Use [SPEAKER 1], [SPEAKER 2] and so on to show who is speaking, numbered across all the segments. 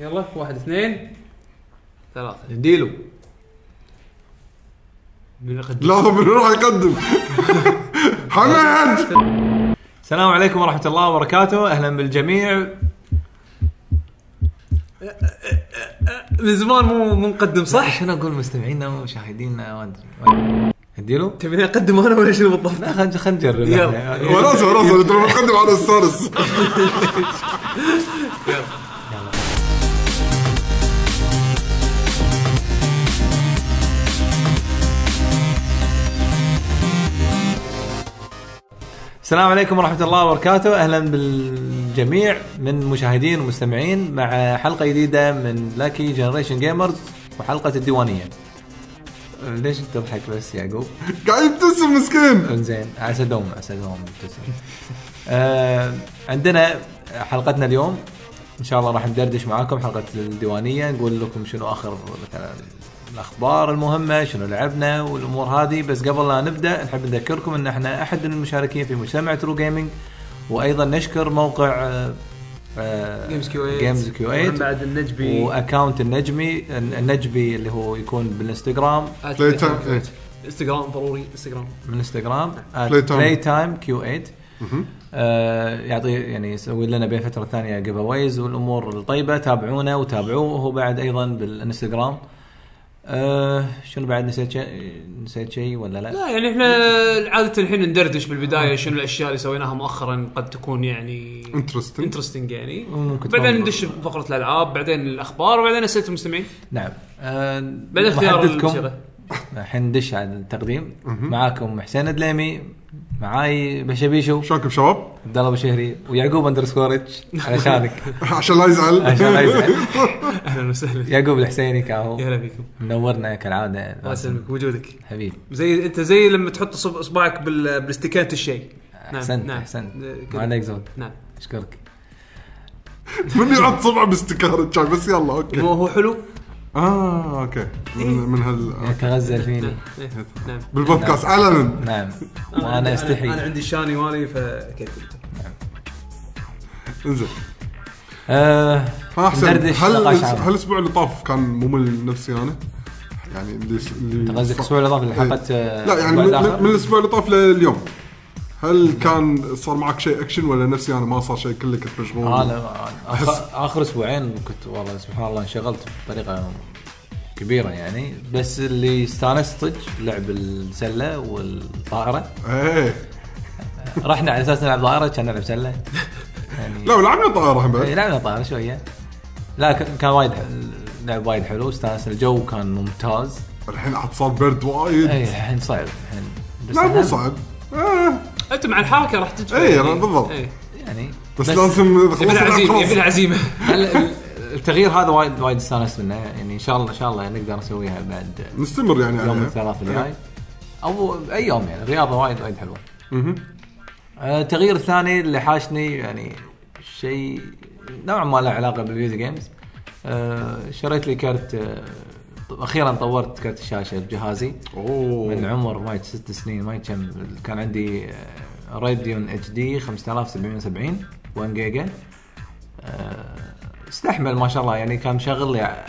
[SPEAKER 1] يلا واحد اثنين ثلاثة
[SPEAKER 2] ديلو من يقدم؟
[SPEAKER 3] لحظه من راح يقدم حمد
[SPEAKER 2] السلام عليكم ورحمة الله وبركاته أهلا بالجميع من زمان مو مو مقدم صح؟ شنو أقول مستمعينا ومشاهدينا ما أدري ديلو
[SPEAKER 1] تبيني اقدم انا ولا شنو بالضبط؟
[SPEAKER 2] لا خلينا خلينا نجرب
[SPEAKER 1] يلا.
[SPEAKER 2] إحنا.
[SPEAKER 3] وراسه وراسه انت لما تقدم على السارس
[SPEAKER 2] السلام عليكم ورحمة الله وبركاته أهلا بالجميع من مشاهدين ومستمعين مع حلقة جديدة من لاكي جنريشن جيمرز وحلقة الديوانية ليش تضحك بس يعقوب؟
[SPEAKER 3] قاعد يبتسم مسكين
[SPEAKER 2] انزين عسى دوم عسى دوم مبتسم. آه عندنا حلقتنا اليوم ان شاء الله راح ندردش معاكم حلقه الديوانيه نقول لكم شنو اخر مثلا الاخبار المهمه شنو لعبنا والامور هذه بس قبل لا نبدا نحب نذكركم ان احنا احد المشاركين في مجتمع ترو جيمنج وايضا نشكر موقع آه، آه،
[SPEAKER 1] جيمز كيو 8
[SPEAKER 2] جيمز كيو 8
[SPEAKER 1] بعد النجبي
[SPEAKER 2] واكاونت النجمي النجبي اللي هو يكون بالانستغرام
[SPEAKER 3] بلاي تايم إيه.
[SPEAKER 1] انستغرام ضروري انستغرام
[SPEAKER 2] من انستغرام
[SPEAKER 3] Play Time.
[SPEAKER 2] بلاي تايم كيو 8 آه يعطي يعني يسوي لنا بين فتره ثانيه جيف اويز والامور الطيبه تابعونا وتابعوه هو بعد ايضا بالانستغرام آه شنو بعد نسيت شيء نسيت شيء ولا لا؟
[SPEAKER 1] لا يعني احنا عادة الحين ندردش بالبداية شنو الاشياء اللي سويناها مؤخرا قد تكون يعني
[SPEAKER 3] Interesting.
[SPEAKER 1] انترستنج يعني
[SPEAKER 2] ممكن
[SPEAKER 1] بعدين
[SPEAKER 2] تمام.
[SPEAKER 1] ندش بفقرة الالعاب بعدين الاخبار وبعدين اسئلة المستمعين
[SPEAKER 2] نعم آه
[SPEAKER 1] بعد اختيار
[SPEAKER 2] محدثكم
[SPEAKER 1] الموسيقى.
[SPEAKER 2] الحين ندش على التقديم معاكم حسين الدليمي معاي بشبيشو
[SPEAKER 3] شلونكم شباب؟
[SPEAKER 2] عبد الله بشهري ويعقوب اندرسكورتش علشانك
[SPEAKER 3] عشان لا يزعل
[SPEAKER 2] عشان لا يزعل.
[SPEAKER 1] اهلا وسهلا
[SPEAKER 2] يعقوب الحسيني كاهو
[SPEAKER 1] يا هلا بكم
[SPEAKER 2] منورنا كالعاده
[SPEAKER 1] الله يسلمك وجودك
[SPEAKER 2] حبيبي
[SPEAKER 1] زي انت زي لما تحط صب- اصبعك بال- بالاستكانة الشيء نعم،
[SPEAKER 2] احسنت
[SPEAKER 1] نعم.
[SPEAKER 2] احسنت
[SPEAKER 1] كذا.
[SPEAKER 2] ما عليك زود
[SPEAKER 1] نعم
[SPEAKER 2] اشكرك
[SPEAKER 3] من يحط صبعه باستكارة شاي بس يلا اوكي
[SPEAKER 1] مو هو حلو؟
[SPEAKER 3] اه اوكي من, من هال
[SPEAKER 2] تغزل فيني
[SPEAKER 1] إيه، نعم
[SPEAKER 3] بالبودكاست علنا
[SPEAKER 2] نعم
[SPEAKER 1] أنا-
[SPEAKER 2] وانا
[SPEAKER 1] انا
[SPEAKER 2] استحي
[SPEAKER 1] عندي شاني مالي فكيف
[SPEAKER 3] انزين
[SPEAKER 2] آه،
[SPEAKER 3] ها احسن
[SPEAKER 2] ندردش
[SPEAKER 3] هل
[SPEAKER 2] نقاش
[SPEAKER 3] هل
[SPEAKER 2] عام
[SPEAKER 3] الاسبوع اللي طاف كان ممل نفسي انا؟ يعني اللي اللي-
[SPEAKER 2] أنت قصدك الاسبوع اللي طاف
[SPEAKER 3] إيه.
[SPEAKER 2] لحلقه آه،
[SPEAKER 3] لا يعني
[SPEAKER 2] بعد
[SPEAKER 3] من,
[SPEAKER 2] آخر؟
[SPEAKER 3] من الاسبوع اللي طاف لليوم هل كان صار معك شيء اكشن ولا نفسي انا ما صار شيء كله كنت مشغول؟
[SPEAKER 2] انا آخر- اخر اسبوعين كنت والله سبحان الله انشغلت بطريقه كبيره يعني بس اللي استانست صدق لعب السله والطائره
[SPEAKER 3] ايه
[SPEAKER 2] رحنا على اساس نلعب طائره كان نلعب سله يعني
[SPEAKER 3] لا ولعبنا طائره هم
[SPEAKER 2] إيه،
[SPEAKER 3] بعد
[SPEAKER 2] لعبنا طائره شويه لا ك- كان وايد ح- لعب وايد حلو استانس الجو كان ممتاز
[SPEAKER 3] الحين عاد صار برد وايد
[SPEAKER 2] اي الحين صعب الحين إيه. بس
[SPEAKER 3] لا مو
[SPEAKER 2] أهم
[SPEAKER 3] صعب إيه،
[SPEAKER 1] انت مع الحركه راح تدفع
[SPEAKER 3] إيه،
[SPEAKER 1] يعني.
[SPEAKER 3] بالضبط.
[SPEAKER 1] إيه.
[SPEAKER 2] يعني
[SPEAKER 3] بس, لازم خلاص
[SPEAKER 1] يبي لها عزيمه يبي لها
[SPEAKER 3] خلاص
[SPEAKER 1] عزيمه
[SPEAKER 2] ال- ال- التغيير هذا وايد وايد استانست منه يعني ان شاء الله ان شاء الله نقدر نسويها بعد
[SPEAKER 3] نستمر يعني
[SPEAKER 2] يوم
[SPEAKER 3] عليها.
[SPEAKER 2] الثلاث
[SPEAKER 3] إيه.
[SPEAKER 2] الجاي او اي يوم يعني الرياضه وايد وايد حلوه.
[SPEAKER 3] مهم.
[SPEAKER 2] آه، التغيير الثاني اللي حاشني يعني شيء نوعا ما له علاقه بالفيديو جيمز آه، شريت لي كرت آه، اخيرا طورت كرت الشاشه بجهازي من
[SPEAKER 3] اوه
[SPEAKER 2] عمر ما يت- ست سنين ما يت- كم كان عندي آه، راديون اتش دي 5770 1 جيجا آه، استحمل ما شاء الله يعني كان مشغل لي ع-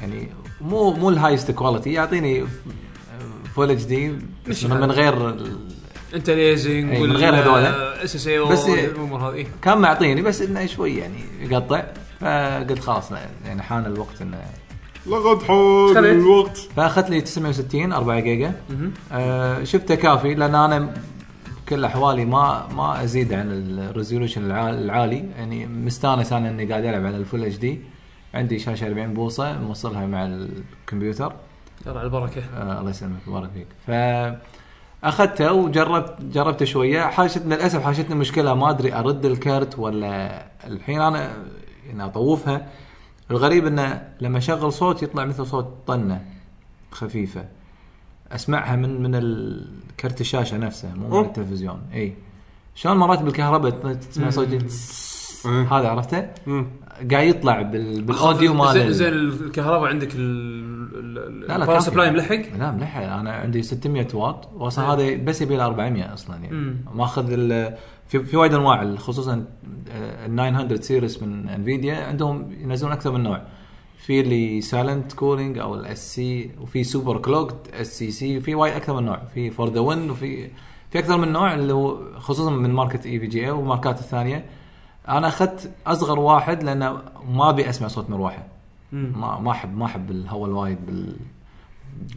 [SPEAKER 2] يعني مو مو الهايست كواليتي يعطيني فول اتش دي
[SPEAKER 1] مش
[SPEAKER 2] من
[SPEAKER 1] حلو.
[SPEAKER 2] غير ال-
[SPEAKER 1] انت ليزنج
[SPEAKER 2] إيه، من غير هذولا.
[SPEAKER 1] اس اس اي
[SPEAKER 2] بس إيه.
[SPEAKER 1] الامور هذه
[SPEAKER 2] كان معطيني بس انه شوي يعني يقطع فقلت خلاص لا، يعني حان الوقت انه
[SPEAKER 3] لقد حان
[SPEAKER 1] خليت؟
[SPEAKER 3] الوقت
[SPEAKER 2] فاخذت لي 960 4 جيجا
[SPEAKER 1] مهم.
[SPEAKER 2] آه شفته كافي لان انا بكل احوالي ما ما ازيد عن الريزولوشن العالي يعني مستانس انا اني قاعد العب على الفول اتش دي عندي شاشه 40 بوصه موصلها مع الكمبيوتر
[SPEAKER 1] يلا على البركه
[SPEAKER 2] آه الله يسلمك بارك فيك ف اخذته وجربت جربته شويه حاشتني للاسف حاشتني مشكله ما ادري ارد الكرت ولا الحين انا يعني اطوفها الغريب انه لما اشغل صوت يطلع مثل صوت طنه خفيفه اسمعها من من ال- كرت الشاشه نفسه مو من
[SPEAKER 3] أوه.
[SPEAKER 2] التلفزيون اي شلون مرات بالكهرباء تسمع صوت
[SPEAKER 3] إيه.
[SPEAKER 2] هذا عرفته
[SPEAKER 3] مم.
[SPEAKER 2] قاعد يطلع بال- بالاوديو مال
[SPEAKER 1] زين
[SPEAKER 2] ال-
[SPEAKER 1] زين الكهرباء عندك ال
[SPEAKER 2] لا لا
[SPEAKER 1] باور
[SPEAKER 2] كافي.
[SPEAKER 1] سبلاي ملحق
[SPEAKER 2] لا ملحق انا عندي 600 واط واصلا
[SPEAKER 1] أيوة.
[SPEAKER 2] هذا بس يبي له 400 اصلا يعني
[SPEAKER 1] مم.
[SPEAKER 2] ماخذ ال- في في وايد انواع خصوصا ال 900 سيريس من انفيديا عندهم ينزلون اكثر من نوع في اللي سايلنت كولينج او الاس سي وفي سوبر كلوك اس سي سي في وايد اكثر من نوع في فور ذا وين وفي في اكثر من نوع اللي هو خصوصا من E ماركه اي في جي اي والماركات الثانيه انا اخذت اصغر واحد لان ما ابي اسمع صوت مروحه ما ما احب ما احب الهواء الوايد بال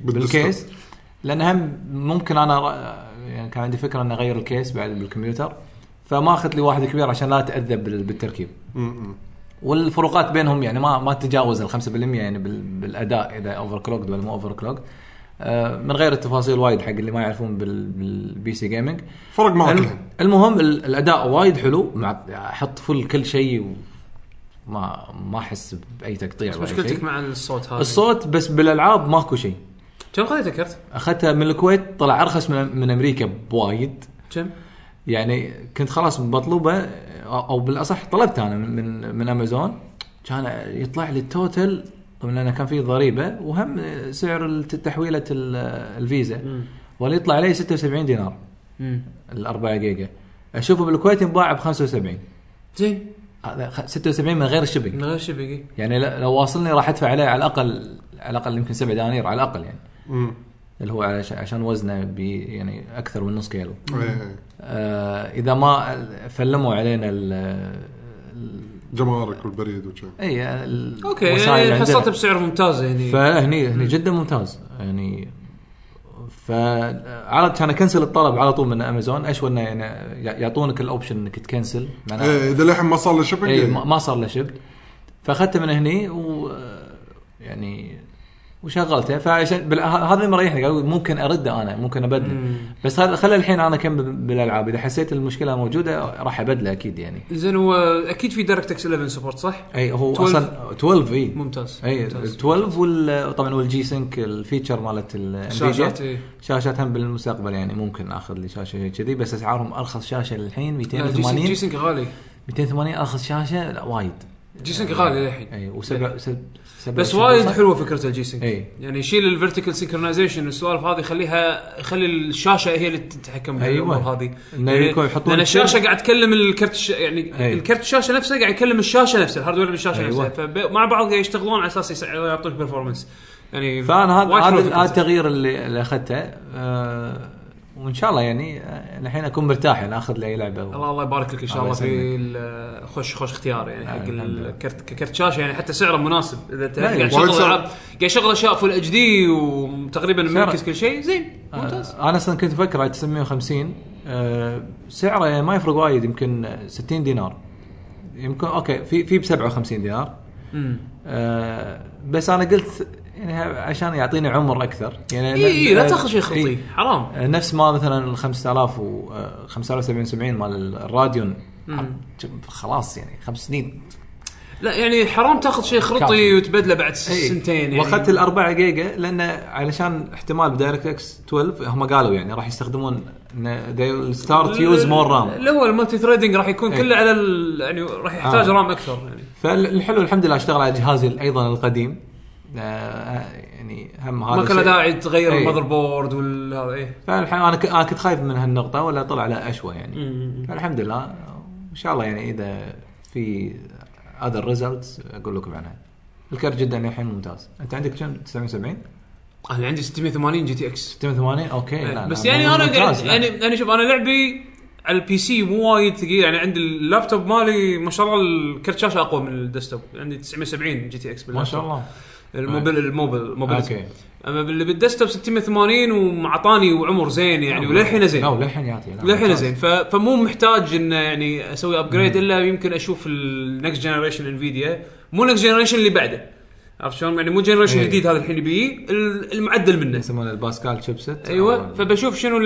[SPEAKER 2] بالكيس لان هم ممكن انا ر- يعني كان عندي فكره اني اغير الكيس بعد بالكمبيوتر فما اخذت لي واحد كبير عشان لا اتاذى بال- بالتركيب
[SPEAKER 3] م-م.
[SPEAKER 2] والفروقات بينهم يعني ما ما تتجاوز ال 5% يعني بال- بالاداء اذا اوفر كلوكد ولا مو اوفر كلوكد من غير التفاصيل وايد حق اللي ما يعرفون بال- بالبي سي جيمنج
[SPEAKER 3] فرق معك
[SPEAKER 2] الم-
[SPEAKER 3] الحين
[SPEAKER 2] المهم ال- الاداء وايد حلو مع احط فل كل شيء وما ما احس باي تقطيع
[SPEAKER 1] بس
[SPEAKER 2] ولا أي
[SPEAKER 1] مشكلتك
[SPEAKER 2] شيء.
[SPEAKER 1] مع الصوت هذا
[SPEAKER 2] الصوت بس بالالعاب ماكو شيء
[SPEAKER 1] كم خذيت الكرت؟
[SPEAKER 2] اخذتها من الكويت طلع ارخص من, من امريكا بوايد
[SPEAKER 1] كم؟
[SPEAKER 2] يعني كنت خلاص مطلوبه او أو بالاصح طلبتها انا من من, من امازون كان يطلع لي التوتل طبعا لانه كان في ضريبه وهم سعر الت- تحويله ال- الفيزا ولا يطلع علي 76 دينار ال 4 جيجا اشوفه بالكويت ينباع ب 75
[SPEAKER 1] زين
[SPEAKER 2] هذا خ- 76 من غير
[SPEAKER 1] من
[SPEAKER 2] الشبك
[SPEAKER 1] غير شبكي
[SPEAKER 2] يعني ل- لو واصلني راح ادفع عليه على الاقل على الاقل يمكن 7 دنانير على الاقل يعني
[SPEAKER 3] م.
[SPEAKER 2] اللي هو علش- عشان وزنه بي يعني اكثر من نص كيلو
[SPEAKER 3] إيه، إيه.
[SPEAKER 2] آه اذا ما فلموا علينا ال ال-
[SPEAKER 3] جمارك والبريد وشي
[SPEAKER 2] اي ال-
[SPEAKER 1] اوكي
[SPEAKER 2] الوسائل
[SPEAKER 1] يعني
[SPEAKER 2] اللي عندنا.
[SPEAKER 1] حصلته بسعر ممتاز يعني
[SPEAKER 2] فهني هني جدا ممتاز يعني ف على كان اكنسل الطلب على طول من امازون اشوى انه يعني يعطونك الاوبشن انك تكنسل معناها-
[SPEAKER 3] ايه اذا للحين ما صار له شبك
[SPEAKER 2] اي
[SPEAKER 3] إيه.
[SPEAKER 2] ما ما صار له شبك فاخذته من هني و يعني وشغلته فعشان بال- ه- هذا اللي مريحني قالوا ممكن ارده انا ممكن ابدله
[SPEAKER 1] مم.
[SPEAKER 2] بس هذا خلى الحين انا اكمل بالالعاب اذا حسيت المشكله موجوده راح ابدله اكيد يعني
[SPEAKER 1] زين هو اكيد في دايركت اكس 11 سبورت صح؟
[SPEAKER 2] اي هو
[SPEAKER 1] 12.
[SPEAKER 2] اصلا 12 اي
[SPEAKER 1] ممتاز
[SPEAKER 2] اي
[SPEAKER 1] ممتاز.
[SPEAKER 2] 12 وال طبعا والجي سنك الفيتشر مالت الانفيديا
[SPEAKER 1] شاشات إيه. اي
[SPEAKER 2] شاشات هم بالمستقبل يعني ممكن اخذ لي شاشه شيء كذي بس اسعارهم ارخص شاشه للحين
[SPEAKER 1] لا، جي سنك-
[SPEAKER 2] 280
[SPEAKER 1] جي سنك غالي
[SPEAKER 2] 280 ارخص شاشه لا وايد
[SPEAKER 1] جي سنك غالي للحين
[SPEAKER 2] اي وسبع سب- سبع
[SPEAKER 1] يعني بس
[SPEAKER 2] شهور
[SPEAKER 1] وايد
[SPEAKER 2] صح؟
[SPEAKER 1] حلوه فكره الجي سنك
[SPEAKER 2] اي.
[SPEAKER 1] يعني يشيل الفيرتيكال سنكرونايزيشن السوالف هذه يخليها يخلي الشاشه هي اللي تتحكم بالامور
[SPEAKER 2] أيوة.
[SPEAKER 1] هذه
[SPEAKER 2] إنه
[SPEAKER 1] يعني-
[SPEAKER 2] يكون يحطون
[SPEAKER 1] لان
[SPEAKER 2] الشاشة-
[SPEAKER 1] الشاشه قاعد تكلم الكرت الش... يعني
[SPEAKER 2] أي.
[SPEAKER 1] الكرت الشاشه نفسه قاعد يكلم الشاشه نفسها الهاردوير بالشاشه
[SPEAKER 2] أيوة.
[SPEAKER 1] نفسها فمع بعض قاعد يشتغلون على اساس يسع- يعطوك برفورمانس يعني
[SPEAKER 2] فانا هذا
[SPEAKER 1] وايد حلوة
[SPEAKER 2] هذا
[SPEAKER 1] الفكرة.
[SPEAKER 2] هذا التغيير اللي, اللي اخذته آه وان شاء الله يعني آه، الحين اكون مرتاح يعني اخذ لي أي لعبه
[SPEAKER 1] الله الله يبارك لك ان شاء
[SPEAKER 2] الله
[SPEAKER 1] الله في ال- خوش خوش اختيار يعني
[SPEAKER 2] آه،
[SPEAKER 1] حق
[SPEAKER 2] الحمد لله.
[SPEAKER 1] الكرت ككرت شاشه يعني حتى سعره مناسب اذا انت
[SPEAKER 2] لا،
[SPEAKER 1] قاعد
[SPEAKER 2] يعني
[SPEAKER 1] تشغل
[SPEAKER 3] وايد سعر-
[SPEAKER 1] العاب قاعد تشغل اشياء فول اتش دي وتقريبا
[SPEAKER 2] سعره-
[SPEAKER 1] مركز كل شيء زين ممتاز
[SPEAKER 2] آه انا اصلا كنت افكر على 950 آه سعره يعني ما يفرق وايد يمكن 60 دينار يمكن اوكي في في ب 57 دينار
[SPEAKER 1] مم.
[SPEAKER 2] آه بس انا قلت يعني عشان يعطيني عمر اكثر يعني
[SPEAKER 1] اي اي لا
[SPEAKER 2] آه،
[SPEAKER 1] تاخذ شيء خطي
[SPEAKER 2] إي.
[SPEAKER 1] حرام
[SPEAKER 2] نفس ما مثلا ال 5000 و آه، 5770 مال الراديون
[SPEAKER 1] مم.
[SPEAKER 2] خلاص يعني خمس سنين
[SPEAKER 1] لا يعني حرام تاخذ شيء خطي
[SPEAKER 2] كافي.
[SPEAKER 1] وتبدله بعد س- سنتين يعني
[SPEAKER 2] واخذت ال 4 جيجا لان علشان احتمال بدايركت اكس 12 هم قالوا يعني راح يستخدمون ستارت يوز مور رام
[SPEAKER 1] اللي هو المالتي ثريدنج راح يكون
[SPEAKER 2] إي.
[SPEAKER 1] كله على ال- يعني راح يحتاج
[SPEAKER 2] آه.
[SPEAKER 1] رام اكثر يعني
[SPEAKER 2] فالحلو الحمد لله اشتغل على جهازي ايضا القديم آه، يعني هم هذا
[SPEAKER 1] ما كان له
[SPEAKER 2] شيء.
[SPEAKER 1] داعي تغير
[SPEAKER 2] إي.
[SPEAKER 1] المذر بورد والهذا ايه
[SPEAKER 2] فالحين انا ك- انا كنت خايف من هالنقطه ولا طلع لا اشوى يعني
[SPEAKER 1] مم.
[SPEAKER 2] فالحمد لله ان شاء الله يعني اذا في اذر ريزلتس اقول لكم عنها الكرت جدا الحين ممتاز انت عندك كم 79
[SPEAKER 1] انا عندي 680 جي تي اكس
[SPEAKER 2] 86 اوكي إيه، لا، لا
[SPEAKER 1] بس
[SPEAKER 2] لا،
[SPEAKER 1] يعني
[SPEAKER 2] مو-
[SPEAKER 1] انا
[SPEAKER 2] ممتاز،
[SPEAKER 1] قاعد
[SPEAKER 2] لا.
[SPEAKER 1] يعني انا شوف انا لعبي على البي سي مو وايد ثقيل يعني عندي اللابتوب مالي ما شاء الله الكرت شاشه اقوى من الديسكتوب عندي 970 جي تي اكس
[SPEAKER 2] ما شاء الله آه.
[SPEAKER 1] الموبل الموبل الموبل
[SPEAKER 2] اوكي
[SPEAKER 1] اما اللي بالديسكتوب 680 ومعطاني وعمر زين يعني وللحين زين
[SPEAKER 2] آه. لا وللحين يعطي لا،
[SPEAKER 1] للحين
[SPEAKER 2] ممتاز.
[SPEAKER 1] زين ف- فمو محتاج انه يعني اسوي ابجريد الا يمكن اشوف النكست جنريشن انفيديا مو النكست جنريشن اللي بعده عرفت شلون؟ يعني مو جنريشن
[SPEAKER 2] إيه.
[SPEAKER 1] جديد هذا الحين بيجي ال- المعدل منه
[SPEAKER 2] يسمونه الباسكال شيبسيت
[SPEAKER 1] ايوه
[SPEAKER 2] أو-
[SPEAKER 1] فبشوف شنو ال...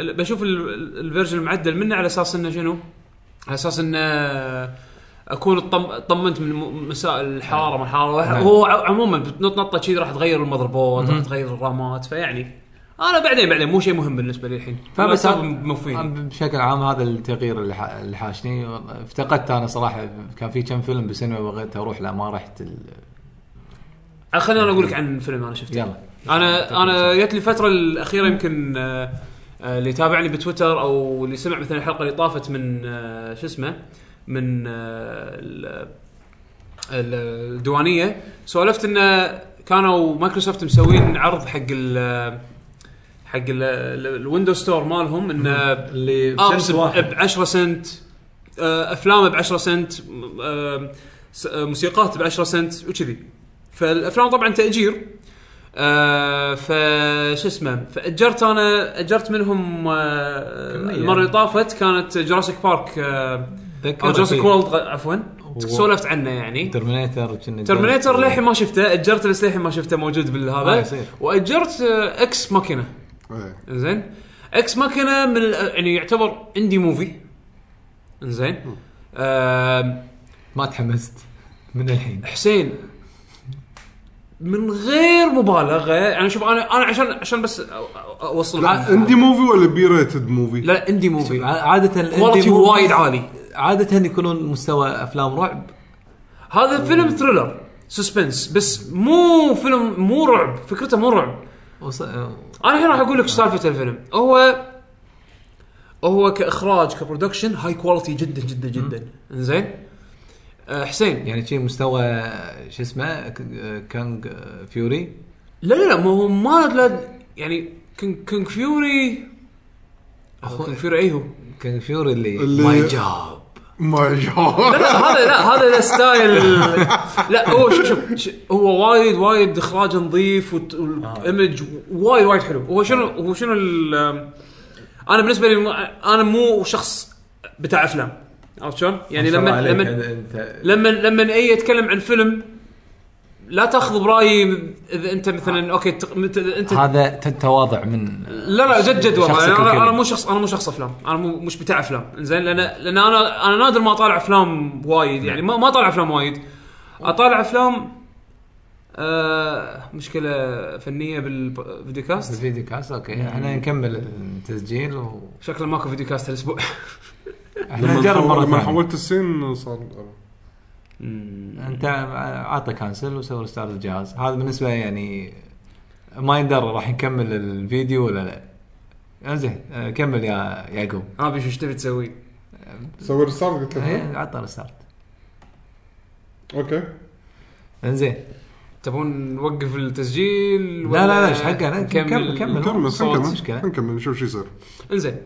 [SPEAKER 1] ال- بشوف ال- ال- الفيرجن المعدل منه على اساس انه شنو؟ على اساس انه اكون اطم- طمنت من م- مسائل الحراره ما الحراره
[SPEAKER 2] نعم.
[SPEAKER 1] هو ع- عموما بتنط نطه كذي راح تغير المذر بورد راح تغير الرامات فيعني انا بعدين بعدين مو شيء مهم بالنسبه لي الحين
[SPEAKER 2] فبس
[SPEAKER 1] اللابتوب
[SPEAKER 2] أنا-
[SPEAKER 1] موفيني
[SPEAKER 2] أنا بشكل عام هذا التغيير اللي ح- اللي حاشني والله افتقدت انا صراحه كان في كم فيلم بالسينما بغيت اروح لا ما رحت ال-
[SPEAKER 1] خليني انا اقول لك عن فيلم انا شفته
[SPEAKER 2] يلا
[SPEAKER 1] انا انا جت لي الفتره الاخيره يمكن آه، آه، اللي تابعني بتويتر او اللي سمع مثلا الحلقه اللي طافت من آه، شو اسمه من آه، ال- ال- الديوانيه سولفت انه كانوا مايكروسوفت مسوين عرض حق ال آه، حق ال- ال- الويندوز ستور مالهم انه
[SPEAKER 4] اللي
[SPEAKER 1] ابس
[SPEAKER 4] بشمس واحد
[SPEAKER 1] ب 10 آه، سنت آه، افلام ب 10 سنت آه، س- آه، موسيقات ب 10 سنت وكذي فالافلام طبعا تاجير آه، فش اسمه فاجرت انا اجرت منهم آه،
[SPEAKER 4] كمية.
[SPEAKER 1] المره اللي طافت كانت جوراسيك بارك آه، او جوراسيك وورلد عفوا سولفت عنه يعني
[SPEAKER 4] ترمينيتر كنا-
[SPEAKER 1] ترمينيتر للحين ما شفته اجرته بس للحين ما شفته موجود
[SPEAKER 4] آه،
[SPEAKER 1] بالهذا
[SPEAKER 4] يصير.
[SPEAKER 1] واجرت آه، اكس ماكينه
[SPEAKER 3] إيه.
[SPEAKER 1] زين اكس ماكينه من ال- يعني يعتبر اندي موفي زين
[SPEAKER 4] ما تحمست من الحين
[SPEAKER 1] حسين من غير مبالغه يعني شوف انا انا عشان عشان بس أ- أ- اوصل
[SPEAKER 3] لا اندي موفي ولا بي ريتد موفي؟
[SPEAKER 1] لا لا، اندي موفي
[SPEAKER 4] طيب، عادة ال
[SPEAKER 1] كواليتي
[SPEAKER 4] indie movies
[SPEAKER 1] وايد عالي
[SPEAKER 4] عادة يكونون مستوى افلام رعب
[SPEAKER 1] هذا فيلم ثريلر سسبنس بس مو فيلم مو رعب فكرته مو رعب
[SPEAKER 4] وص...
[SPEAKER 1] انا الحين راح اقول لك إيش سالفه الفيلم هو هو كاخراج كبرودكشن هاي كواليتي جدا جدا جدا زين آه، حسين
[SPEAKER 4] يعني شي مستوى شو اسمه ك- كانج فيوري
[SPEAKER 1] لا لا لا ما هو ما لا يعني كينج كينج فيوري
[SPEAKER 4] أخو-
[SPEAKER 1] كينج فيوري اي هو
[SPEAKER 4] كانج فيوري اللي
[SPEAKER 3] اللي-
[SPEAKER 4] ماي جاب
[SPEAKER 3] ما
[SPEAKER 1] لا
[SPEAKER 3] شاء
[SPEAKER 1] لا هذا لا هذا الستايل لا هو شوف شوف ش- هو وايد وايد اخراجه نظيف والت-
[SPEAKER 4] آه.
[SPEAKER 1] والايمج وايد وايد حلو هو شنو هو شنو ال- انا بالنسبه لي مو- انا مو شخص بتاع افلام عرفت شلون؟ يعني
[SPEAKER 4] ما شاء
[SPEAKER 1] لما
[SPEAKER 4] الله عليك،
[SPEAKER 1] لما
[SPEAKER 4] هذا انت
[SPEAKER 1] لما لما اي يتكلم عن فيلم لا تاخذ برايي اذا انت مثلا اوكي تق- مت- انت
[SPEAKER 4] آه. هذا ت- تواضع من
[SPEAKER 1] لا لا جد جد والله
[SPEAKER 4] شخصك
[SPEAKER 1] يعني انا انا
[SPEAKER 4] الكريم.
[SPEAKER 1] مو شخص انا مو شخص افلام انا مو مش بتاع افلام زين لان لان انا انا نادر ما اطالع افلام وايد يعني ما ما اطالع افلام وايد اطالع افلام آه مشكله فنيه بالفيديو كاست
[SPEAKER 4] الفيديو كاست اوكي احنا نكمل التسجيل و
[SPEAKER 1] شكله ماكو فيديو كاست هالاسبوع
[SPEAKER 4] احنا
[SPEAKER 3] لما
[SPEAKER 4] نجرب
[SPEAKER 3] نحول-
[SPEAKER 4] مره
[SPEAKER 3] لما
[SPEAKER 4] ثانيه
[SPEAKER 3] حولت السين صار
[SPEAKER 4] انت عاطى كانسل وسوي ريستارت الجهاز هذا بالنسبه يعني ما يندر راح نكمل الفيديو ولا لا انزين آه، كمل يا يعقوب
[SPEAKER 1] ابي شو ايش تبي تسوي؟
[SPEAKER 3] سوي ريستارت قلت
[SPEAKER 1] إيه.
[SPEAKER 3] له
[SPEAKER 2] إيه،
[SPEAKER 4] آه، عطى ريستارت
[SPEAKER 3] اوكي
[SPEAKER 4] انزين
[SPEAKER 1] تبون نوقف التسجيل
[SPEAKER 4] لا لا لا ايش حقنا كمل كمل
[SPEAKER 3] نكمل
[SPEAKER 4] صوت،
[SPEAKER 3] نكمل
[SPEAKER 4] مشكله
[SPEAKER 3] نكمل نشوف شو يصير
[SPEAKER 1] انزين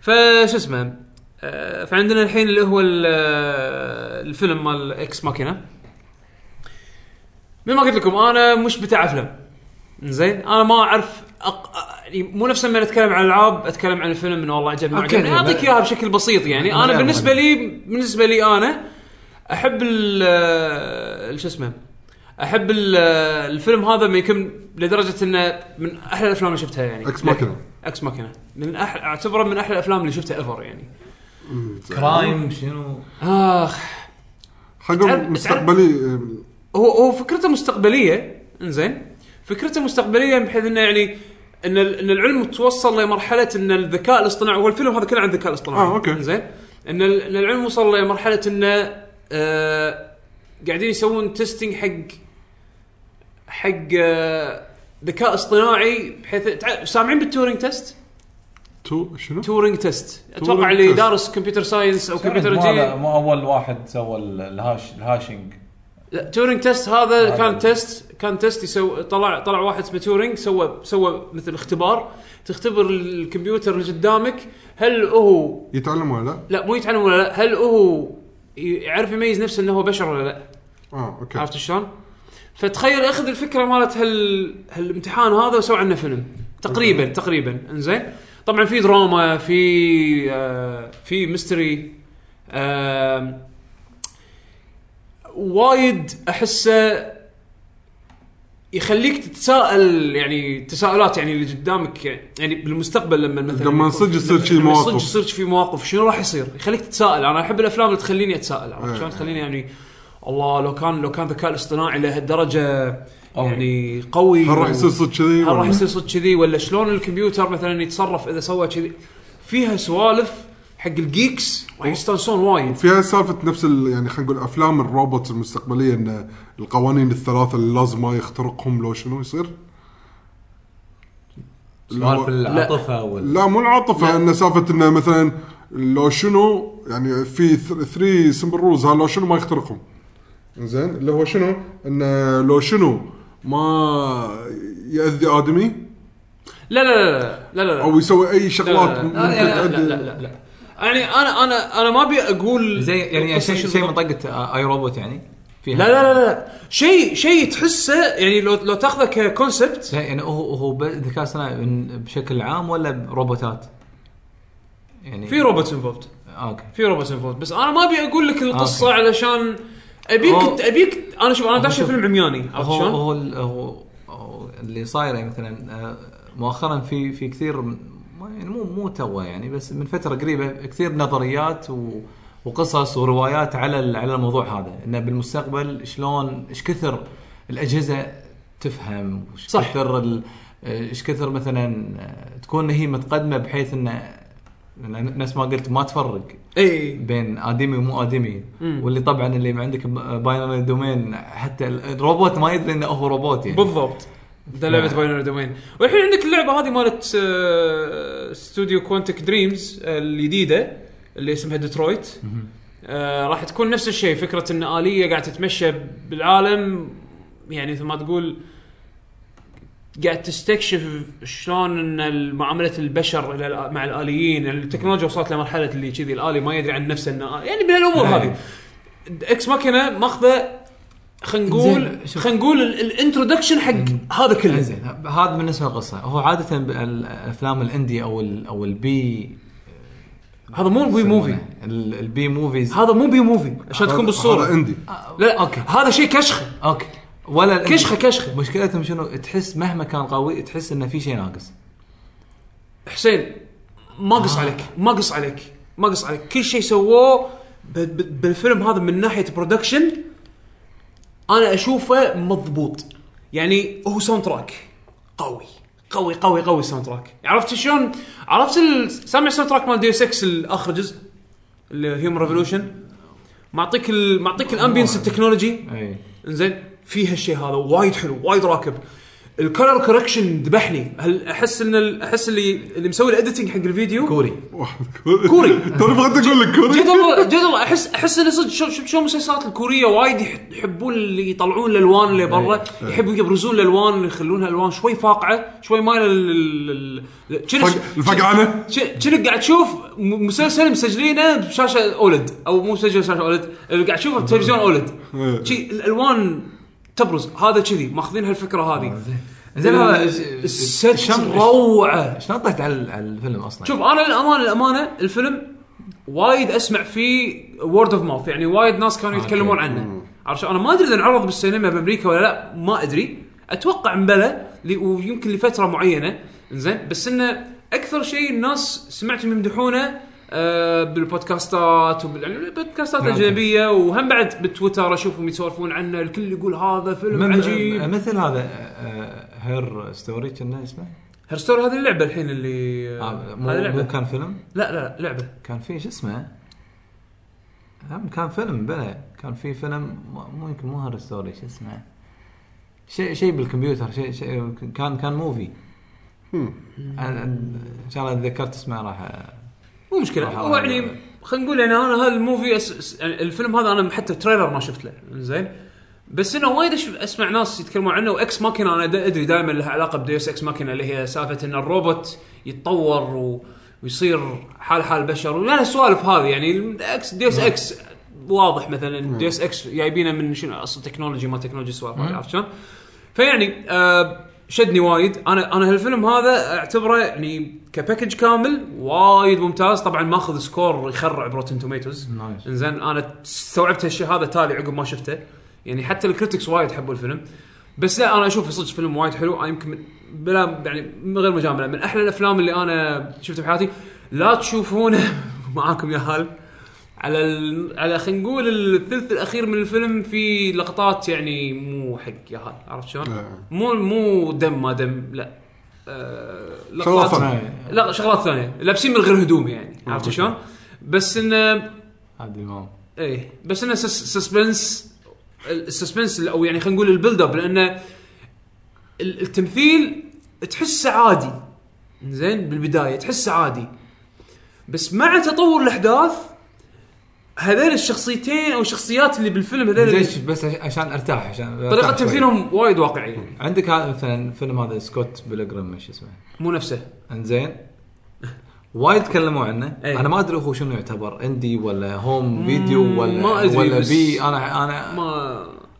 [SPEAKER 1] فشو اسمه آه، فعندنا الحين اللي هو ال- آه، الفيلم مال اكس ماكينه مثل ما قلت لكم انا مش بتاع افلام زين انا ما اعرف أق... أ- يعني مو نفس لما نتكلم عن العاب اتكلم عن الفيلم انه والله عجبني ما
[SPEAKER 4] أوكي،
[SPEAKER 1] عجبني
[SPEAKER 4] يعني
[SPEAKER 1] اعطيك
[SPEAKER 4] ما-
[SPEAKER 1] اياها بشكل بسيط يعني
[SPEAKER 4] ما
[SPEAKER 1] انا
[SPEAKER 4] لا
[SPEAKER 1] بالنسبه
[SPEAKER 4] مهم.
[SPEAKER 1] لي بالنسبه لي انا احب ال آه، شو اسمه احب ال- آه، الفيلم هذا ما يكون لدرجه انه من احلى الافلام اللي شفتها يعني
[SPEAKER 3] اكس ماكينه
[SPEAKER 1] اكس ماكينه من احلى اعتبره من احلى الافلام اللي شفتها ايفر يعني
[SPEAKER 4] كرايم شنو
[SPEAKER 1] اخ
[SPEAKER 3] حق
[SPEAKER 1] تعرف-
[SPEAKER 3] مستقبلي أم،
[SPEAKER 1] هو هو فكرته مستقبليه انزين فكرته مستقبليه بحيث انه يعني ان ال- ان العلم توصل لمرحله ان الذكاء الاصطناعي هو الفيلم هذا كله عن الذكاء الاصطناعي
[SPEAKER 3] آه، أوكي.
[SPEAKER 1] انزين ان ال- إن العلم وصل لمرحله انه آه قاعدين يسوون تيستينج حق حق آه ذكاء اصطناعي بحيث تع- سامعين بالتورينج تيست؟
[SPEAKER 3] تو شنو؟
[SPEAKER 1] تورينج تيست اتوقع
[SPEAKER 3] تورينج
[SPEAKER 1] اللي
[SPEAKER 3] تيست.
[SPEAKER 1] دارس كمبيوتر ساينس او كمبيوتر
[SPEAKER 2] مو
[SPEAKER 1] انجينير
[SPEAKER 2] هذا- مو اول واحد سوى ال- الهاش الهاشنج
[SPEAKER 1] لا تورينج تيست هذا
[SPEAKER 2] هذا
[SPEAKER 1] كان
[SPEAKER 2] ال-
[SPEAKER 1] تيست كان تيست يسوي طلع طلع واحد اسمه تورينج سوى سوى مثل اختبار تختبر الكمبيوتر اللي قدامك هل هو
[SPEAKER 3] يتعلم ولا لا؟
[SPEAKER 1] لا مو يتعلم ولا لا هل هو يعرف يميز نفسه انه هو بشر ولا لا
[SPEAKER 3] اه اوكي
[SPEAKER 1] عرفت شلون؟ فتخيل اخذ الفكره مالت هال هالامتحان هذا وسوي عنه فيلم تقريبا تقريبا انزين طبعا في دراما في آه في ميستري آه وايد احسه يخليك تتساءل يعني تساؤلات يعني اللي قدامك يعني بالمستقبل لما مثلا
[SPEAKER 3] لما
[SPEAKER 1] يكون-
[SPEAKER 3] صدق يصير شي
[SPEAKER 1] لما
[SPEAKER 3] مواقف.
[SPEAKER 1] صدق يصير في مواقف شنو راح يصير؟ يخليك تتساءل انا احب الافلام اللي تخليني اتساءل عرفت
[SPEAKER 3] إيه.
[SPEAKER 1] شلون تخليني يعني الله لو كان لو كان الذكاء الاصطناعي لهالدرجه
[SPEAKER 2] قوي.
[SPEAKER 1] يعني قوي
[SPEAKER 3] هل راح يصير صدق كذي؟
[SPEAKER 1] هل راح
[SPEAKER 3] ولا؟
[SPEAKER 1] يصير صدق كذي ولا شلون الكمبيوتر مثلا يتصرف اذا سوى كذي فيها سوالف حق الجيكس راح يستانسون وايد
[SPEAKER 3] فيها سالفه نفس ال- يعني خلينا نقول افلام الروبوت المستقبليه ان القوانين الثلاثه اللي لازم ما يخترقهم لو شنو يصير؟ اللي هو-
[SPEAKER 2] سوالف العاطفه وال
[SPEAKER 3] لا مو العاطفه ان سالفه انه مثلا لو شنو يعني في 3 سمبل رولز لو شنو ما يخترقهم زين اللي هو شنو انه لو شنو ما ياذي ادمي
[SPEAKER 1] لا لا لا لا لا لا
[SPEAKER 3] او يسوي اي شغلات
[SPEAKER 1] لا
[SPEAKER 3] ممكن
[SPEAKER 1] لا لا لا لا
[SPEAKER 3] تؤدي
[SPEAKER 1] لا لا يعني انا انا انا ما ابي اقول
[SPEAKER 2] زي يعني
[SPEAKER 1] القصة
[SPEAKER 2] شيء
[SPEAKER 1] شو
[SPEAKER 2] شيء
[SPEAKER 1] بالضبط.
[SPEAKER 2] من طاقه اي روبوت يعني فيها
[SPEAKER 1] لا لا لا لا شيء شيء تحسه يعني لو لو تاخذه ككونسبت
[SPEAKER 2] زين يعني هو هو ب- ذكاء صناعي من- بشكل عام ولا بروبوتات؟ يعني
[SPEAKER 1] في روبوتس انفولد
[SPEAKER 2] آه، اوكي
[SPEAKER 1] في روبوتس انفولد بس انا ما ابي اقول لك القصه
[SPEAKER 2] أوكي.
[SPEAKER 1] علشان ابيك
[SPEAKER 2] هو-
[SPEAKER 1] ابيك انا شوف انا
[SPEAKER 2] هو
[SPEAKER 1] داش
[SPEAKER 2] شوف.
[SPEAKER 1] فيلم عمياني عرفت
[SPEAKER 2] هو
[SPEAKER 1] شلون؟
[SPEAKER 2] هو ال- هو هو اللي صاير يعني مثلا آه، مؤخرا في في كثير من- ما- يعني مو مو تو يعني بس من فتره قريبه كثير نظريات و وقصص وروايات على ال- على الموضوع هذا انه بالمستقبل شلون ايش كثر الاجهزه تفهم وش
[SPEAKER 1] صح.
[SPEAKER 2] كثر ال- ايش كثر مثلا آه، تكون هي متقدمه بحيث انه إنه نفس ما قلت ما تفرق
[SPEAKER 1] اي
[SPEAKER 2] بين ادمي ومو ادمي
[SPEAKER 1] مم.
[SPEAKER 2] واللي طبعا اللي عندك باينري دومين حتى الروبوت ما يدري انه هو روبوت يعني
[SPEAKER 1] بالضبط ده
[SPEAKER 2] نعم.
[SPEAKER 1] لعبه باينر دومين والحين عندك اللعبه هذه مالت آه، استوديو كوانتك دريمز الجديده اللي اسمها ديترويت آه، راح تكون نفس الشيء فكره ان اليه قاعده تتمشى بالعالم يعني مثل ما تقول قاعد تستكشف شلون ان ال- معامله البشر إلى الآ- مع الاليين يعني التكنولوجيا وصلت لمرحله اللي كذي الالي ما يدري عن نفسه انه آ- يعني من الامور
[SPEAKER 2] إيه.
[SPEAKER 1] هذه اكس ماكينه ماخذه خلينا نقول
[SPEAKER 2] زين، شوف.
[SPEAKER 1] خلينا نقول ال- الانترودكشن حق هذا كله
[SPEAKER 2] زين هذا بالنسبه للقصه هو عاده ب- الافلام الاندي او ال او البي
[SPEAKER 1] هذا مو بي موفي
[SPEAKER 2] ال- البي موفيز
[SPEAKER 1] هذا مو بي موفي عشان تكون
[SPEAKER 3] هذا
[SPEAKER 1] بالصوره
[SPEAKER 3] عندي
[SPEAKER 1] لا لا اوكي هذا شيء كشخه
[SPEAKER 2] اوكي ولا الإندي.
[SPEAKER 1] كشخة- كشخة.
[SPEAKER 2] مشكلتهم شنو تحس مهما كان قوي تحس انه في شيء ناقص
[SPEAKER 1] حسين ما قص عليك ما قص عليك ما قص عليك كل شيء سووه ب- ب- بالفيلم هذا من ناحيه برودكشن انا اشوفه مضبوط يعني هو ساوند تراك قوي قوي قوي قوي الساوند تراك عرفت شلون عرفت ال- سامع الساوند تراك مال ديو 6 اخر جزء اللي هيومن ريفولوشن معطيك ال... معطيك الامبينس التكنولوجي
[SPEAKER 2] اي
[SPEAKER 1] انزين فيها الشيء هذا وايد حلو وايد راكب الكلر كوركشن ذبحني هل احس ان ال- احس اللي اللي مسوي الاديتنج حق الفيديو
[SPEAKER 2] كوري
[SPEAKER 1] كوري.
[SPEAKER 3] ترى بغيت اقول لك
[SPEAKER 1] جد
[SPEAKER 3] كوري
[SPEAKER 1] والله جد والله احس احس انه صدق شوف شوف شو المسلسلات الكوريه وايد يح- يحبون اللي يطلعون الالوان اللي برا يحبوا يبرزون الالوان يخلونها الوان شوي فاقعه شوي مايله لل- لل- لل- شنو-
[SPEAKER 3] فق- الفقعانه
[SPEAKER 1] ش- شنو قاعد تشوف م- مسلسل مسجلينه بشاشه اولد او مو مسجل شاشه اولد اللي قاعد تشوفه بتلفزيون اولد
[SPEAKER 3] إيه.
[SPEAKER 1] شي الالوان تبرز هذا كذي ماخذين هالفكره هذه
[SPEAKER 2] إيه. زين هذا
[SPEAKER 1] الست
[SPEAKER 2] شم-
[SPEAKER 1] روعه
[SPEAKER 2] شلون طحت على على الفيلم اصلا؟
[SPEAKER 1] شوف انا للامانه الامانه الفيلم وايد اسمع فيه وورد اوف ماوث يعني وايد ناس كانوا يتكلمون عنه عرفت شلون؟ انا ما ادري اذا انعرض بالسينما بامريكا ولا لا ما ادري اتوقع مبلى لي- ويمكن لفتره معينه زين بس انه اكثر شيء الناس سمعتهم يمدحونه آه، بالبودكاستات وبال... يعني بالبودكاستات
[SPEAKER 2] نعم.
[SPEAKER 1] الاجنبيه وهم بعد بالتويتر اشوفهم يسولفون عنه الكل يقول هذا فيلم
[SPEAKER 2] من-
[SPEAKER 1] عجيب
[SPEAKER 2] مثل هذا آه، هير ستوري كنا اسمه
[SPEAKER 1] هرستوري هذه اللعبه الحين اللي
[SPEAKER 2] آه،
[SPEAKER 1] هذه
[SPEAKER 2] مو,
[SPEAKER 1] لعبه
[SPEAKER 2] مو كان فيلم
[SPEAKER 1] لا لا لا، لعبه
[SPEAKER 2] كان في شو اسمه هم كان فيلم بلا كان في فيلم مو- مو يمكن مو هير ستوري شو اسمه شيء شيء بالكمبيوتر شيء شيء كان كان موفي أنا- أنا- ان شاء الله تذكرت اسمه راح أ-
[SPEAKER 1] مو مشكله
[SPEAKER 2] راح
[SPEAKER 1] هو
[SPEAKER 2] ألعب.
[SPEAKER 1] يعني خلينا نقول يعني انا هذا الموفي أس... أس- يعني الفيلم هذا انا حتى تريلر ما شفت له زين بس انه وايد أش- اسمع ناس يتكلمون عنه واكس ماكينه انا دا- ادري دائما لها علاقه بديوس اكس ماكينه اللي هي سالفه ان الروبوت يتطور و... ويصير حال حال البشر ولا السوالف هذه يعني اكس ديوس اكس واضح مثلا ديوس اكس جايبينه من شنو اصلا تكنولوجي ما تكنولوجي السوالف هذه عرفت شلون؟ فيعني آه شدني وايد انا انا هالفيلم هذا اعتبره يعني كباكج كامل وايد ممتاز طبعا ماخذ سكور يخرع بروتن توميتوز
[SPEAKER 2] نايس.
[SPEAKER 1] انزين انا استوعبت هالشيء هذا تالي عقب ما شفته يعني حتى الكريتكس وايد حبوا الفيلم بس لا انا اشوفه صدق فيلم وايد حلو انا يمكن من- بلا يعني من غير مجامله من احلى الافلام اللي انا شفتها بحياتي لا تشوفونه معاكم يا هال على ال... على خلينا نقول الثلث الاخير من الفيلم في لقطات يعني مو حق يا هال عرفت شلون؟
[SPEAKER 3] إيه.
[SPEAKER 1] مو مو دم ما دم لا آه،
[SPEAKER 3] شغلات
[SPEAKER 1] لقطات
[SPEAKER 3] ثانية.
[SPEAKER 2] آه،
[SPEAKER 1] لا شغلات ثانيه لابسين من غير هدوم يعني عرفت شلون؟ بس انه
[SPEAKER 2] عادل امام
[SPEAKER 1] ايه بس انه سس- سسبنس السسبنس او يعني خلينا نقول البيلد اب لانه ال- التمثيل تحسه عادي زين بالبدايه تحسه عادي بس مع تطور الاحداث هذول الشخصيتين او الشخصيات اللي بالفيلم هذول اللي-
[SPEAKER 2] ليش بس عش- عشان ارتاح عشان
[SPEAKER 1] طريقه
[SPEAKER 3] طيب.
[SPEAKER 2] أرتاح شوي.
[SPEAKER 1] تمثيلهم وايد واقعيه
[SPEAKER 2] عندك هذا مثلا فيلم هذا سكوت بيلجرام شو اسمه
[SPEAKER 1] مو نفسه
[SPEAKER 2] انزين وايد تكلموا عنه
[SPEAKER 1] إيه.
[SPEAKER 2] انا ما ادري هو شنو يعتبر اندي ولا هوم فيديو ولا
[SPEAKER 1] ما أدري
[SPEAKER 2] ولا
[SPEAKER 1] بس-
[SPEAKER 2] بي انا انا
[SPEAKER 1] ما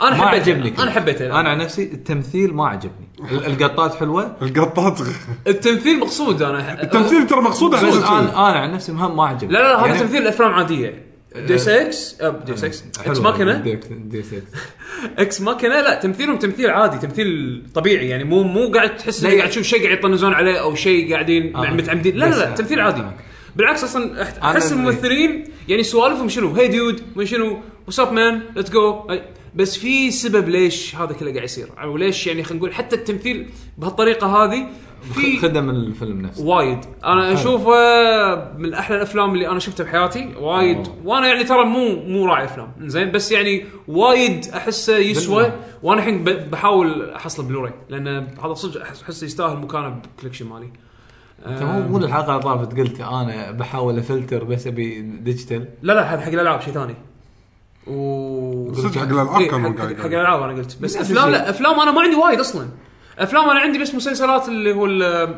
[SPEAKER 1] انا
[SPEAKER 2] ما
[SPEAKER 1] حبيته
[SPEAKER 2] عجبني
[SPEAKER 1] انا حبيته
[SPEAKER 2] انا عن نفسي التمثيل ما عجبني ال- القطات حلوه
[SPEAKER 3] القطات
[SPEAKER 1] التمثيل مقصود انا
[SPEAKER 3] التمثيل ترى مقصود
[SPEAKER 2] بس
[SPEAKER 3] احسن
[SPEAKER 2] انا
[SPEAKER 3] شيء.
[SPEAKER 2] انا عن نفسي مهم ما عجبني
[SPEAKER 1] لا لا هذا
[SPEAKER 2] يعني- أه.
[SPEAKER 1] تمثيل افلام عاديه ديس اكس ديس اكس
[SPEAKER 2] حلوة
[SPEAKER 1] اكس ماكينه
[SPEAKER 2] ديك- ديس إكس.
[SPEAKER 1] اكس ماكينه لا تمثيلهم تمثيل عادي تمثيل طبيعي يعني مو مو قاعد
[SPEAKER 2] لا،
[SPEAKER 1] تحس انك
[SPEAKER 2] يعني-
[SPEAKER 1] قاعد تشوف شيء قاعد يطنزون عليه او شيء قاعدين
[SPEAKER 2] آه.
[SPEAKER 1] متعمدين لا لا
[SPEAKER 2] بس
[SPEAKER 1] لا
[SPEAKER 2] آه.
[SPEAKER 1] تمثيل عادي
[SPEAKER 2] آه.
[SPEAKER 1] بالعكس اصلا أح-
[SPEAKER 2] أنا
[SPEAKER 1] احس
[SPEAKER 2] اللي-
[SPEAKER 1] الممثلين يعني سوالفهم شنو هي ديود من شنو وساب مان ليتس جو بس في سبب ليش هذا كله قاعد يصير او ليش يعني خلينا نقول حتى التمثيل بهالطريقه هذه في
[SPEAKER 2] خدم الفيلم نفسه
[SPEAKER 1] وايد انا اشوفه من احلى الافلام اللي انا شفتها بحياتي وايد
[SPEAKER 2] أوه.
[SPEAKER 1] وانا يعني ترى مو مو راعي افلام زين بس يعني وايد احسه يسوى
[SPEAKER 2] بالله.
[SPEAKER 1] وانا الحين ب- بحاول احصل بلوراي لان هذا صدق أحس- احسه يستاهل مكانه بالكولكشن مالي آه.
[SPEAKER 2] انت مو مو الحلقه اللي طافت قلت انا بحاول افلتر بس ابي ديجيتال
[SPEAKER 1] لا لا هذا حق الالعاب شيء ثاني و
[SPEAKER 3] صدق حق الألعاب
[SPEAKER 1] إيه،
[SPEAKER 3] كان
[SPEAKER 1] حق-
[SPEAKER 3] مقاعد.
[SPEAKER 2] يعني.
[SPEAKER 1] حق الالعاب انا قلت بس
[SPEAKER 2] نفس
[SPEAKER 1] افلام
[SPEAKER 2] الشيء.
[SPEAKER 1] لا افلام انا ما عندي وايد اصلا افلام انا عندي بس مسلسلات اللي هو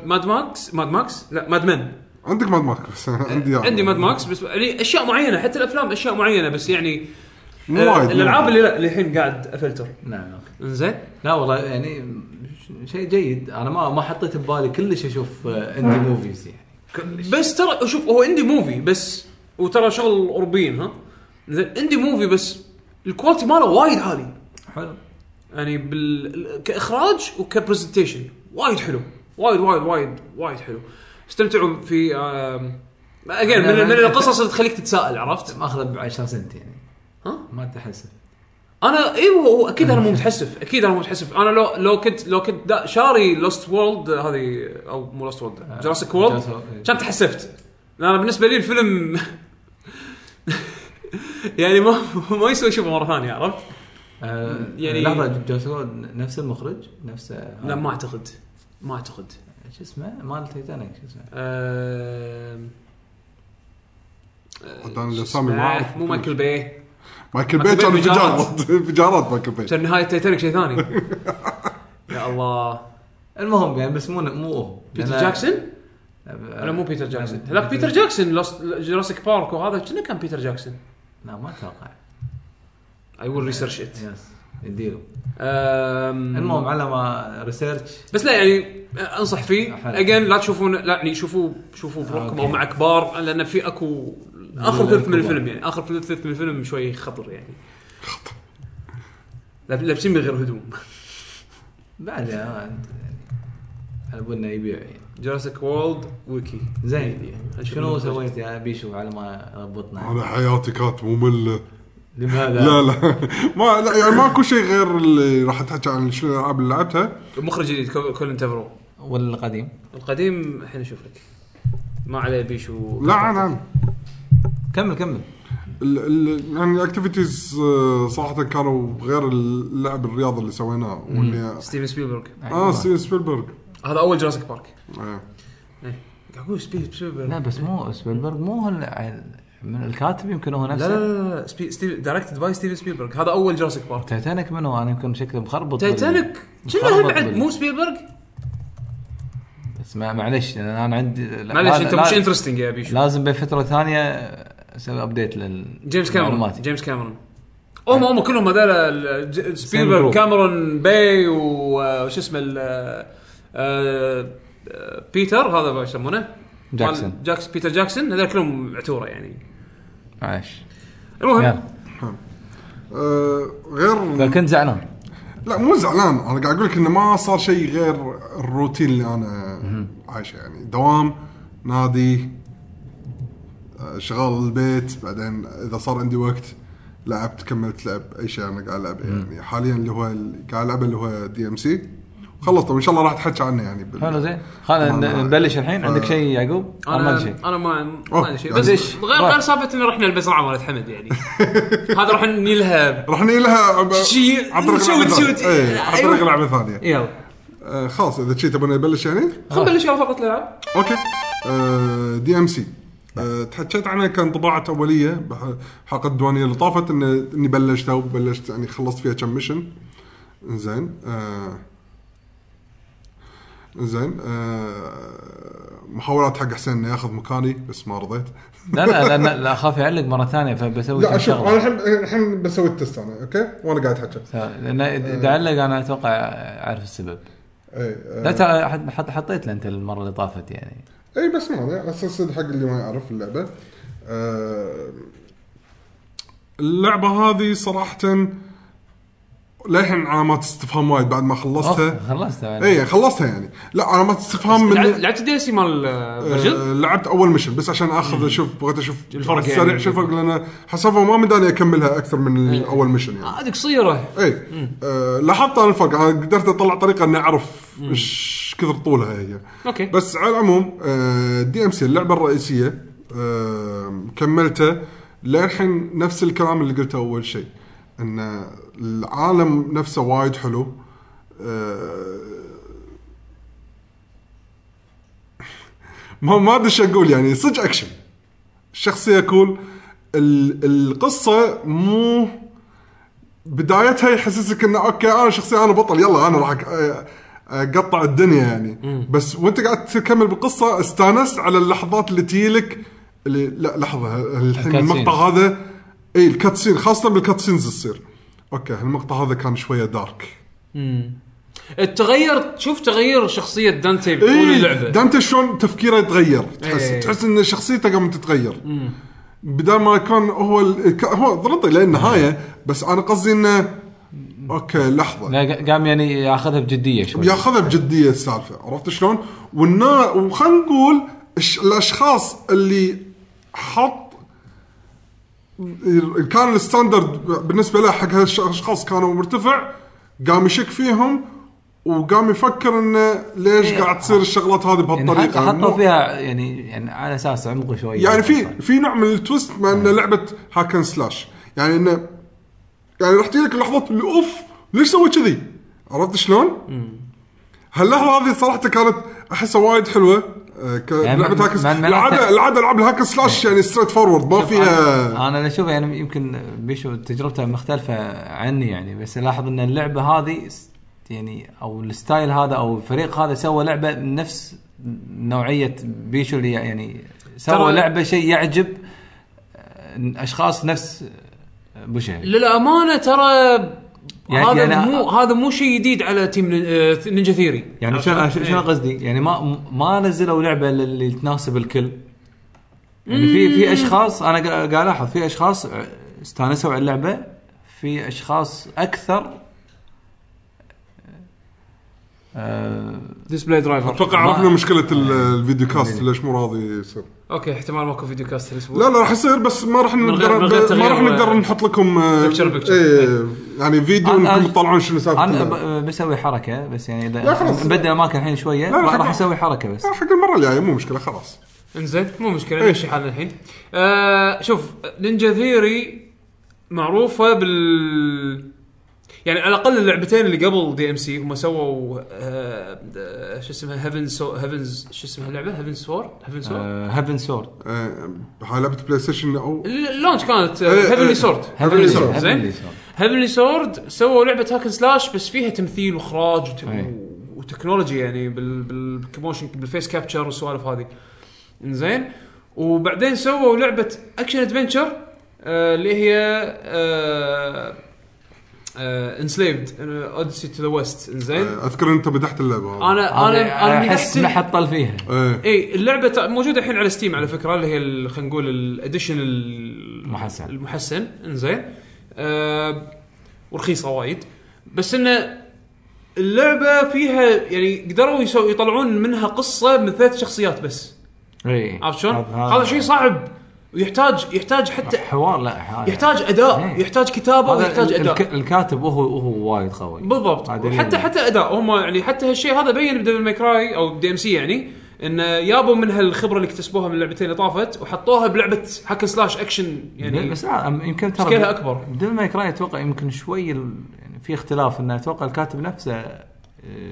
[SPEAKER 1] ماد ماكس ماد ماكس لا ماد مان
[SPEAKER 3] عندك ماد ماكس بس أنا عندي
[SPEAKER 1] عندي ماد ماكس بس يعني اشياء معينه حتى الافلام اشياء معينه بس يعني
[SPEAKER 3] مو
[SPEAKER 1] آه،
[SPEAKER 3] وايد.
[SPEAKER 1] الالعاب اللي لا الحين قاعد افلتر
[SPEAKER 2] نعم أوكي.
[SPEAKER 1] انزين
[SPEAKER 2] لا والله يعني ش- شيء جيد انا ما ما حطيت ببالي كلش اشوف آه، اندي موفيز يعني
[SPEAKER 1] بس ترى شوف هو عندي موفي بس وترى شغل اوروبيين ها زين عندي موفي بس الكواليتي ماله وايد عالي
[SPEAKER 2] حلو
[SPEAKER 1] يعني بال ال- كاخراج وكبرزنتيشن وايد حلو وايد وايد وايد وايد حلو استمتعوا في اجين من, من القصص اللي تخليك تتساءل عرفت؟
[SPEAKER 2] ماخذه ب 10 سنت يعني
[SPEAKER 1] ها؟
[SPEAKER 2] ما تحسب
[SPEAKER 1] انا ايوه هو اكيد انا مو متحسف اكيد انا مو متحسف انا لو لو كنت لو كنت دا شاري لوست وورلد هذه او مو لوست وورلد جراسيك وورلد كان تحسفت لأن انا بالنسبه لي الفيلم يعني ما ما يسوي شوفه مره ثانيه عرفت؟ يعني-
[SPEAKER 2] يعني لحظه جاسكو نفس المخرج نفس آه،
[SPEAKER 1] لا ما اعتقد ما اعتقد
[SPEAKER 2] شو اسمه مال تايتانيك شو اسمه
[SPEAKER 1] أم...
[SPEAKER 3] حتى أنا الأسامي ما أعرف.
[SPEAKER 1] آه، مو مايكل باي
[SPEAKER 3] مايكل
[SPEAKER 1] مايكل
[SPEAKER 3] بي كان
[SPEAKER 1] بي
[SPEAKER 3] انفجارات
[SPEAKER 1] انفجارات.
[SPEAKER 3] انفجارات مايكل بي
[SPEAKER 1] كان نهايه تايتانيك شيء ثاني يا الله
[SPEAKER 2] المهم يعني بس مو مو هو
[SPEAKER 1] بيتر
[SPEAKER 2] لأن-
[SPEAKER 1] جاكسون؟
[SPEAKER 2] آه،
[SPEAKER 1] لا مو بيتر جاكسون
[SPEAKER 2] آه،
[SPEAKER 1] هذاك بيتر جاكسون لوست جوراسيك بارك وهذا كنا كان بيتر جاكسون
[SPEAKER 2] لا ما اتوقع
[SPEAKER 1] اي ويل ريسيرش ات
[SPEAKER 2] يس يديله المهم على ما ريسيرش
[SPEAKER 1] بس لا يعني آه، انصح فيه
[SPEAKER 2] حلو.
[SPEAKER 1] اجين لا تشوفون لا يعني شوفوا شوفوا بروحكم
[SPEAKER 2] آه، أوكي.
[SPEAKER 1] او مع كبار لان في اكو اخر
[SPEAKER 2] لا،
[SPEAKER 1] ثلث من
[SPEAKER 2] كبار.
[SPEAKER 1] الفيلم يعني اخر ثلث من الفيلم شوي خطر يعني لاب- لابسين من غير هدوم
[SPEAKER 2] بعد آه، يعني على بالنا يبيع يعني
[SPEAKER 1] جوراسيك وولد ويكي
[SPEAKER 2] زين شنو
[SPEAKER 1] أشوف
[SPEAKER 2] سويت يا بيشو على ما ربطنا
[SPEAKER 3] انا حياتي كانت ممله
[SPEAKER 2] لماذا؟
[SPEAKER 3] لا لا ما لا يعني ماكو شيء غير اللي راح تحكي عن شنو الالعاب اللي لعبتها
[SPEAKER 1] مخرج جديد كو- كولين تافرو
[SPEAKER 2] ولا القديم
[SPEAKER 1] القديم الحين اشوف لك ما عليه بيشو
[SPEAKER 3] لا عن عن
[SPEAKER 2] كمل كمل
[SPEAKER 3] ال- ال- يعني الاكتيفيتيز صراحه كانوا غير اللعب الرياضه اللي سويناه واللي
[SPEAKER 1] ستيفن سبيلبرغ
[SPEAKER 3] اه ستيفن سبيلبرغ
[SPEAKER 1] هذا اول جوراسيك بارك
[SPEAKER 3] إيه.
[SPEAKER 1] قاعد اقول سبي- سبيلبرغ
[SPEAKER 2] لا بس مو سبيلبرغ مو هو من الكاتب يمكن هو
[SPEAKER 1] لا
[SPEAKER 2] نفسه
[SPEAKER 1] لا لا لا سبي... ستيف... دايركتد باي ستيفن سبيلبرغ هذا اول جوراسيك بارك
[SPEAKER 2] تايتانيك من هو انا يمكن شكله مخربط بال-
[SPEAKER 1] تايتانيك كنا
[SPEAKER 2] مخربط
[SPEAKER 1] هم بعد
[SPEAKER 2] بال-
[SPEAKER 1] مو سبيلبرغ
[SPEAKER 2] بس ما- معلش لان انا عندي لا-
[SPEAKER 1] معلش
[SPEAKER 2] لا-
[SPEAKER 1] انت
[SPEAKER 2] لا-
[SPEAKER 1] مش انترستنج يا بيشو
[SPEAKER 2] لازم بين فتره ثانيه اسوي ابديت لل
[SPEAKER 1] جيمس كاميرون
[SPEAKER 2] معلوماتي.
[SPEAKER 1] جيمس كاميرون هم هم كلهم هذول ال- ج- سبيلبرغ
[SPEAKER 2] group.
[SPEAKER 1] كاميرون باي و- وش اسمه ال- آه، آه، بيتر هذا ما يسمونه
[SPEAKER 2] جاكسون
[SPEAKER 1] مال جاكس بيتر جاكسون هذول كلهم عتوره يعني
[SPEAKER 2] معلش
[SPEAKER 1] المهم
[SPEAKER 2] يلا.
[SPEAKER 3] آه، غير
[SPEAKER 2] فكنت زعلان
[SPEAKER 3] لا مو زعلان انا قاعد اقول لك انه ما صار شيء غير الروتين اللي انا عايشه يعني دوام نادي آه، شغال البيت بعدين اذا صار عندي وقت لعبت كملت لعب اي شيء انا قاعد العبه يعني حاليا اللي هو ال- قاعد العبه اللي هو دي ام سي خلصت وان شاء الله راح اتحكى عنه يعني بال-
[SPEAKER 2] حلو زين خلينا
[SPEAKER 3] أنا-
[SPEAKER 2] نبلش الحين
[SPEAKER 3] آه.
[SPEAKER 2] عندك شيء يعقوب؟ انا ما عندي شيء
[SPEAKER 1] انا ما ما
[SPEAKER 3] أوه،
[SPEAKER 1] عندي شيء
[SPEAKER 3] يعني
[SPEAKER 1] بس
[SPEAKER 2] ليش؟
[SPEAKER 1] غير غير
[SPEAKER 2] راح.
[SPEAKER 1] سالفه انه رحنا البزرعه مالت حمد يعني هذا راح نلها
[SPEAKER 3] راح نجي لها عن
[SPEAKER 1] شي-
[SPEAKER 3] طريق
[SPEAKER 1] شوت-
[SPEAKER 3] لعبه
[SPEAKER 1] شوت.
[SPEAKER 3] ثانيه إيه، عن طريق
[SPEAKER 1] أيوة.
[SPEAKER 3] لعبه ثانيه
[SPEAKER 1] يلا
[SPEAKER 3] آه خلاص اذا شي تبون نبلش يعني
[SPEAKER 1] خلينا نبلش يلا فقط الالعاب
[SPEAKER 3] اوكي آه دي ام سي آه تحكيت عنها كان طباعه اوليه بح- حلقه الديوانيه اللي طافت إن- اني بلشتها وبلشت يعني خلصت فيها كم ميشن زين آه زين آه محاولات حق حسين انه ياخذ مكاني بس ما رضيت
[SPEAKER 2] لا لا لا- لا لا اخاف يعلق مره ثانيه فبسوي
[SPEAKER 3] لا
[SPEAKER 2] كم
[SPEAKER 3] شوف
[SPEAKER 2] شغله
[SPEAKER 3] انا الحين الحين بسوي التست انا اوكي وانا قاعد احكي
[SPEAKER 2] لان إذا- اذا علق انا اتوقع اعرف السبب
[SPEAKER 3] اي
[SPEAKER 2] لا
[SPEAKER 3] آه
[SPEAKER 2] ترى حط- حط- حطيت له انت المره اللي طافت يعني
[SPEAKER 3] اي إيه، بس ما عليه، على اساس حق اللي ما يعرف اللعبه آه اللعبه هذه صراحه للحين علامات استفهام وايد بعد ما خلصتها
[SPEAKER 2] أوه، خلصتها
[SPEAKER 3] اي خلصتها يعني لا علامات استفهام من
[SPEAKER 1] لعبت لعبت الدي سي مال آه، برجل
[SPEAKER 3] آه، لعبت اول ميشن بس عشان اخذ اشوف بغيت اشوف
[SPEAKER 1] الفرق يعني. إيه.
[SPEAKER 3] سريع شو الفرق لان حسافه ما مداني اكملها اكثر من اول ميشن يعني
[SPEAKER 1] هذه قصيره
[SPEAKER 3] اي آه، لاحظت انا الفرق انا قدرت اطلع طريقه اني اعرف ايش كثر طولها هي
[SPEAKER 1] اوكي
[SPEAKER 3] بس على العموم آه، دي ام سي اللعبه الرئيسيه آه، كملتها للحين نفس الكلام اللي قلته اول شيء ان العالم نفسه وايد حلو آه، ما ما ادري ايش اقول يعني صدق اكشن الشخصيه كول ال- القصه مو بدايتها يحسسك انه اوكي انا شخصيا انا بطل يلا انا راح أق- اقطع الدنيا يعني بس وانت قاعد تكمل بالقصه استانست على اللحظات اللي تجيلك اللي لا لحظه ه- الحين
[SPEAKER 2] الكاتسينز.
[SPEAKER 3] المقطع هذا اي الكاتسين خاصه بالكاتسينز تصير اوكي المقطع هذا كان شويه دارك
[SPEAKER 1] التغير شوف تغير شخصيه
[SPEAKER 3] إيه.
[SPEAKER 1] دانتي طول
[SPEAKER 3] اي
[SPEAKER 1] اللعبه
[SPEAKER 3] دانتي شلون تفكيره يتغير تحس
[SPEAKER 1] إيه.
[SPEAKER 3] تحس ان شخصيته قامت تتغير بدل ما كان هو ال... ك- هو ضرطي للنهايه بس انا قصدي انه اوكي لحظه
[SPEAKER 2] لا قا- قام يعني ياخذها بجديه شوي
[SPEAKER 3] ياخذها بجديه السالفه عرفت شلون؟ والنا وخلينا نقول الش- الاشخاص اللي حط كان الستاندرد بالنسبه له حق هالاشخاص كانوا مرتفع قام يشك فيهم وقام يفكر انه ليش قاعد تصير الشغلات هذه
[SPEAKER 2] إيه. يعني حط-
[SPEAKER 3] بهالطريقه
[SPEAKER 2] حطوا
[SPEAKER 3] مو-
[SPEAKER 2] فيها يعني يعني على اساس عمقه شوي
[SPEAKER 3] يعني في في نوع من التويست مع انه لعبه هاكن سلاش يعني انه يعني راح تجيلك اللحظات اللي اوف ليش سويت كذي؟ عرفت شلون؟ هاللحظه هذه صراحه كانت احسها وايد حلوه آه، ك-
[SPEAKER 2] يعني
[SPEAKER 3] لعبه
[SPEAKER 2] ما-
[SPEAKER 3] هاكن
[SPEAKER 2] ما- إيه. ما-
[SPEAKER 3] العاده العاده العاب الهاكن سلاش يعني ستريت فورورد ما فيها
[SPEAKER 2] انا اللي اشوفه يعني يمكن بيشو تجربته مختلفه عني يعني بس الاحظ ان اللعبه هذه س- يعني او الستايل هذا او الفريق هذا سوى لعبه نفس نوعيه بيشو اللي يعني سوى
[SPEAKER 1] ترى-
[SPEAKER 2] لعبه شيء يعجب آه، اشخاص نفس بوشهري
[SPEAKER 1] للامانه ترى
[SPEAKER 2] يعني-
[SPEAKER 1] هذا
[SPEAKER 2] يعني-
[SPEAKER 1] مو هذا مو شيء جديد على تيم ن- آه، نينجا ثيري
[SPEAKER 2] يعني شنو شنو-
[SPEAKER 1] إيه.
[SPEAKER 2] شنو قصدي؟ يعني ما ما نزلوا لعبه اللي تناسب الكل. يعني في في اشخاص انا قا- قاعد الاحظ في اشخاص استانسوا على اللعبه في اشخاص اكثر آه،
[SPEAKER 1] ديسبلاي درايفر
[SPEAKER 3] اتوقع
[SPEAKER 2] ما-
[SPEAKER 3] عرفنا
[SPEAKER 2] إيه.
[SPEAKER 3] مشكله ال- الفيديو كاست ليش مو راضي يصير
[SPEAKER 1] اوكي احتمال ماكو فيديو كاست الاسبوع
[SPEAKER 3] لا لا راح يصير بس ما راح
[SPEAKER 1] من غير-
[SPEAKER 3] نقدر
[SPEAKER 1] من غير
[SPEAKER 3] ما راح
[SPEAKER 1] تغيير،
[SPEAKER 3] نقدر
[SPEAKER 1] آه،
[SPEAKER 3] نحط لكم آه،
[SPEAKER 1] picture picture.
[SPEAKER 3] إيه، يعني فيديو
[SPEAKER 2] أنا-
[SPEAKER 3] انكم
[SPEAKER 2] أنا-
[SPEAKER 3] تطلعون شنو
[SPEAKER 2] انا
[SPEAKER 3] سالفه
[SPEAKER 2] ب- بسوي حركه بس يعني
[SPEAKER 3] لا
[SPEAKER 2] اذا
[SPEAKER 3] خلاص.
[SPEAKER 2] نبدل اماكن الحين شويه
[SPEAKER 3] لا، لا،
[SPEAKER 2] راح
[SPEAKER 3] خلاص.
[SPEAKER 2] اسوي حركه بس
[SPEAKER 3] آه، حق المره الجايه مو مشكله خلاص
[SPEAKER 1] انزين مو مشكله
[SPEAKER 3] إيه.
[SPEAKER 1] نمشي حالنا الحين آه شوف نينجا ثيري معروفه بال يعني على الاقل اللعبتين اللي قبل دي ام سي هم سووا آه آه، شو اسمها هيفن سو هيفنز شو اسمها اللعبه هيفن سور هيفن سور
[SPEAKER 2] هيفن سورد
[SPEAKER 3] آه، هاي لعبه بلاي ستيشن او
[SPEAKER 1] اللونش كانت
[SPEAKER 3] إيه، إيه.
[SPEAKER 1] هيفنلي سورد
[SPEAKER 3] Heavenly Sword.
[SPEAKER 1] زين هيفنلي سورد سووا لعبه هاكن سلاش بس فيها تمثيل واخراج وت...
[SPEAKER 2] أي.
[SPEAKER 1] وتكنولوجي يعني بال... بالكموشن بالفيس كابتشر والسوالف هذه زين وبعدين سووا لعبه اكشن ادفنشر آه اللي هي آه، انسليفد اوديسي تو ذا ويست زين
[SPEAKER 3] آه، اذكر انت مدحت اللعبه هذه.
[SPEAKER 1] انا انا انا
[SPEAKER 2] احس
[SPEAKER 1] مدحت
[SPEAKER 2] محطل فيها
[SPEAKER 3] ايه
[SPEAKER 1] اي اللعبه تع- موجوده الحين على ستيم على فكره اللي هي ال- خلينا نقول الاديشن
[SPEAKER 2] محسن.
[SPEAKER 1] المحسن انزين آه ورخيصه وايد بس انه اللعبه فيها يعني قدروا يسو يطلعون منها قصه من ثلاث شخصيات بس
[SPEAKER 2] اي
[SPEAKER 1] عرفت شلون؟ هذا شيء صعب ويحتاج يحتاج حتى
[SPEAKER 2] حوار لا حوار.
[SPEAKER 1] يحتاج اداء
[SPEAKER 2] إيه.
[SPEAKER 1] يحتاج كتابه
[SPEAKER 2] هذا
[SPEAKER 1] ويحتاج
[SPEAKER 2] ال-
[SPEAKER 1] اداء
[SPEAKER 2] الك- الكاتب وهو وهو وايد قوي
[SPEAKER 1] بالضبط
[SPEAKER 2] عدل.
[SPEAKER 1] حتى حتى اداء هم يعني حتى هالشيء هذا بين بديفل ماي كراي او دي ام سي يعني انه يابوا من هالخبره اللي اكتسبوها من اللعبتين اللي طافت وحطوها بلعبه حك سلاش اكشن يعني
[SPEAKER 2] بس لا أم- يمكن ترى
[SPEAKER 1] سكيلها أكبر.
[SPEAKER 2] ديفل ماي كراي اتوقع يمكن شوي ال- يعني في اختلاف انه اتوقع الكاتب نفسه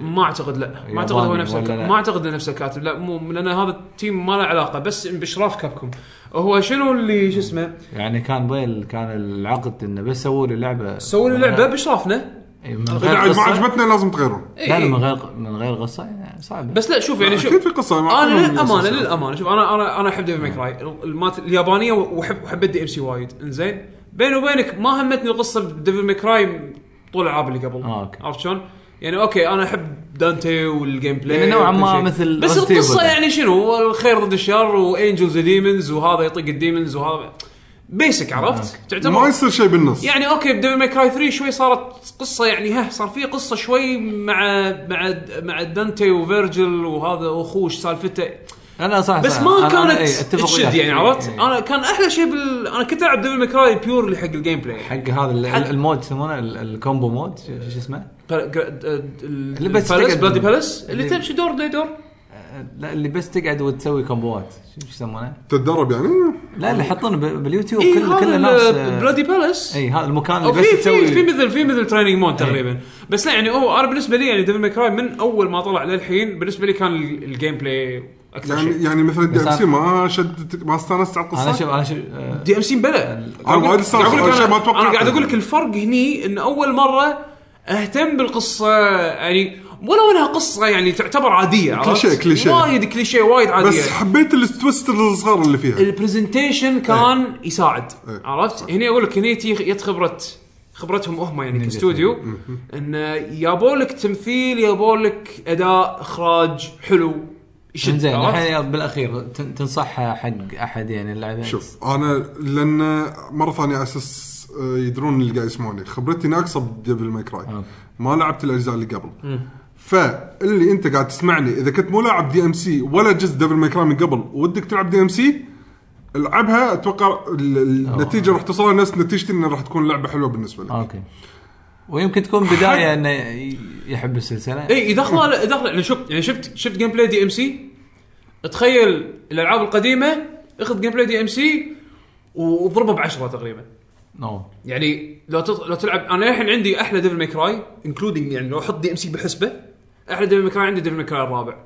[SPEAKER 1] ما اعتقد لا ما اعتقد هو
[SPEAKER 2] ياباني
[SPEAKER 1] نفسه
[SPEAKER 2] ولا
[SPEAKER 1] الكاتب
[SPEAKER 2] لا؟
[SPEAKER 1] ما اعتقد إنه نفسه الكاتب لا مو لان هذا التيم ما له علاقه بس باشراف كابكم هو شنو اللي شو اسمه
[SPEAKER 2] يعني كان ضيل كان العقد انه بس سووا لي لعبه
[SPEAKER 1] سووا لي لعبه باشرافنا
[SPEAKER 2] إي، إيه، من
[SPEAKER 3] اذا
[SPEAKER 2] غير
[SPEAKER 3] عاد يعني ما
[SPEAKER 2] قصه
[SPEAKER 3] عجبتنا لازم تغيرون
[SPEAKER 1] إي
[SPEAKER 2] لا لا،
[SPEAKER 1] إي.
[SPEAKER 2] من غير من غير قصه يعني صعب
[SPEAKER 1] إيه. بس لا شوف يعني شوف
[SPEAKER 3] اكيد في قصه ما
[SPEAKER 1] انا
[SPEAKER 3] كلهم
[SPEAKER 1] للامانه
[SPEAKER 3] قصص.
[SPEAKER 1] للامانه شوف انا انا انا احب ديفل ماي كراي المات اليابانيه واحب وحبيت دي ام سي وايد انزين بيني وبينك ما همتني القصه بديفل ماي كراي طول الالعاب اللي قبل
[SPEAKER 2] آه، أوكي.
[SPEAKER 1] عرفت شلون؟ يعني اوكي انا احب دانتي والجيم بلاي
[SPEAKER 2] يعني نوعاً
[SPEAKER 1] وكل
[SPEAKER 2] ما
[SPEAKER 1] شيء.
[SPEAKER 2] مثل
[SPEAKER 1] بس
[SPEAKER 2] Resident
[SPEAKER 1] القصه
[SPEAKER 2] Evil.
[SPEAKER 1] يعني شنو الخير ضد الشر وانجلز وديمونز وهذا يطق الديمونز وهذا بيسك
[SPEAKER 2] آه،
[SPEAKER 1] عرفت؟
[SPEAKER 3] ما
[SPEAKER 1] تعتبر
[SPEAKER 3] يصير شيء بالنص
[SPEAKER 1] يعني اوكي بديفل ماي كراي 3 شوي صارت قصه يعني ها صار في قصه شوي مع مع مع دانتي وفيرجل وهذا واخوه إيش سالفته
[SPEAKER 2] انا صح
[SPEAKER 1] بس
[SPEAKER 2] صح.
[SPEAKER 1] ما
[SPEAKER 2] أنا- أنا-
[SPEAKER 1] كانت
[SPEAKER 2] إي، أتفق
[SPEAKER 1] تشد
[SPEAKER 2] وياك. إيه،
[SPEAKER 1] يعني عرفت؟
[SPEAKER 2] إي.
[SPEAKER 1] انا كان احلى شيء بال انا كنت العب ديفل ماكراي بيورلي حق الجيم بلاي
[SPEAKER 2] حق هذا ال-
[SPEAKER 1] حق-
[SPEAKER 2] المود يسمونه ال- الكومبو مود شو شو اسمه؟ اللي بس
[SPEAKER 1] بالاس
[SPEAKER 2] تقعد- إيه.
[SPEAKER 1] بلادي بالاس اللي
[SPEAKER 2] اللي-
[SPEAKER 1] تمشي دور دي دور
[SPEAKER 2] آه، لا اللي بس تقعد وتسوي كومبوات شو شو يسمونه؟
[SPEAKER 3] تتدرب يعني
[SPEAKER 2] لا اللي يحطون ب- باليوتيوب
[SPEAKER 1] اي
[SPEAKER 2] كل كل ناس
[SPEAKER 1] إيه، هذا
[SPEAKER 2] آه،
[SPEAKER 1] بلادي بالاس
[SPEAKER 2] اي هذا المكان اللي
[SPEAKER 1] او في
[SPEAKER 2] بس
[SPEAKER 1] في في
[SPEAKER 2] تسوي إيه.
[SPEAKER 1] مثل في مثل تريننج مود
[SPEAKER 2] إي.
[SPEAKER 1] تقريبا بس لا يعني هو انا بالنسبه لي يعني ديفل ماكراي من اول ما طلع للحين بالنسبه لي كان ال- الجيم بلاي اكثر
[SPEAKER 3] يعني
[SPEAKER 1] شيء
[SPEAKER 3] يعني مثل الدي
[SPEAKER 2] بس
[SPEAKER 3] ام سي
[SPEAKER 2] أنا-
[SPEAKER 3] ما شدت ما استانست على
[SPEAKER 2] انا
[SPEAKER 3] القصه
[SPEAKER 2] شوف انا شوف آه،
[SPEAKER 1] دي ام سي بلا
[SPEAKER 3] انا وايد
[SPEAKER 1] قاعد
[SPEAKER 3] استانست
[SPEAKER 1] اقول
[SPEAKER 3] أول
[SPEAKER 1] لك
[SPEAKER 3] شيء ما
[SPEAKER 1] انا
[SPEAKER 3] توقعت
[SPEAKER 1] انا قاعد اقول لك الفرق هني ان اول مره اهتم بالقصه يعني ولو انها قصه يعني تعتبر عاديه عرفت؟
[SPEAKER 3] كليشيه- كليشيه.
[SPEAKER 1] وايد كليشيه وايد عاديه
[SPEAKER 3] بس حبيت التويست الصغار اللي فيها
[SPEAKER 1] البرزنتيشن كان يساعد
[SPEAKER 3] إيه.
[SPEAKER 1] عرفت هني اقول لك هني تي- يت خبره خبرتهم هم يعني كاستوديو ان يابوا لك تمثيل يابوا لك اداء اخراج حلو يشد
[SPEAKER 2] زين
[SPEAKER 1] عرفت؟
[SPEAKER 2] الحين يلا بالاخير تن- تنصحها حق احد يعني اللاعبين
[SPEAKER 3] شوف انا لان مره ثانيه على اساس آه، يدرون اللي قاعد يسمعوني خبرتي ناقصه بديفل ماي كراي
[SPEAKER 2] أوكي.
[SPEAKER 3] ما لعبت الاجزاء اللي قبل فاللي انت قاعد تسمعني اذا كنت مو لاعب دي ام سي ولا جزء ديفل ماي كراي من قبل ودك تلعب دي ام سي العبها اتوقع ال- ال- النتيجه راح توصلها نفس نتيجتي انها راح تكون لعبه حلوه بالنسبه لك
[SPEAKER 2] اوكي ويمكن تكون بدايه انه ي- يحب السلسله
[SPEAKER 1] اي يدخله يدخله يعني شفت يعني شفت شفت جيم بلاي دي ام سي تخيل الالعاب القديمه اخذ جيم بلاي دي ام سي واضربه بعشره تقريبا
[SPEAKER 2] نو
[SPEAKER 1] يعني لو تط... لو تلعب انا الحين عندي احلى ديفل ماي كراي انكلودنج يعني لو احط دي ام سي بحسبه احلى ديفل ماي كراي عندي ديفل ماي كراي الرابع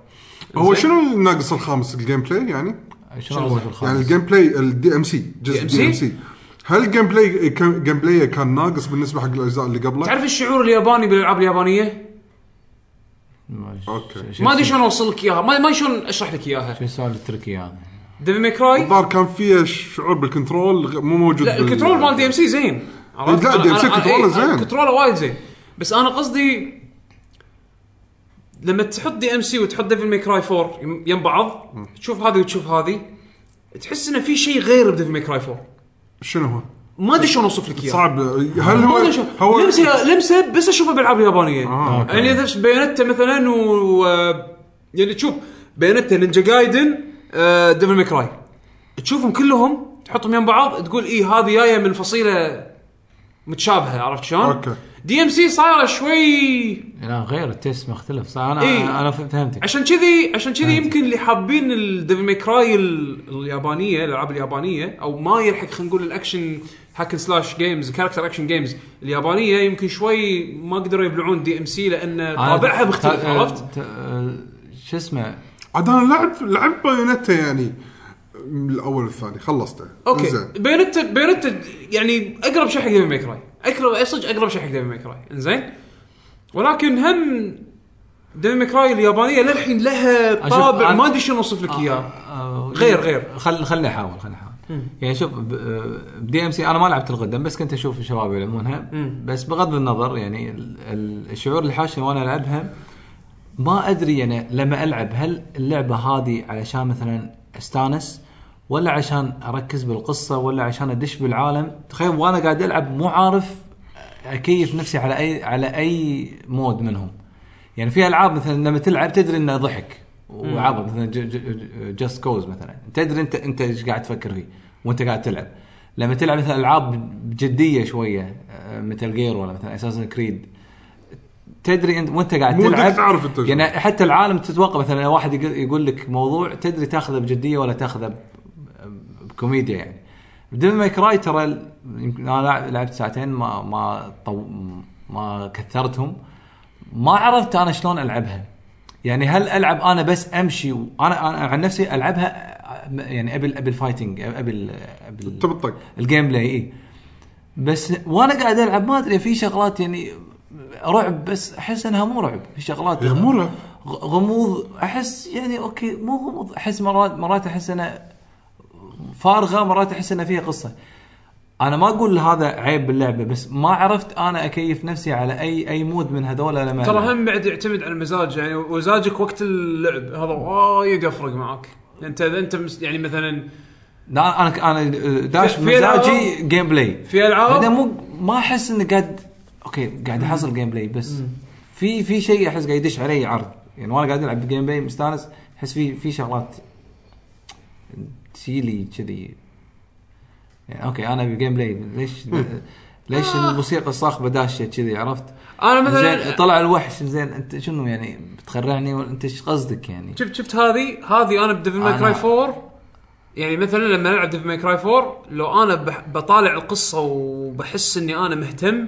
[SPEAKER 3] هو
[SPEAKER 1] زين.
[SPEAKER 3] شنو الناقص الخامس الجيم بلاي يعني؟
[SPEAKER 2] شنو قصدك بالخامس؟
[SPEAKER 3] يعني الجيم بلاي الدي ام سي جزء
[SPEAKER 1] DMC؟
[SPEAKER 3] دي ام سي هل الجيم بلاي كان- جيم بلاي كان ناقص بالنسبه حق الاجزاء اللي قبله؟
[SPEAKER 1] تعرف الشعور الياباني بالالعاب اليابانيه؟
[SPEAKER 2] ما- ش-
[SPEAKER 3] أوكي.
[SPEAKER 2] ش-
[SPEAKER 1] ما ادري شلون اوصل لك اياها، ما ما شلون اشرح لك اياها.
[SPEAKER 2] شو السؤال التركي يعني
[SPEAKER 1] ديفل ماي كراي
[SPEAKER 3] الظاهر كان فيه شعور بالكنترول غ- مو موجود
[SPEAKER 1] لا
[SPEAKER 3] بال-
[SPEAKER 1] الكنترول مال دي ام سي زين عرفت؟
[SPEAKER 3] لا،
[SPEAKER 1] أنا-
[SPEAKER 3] DMC
[SPEAKER 1] أنا- أنا-
[SPEAKER 3] كنترول
[SPEAKER 1] إيه، أنا
[SPEAKER 3] زين.
[SPEAKER 1] كنتروله وايد زين بس انا قصدي لما تحط دي ام سي وتحط ديفل ماي كراي 4 يم- يم بعض تشوف هذه وتشوف هذه تحس انه في شيء غير بديفل ماي كراي 4
[SPEAKER 3] شنو هو؟
[SPEAKER 1] ما ادري شلون اوصف لك اياه
[SPEAKER 3] صعب هل هو
[SPEAKER 1] ما أدري شلون.
[SPEAKER 3] هو
[SPEAKER 1] لمسه لمسه بس اشوفها بالالعاب اليابانيه
[SPEAKER 3] آه، أوكي.
[SPEAKER 1] يعني اذا بيانتا مثلا و و- يعني تشوف بيانتا نينجا جايدن آه، ديفل ماي كراي تشوفهم كلهم تحطهم يم بعض تقول اي هذه جايه من فصيله متشابهه عرفت شلون؟
[SPEAKER 3] أوكي.
[SPEAKER 1] دي ام سي صايره شوي
[SPEAKER 2] لا غير التيست مختلف صح انا
[SPEAKER 1] إي.
[SPEAKER 2] انا ف- فهمتك
[SPEAKER 1] عشان كذي عشان كذي يمكن اللي حابين الديفل ماي كراي ال- اليابانيه الالعاب اليابانيه او ما يلحق خلينا نقول الاكشن هاك سلاش جيمز كاركتر اكشن جيمز اليابانيه يمكن شوي ما قدروا يبلعون دي ام سي لان
[SPEAKER 2] أنا
[SPEAKER 1] طابعها مختلف
[SPEAKER 2] ت-
[SPEAKER 1] عرفت؟
[SPEAKER 2] ت- آه، شو اسمه
[SPEAKER 3] عاد انا لعب لعب بايونتا يعني من الاول والثاني خلصته
[SPEAKER 1] اوكي
[SPEAKER 3] زين
[SPEAKER 1] بيونتا بيونتا يعني اقرب شيء حق ديفل ماي كراي اقرب صدق اقرب شيء حق ديفل ماي كراي انزين ولكن هم ديفل ماي كراي اليابانيه للحين لها
[SPEAKER 2] أشوف-
[SPEAKER 1] طابع
[SPEAKER 2] أنا-
[SPEAKER 1] ما ادري شنو اوصف لك اياه
[SPEAKER 2] آه،
[SPEAKER 1] غير- غير.
[SPEAKER 2] خل خلني احاول خلني احاول يعني شوف بدي ام سي انا ما لعبت القدم بس كنت اشوف الشباب يلعبونها
[SPEAKER 1] مم.
[SPEAKER 2] بس بغض النظر يعني ال- ال- الشعور اللي حاشني وانا العبها ما ادري انا لما العب هل اللعبه هذه علشان مثلا استانس ولا عشان اركز بالقصه ولا عشان ادش بالعالم تخيل وانا قاعد العب مو عارف اكيف نفسي على اي على اي مود منهم يعني في العاب مثلا لما تلعب تدري انه ضحك وعبط مثلا جاست كوز مثلا تدري انت انت ايش قاعد تفكر فيه وانت قاعد تلعب لما تلعب مثلا العاب بجديه شويه آه، مثل جير ولا مثلا اساسا كريد تدري انت وانت قاعد
[SPEAKER 3] مو بدك
[SPEAKER 2] تلعب
[SPEAKER 3] تعرف التجربة.
[SPEAKER 2] يعني حتى العالم تتوقع مثلا واحد يق- يقول لك موضوع تدري تاخذه بجديه ولا تاخذه ب- بكوميديا يعني بدون ماي كراي ترى ال- يمكن انا لعب- لعبت ساعتين ما ما طو ما كثرتهم ما عرفت انا شلون العبها يعني هل العب انا بس امشي وانا انا عن نفسي العبها آه، يعني ابي ابي الفايتنج ابي ال- أبي ال-
[SPEAKER 3] تبي تطق
[SPEAKER 2] الجيم بلاي اي بس وانا قاعد العب ما ادري في شغلات يعني رعب بس احس انها مو رعب في شغلات
[SPEAKER 1] إيه،
[SPEAKER 3] يا مو رعب.
[SPEAKER 2] غ- غموض احس يعني اوكي مو غموض احس مرات مرات احس انها فارغه مرات احس انها فيها قصه انا ما اقول هذا عيب باللعبه بس ما عرفت انا اكيف نفسي على اي اي مود من هذول لما
[SPEAKER 1] ترى هم بعد يعتمد على المزاج يعني ومزاجك وقت اللعب هذا وايد يفرق معك انت اذا انت مس- يعني مثلا
[SPEAKER 2] لا، انا انا داش
[SPEAKER 1] في- في ألعاب-
[SPEAKER 2] مزاجي جيم بلاي
[SPEAKER 1] في
[SPEAKER 2] بعدين
[SPEAKER 1] العاب
[SPEAKER 2] مو ما احس اني قاعد اوكي قاعد احصل جيم بلاي بس في في شيء احس قاعد يدش علي عرض يعني وانا قاعد العب جيم بلاي مستانس احس في في شغلات تشيلي كذي يعني اوكي انا بجيم بلاي ليش ليش الموسيقى الصاخبه داشه كذي عرفت؟
[SPEAKER 1] انا
[SPEAKER 2] زين
[SPEAKER 1] مثلا
[SPEAKER 2] طلع الوحش زين انت شنو يعني بتخرعني ولا انت ايش قصدك يعني؟
[SPEAKER 1] شفت شفت هذه هذه انا بديفل ماي
[SPEAKER 2] أنا-
[SPEAKER 1] كراي 4 يعني مثلا لما العب ديفل ماي كراي 4 لو انا بح- بطالع القصه وبحس اني انا مهتم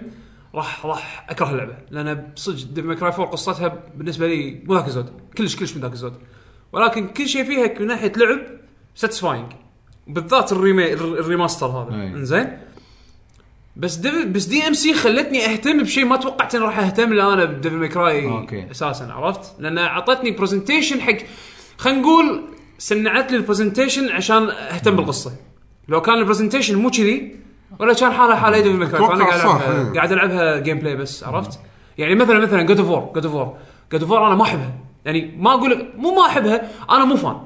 [SPEAKER 1] راح راح اكره اللعبه لان صدق ديفل ماي كراي 4 قصتها بالنسبه لي مو ذاك الزود كلش كلش مو ذاك الزود ولكن كل شيء فيها من ناحيه لعب ساتسفاينج بالذات الريمي الر- الريماستر هذا
[SPEAKER 2] أي.
[SPEAKER 1] انزين بس ديفل بس دي ام سي خلتني اهتم بشيء ما توقعت اني راح اهتم له انا بديفل ماي كراي
[SPEAKER 2] أوكي.
[SPEAKER 1] اساسا عرفت؟ لان اعطتني برزنتيشن حق خلينا نقول سنعت لي البرزنتيشن عشان اهتم بالقصه. لو كان البرزنتيشن مو كذي ولا كان حالها حال ايدي بالمكان
[SPEAKER 3] أتوقع
[SPEAKER 1] فانا قاعد
[SPEAKER 3] صح،
[SPEAKER 1] العبها
[SPEAKER 3] إيه.
[SPEAKER 1] قاعد العبها جيم بلاي بس عرفت؟ يعني مثلا مثلا جود اوف وور جود اوف وور جود اوف وور انا ما احبها يعني ما اقول لك مو ما احبها انا مو فان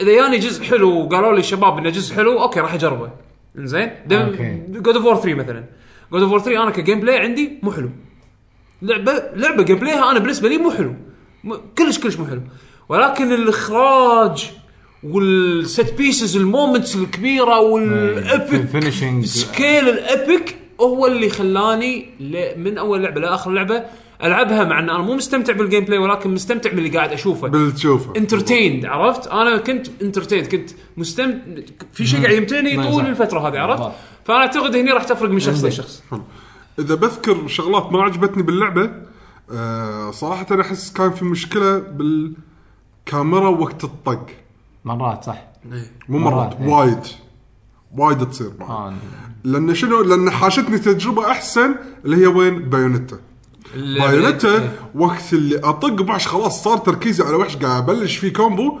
[SPEAKER 1] اذا ياني جزء حلو وقالوا لي الشباب انه جزء حلو اوكي راح اجربه انزين
[SPEAKER 2] أوكي.
[SPEAKER 1] جود اوف وور 3 مثلا جود اوف وور 3 انا كجيم بلاي عندي مو حلو لعبه لعبه جيم بلايها انا بالنسبه لي مو حلو م- كلش كلش مو حلو ولكن الاخراج والست بيسز المومنتس الكبيره والابيك
[SPEAKER 2] فينشنج
[SPEAKER 1] سكيل الابيك هو اللي خلاني ل- من اول لعبه لاخر لعبه العبها مع ان انا مو مستمتع بالجيم بلاي ولكن مستمتع باللي قاعد اشوفه
[SPEAKER 3] بالتشوفه
[SPEAKER 1] انترتيند عرفت؟ انا كنت انترتيند كنت مستمتع في شيء قاعد يمتعني طول الفتره هذه عرفت؟ فانا اعتقد هني راح تفرق من شخص لشخص
[SPEAKER 3] اذا بذكر شغلات ما عجبتني باللعبه آه صراحه انا احس كان في مشكله بالكاميرا وقت الطق
[SPEAKER 2] مرات صح؟
[SPEAKER 3] مو مرات
[SPEAKER 2] مرات، إيه.
[SPEAKER 3] وايد وايد تصير معي
[SPEAKER 2] آه.
[SPEAKER 3] لان شنو لان حاشتني تجربه احسن اللي هي وين بايونيتا بايونيتا وقت اللي اطق بوحش خلاص صار تركيزي على وحش قاعد ابلش فيه كومبو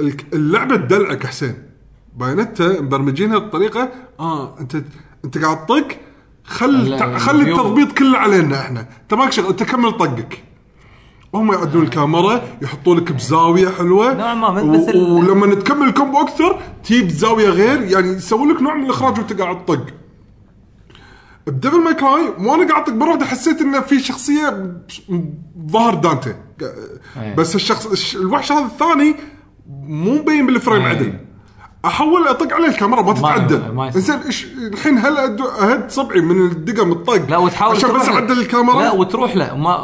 [SPEAKER 3] الك- اللعبه تدلعك حسين بايونيتا مبرمجينها بطريقه اه انت انت قاعد تطق خل
[SPEAKER 2] لا،
[SPEAKER 3] تع- خلي
[SPEAKER 2] الفيو.
[SPEAKER 3] التضبيط كله علينا احنا انت ماك شغل انت كمل طقك وهم يعدون الكاميرا يحطوا لك بزاويه حلوه
[SPEAKER 2] نوعاً ما
[SPEAKER 3] و-
[SPEAKER 2] مثل-
[SPEAKER 3] ولما تكمل الكومبو اكثر تجيب زاويه غير يعني يسوي لك نوع من الاخراج وانت قاعد تطق بديفل ماي كراي وانا قاعد اطق بالرعد حسيت انه في شخصيه ب- ظهر دانتي
[SPEAKER 2] أي.
[SPEAKER 3] بس الشخص الش- الوحش هذا الثاني مو مبين بالفريم
[SPEAKER 2] أي.
[SPEAKER 3] عدل احول اطق عليه الكاميرا ما تتعدل
[SPEAKER 2] إيه. ما يصير.
[SPEAKER 3] انزين إيش- الحين هل أد- اهد صبعي من الدقم الطق
[SPEAKER 2] لا وتحاول
[SPEAKER 3] عشان
[SPEAKER 2] تروح
[SPEAKER 3] بس
[SPEAKER 2] له.
[SPEAKER 3] اعدل الكاميرا
[SPEAKER 2] لا وتروح له وما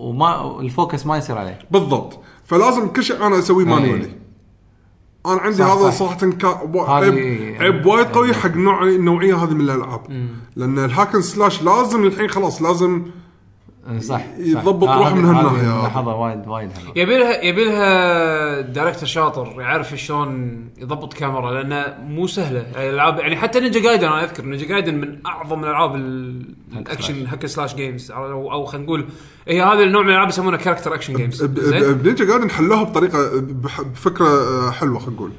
[SPEAKER 2] وما الفوكس ما يصير عليه
[SPEAKER 3] بالضبط فلازم كل شيء انا اسويه مانوالي انا عندي
[SPEAKER 2] إيه. صح،
[SPEAKER 3] هذا
[SPEAKER 2] صح.
[SPEAKER 3] صراحه كا... و...
[SPEAKER 2] هذه- إيه.
[SPEAKER 3] عيب عيب وايد قوي حق نوع النوعيه هذه من الالعاب لان الهاكن سلاش لازم الحين خلاص لازم
[SPEAKER 2] صح، صح
[SPEAKER 3] يضبط
[SPEAKER 5] آه،
[SPEAKER 2] لا،
[SPEAKER 3] روحه
[SPEAKER 2] هذه-
[SPEAKER 3] من هالناحية.
[SPEAKER 2] هذه ملاحظه وايد وايد حلوه
[SPEAKER 1] يبي لها يبي لها دايركتور شاطر يعرف شلون يضبط كاميرا لانه مو سهله يعني الالعاب يعني حتى نينجا جايدن انا اذكر نينجا جايدن من اعظم الالعاب ال- الاكشن هاك سلاش جيمز او او خلينا نقول هي هذا النوع من الالعاب يسمونها كاركتر اكشن جيمز
[SPEAKER 3] ب- ب- بنينجا جاردن حلوها بطريقه بح- بفكره آه، حلوه خلينا نقول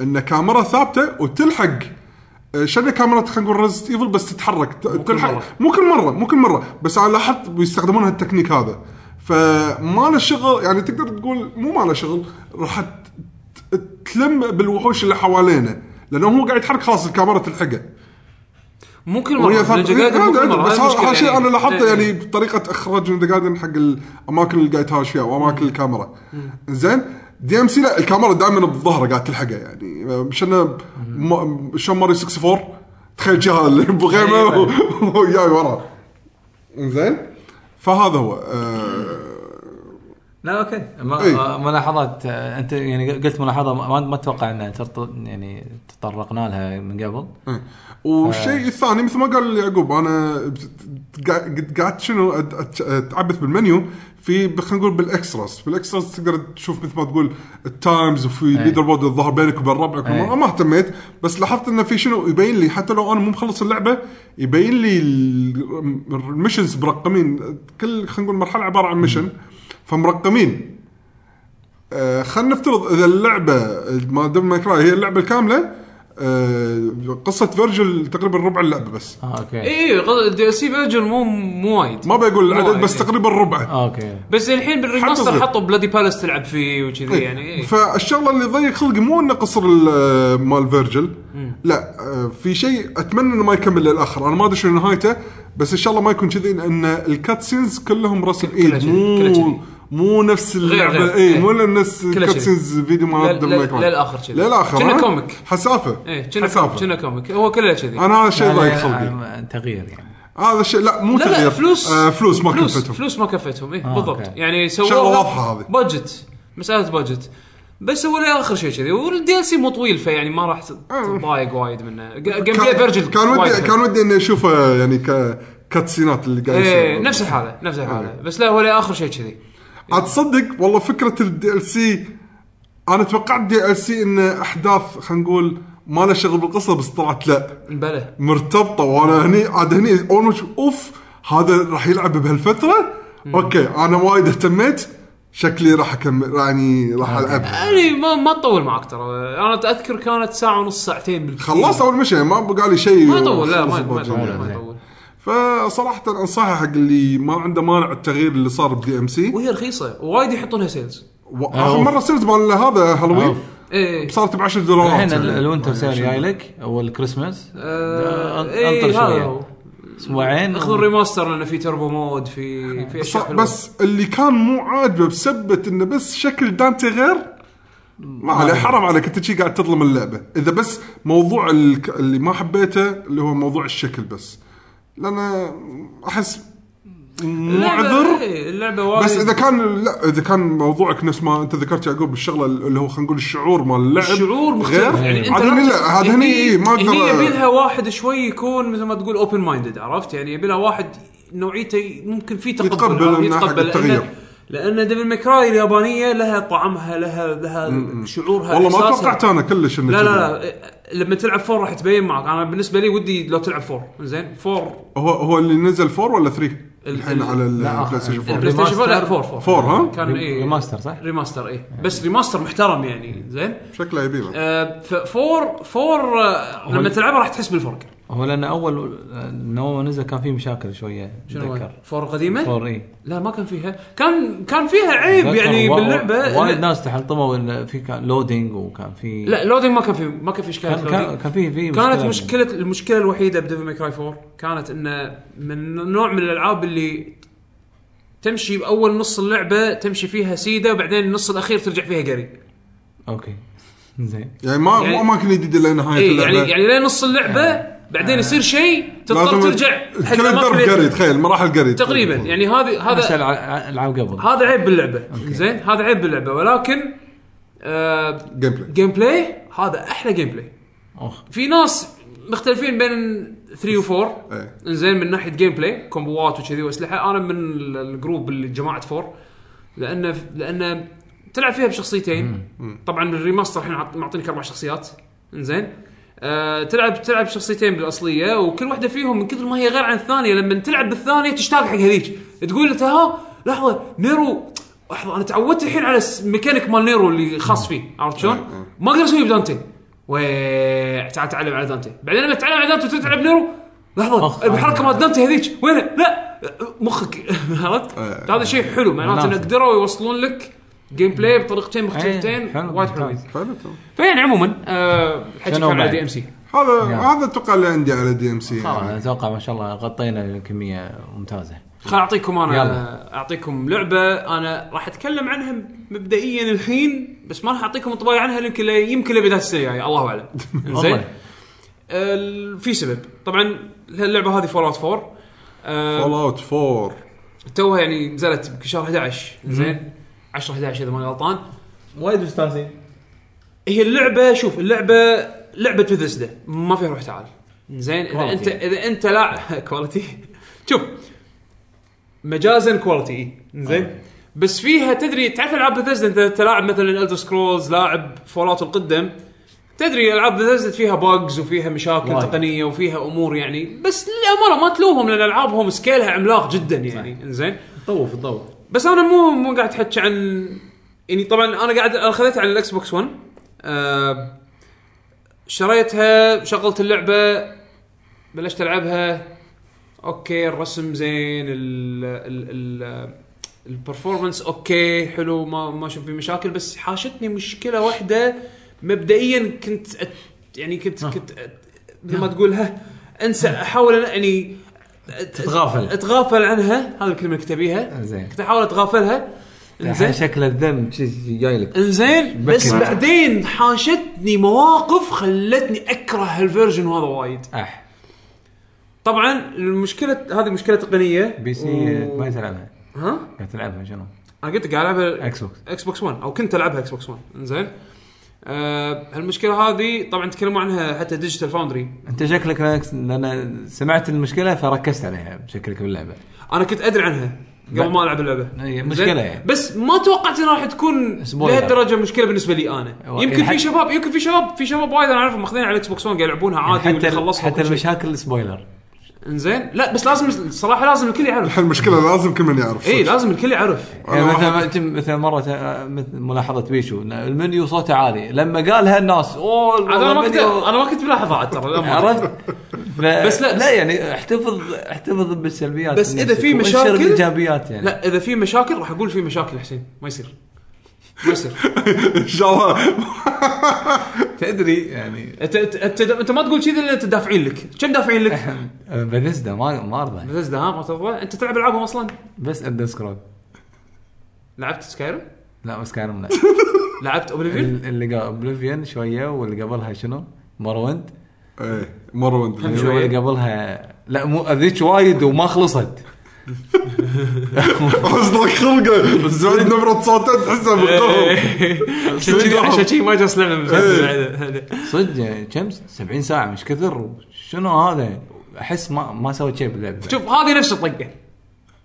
[SPEAKER 3] ان كاميرا ثابته وتلحق آه، شنو كاميرا خلينا نقول ريزست ايفل بس تتحرك ت- تلحق
[SPEAKER 1] مرة.
[SPEAKER 3] مو كل مره مو كل مره بس انا لاحظت بيستخدمون هالتكنيك هذا فما له شغل يعني تقدر تقول مو ما له شغل راح ت- ت- تلم بالوحوش اللي حوالينا لانه هو قاعد يتحرك خلاص الكاميرا تلحقه
[SPEAKER 1] مو كل
[SPEAKER 3] وهي
[SPEAKER 1] مره
[SPEAKER 3] ثابتة.
[SPEAKER 1] نينجا جايدن مو كل
[SPEAKER 3] إيه،
[SPEAKER 1] مره
[SPEAKER 3] بس
[SPEAKER 1] هذه
[SPEAKER 3] هذا
[SPEAKER 1] المشكلة
[SPEAKER 3] هذا شيء انا لاحظته
[SPEAKER 1] إيه.
[SPEAKER 3] يعني بطريقه اخراج ذا جاردن حق الاماكن اللي قاعد يتهاوش فيها او اماكن الكاميرا زين دي ام سي لا الكاميرا دائما بظهره قاعد تلحقه يعني مشان م- شلون ماري 64 تخيل جهه
[SPEAKER 1] إيه،
[SPEAKER 3] اللي بغيمه
[SPEAKER 2] أيوة.
[SPEAKER 3] و- وياي وراه زين فهذا هو آه،
[SPEAKER 5] لا اوكي ما
[SPEAKER 3] إي.
[SPEAKER 5] آه، ملاحظات آه، انت يعني قلت ملاحظه ما ما اتوقع انها ترت- يعني تطرقنا لها من قبل
[SPEAKER 3] إيه. والشيء الثاني مثل ما قال يعقوب انا بت- قاعد قاعد شنو أت- أت- اتعبث بالمنيو في ب- خلينا نقول بالاكستراز بالاكستراز تقدر تشوف مثل ما تقول التايمز وفي ليدر بورد الظهر بينك وبين ربعك
[SPEAKER 5] إيه.
[SPEAKER 3] أنا ما اهتميت بس لاحظت انه في شنو يبين لي حتى لو انا مو مخلص اللعبه يبين لي ال- المشنز مرقمين كل خلينا نقول مرحله عباره عن مشن فمرقمين آه، خلينا نفترض اذا اللعبه ما دام ما كراي هي اللعبه الكامله آه، قصه فيرجل تقريبا ربع اللعبه بس
[SPEAKER 5] اه اوكي
[SPEAKER 1] اي الدي ال سي فيرجن مو مو وايد
[SPEAKER 3] ما بقول العدد
[SPEAKER 1] وايد.
[SPEAKER 3] بس تقريبا ربعه
[SPEAKER 5] آه، اوكي
[SPEAKER 1] بس الحين بالريماستر
[SPEAKER 3] حطوا-
[SPEAKER 1] حطوا بلادي بالاس تلعب فيه وكذي يعني إيه.
[SPEAKER 3] فالشغله اللي ضيق خلقي مو انه قصر ال- آه، مال فيرجل لا آه، في شيء اتمنى انه ما يكمل للاخر انا ما ادري شنو نهايته بس ان شاء الله ما يكون كذي لان الكاتسينز كلهم رسم
[SPEAKER 1] كلها
[SPEAKER 3] ايد
[SPEAKER 1] كذي، كلها
[SPEAKER 3] مو
[SPEAKER 1] كذي.
[SPEAKER 3] مو نفس
[SPEAKER 1] غير،
[SPEAKER 3] اللعبه اي مو نفس
[SPEAKER 1] كلها كذي.
[SPEAKER 3] الكاتسينز فيديو
[SPEAKER 1] لا-
[SPEAKER 3] مال
[SPEAKER 1] لا-
[SPEAKER 3] دبل ماي كراي.
[SPEAKER 1] للآخر كذي.
[SPEAKER 3] للاخر
[SPEAKER 1] كنا
[SPEAKER 3] ها؟
[SPEAKER 1] كوميك.
[SPEAKER 3] حسافه
[SPEAKER 1] ايه كنا كوميك كنا كوميك هو كله كذي
[SPEAKER 3] انا هذا الشيء ضايق
[SPEAKER 5] يعني،
[SPEAKER 3] خلقي
[SPEAKER 5] آه، تغيير يعني
[SPEAKER 3] هذا الشيء لا مو
[SPEAKER 1] لا لا
[SPEAKER 3] تغيير
[SPEAKER 1] فلوس
[SPEAKER 3] آه فلوس ما
[SPEAKER 1] فلوس
[SPEAKER 3] كلفتهم
[SPEAKER 1] فلوس ما كفتهم ايه
[SPEAKER 5] آه،
[SPEAKER 1] بالضبط
[SPEAKER 5] أوكي.
[SPEAKER 1] يعني سووا
[SPEAKER 3] شغلة
[SPEAKER 1] لها
[SPEAKER 3] واضحة هذه.
[SPEAKER 1] بادجت مساله بادجت بس هو لي اخر شيء كذي والدي ال سي مو طويل فيعني ما راح تت- تتضايق وايد منه جيم بلاي فيرجن
[SPEAKER 3] آه. كان ودي كان ودي اني اشوفه يعني ك كاتسينات اللي قاعد
[SPEAKER 1] ايه
[SPEAKER 3] يصير
[SPEAKER 1] نفس الحاله نفس الحاله
[SPEAKER 3] إيه.
[SPEAKER 1] بس لا هو لي اخر شيء كذي
[SPEAKER 3] عاد تصدق والله فكره الدي ال سي انا توقعت الدي ال سي انه احداث خلينا نقول ما له شغل بالقصه بس طلعت لا
[SPEAKER 1] بلى
[SPEAKER 3] مرتبطه وانا هني عاد هني اول ما أشوف، اوف هذا راح يلعب بهالفتره اوكي انا وايد اهتميت شكلي راح اكمل يعني راح العب
[SPEAKER 1] يعني ما ما تطول معك ترى انا اتذكر كانت ساعه ونص ساعتين بالكثير
[SPEAKER 3] خلصت اول مشي ما بقى لي شيء
[SPEAKER 1] ما يطول لا ما
[SPEAKER 3] خلص
[SPEAKER 1] ما يطول
[SPEAKER 3] الباقي.
[SPEAKER 1] ما يطول
[SPEAKER 3] فصراحه انصحه حق اللي ما عنده مانع التغيير اللي صار بدي ام سي
[SPEAKER 1] وهي رخيصه ووايد يحطونها سيلز
[SPEAKER 3] اخر مره صرت مال هذا هالوين
[SPEAKER 1] ايه
[SPEAKER 3] صارت ب 10 دولارات
[SPEAKER 5] الحين ال-
[SPEAKER 3] يعني.
[SPEAKER 5] الوينتر سيل جاي لك او الكريسماس
[SPEAKER 1] آه،
[SPEAKER 5] أن-
[SPEAKER 1] إيه،
[SPEAKER 5] انطر
[SPEAKER 1] هذا
[SPEAKER 5] شوية.
[SPEAKER 1] هو.
[SPEAKER 5] اسبوعين
[SPEAKER 1] اخذوا الريماستر لانه في تربو مود في في
[SPEAKER 3] بس,
[SPEAKER 1] اشياء حلوه
[SPEAKER 3] بس اللي كان مو عاجبه بسبه انه بس شكل دانتي غير ما عليه حرام عليك انت شي قاعد تظلم اللعبه اذا بس موضوع ال- اللي ما حبيته اللي هو موضوع الشكل بس لان احس
[SPEAKER 1] اللعبة-
[SPEAKER 3] معذر
[SPEAKER 1] إيه، اللعبه وايد
[SPEAKER 3] بس اذا كان لا اذا كان موضوعك نفس ما انت ذكرت يعقوب الشغله اللي هو خلينا نقول الشعور مال اللعب
[SPEAKER 1] الشعور مختلف
[SPEAKER 3] غير
[SPEAKER 1] يعني انت
[SPEAKER 3] عاد هني لا هذا هني إيه، ما
[SPEAKER 1] اقدر هني يبي لها
[SPEAKER 3] اقدر
[SPEAKER 1] واحد شوي يكون مثل ما تقول اوبن مايندد عرفت يعني يبي لها واحد نوعيته ي- ممكن في تقبل
[SPEAKER 3] يتقبل
[SPEAKER 1] عرفت؟
[SPEAKER 3] من ناحية التغيير.
[SPEAKER 1] لأن- لان ديفل ميكراي اليابانيه لها طعمها لها لها شعورها
[SPEAKER 3] والله ما
[SPEAKER 1] إحساسها.
[SPEAKER 3] توقعت انا كلش انه
[SPEAKER 1] لا
[SPEAKER 3] كذا.
[SPEAKER 1] لا لا إيه، لما تلعب فور راح تبين معك انا بالنسبه لي ودي لو تلعب فور زين فور
[SPEAKER 3] هو هو اللي نزل 4 ولا 3 الحين
[SPEAKER 1] ال-
[SPEAKER 3] على
[SPEAKER 5] لا،
[SPEAKER 3] البلاي ستيشن 4
[SPEAKER 1] البلاي ستيشن 4 لا
[SPEAKER 5] ريماستر.
[SPEAKER 1] فور فور
[SPEAKER 3] 4 ها
[SPEAKER 1] كان ايه
[SPEAKER 5] ريماستر صح؟
[SPEAKER 1] ريماستر ايه بس ريماستر محترم يعني زين
[SPEAKER 3] شكله يبيله
[SPEAKER 1] آه، ف- فور فور آه، لما تلعبها راح تحس بالفرق
[SPEAKER 5] هو لان اول نوم نزل كان في مشاكل شويه
[SPEAKER 1] شنو هو؟
[SPEAKER 5] اتذكر
[SPEAKER 1] فور قديمه؟
[SPEAKER 5] فور اي
[SPEAKER 1] لا ما كان فيها كان كان فيها
[SPEAKER 5] طيب،
[SPEAKER 1] عيب يعني
[SPEAKER 5] وا-
[SPEAKER 1] باللعبه
[SPEAKER 5] وايد
[SPEAKER 1] إن-
[SPEAKER 5] ناس تحطموا إن في كان لودينج وكان في
[SPEAKER 1] لا لودينج ما كان في ما كان في اشكال
[SPEAKER 5] كان كان,
[SPEAKER 1] لودينج.
[SPEAKER 5] كان في في
[SPEAKER 1] كانت مشكله المشكله الوحيده بديفل ماي كراي 4 كانت انه من نوع من الالعاب اللي تمشي باول نص اللعبه تمشي فيها سيده وبعدين النص الاخير ترجع فيها قري
[SPEAKER 5] اوكي زين
[SPEAKER 3] يعني ما
[SPEAKER 1] يعني-
[SPEAKER 3] مو اماكن جديده لنهايه
[SPEAKER 1] اي
[SPEAKER 3] اللعبه
[SPEAKER 1] يعني يعني لين نص اللعبه بعدين يصير شيء تضطر
[SPEAKER 3] آه. لازم
[SPEAKER 1] ترجع حق
[SPEAKER 3] كل
[SPEAKER 1] الأماكن
[SPEAKER 3] الدرب
[SPEAKER 1] اللي-
[SPEAKER 3] قري تخيل مراحل قري
[SPEAKER 1] تقريبا يعني هذه
[SPEAKER 5] بس
[SPEAKER 1] هذا
[SPEAKER 5] الع- العاب قبل
[SPEAKER 1] هذا عيب باللعبه زين هذا عيب باللعبه ولكن آه
[SPEAKER 3] جيم بلاي
[SPEAKER 1] جيم بلاي هذا احلى جيم بلاي
[SPEAKER 5] أوه.
[SPEAKER 1] في ناس مختلفين بين 3 و 4
[SPEAKER 3] إيه.
[SPEAKER 1] زين من ناحيه جيم بلاي كومبوات وكذي واسلحه انا من ال- الجروب اللي جماعه 4 لان لان تلعب فيها بشخصيتين طبعا الريماستر الحين عط- معطينك اربع شخصيات زين أه تلعب تلعب شخصيتين بالاصليه وكل واحده فيهم من كثر ما هي غير عن الثانيه لما تلعب بالثانيه تشتاق حق هذيك تقول انت ها لحظه نيرو لحظه انا تعودت الحين على الميكانيك مال نيرو اللي خاص فيه عرفت شلون؟ ما اقدر اسويه بدانتي ويييييييييييييييييييييييييييييييييييييييي تعال تعلم على دانتي بعدين لما تتعلم على دانتي وتبي تلعب نيرو لحظه
[SPEAKER 5] أخ،
[SPEAKER 1] الحركه مال دانتي هذيك وين لا مخك عرفت؟
[SPEAKER 3] إيه.
[SPEAKER 1] هذا شيء حلو معناته ان
[SPEAKER 5] مناسب.
[SPEAKER 1] قدروا يوصلون لك جيم بلاي بطريقتين مختلفتين
[SPEAKER 5] إيه، حلو،
[SPEAKER 1] وايد حلوين
[SPEAKER 5] ممتاز.
[SPEAKER 3] فعلا تمام.
[SPEAKER 1] فيعني عموما آه، الحكي كان
[SPEAKER 5] شنو
[SPEAKER 1] على
[SPEAKER 5] بعد؟
[SPEAKER 1] دي ام سي
[SPEAKER 3] هذا
[SPEAKER 5] يعني.
[SPEAKER 3] هذا اتوقع اللي عندي على دي ام سي
[SPEAKER 5] خلاص اتوقع ما شاء الله غطينا الكميه ممتازه
[SPEAKER 1] خل اعطيكم انا
[SPEAKER 5] يلا.
[SPEAKER 1] اعطيكم لعبه انا راح اتكلم عنها مبدئيا الحين بس ما راح اعطيكم انطباعي عنها يمكن يمكن لبدايه السنه الجايه الله اعلم زين
[SPEAKER 5] والله.
[SPEAKER 1] ال- في سبب طبعا اللعبه هذه فول اوت 4 آه،
[SPEAKER 3] فول اوت 4
[SPEAKER 1] توها يعني نزلت بشهر 11 زين 10 11 اذا ماني غلطان
[SPEAKER 2] وايد مستانسين
[SPEAKER 1] هي اللعبه شوف اللعبه لعبه بثسدا ما فيها روح تعال زين اذا
[SPEAKER 2] Quality.
[SPEAKER 1] انت اذا انت لا كواليتي شوف مجازا كواليتي زين بس فيها تدري تعرف العاب بثسدا انت تلاعب مثلا الدر سكرولز لاعب فولات القدم تدري العاب بثسدا فيها باجز وفيها مشاكل
[SPEAKER 2] وايد.
[SPEAKER 1] تقنيه وفيها امور يعني بس للامانه ما تلومهم لان العابهم سكيلها عملاق جدا يعني زين
[SPEAKER 2] طوف طوف
[SPEAKER 1] بس انا مو مو قاعد احكي عن يعني طبعا انا قاعد أنا خذيتها على الاكس بوكس 1 آه، شريتها شغلت اللعبه بلشت العبها اوكي الرسم زين ال ال ال البرفورمانس اوكي حلو ما ما اشوف في مشاكل بس حاشتني مشكله واحده مبدئيا كنت أت يعني كنت كنت أت مثل ما تقولها انسى احاول أن- يعني
[SPEAKER 2] تتغافل.
[SPEAKER 1] اتغافل عنها هذه الكلمه اللي كتبيها
[SPEAKER 2] زين.
[SPEAKER 1] كنت احاول اتغافلها
[SPEAKER 2] الحين
[SPEAKER 1] انزين
[SPEAKER 2] شكل الذنب شي- جاي لك
[SPEAKER 1] انزين
[SPEAKER 2] بكي
[SPEAKER 1] بس
[SPEAKER 2] معك.
[SPEAKER 1] بعدين حاشتني مواقف خلتني اكره هالفيرجن هذا وايد
[SPEAKER 2] اح
[SPEAKER 1] طبعا المشكله هذه مشكله تقنيه
[SPEAKER 2] بي سي
[SPEAKER 1] و-
[SPEAKER 2] ما تلعبها
[SPEAKER 1] ها
[SPEAKER 2] قاعد تلعبها شنو؟
[SPEAKER 1] انا قلت لك قاعد العبها
[SPEAKER 2] اكس بوكس
[SPEAKER 1] اكس بوكس 1 او كنت العبها اكس بوكس 1 انزين آه هالمشكله هذه طبعا تكلموا عنها حتى ديجيتال فاوندري
[SPEAKER 2] انت شكلك لأنك- لان سمعت المشكله فركزت عليها شكلك باللعبه
[SPEAKER 1] انا كنت ادري عنها قبل ما العب اللعبه
[SPEAKER 2] إي، مشكلة
[SPEAKER 1] زين؟
[SPEAKER 2] يعني.
[SPEAKER 1] بس ما توقعت انها راح تكون
[SPEAKER 2] أسبوع
[SPEAKER 1] لهالدرجه مشكله بالنسبه لي انا
[SPEAKER 2] هو-
[SPEAKER 1] يمكن
[SPEAKER 2] يعني
[SPEAKER 1] في
[SPEAKER 2] حت-
[SPEAKER 1] شباب يمكن في شباب في شباب وايد انا اعرفهم ماخذين على الاكس بوكس 1 قاعد يلعبونها عادي
[SPEAKER 2] حتى
[SPEAKER 1] واللي
[SPEAKER 2] ال-
[SPEAKER 1] خلصها
[SPEAKER 2] حتى
[SPEAKER 1] وكل شيء.
[SPEAKER 2] المشاكل سبويلر
[SPEAKER 1] انزين لا بس لازم الصراحه لازم الكل يعرف
[SPEAKER 3] الحين المشكله لازم كل من يعرف
[SPEAKER 1] اي إيه، لازم الكل يعرف
[SPEAKER 2] يعني
[SPEAKER 3] أنا
[SPEAKER 2] مثلا
[SPEAKER 3] واحد-
[SPEAKER 2] مثل- مثل مره آه، مثل ملاحظه بيشو إن المنيو صوته عالي لما قالها الناس اوه
[SPEAKER 1] عاد انا ما كنت
[SPEAKER 2] المنيو-
[SPEAKER 1] انا ما كنت ملاحظ عاد ترى للأمانة.
[SPEAKER 2] عرفت؟
[SPEAKER 1] بس
[SPEAKER 2] بس
[SPEAKER 1] لا-
[SPEAKER 2] لا لا يعني احتفظ احتفظ بالسلبيات
[SPEAKER 1] بس إذا في
[SPEAKER 2] بنفسك وانشر
[SPEAKER 1] مشاكل-
[SPEAKER 2] الايجابيات يعني
[SPEAKER 1] لا اذا في مشاكل راح اقول في مشاكل حسين ما يصير ما يصير
[SPEAKER 3] ان شاء الله
[SPEAKER 2] تدري يعني
[SPEAKER 1] انت انت انت, انت ما تقول كذي الا انت دافعين لك كم دافعين لك
[SPEAKER 2] بثزدا ما ما ارضى
[SPEAKER 1] بثزدا ها ما تضوى انت تلعب العابهم اصلا
[SPEAKER 2] بس اندر سكرول
[SPEAKER 1] لعبت سكايرو
[SPEAKER 2] لا بس كان
[SPEAKER 1] لعبت اوبليفيون
[SPEAKER 2] اللي قبل اوبليفيون شويه واللي قبلها شنو؟ مروند
[SPEAKER 3] ايه مره
[SPEAKER 1] هم
[SPEAKER 3] وانت
[SPEAKER 1] شوية.
[SPEAKER 2] واللي قبلها لا مو ذيك وايد وما خلصت
[SPEAKER 3] احس لك خلقه زعيد نبره صوته تحسها
[SPEAKER 1] Eh,
[SPEAKER 3] بالقهر
[SPEAKER 1] عشان كذي عشان كذي ما جالس لعبه مسلسل
[SPEAKER 2] صدق يعني كم 70 ساعه مش كثر شنو هذا؟ احس ما ما سويت شيء باللعبه
[SPEAKER 1] شوف هذه نفس الطقه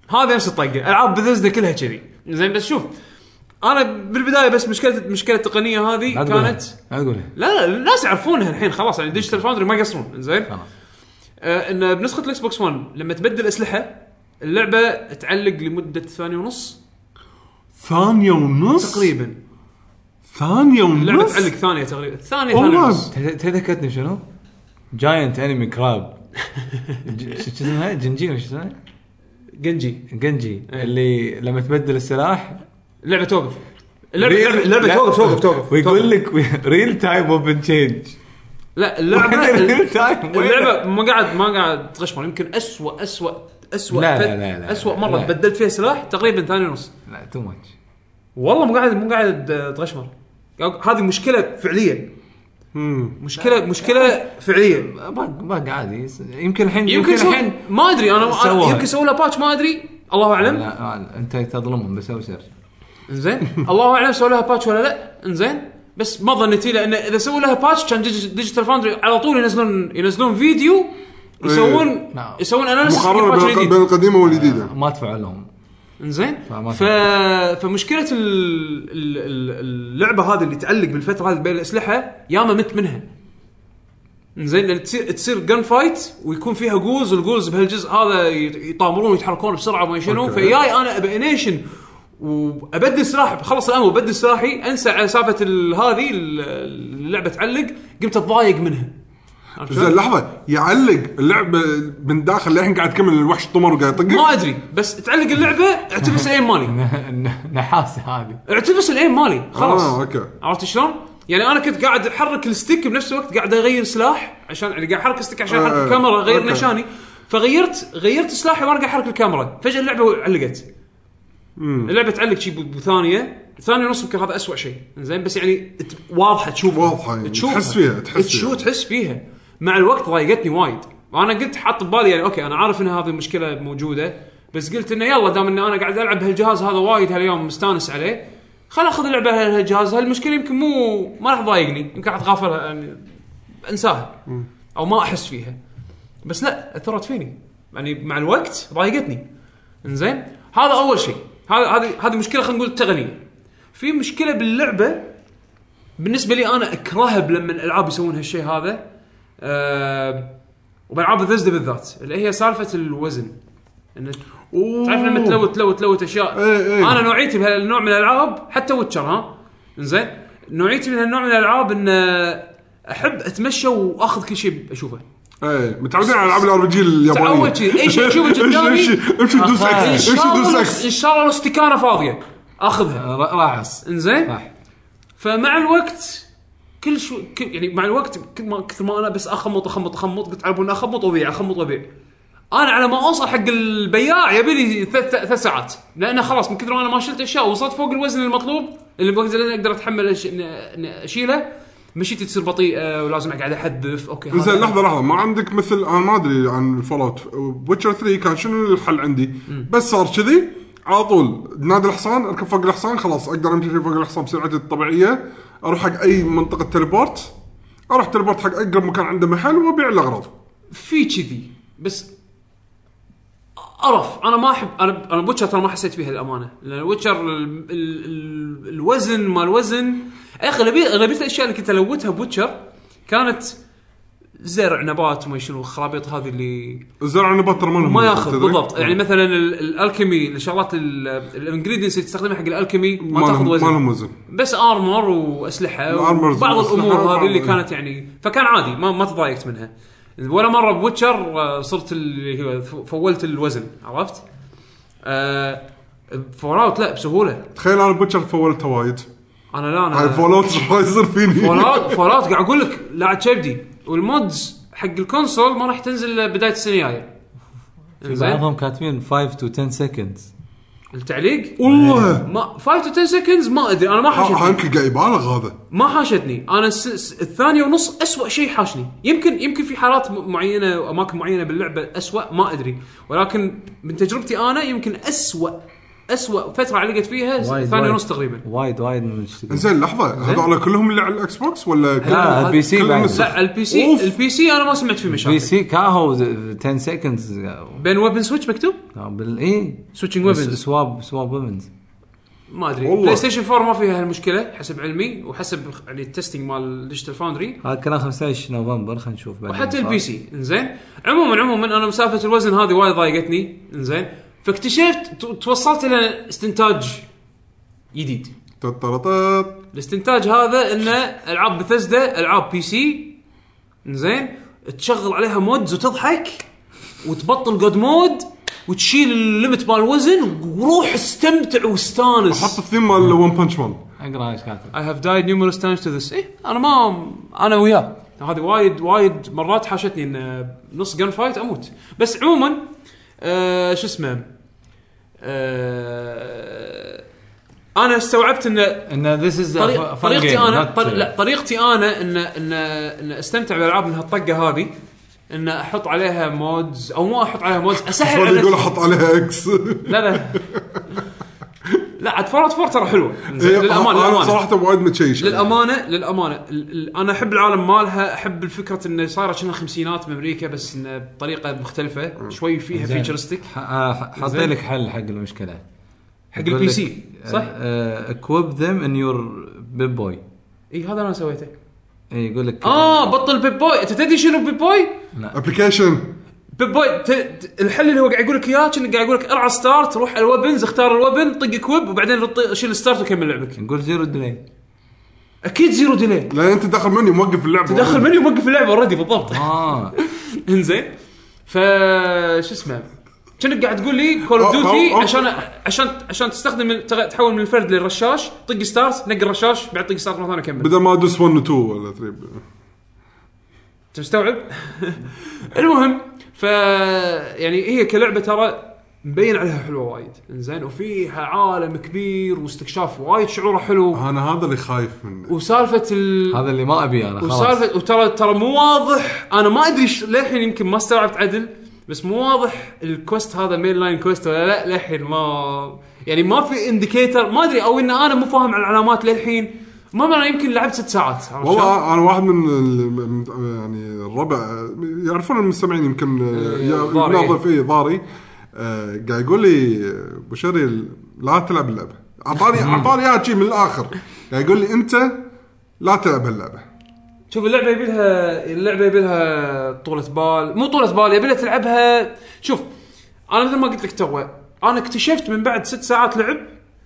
[SPEAKER 1] هذه نفس الطقه العاب بثزدا كلها كذي زين بس شوف انا بالبدايه بس مشكله المشكله التقنيه هذه
[SPEAKER 2] لا تقولها.
[SPEAKER 1] كانت
[SPEAKER 2] لا تقولها
[SPEAKER 1] لا لا الناس يعرفونها الحين خلاص يعني ديجيتال فاوندري ما يقصرون زين
[SPEAKER 2] خلاص.
[SPEAKER 1] آه انه بنسخه الاكس بوكس 1 لما تبدل اسلحه اللعبه تعلق لمده ثانيه ونص
[SPEAKER 3] ثانيه ونص
[SPEAKER 1] تقريبا
[SPEAKER 3] ثانيه
[SPEAKER 1] اللعبه
[SPEAKER 3] ونص
[SPEAKER 1] تعلق ثانيه تقريبا ثانيه ثانيه
[SPEAKER 3] والله.
[SPEAKER 1] ونص
[SPEAKER 2] تد- تذكرتني شنو؟ جاينت انمي كراب ج- شو اسمها؟ جنجي ولا شو اسمها؟
[SPEAKER 1] جنجي
[SPEAKER 2] جنجي
[SPEAKER 1] إيه.
[SPEAKER 2] اللي لما تبدل السلاح
[SPEAKER 1] اللعبه توقف اللعبه
[SPEAKER 2] ريل-
[SPEAKER 1] اللعبه اللعبة
[SPEAKER 2] لا.
[SPEAKER 1] توقف توقف توقف توقف.
[SPEAKER 2] ويقول لك ريل تايم اوبن تشينج
[SPEAKER 1] لا اللعبه
[SPEAKER 2] ريل تايم
[SPEAKER 1] اللعبه ما قاعد ما قاعد تغشمر يمكن اسوء اسوء اسوء
[SPEAKER 2] لا،
[SPEAKER 1] فت-
[SPEAKER 2] لا، لا، لا.
[SPEAKER 1] اسوء مره
[SPEAKER 2] لا.
[SPEAKER 1] تبدلت فيها سلاح تقريبا ثانيه ونص
[SPEAKER 2] لا تو ماتش
[SPEAKER 1] والله مو قاعد مو قاعد آه، تغشمر هذه مشكله فعليه
[SPEAKER 3] مم.
[SPEAKER 1] مشكله مشكله فعليه
[SPEAKER 2] باق باق عادي يمكن الحين
[SPEAKER 1] يمكن الحين
[SPEAKER 2] الحين
[SPEAKER 1] ما ادري انا
[SPEAKER 2] سووها.
[SPEAKER 1] أنا- يمكن سووا لها باتش ما ادري الله
[SPEAKER 2] لا
[SPEAKER 1] اعلم
[SPEAKER 2] لا، انت تظلمهم بسوي سيرش
[SPEAKER 1] زين الله اعلم سووا لها باتش ولا لا انزين بس ما ظنيتي لان اذا سووا لها باتش كان ديجي- ديجيتال فاوندري على طول ينزلون ينزلون فيديو يسوون
[SPEAKER 2] نعم.
[SPEAKER 1] يسوون اناليسيس
[SPEAKER 3] مقارنه بين الق- بين القديمه والجديده
[SPEAKER 2] ما ادفع لهم
[SPEAKER 1] انزين
[SPEAKER 2] فما
[SPEAKER 1] ف... فمشكله ال- ال- ال- اللعبه هذه اللي تعلق بالفتره هذه بين الاسلحه ياما مت منها انزين لان تصير تصير جن فايت ويكون فيها جولز والجولز بهالجزء هذا يت- يطامرون ويتحركون بسرعه وما شنو
[SPEAKER 3] أوكي.
[SPEAKER 1] فياي انا ابي انيشن وابدل سلاحي بخلص الامر وابدل سلاحي انسى على سالفه ال- هذه ال- اللعبه تعلق قمت اتضايق منها عرفت شلون؟
[SPEAKER 3] زين لحظه يعلق اللعبه من داخل للحين قاعد تكمل الوحش طمر وقاعد
[SPEAKER 1] ما
[SPEAKER 3] يطقك
[SPEAKER 1] ادري بس تعلق اللعبه اعتبس الايم مالي
[SPEAKER 2] نحاسه هذه
[SPEAKER 1] اعتبس الايم مالي خلاص
[SPEAKER 3] آه، اوكي
[SPEAKER 1] عرفت شلون؟ يعني انا كنت قاعد احرك الستيك بنفس الوقت قاعد اغير سلاح عشان يعني قاعد احرك الستيك عشان احرك
[SPEAKER 3] آه،
[SPEAKER 1] الكاميرا اغير
[SPEAKER 3] أوكي.
[SPEAKER 1] نشاني فغيرت غيرت سلاحي وانا قاعد احرك الكاميرا فجاه اللعبه علقت اللعبه تعلق شي ب- بثانيه ثانيه ونص يمكن هذا أسوأ شيء زين بس يعني ت- واضحه تشوف
[SPEAKER 3] واضحة يعني، تحس فيها، تحس
[SPEAKER 1] إيه، تشوف
[SPEAKER 3] فيها.
[SPEAKER 1] تحس فيها مع الوقت ضايقتني وايد وانا قلت حاط ببالي يعني اوكي انا عارف ان هذه المشكله موجوده بس قلت انه يلا دام ان انا قاعد العب هالجهاز هذا وايد هاليوم مستانس عليه خل اخذ اللعبه لها جهاز هالمشكله يمكن مو ما راح تضايقني يمكن راح اتغافلها يعني انساها او ما احس فيها بس لا اثرت فيني يعني مع الوقت ضايقتني انزين هذا اول شيء هذا هذه هذه مشكله خلينا نقول تقنيه في مشكله باللعبه بالنسبه لي انا اكرهها لما الالعاب يسوون هالشيء هذا أه وبالعاب بثزدا بالذات اللي هي سالفه الوزن ان تعرف لما تلوت تلوت تلوت اشياء
[SPEAKER 3] إيه، إيه.
[SPEAKER 1] انا نوعيتي بهالنوع من الالعاب حتى ويتشر ها زين نوعيتي من هالنوع من الالعاب ان آه، احب اتمشى واخذ كل شيء اشوفه
[SPEAKER 3] ايه متعودين على العاب الار بي جي اليابانيه
[SPEAKER 1] تعود شي، أي شي تشوفه قدامي.
[SPEAKER 3] امشي امشي دوس
[SPEAKER 1] ان
[SPEAKER 3] اكس امشي
[SPEAKER 1] شاء
[SPEAKER 3] دوس
[SPEAKER 1] الله
[SPEAKER 3] اكس
[SPEAKER 1] ان شاء الله الاستكانه فاضيه اخذها
[SPEAKER 5] راعص
[SPEAKER 1] انزين
[SPEAKER 5] صح.
[SPEAKER 1] فمع الوقت كل شو كل- يعني مع الوقت كل ما كثر ما انا بس اخمط اخمط اخمط قلت عربون اخمط وابيع اخمط وابيع انا على ما اوصل حق البياع يبي لي ثلاث ثلاث ساعات لانه خلاص من كثر ما انا ما شلت اشياء وصلت فوق الوزن المطلوب اللي الوزن اللي أنا اقدر اتحمل أش- إن- إن اشيله مشيتي تصير بطيئه ولازم اقعد احذف اوكي هذا-
[SPEAKER 3] زين لحظه لحظه ما عندك مثل انا ما ادري عن فول اوت ويتشر 3 كان شنو الحل عندي بس صار كذي على طول نادي الحصان اركب فوق الحصان خلاص اقدر امشي فوق الحصان بسرعتي الطبيعيه اروح حق اي منطقه تليبورت اروح تليبورت حق اقرب مكان عنده محل وابيع الاغراض
[SPEAKER 1] في كذي بس قرف انا ما احب انا انا بوتشر ترى ما حسيت فيها الامانه لان ويتشر ال... ال... ال... الوزن ما الوزن يا اخي اغلبيه اغلبيه الاشياء اللي كنت الوتها بوتشر كانت زرع نبات وما شنو الخرابيط هذه اللي
[SPEAKER 3] الزرع النبات ترى لهم
[SPEAKER 1] ما ياخذ
[SPEAKER 3] أمم، تدري؟ أمم.
[SPEAKER 1] بالضبط يعني مثلا ال- الالكيمي الشغلات الانجريدينتس اللي تستخدمها حق الالكيمي ما,
[SPEAKER 3] ما
[SPEAKER 1] تاخذ
[SPEAKER 3] لهم- ما
[SPEAKER 1] وزن
[SPEAKER 3] لهم وزن
[SPEAKER 1] بس ارمر واسلحه
[SPEAKER 3] الأرمرز
[SPEAKER 1] بعض
[SPEAKER 3] والأسلحة
[SPEAKER 1] الامور
[SPEAKER 3] وبعض-
[SPEAKER 1] هذه اللي كانت يعني فكان عادي ما ما تضايقت منها ولا مره بوتشر آه، صرت اللي هو ف- فولت الوزن عرفت؟ آه فول اوت لا بسهوله
[SPEAKER 3] تخيل انا بوتشر فولتها وايد
[SPEAKER 1] انا لا
[SPEAKER 3] هاي
[SPEAKER 1] انا
[SPEAKER 3] فول اوت راح يصير فيني
[SPEAKER 1] فول اوت فول اوت قاعد اقول لك لاعب كبدي والمودز حق الكونسول ما راح تنزل إلا بدايه السنه الجايه زين
[SPEAKER 5] بعضهم كاتبين 5 تو 10 سكندز
[SPEAKER 1] التعليق
[SPEAKER 3] والله
[SPEAKER 1] ما 5 تو 10 سكندز ما ادري انا ما حشد
[SPEAKER 3] ها- هانك قاعد يبالغ هذا
[SPEAKER 1] ما حاشتني انا الس... الس- الثانيه ونص اسوء شيء حاشني يمكن يمكن في حالات م- معينه واماكن معينه باللعبه اسوء ما ادري ولكن من تجربتي انا يمكن اسوء اسوء فتره علقت فيها س-
[SPEAKER 5] وايد
[SPEAKER 1] ثانيه
[SPEAKER 5] وايد.
[SPEAKER 1] ونص تقريبا
[SPEAKER 5] وايد وايد من الشتيء.
[SPEAKER 3] زين لحظه هذول كلهم اللي على الاكس بوكس ولا كلهم-
[SPEAKER 5] لا البي سي
[SPEAKER 3] كل
[SPEAKER 5] بعد
[SPEAKER 3] مسخ.
[SPEAKER 1] لا البي سي
[SPEAKER 3] أوف.
[SPEAKER 1] البي سي انا ما سمعت فيه
[SPEAKER 5] بي
[SPEAKER 1] مشاكل
[SPEAKER 5] سي كاهو 10 سكندز
[SPEAKER 1] بين ويبن سويتش مكتوب
[SPEAKER 5] بال إيه؟ اي
[SPEAKER 1] سويتشنج ويبنز
[SPEAKER 5] سواب سواب ويبنز
[SPEAKER 1] ما ادري
[SPEAKER 3] والله.
[SPEAKER 1] بلاي ستيشن 4 ما فيها هالمشكله حسب علمي وحسب يعني التستنج مال ديجيتال فاوندري
[SPEAKER 5] هذا كلام 15 نوفمبر خلينا نشوف بعدين
[SPEAKER 1] وحتى البي سي انزين عموما عموما انا مسافه الوزن هذه وايد ضايقتني انزين فاكتشفت ت- توصلت الى استنتاج جديد
[SPEAKER 3] تطرطط.
[SPEAKER 1] الاستنتاج هذا ان العاب بثزدا العاب بي سي انزين تشغل عليها مودز وتضحك وتبطل جود مود وتشيل الليمت مال الوزن وروح استمتع
[SPEAKER 3] حط
[SPEAKER 1] واستانس
[SPEAKER 3] الثيم مال ون بانش مان
[SPEAKER 5] اقرا ايش كاتب
[SPEAKER 1] I have died numerous times to this ايه انا ما انا وياه هذه وايد وايد مرات حاشتني ان نص جن فايت اموت بس عموما آه شو اسمه آه انا استوعبت ان
[SPEAKER 5] ان ذيس از
[SPEAKER 1] طريق- طريقتي انا طر... لا طريقتي انا ان ان ان استمتع بالالعاب من هالطقه هذه ان احط عليها مودز او ما احط عليها مودز اسهل على
[SPEAKER 3] هذا يقول
[SPEAKER 1] نفسي.
[SPEAKER 3] احط عليها اكس
[SPEAKER 1] لا لا لا عاد فورت فور ترى حلوه
[SPEAKER 3] إيه،
[SPEAKER 1] زين، للامانه
[SPEAKER 3] أنا
[SPEAKER 1] للامانه
[SPEAKER 3] صراحه وايد متشيش
[SPEAKER 1] للامانه للامانه ال- ال- انا احب العالم مالها احب الفكره انه صايره شنها خمسينات بامريكا بس انه بطريقه مختلفه شوي فيها فيتشرستيك
[SPEAKER 5] حاطين آه، لك حل حق المشكله
[SPEAKER 1] حق
[SPEAKER 5] يقول
[SPEAKER 1] البي
[SPEAKER 5] لك، آه،
[SPEAKER 1] سي صح؟
[SPEAKER 5] اكويب ذيم ان يور بيب بوي
[SPEAKER 1] اي إيه، هذا انا سويته
[SPEAKER 5] اي إيه، يقول لك
[SPEAKER 1] اه بطل بيب بوي انت تدري شنو بيب بوي؟
[SPEAKER 3] ابلكيشن
[SPEAKER 1] بيب بوي ت... ت- الحل اللي هو قاعد يقول لك اياه كأنه قاعد يقول لك ارعى ستارت روح على الوبنز اختار الوبن طق كويب وبعدين رط- شيل ستارت وكمل لعبك
[SPEAKER 5] نقول زيرو ديلي
[SPEAKER 1] اكيد زيرو ديلي
[SPEAKER 3] لان انت داخل مني موقف اللعبه
[SPEAKER 1] تدخل مني وموقف اللعبه اوريدي بالضبط
[SPEAKER 5] اه
[SPEAKER 1] انزين ف شو اسمه كأنك قاعد تقول لي كول
[SPEAKER 3] أو-
[SPEAKER 1] اوف
[SPEAKER 3] أو-
[SPEAKER 1] ديوتي
[SPEAKER 3] أو-
[SPEAKER 1] عشان عشان عشان تستخدم ال- تغ- تحول من الفرد للرشاش طق ستارت نقي الرشاش بعد طق ستارت مره ثانيه كمل
[SPEAKER 3] بدل ما ادوس 1 و 2 ولا 3
[SPEAKER 1] تستوعب المهم ف يعني هي كلعبه ترى مبين عليها حلوه وايد انزين وفيها عالم كبير واستكشاف وايد شعوره حلو
[SPEAKER 3] انا هذا اللي خايف منه
[SPEAKER 1] وسالفه ال...
[SPEAKER 5] هذا اللي ما ابي انا خلاص
[SPEAKER 1] وسالفه وترى ترى مو واضح انا ما ادري ش- للحين يمكن ما استوعبت عدل بس مو واضح الكوست هذا مين لاين كوست ولا لا للحين ما يعني ما في انديكيتر ما ادري او ان انا مو فاهم على العلامات للحين ما انا يمكن لعبت ست ساعات عرفت شلون؟
[SPEAKER 3] والله انا واحد من ال- من- يعني الربع يعرفون المستمعين يمكن يا-
[SPEAKER 1] إيه، ضاري.
[SPEAKER 3] ينظف اي ضاري آه، قاعد يقول لي ابو شري لا تلعب اللعبه اعطاني اعطاني اياها شي من الاخر قاعد يقول لي انت لا تلعب هاللعبه
[SPEAKER 1] شوف اللعبه يبي لها اللعبه يبي لها طولة بال مو طولة بال يبي لها تلعبها شوف انا مثل ما قلت لك تو انا اكتشفت من بعد ست ساعات لعب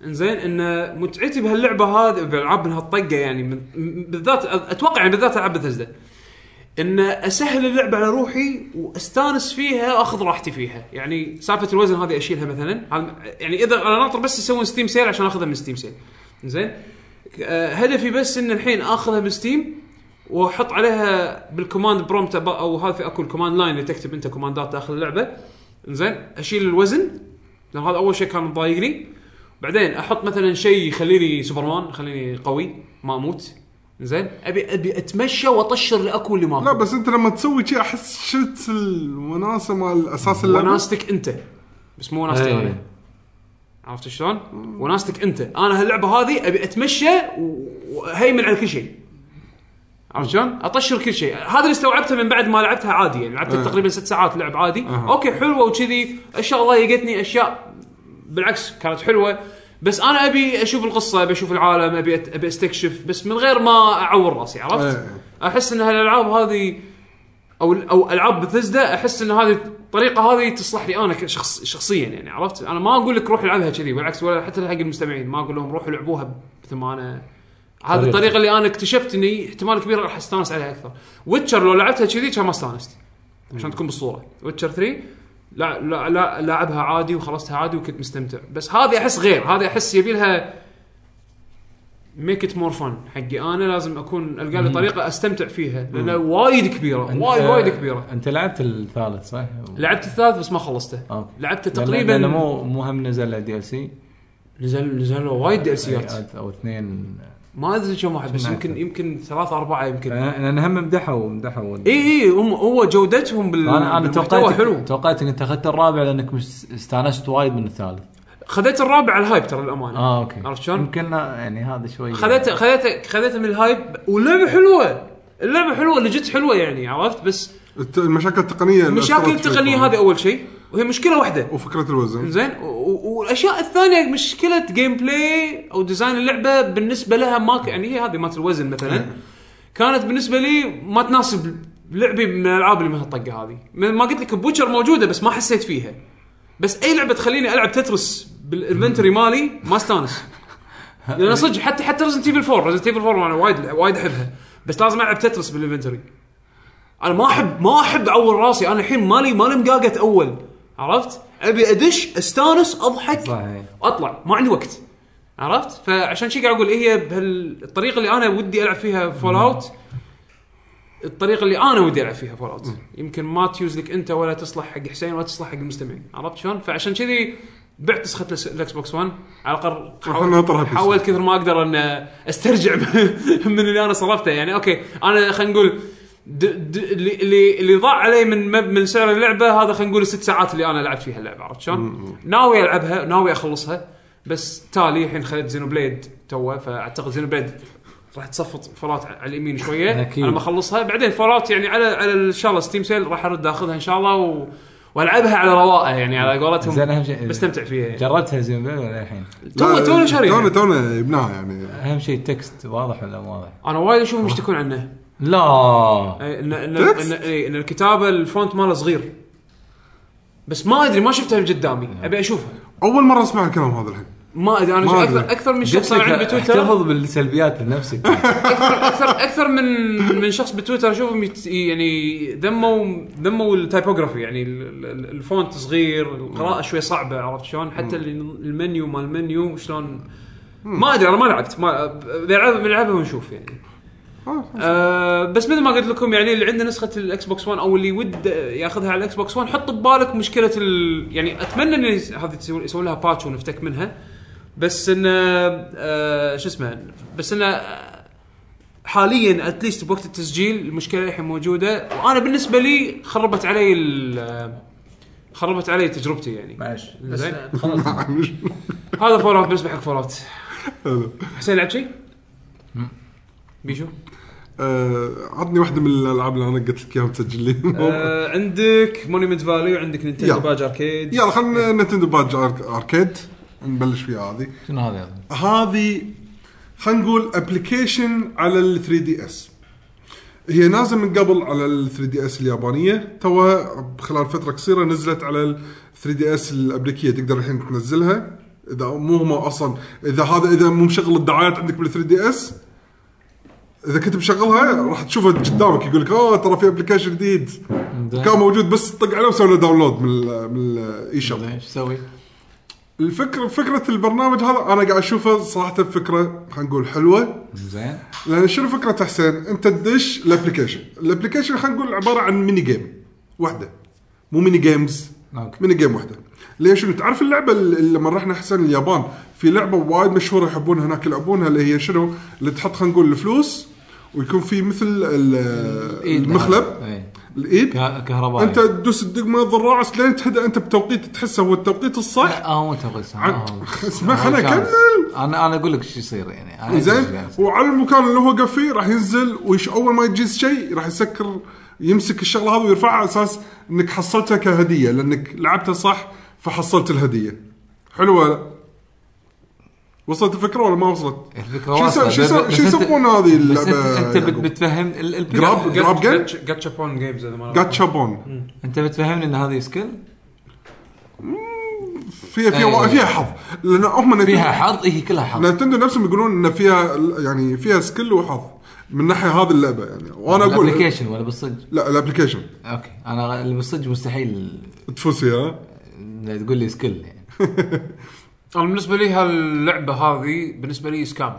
[SPEAKER 1] انزين ان متعتي بهاللعبه هذه بالالعاب من هالطقه يعني من بالذات اتوقع يعني بالذات العاب بثزده ان اسهل اللعبه على روحي واستانس فيها واخذ راحتي فيها يعني سالفه الوزن هذه اشيلها مثلا هذا- يعني اذا انا ناطر بس يسوون ستيم سيل عشان اخذها من ستيم سيل زين آه، هدفي بس ان الحين اخذها من ستيم واحط عليها بالكوماند برومت أب- او هذا في اكو الكوماند لاين اللي تكتب انت كوماندات داخل اللعبه زين اشيل الوزن لان هذا اول شيء كان مضايقني بعدين احط مثلا شيء يخليني سوبرمان يخليني قوي ما اموت زين ابي ابي اتمشى واطشر لاكو اللي ما أكو.
[SPEAKER 3] لا بس انت لما تسوي شي احس شلت الوناسه مال اساس اللعبه
[SPEAKER 1] وناستك انت بس مو وناستي
[SPEAKER 5] إيه.
[SPEAKER 1] انا عرفت شلون؟ وناستك انت انا هاللعبه هذه ابي اتمشى و- وهيمن على كل شيء عرفت شلون؟ اطشر كل شيء، هذا اللي استوعبته من بعد ما لعبتها عادي يعني لعبت
[SPEAKER 3] أه.
[SPEAKER 1] تقريبا ست ساعات لعب عادي،
[SPEAKER 3] أها.
[SPEAKER 1] اوكي حلوه وكذي، اشياء ضايقتني اشياء بالعكس كانت حلوه بس انا ابي اشوف القصه، ابي اشوف العالم، ابي أت- ابي استكشف بس من غير ما اعور راسي عرفت؟
[SPEAKER 3] إيه.
[SPEAKER 1] احس ان هالالعاب هذه او او العاب بثزدا احس ان هذه الطريقه هذه تصلح لي انا كشخص شخصيا يعني عرفت؟ انا ما اقول لك روح العبها كذي بالعكس ولا حتى حق المستمعين ما اقول لهم روحوا لعبوها مثل ما انا هذه الطريقه اللي انا اكتشفت اني احتمال كبير راح استانس عليها اكثر. ويتشر لو لعبتها كذي كان ما استانست عشان تكون بالصوره. ويتشر 3 لا لا لا لاعبها عادي وخلصتها عادي وكنت مستمتع، بس هذه احس غير، هذه احس يبي لها ميك ات مور فن حقي انا لازم اكون القى لي طريقه استمتع فيها لانها وايد كبيره وايد وايد كبيره
[SPEAKER 5] انت لعبت الثالث صح؟
[SPEAKER 1] لعبت الثالث بس ما خلصته
[SPEAKER 5] أوكي.
[SPEAKER 1] لعبته
[SPEAKER 5] لأن-
[SPEAKER 1] تقريبا
[SPEAKER 5] لأن مو مو هم نزل دي ال سي
[SPEAKER 1] نزل نزل له وايد
[SPEAKER 5] إيه،
[SPEAKER 1] دي سيات
[SPEAKER 5] او اثنين
[SPEAKER 1] ما ادري كم واحد بس
[SPEAKER 5] سمعت.
[SPEAKER 1] يمكن يمكن ثلاثة أربعة يمكن اي
[SPEAKER 5] آه، لان هم مدحوا مدحوا ال-
[SPEAKER 1] اي هم هو جودتهم بال
[SPEAKER 5] انا انا
[SPEAKER 1] بالمحتوى
[SPEAKER 5] توقعت
[SPEAKER 1] حلو
[SPEAKER 5] توقعت انك اخذت الرابع لانك مس- استانست وايد من الثالث
[SPEAKER 1] خذيت الرابع على الهايب ترى الأمانة
[SPEAKER 5] اه اوكي
[SPEAKER 1] عرفت شلون؟
[SPEAKER 5] يمكن يعني هذا شوي
[SPEAKER 1] خذيته خذيته خذيته من الهايب واللعبة حلوة اللعبة حلوة لجت حلوة يعني عرفت بس
[SPEAKER 3] الت- المشاكل التقنيه اللي
[SPEAKER 1] مشاكل
[SPEAKER 3] أثرت فيك
[SPEAKER 1] التقنية هذه أول شيء وهي مشكلة واحدة
[SPEAKER 3] وفكره الوزن
[SPEAKER 1] زين و- و- والاشياء الثانيه مشكله جيم بلاي او ديزاين اللعبه بالنسبه لها ما ك- يعني هي هذه مالت الوزن مثلا كانت بالنسبه لي ما تناسب لعبي من الالعاب اللي من هالطقه هذه من- ما قلت لك بوتشر موجوده بس ما حسيت فيها بس اي لعبه تخليني العب تترس بالانفنتوري مالي ما استانس لان صدق حتى حتى ريزنت ايفل 4 ريزنت ايفل 4 انا وايد وايد احبها بس لازم العب تترس بالانفنتوري انا ما احب ما احب اعور راسي انا الحين مالي مالي مقاقة اول عرفت؟ ابي ادش استانس اضحك
[SPEAKER 5] صحيح.
[SPEAKER 1] اطلع ما عندي وقت عرفت؟ فعشان شي قاعد اقول هي بهالطريقه اللي انا ودي العب فيها فول اوت الطريقه اللي انا ودي العب فيها فول اوت يمكن ما تيوز لك انت ولا تصلح حق حسين ولا تصلح حق المستمعين عرفت شلون؟ فعشان كذي بعت نسخه الأس- الاكس بوكس 1 على الاقل
[SPEAKER 3] راح نطرحها
[SPEAKER 1] حاول-
[SPEAKER 3] بس.
[SPEAKER 1] حاولت كثر ما اقدر ان استرجع من اللي انا صرفته يعني اوكي انا خلينا نقول د- د- اللي اللي اللي ضاع علي من مب- من سعر اللعبه هذا خلينا نقول الست ساعات اللي انا لعبت فيها اللعبه عرفت شلون؟ ناوي العبها ناوي اخلصها بس تالي الحين خذيت زينو بليد توه فاعتقد زينو بليد راح تصفط فولات على اليمين شويه
[SPEAKER 5] أكيد.
[SPEAKER 1] على ما اخلصها بعدين فولات يعني على على ان شاء الله ستيم سيل راح ارد اخذها ان شاء الله و... والعبها على رواقه يعني على قولتهم
[SPEAKER 5] زين اهم شيء
[SPEAKER 1] بستمتع فيها يعني.
[SPEAKER 5] جربتها زين بلد ولا الحين؟
[SPEAKER 1] تو
[SPEAKER 3] لا،
[SPEAKER 1] تو شاريها
[SPEAKER 3] تونا تونا يبناها يعني
[SPEAKER 5] اهم شيء التكست واضح ولا مو واضح؟
[SPEAKER 1] انا وايد اشوفهم يشتكون عنه
[SPEAKER 5] لا
[SPEAKER 1] أي، ان ان
[SPEAKER 3] تكست؟
[SPEAKER 1] ان, أي، إن الكتابه الفونت ماله صغير بس ما ادري ما شفتها
[SPEAKER 5] نعم.
[SPEAKER 1] قدامي ابي اشوفها
[SPEAKER 3] اول مره اسمع الكلام هذا الحين
[SPEAKER 1] ما ادري انا
[SPEAKER 3] ما
[SPEAKER 1] شو-
[SPEAKER 3] أدري.
[SPEAKER 1] اكثر اكثر من شخص
[SPEAKER 5] قلت
[SPEAKER 1] صار
[SPEAKER 5] لك
[SPEAKER 1] عندي بتويتر
[SPEAKER 5] احتفظ بالسلبيات لنفسك
[SPEAKER 1] اكثر اكثر من من شخص بتويتر اشوفهم يت- يعني ذموا ذموا التايبوغرافي يعني ال- ال- الفونت صغير القراءه شوي صعبه عرفت شلون حتى ال- المنيو مال المنيو شلون ما ادري انا ما لعبت ما بنلعبها بنلعبها ونشوف يعني آه بس مثل ما قلت لكم يعني اللي عنده نسخه الاكس بوكس 1 او اللي ود ياخذها على الاكس بوكس 1 حط ببالك مشكله ال... يعني اتمنى ان يس- هذه تسوي- يسوون لها باتش ونفتك منها بس ان آه، آه شو اسمه بس ان آه، حاليا اتليست بوقت التسجيل المشكله الحين موجوده وانا بالنسبه لي خربت علي ال- آه، خربت علي تجربتي يعني
[SPEAKER 6] معلش بس
[SPEAKER 1] زين.
[SPEAKER 6] خلاص
[SPEAKER 1] هذا فول اوت بالنسبه حق فول اوت
[SPEAKER 3] هذا.
[SPEAKER 1] حسين لعبت شيء؟ بيشو
[SPEAKER 3] آه، عطني واحده من الالعاب اللي انا قلت لك اياها مسجل لي
[SPEAKER 1] آه عندك مونيمنت فاليو عندك نينتندو
[SPEAKER 3] يلا.
[SPEAKER 1] باج اركيد
[SPEAKER 3] يلا خلينا نتندو باج أرك- اركيد نبلش فيها هذه
[SPEAKER 2] شنو هذا
[SPEAKER 3] هذه خلينا نقول ابلكيشن على ال 3 دي اس هي نازله من قبل على ال 3 دي اس اليابانيه توها خلال فتره قصيره نزلت على ال 3 دي اس الامريكيه تقدر الحين تنزلها اذا مو هم اصلا اذا هذا اذا مو مشغل الدعايات عندك بال 3 دي اس اذا كنت مشغلها راح تشوفها قدامك يقول لك اوه ترى في ابلكيشن جديد كان موجود بس طق عليه وسوي له داونلود من ال- من الاي شوب
[SPEAKER 2] ايش اسوي؟
[SPEAKER 3] الفكرة فكرة البرنامج هذا أنا قاعد أشوفه صراحة فكرة خلينا نقول حلوة
[SPEAKER 2] زين
[SPEAKER 3] لأن شنو فكرة حسين؟ أنت تدش الأبلكيشن، الأبلكيشن خلينا نقول عبارة عن ميني جيم واحدة مو ميني جيمز
[SPEAKER 2] أوكي.
[SPEAKER 3] ميني جيم واحدة ليش شنو تعرف اللعبة اللي لما رحنا حسين اليابان في لعبة وايد مشهورة يحبون هناك يلعبونها اللي هي شنو؟ اللي تحط خلينا نقول الفلوس ويكون في مثل ال- المخلب
[SPEAKER 2] إيه.
[SPEAKER 3] الايد
[SPEAKER 2] ك- كهربائي آه،
[SPEAKER 3] انت تدوس الدقمه الراس لين تهدى انت بتوقيت تحسه هو التوقيت الصح
[SPEAKER 2] لا هو متغلس
[SPEAKER 3] عن- اسمع،
[SPEAKER 2] آه،
[SPEAKER 3] خلنا نكمل.
[SPEAKER 2] انا انا اقول لك ايش يصير يعني أنا أدري
[SPEAKER 3] زين
[SPEAKER 2] إيش يصير.
[SPEAKER 3] وعلى المكان اللي هو وقف فيه راح ينزل ويش اول ما يجيز شيء راح يسكر يمسك الشغله هذا ويرفعها على اساس انك حصلتها كهديه لانك لعبتها صح فحصلت الهديه حلوه وصلت الفكره ولا ما وصلت؟
[SPEAKER 2] الفكره
[SPEAKER 3] شو
[SPEAKER 2] واصلة،
[SPEAKER 3] يسو- شو
[SPEAKER 2] بس-
[SPEAKER 3] يسو-
[SPEAKER 2] بس
[SPEAKER 3] شو
[SPEAKER 2] أنت-
[SPEAKER 3] يسمون هذه
[SPEAKER 2] بس انت
[SPEAKER 3] اللعبه
[SPEAKER 2] انت بت-
[SPEAKER 3] يعقوب؟
[SPEAKER 2] بتفهم ال- ال-
[SPEAKER 3] جراب؟ جراب جيم؟
[SPEAKER 1] جاتشا بون جيمز اذا ما
[SPEAKER 3] جاتشا بون
[SPEAKER 2] انت بتفهمني ان هذه سكيل
[SPEAKER 3] فيها فيها
[SPEAKER 2] أيوة.
[SPEAKER 3] فيها حظ لان هم
[SPEAKER 2] فيها حظ هي كلها حظ
[SPEAKER 3] نتندو نفسهم يقولون ان فيها يعني فيها سكيل وحظ من ناحيه هذه اللعبه يعني وانا اقول
[SPEAKER 2] الابلكيشن ولا بالصدق
[SPEAKER 3] لا الابلكيشن
[SPEAKER 2] اوكي انا اللي بالصدق مستحيل
[SPEAKER 3] تفوز فيها
[SPEAKER 2] لا تقول لي سكيل يعني
[SPEAKER 1] انا بالنسبه لي هاللعبه هذه بالنسبه لي سكام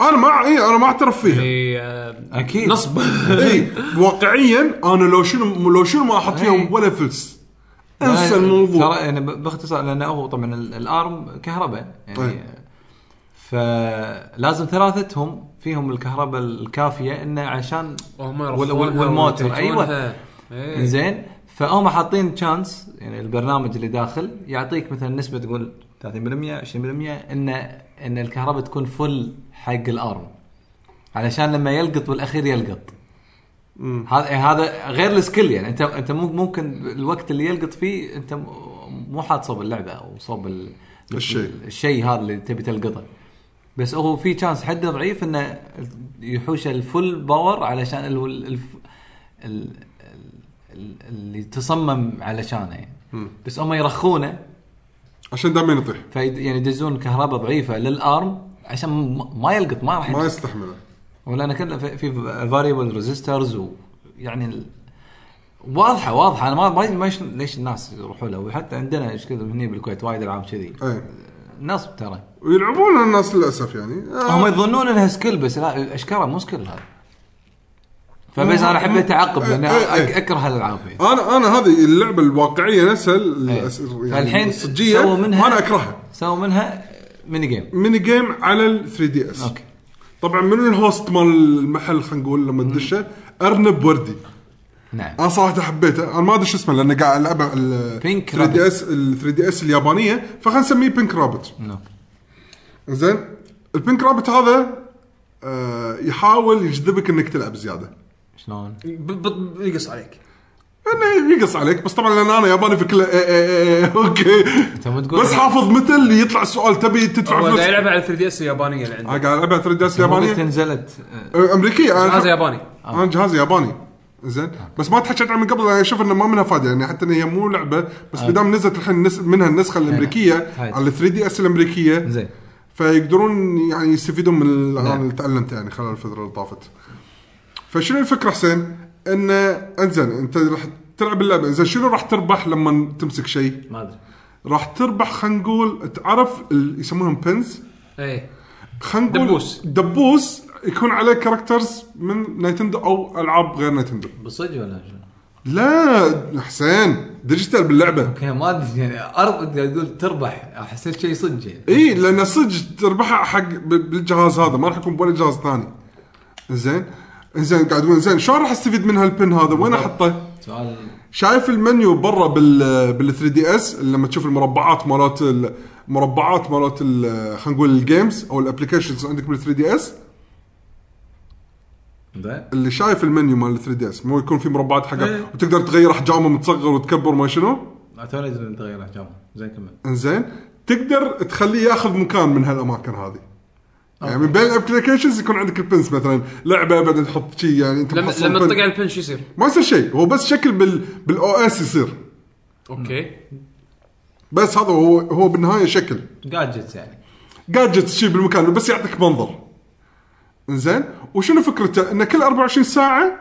[SPEAKER 3] انا ما اي انا ما اعترف
[SPEAKER 2] إيه.
[SPEAKER 3] فيها
[SPEAKER 1] هي آه،
[SPEAKER 2] اكيد
[SPEAKER 1] نصب
[SPEAKER 3] اي واقعيا انا لو شنو لو شنو ما احط
[SPEAKER 2] إي.
[SPEAKER 3] فيها ولا فلس
[SPEAKER 2] لا،
[SPEAKER 3] انسى الموضوع
[SPEAKER 2] إيه. ترى يعني ب- باختصار لانه هو طبعا ال- الارم كهرباء يعني
[SPEAKER 3] طيب.
[SPEAKER 2] فلازم ثلاثتهم فيهم الكهرباء الكافيه انه عشان
[SPEAKER 1] وهم
[SPEAKER 2] وال-
[SPEAKER 1] يرخونها
[SPEAKER 2] وال- والموتر ايوه
[SPEAKER 1] ويترجونها. إيه.
[SPEAKER 2] زين فهم حاطين تشانس يعني البرنامج اللي داخل يعطيك مثلا نسبه تقول 30% 20% ان ان الكهرباء تكون فل حق الارم علشان لما يلقط بالاخير يلقط هذا يعني هذا غير السكيل يعني انت انت مو- ممكن الوقت اللي يلقط فيه انت م- مو حاط صوب اللعبه او صوب ال-
[SPEAKER 3] الشيء.
[SPEAKER 2] الشيء هذا اللي تبي تلقطه بس هو في تشانس حده ضعيف انه يحوش الفل باور علشان ال ال ال ال ال اللي تصمم علشانه يعني بس هم يرخونه
[SPEAKER 3] عشان دائما يطيح
[SPEAKER 2] في يعني يدزون كهرباء ضعيفه للارم عشان ما- ما يلقط ما راح
[SPEAKER 3] ما
[SPEAKER 2] يمسك.
[SPEAKER 3] يستحمله
[SPEAKER 2] ولا انا كله في- في فاريبل ريزيسترز ويعني يعني ال... واضحه واضحه انا ما ما أدري- ما إيش- ليش الناس يروحوا له وحتى عندنا ايش كذا هني بالكويت وايد العاب كذي
[SPEAKER 3] اي
[SPEAKER 2] نصب ترى
[SPEAKER 3] ويلعبون إيه. الناس للاسف يعني آه،
[SPEAKER 2] هم يظنون انها سكيل بس لا اشكالها مو سكيل هذا فبس انا حبيت اعقب لان
[SPEAKER 3] إيه، إيه، إيه.
[SPEAKER 2] أك- اكره هالالعاب يعني.
[SPEAKER 3] انا انا هذه اللعبه الواقعيه نفسها
[SPEAKER 2] إيه.
[SPEAKER 3] الأس- يعني
[SPEAKER 2] فالحين
[SPEAKER 3] الصجيه
[SPEAKER 2] سووا منها-
[SPEAKER 3] وانا اكرهها
[SPEAKER 2] سووا منها ميني جيم
[SPEAKER 3] ميني جيم على ال 3 دي اس
[SPEAKER 2] اوكي
[SPEAKER 3] طبعا من الهوست مال المحل خلينا نقول لما تدشه ارنب وردي
[SPEAKER 2] نعم
[SPEAKER 3] انا صراحه حبيته انا ما ادري شو اسمه لان قاعد العبه ال
[SPEAKER 2] Pink
[SPEAKER 3] 3 دي اس ال 3 دي اس اليابانيه فخلينا نسميه بينك رابت
[SPEAKER 2] نعم.
[SPEAKER 3] زين البينك رابت هذا آه، يحاول يجذبك انك تلعب زياده
[SPEAKER 2] شلون؟
[SPEAKER 1] ب- ب- ب- يقص عليك
[SPEAKER 3] انه يعني يقص عليك بس طبعا لان انا ياباني في كله إيه إيه إيه، اوكي
[SPEAKER 2] ما تقول إيه.
[SPEAKER 3] بس
[SPEAKER 2] لا.
[SPEAKER 3] حافظ متل يطلع السؤال تبي تدفع
[SPEAKER 1] هو
[SPEAKER 3] فلوس
[SPEAKER 1] قاعد
[SPEAKER 3] انا
[SPEAKER 1] يلعبها على 3 دي اس اليابانيه اللي عنده
[SPEAKER 3] قاعد العبها 3 دي اس
[SPEAKER 2] هو
[SPEAKER 3] يابانيه
[SPEAKER 2] نزلت آه،
[SPEAKER 3] آه، امريكيه أنا-
[SPEAKER 1] هذا ياباني
[SPEAKER 3] انا جهاز ياباني زين
[SPEAKER 2] آه.
[SPEAKER 3] بس ما تحكيت عنها من قبل انا اشوف انه ما منها فائده يعني حتى ان هي مو لعبه بس بدام نزلت الحين النس- منها النسخه الامريكيه
[SPEAKER 2] آه. هاي.
[SPEAKER 3] على 3 دي اس الامريكيه
[SPEAKER 2] زين
[SPEAKER 3] فيقدرون يعني يستفيدون من ال- انا
[SPEAKER 2] نعم.
[SPEAKER 3] اللي تعلمته يعني خلال الفتره اللي طافت فشنو الفكره حسين؟ ان انزين انت راح تلعب اللعبه انزين شنو راح تربح لما تمسك شيء؟
[SPEAKER 2] ما ادري
[SPEAKER 3] راح تربح خلينا نقول تعرف ال- يسمونهم بنز
[SPEAKER 1] اي
[SPEAKER 3] خلينا نقول
[SPEAKER 1] دبوس.
[SPEAKER 3] دبوس يكون عليه كاركترز من نينتندو او العاب غير نينتندو
[SPEAKER 2] بالصدق ولا شنو؟
[SPEAKER 3] لا حسين ديجيتال باللعبه
[SPEAKER 2] اوكي ما ادري يعني ارض تقول تربح حسيت شيء صدق يعني
[SPEAKER 3] اي لان صدق تربحها حق ب- بالجهاز هذا ما راح يكون بولا جهاز ثاني زين زين قاعد اقول زين شلون راح استفيد من هالبن هذا وين احطه؟
[SPEAKER 5] سؤال
[SPEAKER 3] شايف المنيو برا بال بال 3 دي اس لما تشوف المربعات مالت المربعات مالت ال- خلينا نقول الجيمز او الابلكيشنز عندك بال 3 دي اس
[SPEAKER 5] زين
[SPEAKER 3] اللي شايف المنيو مال 3 دي اس مو يكون في مربعات حقه وتقدر تغير احجامه متصغر وتكبر ما شنو
[SPEAKER 5] توني لازم نتغير احجامه زين كمل
[SPEAKER 3] انزين تقدر تخليه ياخذ مكان من هالاماكن هذه يعني من بين الابلكيشنز يكون عندك البنس مثلا لعبه بعدين تحط شيء يعني انت
[SPEAKER 1] لما
[SPEAKER 3] محصل
[SPEAKER 1] لما
[SPEAKER 3] بن.
[SPEAKER 1] تطق على البن شو يصير؟
[SPEAKER 3] ما يصير شيء هو بس شكل بال بالاو اس يصير
[SPEAKER 1] اوكي
[SPEAKER 3] بس هذا هو هو بالنهايه شكل
[SPEAKER 5] جادجتس يعني
[SPEAKER 3] جادجت شيء بالمكان بس يعطيك منظر انزين وشنو فكرته ان كل 24 ساعه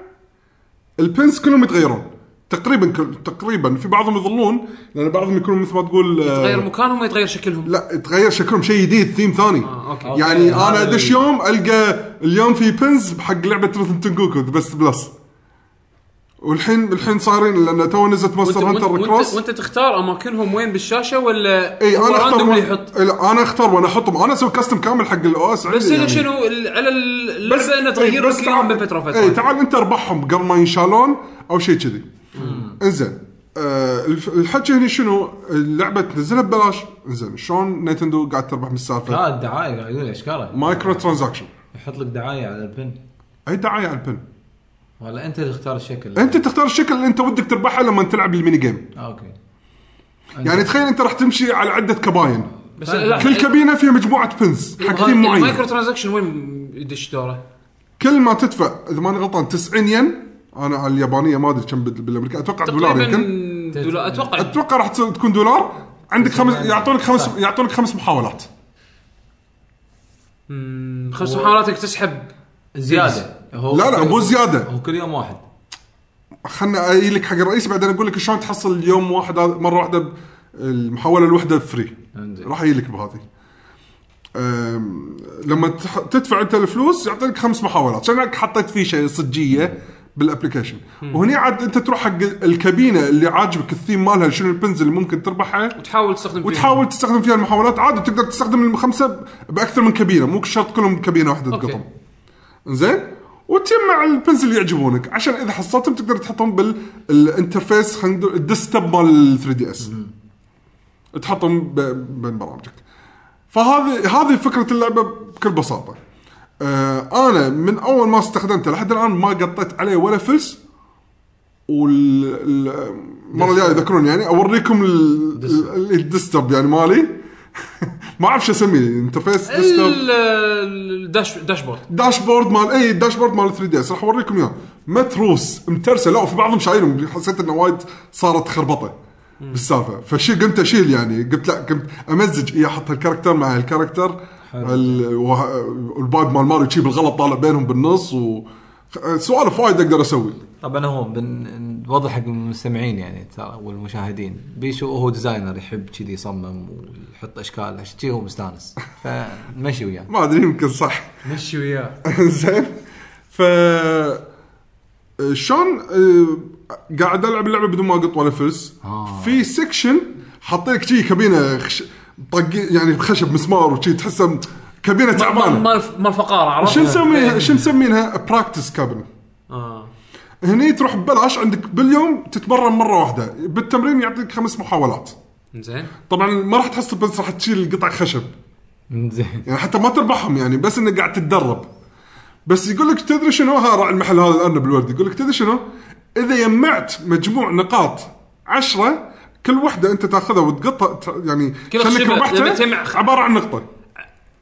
[SPEAKER 3] البنس كلهم يتغيرون تقريبا كل تقريبا في بعضهم يظلون لان بعضهم يكونوا مثل ما تقول آه،
[SPEAKER 1] تغير مكانهم يتغير شكلهم
[SPEAKER 3] لا تغير شكلهم شيء جديد ثيم ثاني
[SPEAKER 1] آه، أوكي.
[SPEAKER 3] يعني
[SPEAKER 5] أوكي،
[SPEAKER 3] انا
[SPEAKER 5] هذا
[SPEAKER 3] ادش
[SPEAKER 5] ال-
[SPEAKER 3] يوم القى اليوم في بنز حق لعبه ريثم تنجوكو ذا بيست بلس والحين الحين صايرين لان تو نزلت
[SPEAKER 1] وانت,
[SPEAKER 3] ماستر
[SPEAKER 1] وانت,
[SPEAKER 3] هانتر
[SPEAKER 1] وانت,
[SPEAKER 3] كروس
[SPEAKER 1] وانت تختار اماكنهم وين بالشاشه ولا
[SPEAKER 3] اي
[SPEAKER 1] هو
[SPEAKER 3] انا اختار
[SPEAKER 1] random
[SPEAKER 3] وأنا-
[SPEAKER 1] اللي يحط
[SPEAKER 3] إي، لا انا اختار وانا احطهم انا اسوي كاستم كامل حق الاو اس
[SPEAKER 1] بس يعني شنو ال- على اللعبه انه
[SPEAKER 3] إي،
[SPEAKER 1] تغير
[SPEAKER 3] بس إيه،
[SPEAKER 1] مكانهم
[SPEAKER 3] تعال-
[SPEAKER 1] بفتره
[SPEAKER 3] اي
[SPEAKER 1] وفتره
[SPEAKER 3] تعال انت اربحهم قبل ما ينشالون او شيء كذي انزين آه الف- الحكي هنا شنو اللعبه تنزلها ببلاش انزين شلون نينتندو قاعد تربح من السالفه
[SPEAKER 5] لا الدعايه قاعد يقول اشكاله
[SPEAKER 3] مايكرو ترانزاكشن
[SPEAKER 5] يحط لك دعايه على البن
[SPEAKER 3] اي دعايه على البن
[SPEAKER 5] ولا انت اللي تختار الشكل
[SPEAKER 3] انت تختار الشكل اللي انت ودك تربحه لما تلعب الميني جيم
[SPEAKER 5] آه، اوكي
[SPEAKER 3] يعني تخيل انت راح تمشي على عده كباين
[SPEAKER 1] بس لا
[SPEAKER 3] كل كابينه فيها مجموعه بنز حق تيم
[SPEAKER 1] المايكرو
[SPEAKER 3] معين
[SPEAKER 1] ترانزكشن وين يدش دوره؟
[SPEAKER 3] كل ما تدفع اذا ماني غلطان 90 ين انا على اليابانيه ما ادري كم بال- بالامريكيه اتوقع دولار
[SPEAKER 1] تقريبا
[SPEAKER 3] يمكن
[SPEAKER 1] دولا- اتوقع
[SPEAKER 3] اتوقع راح تصير- تكون دولار عندك خمس يعطونك خمس يعطونك خمس محاولات
[SPEAKER 1] مم، خمس محاولاتك تسحب
[SPEAKER 5] زياده هو
[SPEAKER 3] لا لا
[SPEAKER 5] كل-
[SPEAKER 3] مو زياده
[SPEAKER 5] هو كل يوم واحد
[SPEAKER 3] خلنا اي لك حق الرئيس بعدين اقول لك شلون تحصل اليوم واحد مره واحده ب- المحاوله الواحده فري
[SPEAKER 5] انزين
[SPEAKER 3] راح يجيلك بهذه أم، لما تح- تدفع انت الفلوس يعطيك خمس محاولات عشان هيك حطيت فيه شيء صجيه بالابلكيشن وهني عاد انت تروح حق الكابينه اللي عاجبك الثيم مالها شنو البنز اللي ممكن تربحها
[SPEAKER 1] تحاول تستخدم فيها.
[SPEAKER 3] وتحاول تستخدم فيها المحاولات عادي تقدر تستخدم الخمسه ب- باكثر من كابينه مو شرط كلهم كابينه واحده
[SPEAKER 1] أوكي.
[SPEAKER 3] تقطهم زين وتجمع البنز اللي يعجبونك عشان اذا حصلتهم تقدر تحطهم بالانترفيس خلينا نقول الديسكتوب مال 3 دي اس تحطهم ب- بين برامجك فهذه هذه فكره اللعبه بكل بساطه آه انا من اول ما استخدمته لحد الان ما قطيت عليه ولا فلس والمره الجايه يذكرون يعني اوريكم ال- ال- الديستوب يعني مالي ما اعرف شو اسميه انترفيس ديستوب
[SPEAKER 1] ال- الداش داشبورد
[SPEAKER 3] داشبورد مال اي داشبورد مال 3 دي اس راح اوريكم اياه متروس مترسه لا وفي بعضهم شايلهم حسيت انه وايد صارت خربطه بالسالفه فشي قمت اشيل يعني قلت لا قمت امزج اي احط هالكاركتر مع هالكاركتر ال- وه- والبايب مال ماريو شي بالغلط طالع بينهم بالنص و سوالف وايد اقدر اسوي
[SPEAKER 5] طبعا هو بن- نوضح حق المستمعين يعني ترى والمشاهدين بيشو هو ديزاينر يحب كذي يصمم ويحط اشكال عشان كذي هو مستانس فمشي وياه
[SPEAKER 3] ما ادري يمكن صح
[SPEAKER 1] مشي وياه
[SPEAKER 3] زين ف شلون آه، قاعد العب اللعبه بدون ما اقط ولا فلس
[SPEAKER 5] آه.
[SPEAKER 3] في سكشن حاط لك شي كابينه خش... طق يعني خشب مسمار وشي تحسها م- كابينه تعبانه
[SPEAKER 1] مال مال فقاره عرفت؟
[SPEAKER 3] شو مسميها شو مسمينها براكتس كابينه
[SPEAKER 1] إيه. آه.
[SPEAKER 3] هني تروح ببلاش عندك باليوم تتمرن مره واحده بالتمرين يعطيك خمس محاولات
[SPEAKER 1] زين
[SPEAKER 3] طبعا ما راح تحصل بس راح تشيل قطع خشب
[SPEAKER 5] زين
[SPEAKER 3] يعني حتى ما تربحهم يعني بس انك قاعد تتدرب بس يقول لك تدري شنو ها راعي المحل هذا الارنب الوردي يقول لك تدري شنو اذا جمعت مجموع نقاط عشرة كل وحده انت تاخذها وتقطها ت- يعني
[SPEAKER 1] كل
[SPEAKER 3] خليك
[SPEAKER 1] خشبة لما تجمع
[SPEAKER 3] ربحتها
[SPEAKER 1] خ-
[SPEAKER 3] عباره عن نقطه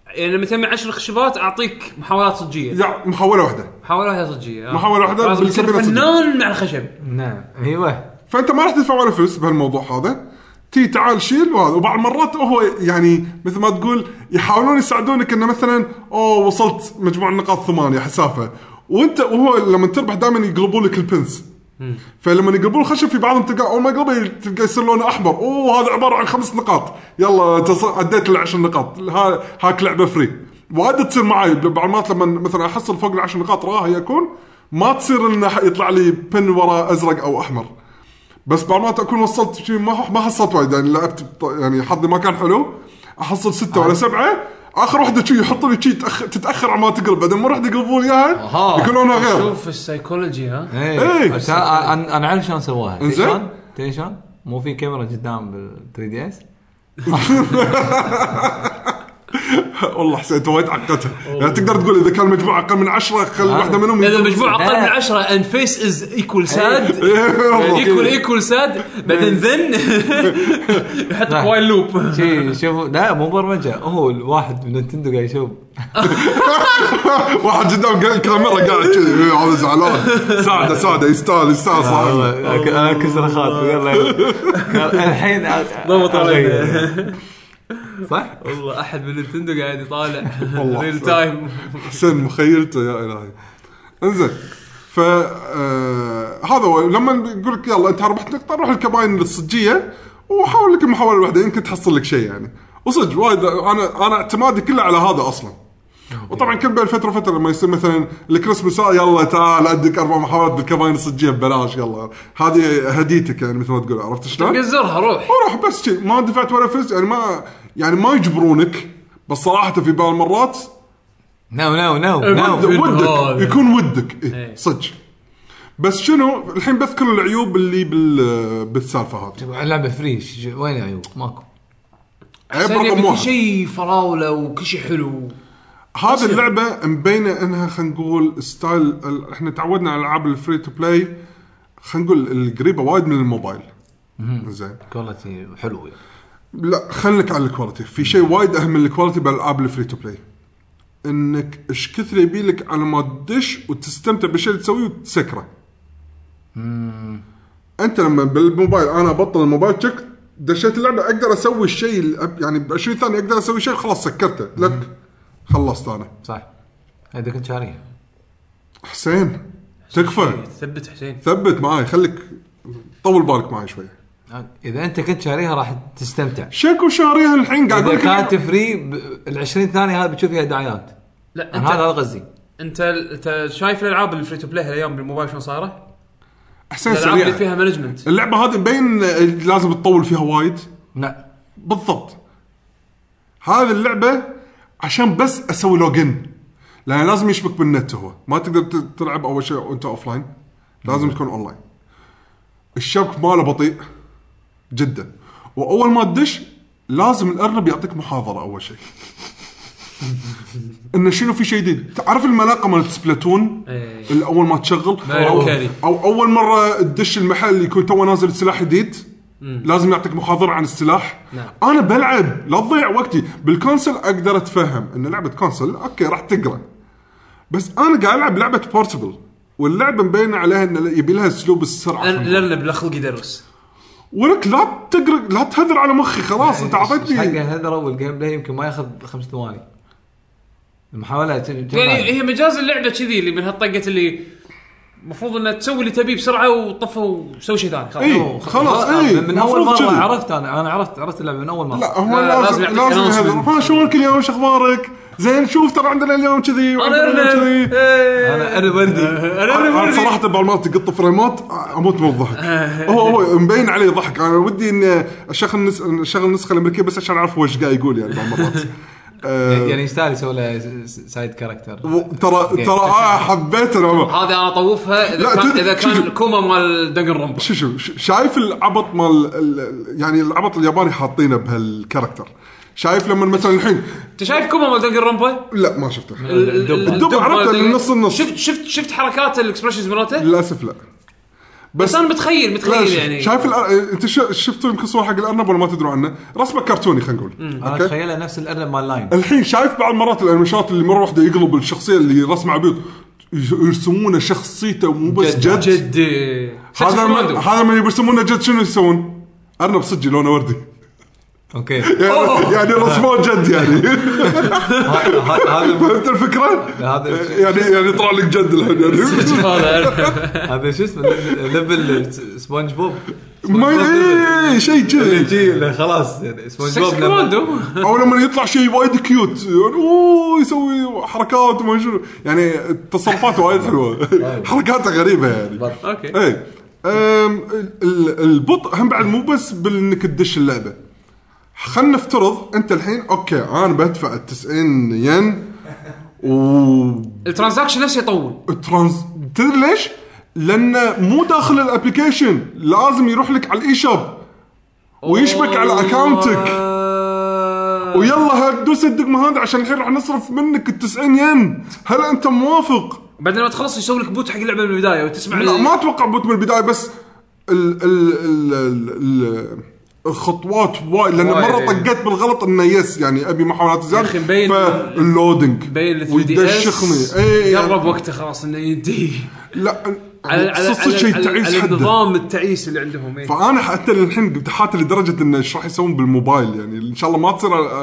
[SPEAKER 1] يعني لما تجمع 10 خشبات اعطيك محاولات صجيه
[SPEAKER 3] يعني محاوله واحده
[SPEAKER 1] محاولات هي صجيه آه.
[SPEAKER 3] محاولة واحدة
[SPEAKER 1] لازم تصير
[SPEAKER 3] بالكبيرة صجية.
[SPEAKER 1] فنان مع الخشب
[SPEAKER 5] نعم ايوه
[SPEAKER 3] فانت ما راح تدفع ولا فلوس بهالموضوع هذا تي تعال شيل وهذا وبعض المرات هو يعني مثل ما تقول يحاولون يساعدونك انه مثلا اوه وصلت مجموع النقاط ثمانيه حسافه وانت وهو لما تربح دائما يقلبوا لك البنس فلما يقلبون الخشب في بعضهم تلقى اول ما يقلبه تلقى يصير لونه احمر اوه هذا عباره عن خمس نقاط يلا تص- عديت العشر نقاط ها هاك لعبه فري وايد تصير معي بعض المرات لما مثلا احصل فوق العشر نقاط راه يكون ما تصير انه يطلع لي بن ورا ازرق او احمر بس بعد ما اكون وصلت شي ما ما حصلت وايد يعني لعبت بط- يعني حظي ما كان حلو احصل سته ولا سبعه اخر وحده شي يحطوا لي شي تأخ- تتاخر على ما تقلب بعدين ما راح يقلبون اياها
[SPEAKER 4] أها.
[SPEAKER 3] يكون لونها غير
[SPEAKER 1] شوف السايكولوجي ها
[SPEAKER 3] إيه.
[SPEAKER 5] ايه بس انا أنا- انا اعرف شلون سواها تدري
[SPEAKER 3] إنزين.
[SPEAKER 5] شلون؟ تدري شلون؟ مو في كاميرا قدام بال 3 دي اس
[SPEAKER 3] والله حسين انت وايد عقدتها يعني تقدر تقول اذا كان مجموعه اقل من عشرة خل واحده منهم
[SPEAKER 1] اذا المجموعه اقل من
[SPEAKER 5] لا.
[SPEAKER 1] 10 ان فيس از ايكول ساد
[SPEAKER 3] إيه، والله.
[SPEAKER 1] ايكول ايكول ساد بعدين ذن يحط
[SPEAKER 5] نعم.
[SPEAKER 1] وايل لوب
[SPEAKER 5] شي شوفوا لا مو برمجه هو الواحد من نتندو قاعد يشوف
[SPEAKER 3] واحد قدام قال- الكاميرا قاعد كذي إيه، هذا زعلان ساعده ساعده يستاهل يستاهل صاحبي
[SPEAKER 5] انا كسر خاطري يلا يلا. الحين أ-
[SPEAKER 1] ضبط علينا.
[SPEAKER 5] أغير. صح؟
[SPEAKER 1] والله احد من نتندو قاعد يطالع
[SPEAKER 3] والله.
[SPEAKER 1] ريل تايم
[SPEAKER 3] حسين مخيلته يا الهي انزين ف آه، هذا هو لما يقول لك يلا انت ربحت نقطه روح الكباين الصجيه وحاول لك المحاوله الواحده يمكن تحصل لك شيء يعني وصدق وايد انا انا اعتمادي كله على هذا اصلا وطبعا كل بين فتره وفتره لما يصير مثلا الكريسماس آه، يلا تعال ادك اربع محاولات بالكباين الصجيه ببلاش يلا هذه هديتك يعني مثل ما تقول عرفت شلون؟
[SPEAKER 1] قزرها روح
[SPEAKER 3] وروح بس شي ما دفعت ولا فلوس يعني ما يعني ما يجبرونك بس صراحه في بعض المرات
[SPEAKER 5] نو نو نو
[SPEAKER 1] المهم.
[SPEAKER 5] نو
[SPEAKER 1] يكون
[SPEAKER 3] ودك ودك
[SPEAKER 1] هذا.
[SPEAKER 3] يكون ودك إيه.
[SPEAKER 1] إيه.
[SPEAKER 3] صدق بس شنو الحين بذكر العيوب اللي بال بالسالفه هذه
[SPEAKER 5] اللعبه فريش وين العيوب؟ ماكو
[SPEAKER 3] عيب
[SPEAKER 1] ثانية
[SPEAKER 3] رقم
[SPEAKER 1] كل
[SPEAKER 3] واحد
[SPEAKER 1] شيء فراوله وكل شيء حلو
[SPEAKER 3] هذه اللعبه مبينه انها خلينا نقول ستايل ال- احنا تعودنا على العاب الفري تو بلاي خلينا نقول القريبه وايد من الموبايل زين
[SPEAKER 5] كواليتي حلو يعني.
[SPEAKER 3] لا خليك على الكواليتي في شيء وايد اهم من الكواليتي بالالعاب الفري تو بلاي انك ايش كثر يبي لك على ما تدش وتستمتع بالشيء اللي تسويه وتسكره انت لما بالموبايل انا ابطل الموبايل تشك دشيت اللعبه اقدر اسوي الشيء اللي- يعني ب 20 ثانيه اقدر اسوي شيء خلاص سكرته لك خلصت انا
[SPEAKER 5] صح اذا كنت شاريها
[SPEAKER 3] حسين تكفى
[SPEAKER 1] إيه، ثبت حسين
[SPEAKER 3] ثبت معاي خليك طول بالك معاي شوي
[SPEAKER 5] اذا انت كنت شاريها راح تستمتع
[SPEAKER 3] شكو شاريها الحين
[SPEAKER 5] اذا
[SPEAKER 3] قاعد أقول لك
[SPEAKER 5] كانت فري ب- ال 20 ثانيه هذه بتشوف فيها دعايات
[SPEAKER 1] لا
[SPEAKER 5] انا هذا
[SPEAKER 1] انت
[SPEAKER 5] هذا قصدي
[SPEAKER 1] انت انت شايف الالعاب الفري تو بلاي هالايام بالموبايل شلون صايره؟
[SPEAKER 3] حسين
[SPEAKER 1] الالعاب اللي
[SPEAKER 3] سريع
[SPEAKER 1] فيها مانجمنت
[SPEAKER 3] اللعبه هذه مبين آه، لازم تطول فيها وايد
[SPEAKER 5] لا
[SPEAKER 3] بالضبط هذه اللعبه عشان بس اسوي لوجن لان لازم يشبك بالنت هو ما تقدر ت- تلعب اول شيء وانت اوف لاين لازم تكون اون لاين الشبك ماله بطيء جدا واول ما تدش لازم الارنب يعطيك محاضره اول شيء انه شنو في شيء جديد تعرف الملاقه مالت سبلاتون
[SPEAKER 1] إيه.
[SPEAKER 3] اللي اول ما تشغل
[SPEAKER 1] ماريو
[SPEAKER 3] أو,
[SPEAKER 1] كاري.
[SPEAKER 3] او اول مره تدش المحل يكون تو نازل سلاح جديد لازم يعطيك محاضره عن السلاح
[SPEAKER 1] نعم.
[SPEAKER 3] انا بلعب لا تضيع وقتي بالكونسل اقدر اتفهم ان لعبه كونسل اوكي راح تقرا بس انا قاعد العب لعبه بورتبل واللعبه مبينه عليها ان يبي لها اسلوب السرعه
[SPEAKER 1] الارنب لا خلق يدرس
[SPEAKER 3] ولك لا تقرا لا تهذر على مخي
[SPEAKER 1] يعني
[SPEAKER 3] خلاص انت
[SPEAKER 5] حق
[SPEAKER 3] اعطيتني
[SPEAKER 5] الهدره والجيم بلاي يمكن ما ياخذ خمس ثواني المحاوله ت- ت-
[SPEAKER 1] يعني
[SPEAKER 3] إيه،
[SPEAKER 1] هي مجاز اللعبه كذي اللي من هالطقه اللي المفروض انها تسوي اللي تبيه بسرعه وطفى وسوي شيء ثاني خلاص
[SPEAKER 3] إيه.
[SPEAKER 5] أو-
[SPEAKER 3] خلاص،
[SPEAKER 5] آه،
[SPEAKER 3] إيه،
[SPEAKER 5] من اول
[SPEAKER 3] مفروض
[SPEAKER 5] مره
[SPEAKER 3] كذي.
[SPEAKER 5] عرفت انا انا عرفت عرفت اللعبه من اول مره
[SPEAKER 3] لا هو
[SPEAKER 1] لا، لا،
[SPEAKER 3] لازم
[SPEAKER 1] لازم
[SPEAKER 3] لازم
[SPEAKER 1] يعطيك
[SPEAKER 3] يهذر
[SPEAKER 1] announcement.
[SPEAKER 3] ها شلونك اليوم شو اخبارك؟ زين شوف ترى عندنا اليوم كذي
[SPEAKER 1] انا
[SPEAKER 3] وعندنا اليوم
[SPEAKER 1] ارنب
[SPEAKER 3] كذي
[SPEAKER 1] إيه.
[SPEAKER 5] انا انا بردي
[SPEAKER 1] أنا
[SPEAKER 3] انا
[SPEAKER 1] أرنب.
[SPEAKER 3] صراحه بعد ما تقط فريمات اموت من الضحك
[SPEAKER 1] آه.
[SPEAKER 3] هو هو مبين عليه ضحك انا ودي ان اشغل النس- اشغل النسخه الامريكيه بس عشان اعرف هو ايش قاعد يقول يعني بعض المرات آه،
[SPEAKER 5] يعني يستاهل يسوي له س- س- سايد كاركتر
[SPEAKER 3] و- ترى ترى آه، حبيت انا
[SPEAKER 1] هذه انا اطوفها
[SPEAKER 3] لا،
[SPEAKER 1] اذا كان
[SPEAKER 3] تدري-
[SPEAKER 1] اذا
[SPEAKER 3] شوف.
[SPEAKER 1] كان كوما مال دنجن رومبا
[SPEAKER 3] شو شو ش- شايف العبط مال ال- ال- يعني العبط الياباني حاطينه بهالكاركتر شايف لما مثلا الحين
[SPEAKER 1] انت شايف كوما مال دنجن رومبا؟
[SPEAKER 3] لا ما شفته
[SPEAKER 1] ال- ال-
[SPEAKER 5] الدب.
[SPEAKER 3] الدب
[SPEAKER 1] مال
[SPEAKER 3] عرفته
[SPEAKER 1] Dungeon-
[SPEAKER 3] النص النص.
[SPEAKER 1] شفت شفت شفت حركات الاكسبرشنز مالته؟
[SPEAKER 3] للاسف لا
[SPEAKER 1] بس انا متخيل
[SPEAKER 3] لا
[SPEAKER 1] متخيل
[SPEAKER 3] ش-
[SPEAKER 1] يعني
[SPEAKER 3] شايف الأر... انت ش- شفتوا يمكن صور حق الارنب ولا ما تدروا عنه رسمه كرتوني خلينا نقول
[SPEAKER 5] انا
[SPEAKER 3] اوكي
[SPEAKER 5] اتخيلها نفس الارنب مال لاين
[SPEAKER 3] الحين شايف بعض مرات الانيميشنات اللي مره واحده يقلب الشخصيه اللي رسمه عبيط يرسمونه شخصيته مو بس جد, جد.
[SPEAKER 1] جد إيه. شكل
[SPEAKER 3] هذا ما
[SPEAKER 1] كوماندو.
[SPEAKER 3] هذا ما يرسمونه جد شنو يسوون؟ ارنب صجي لونه وردي
[SPEAKER 5] اوكي
[SPEAKER 3] يعني, يعني رسموه جد يعني
[SPEAKER 5] ه- ه- هذا
[SPEAKER 3] فهمت الفكره؟
[SPEAKER 5] هذا-
[SPEAKER 3] يعني يعني طلع لك جد الحين يعني
[SPEAKER 5] هذا شو اسمه ليفل سبونج بوب
[SPEAKER 3] ما إيه، إيه، شيء كذي
[SPEAKER 5] يجي خلاص يعني سبونج بوب
[SPEAKER 1] شكل
[SPEAKER 5] لما-
[SPEAKER 1] كوماندو
[SPEAKER 3] او لما يطلع شيء وايد كيوت يعني اوه يسوي حركات وما شنو يعني تصرفاته وايد حلوه حركاته غريبه يعني
[SPEAKER 1] اوكي
[SPEAKER 3] اي أم، ال- ال- البطء هم بعد مو بس بانك تدش اللعبه خلينا نفترض انت الحين اوكي انا بدفع 90 ين و
[SPEAKER 1] الترانزاكشن نفسه يطول
[SPEAKER 3] ترانز تدري ليش؟ لانه مو داخل الابلكيشن لازم يروح لك على الاي شوب ويشبك على اكونتك
[SPEAKER 1] آه،
[SPEAKER 3] ويلا هاك دوس الدقمه هذا عشان الحين راح نصرف منك ال 90 ين هل انت موافق؟
[SPEAKER 1] بعدين لما تخلص يسوي لك بوت حق اللعبه من البدايه وتسمع
[SPEAKER 3] لا
[SPEAKER 1] ال-
[SPEAKER 3] ما اتوقع بوت من البدايه بس ال ال ال ال الخطوات وايد لان
[SPEAKER 1] وايد،
[SPEAKER 3] مره
[SPEAKER 1] إيه.
[SPEAKER 3] طقيت بالغلط انه يس يعني ابي محاولات زياده
[SPEAKER 1] أخي مبين-
[SPEAKER 3] فاللودنج
[SPEAKER 1] بين ال 3 دي اس
[SPEAKER 3] ويدشخني اي
[SPEAKER 1] قرب وقته خلاص انه ينتهي
[SPEAKER 3] لا
[SPEAKER 1] على على
[SPEAKER 3] صدق إيه، يعني. شيء
[SPEAKER 1] على-
[SPEAKER 3] تعيس
[SPEAKER 1] على
[SPEAKER 3] حده
[SPEAKER 1] النظام التعيس اللي عندهم إيه.
[SPEAKER 3] فانا حتى الحين قمت حاتر لدرجه انه ايش راح يسوون بالموبايل يعني ان شاء الله ما تصير
[SPEAKER 1] المفروض-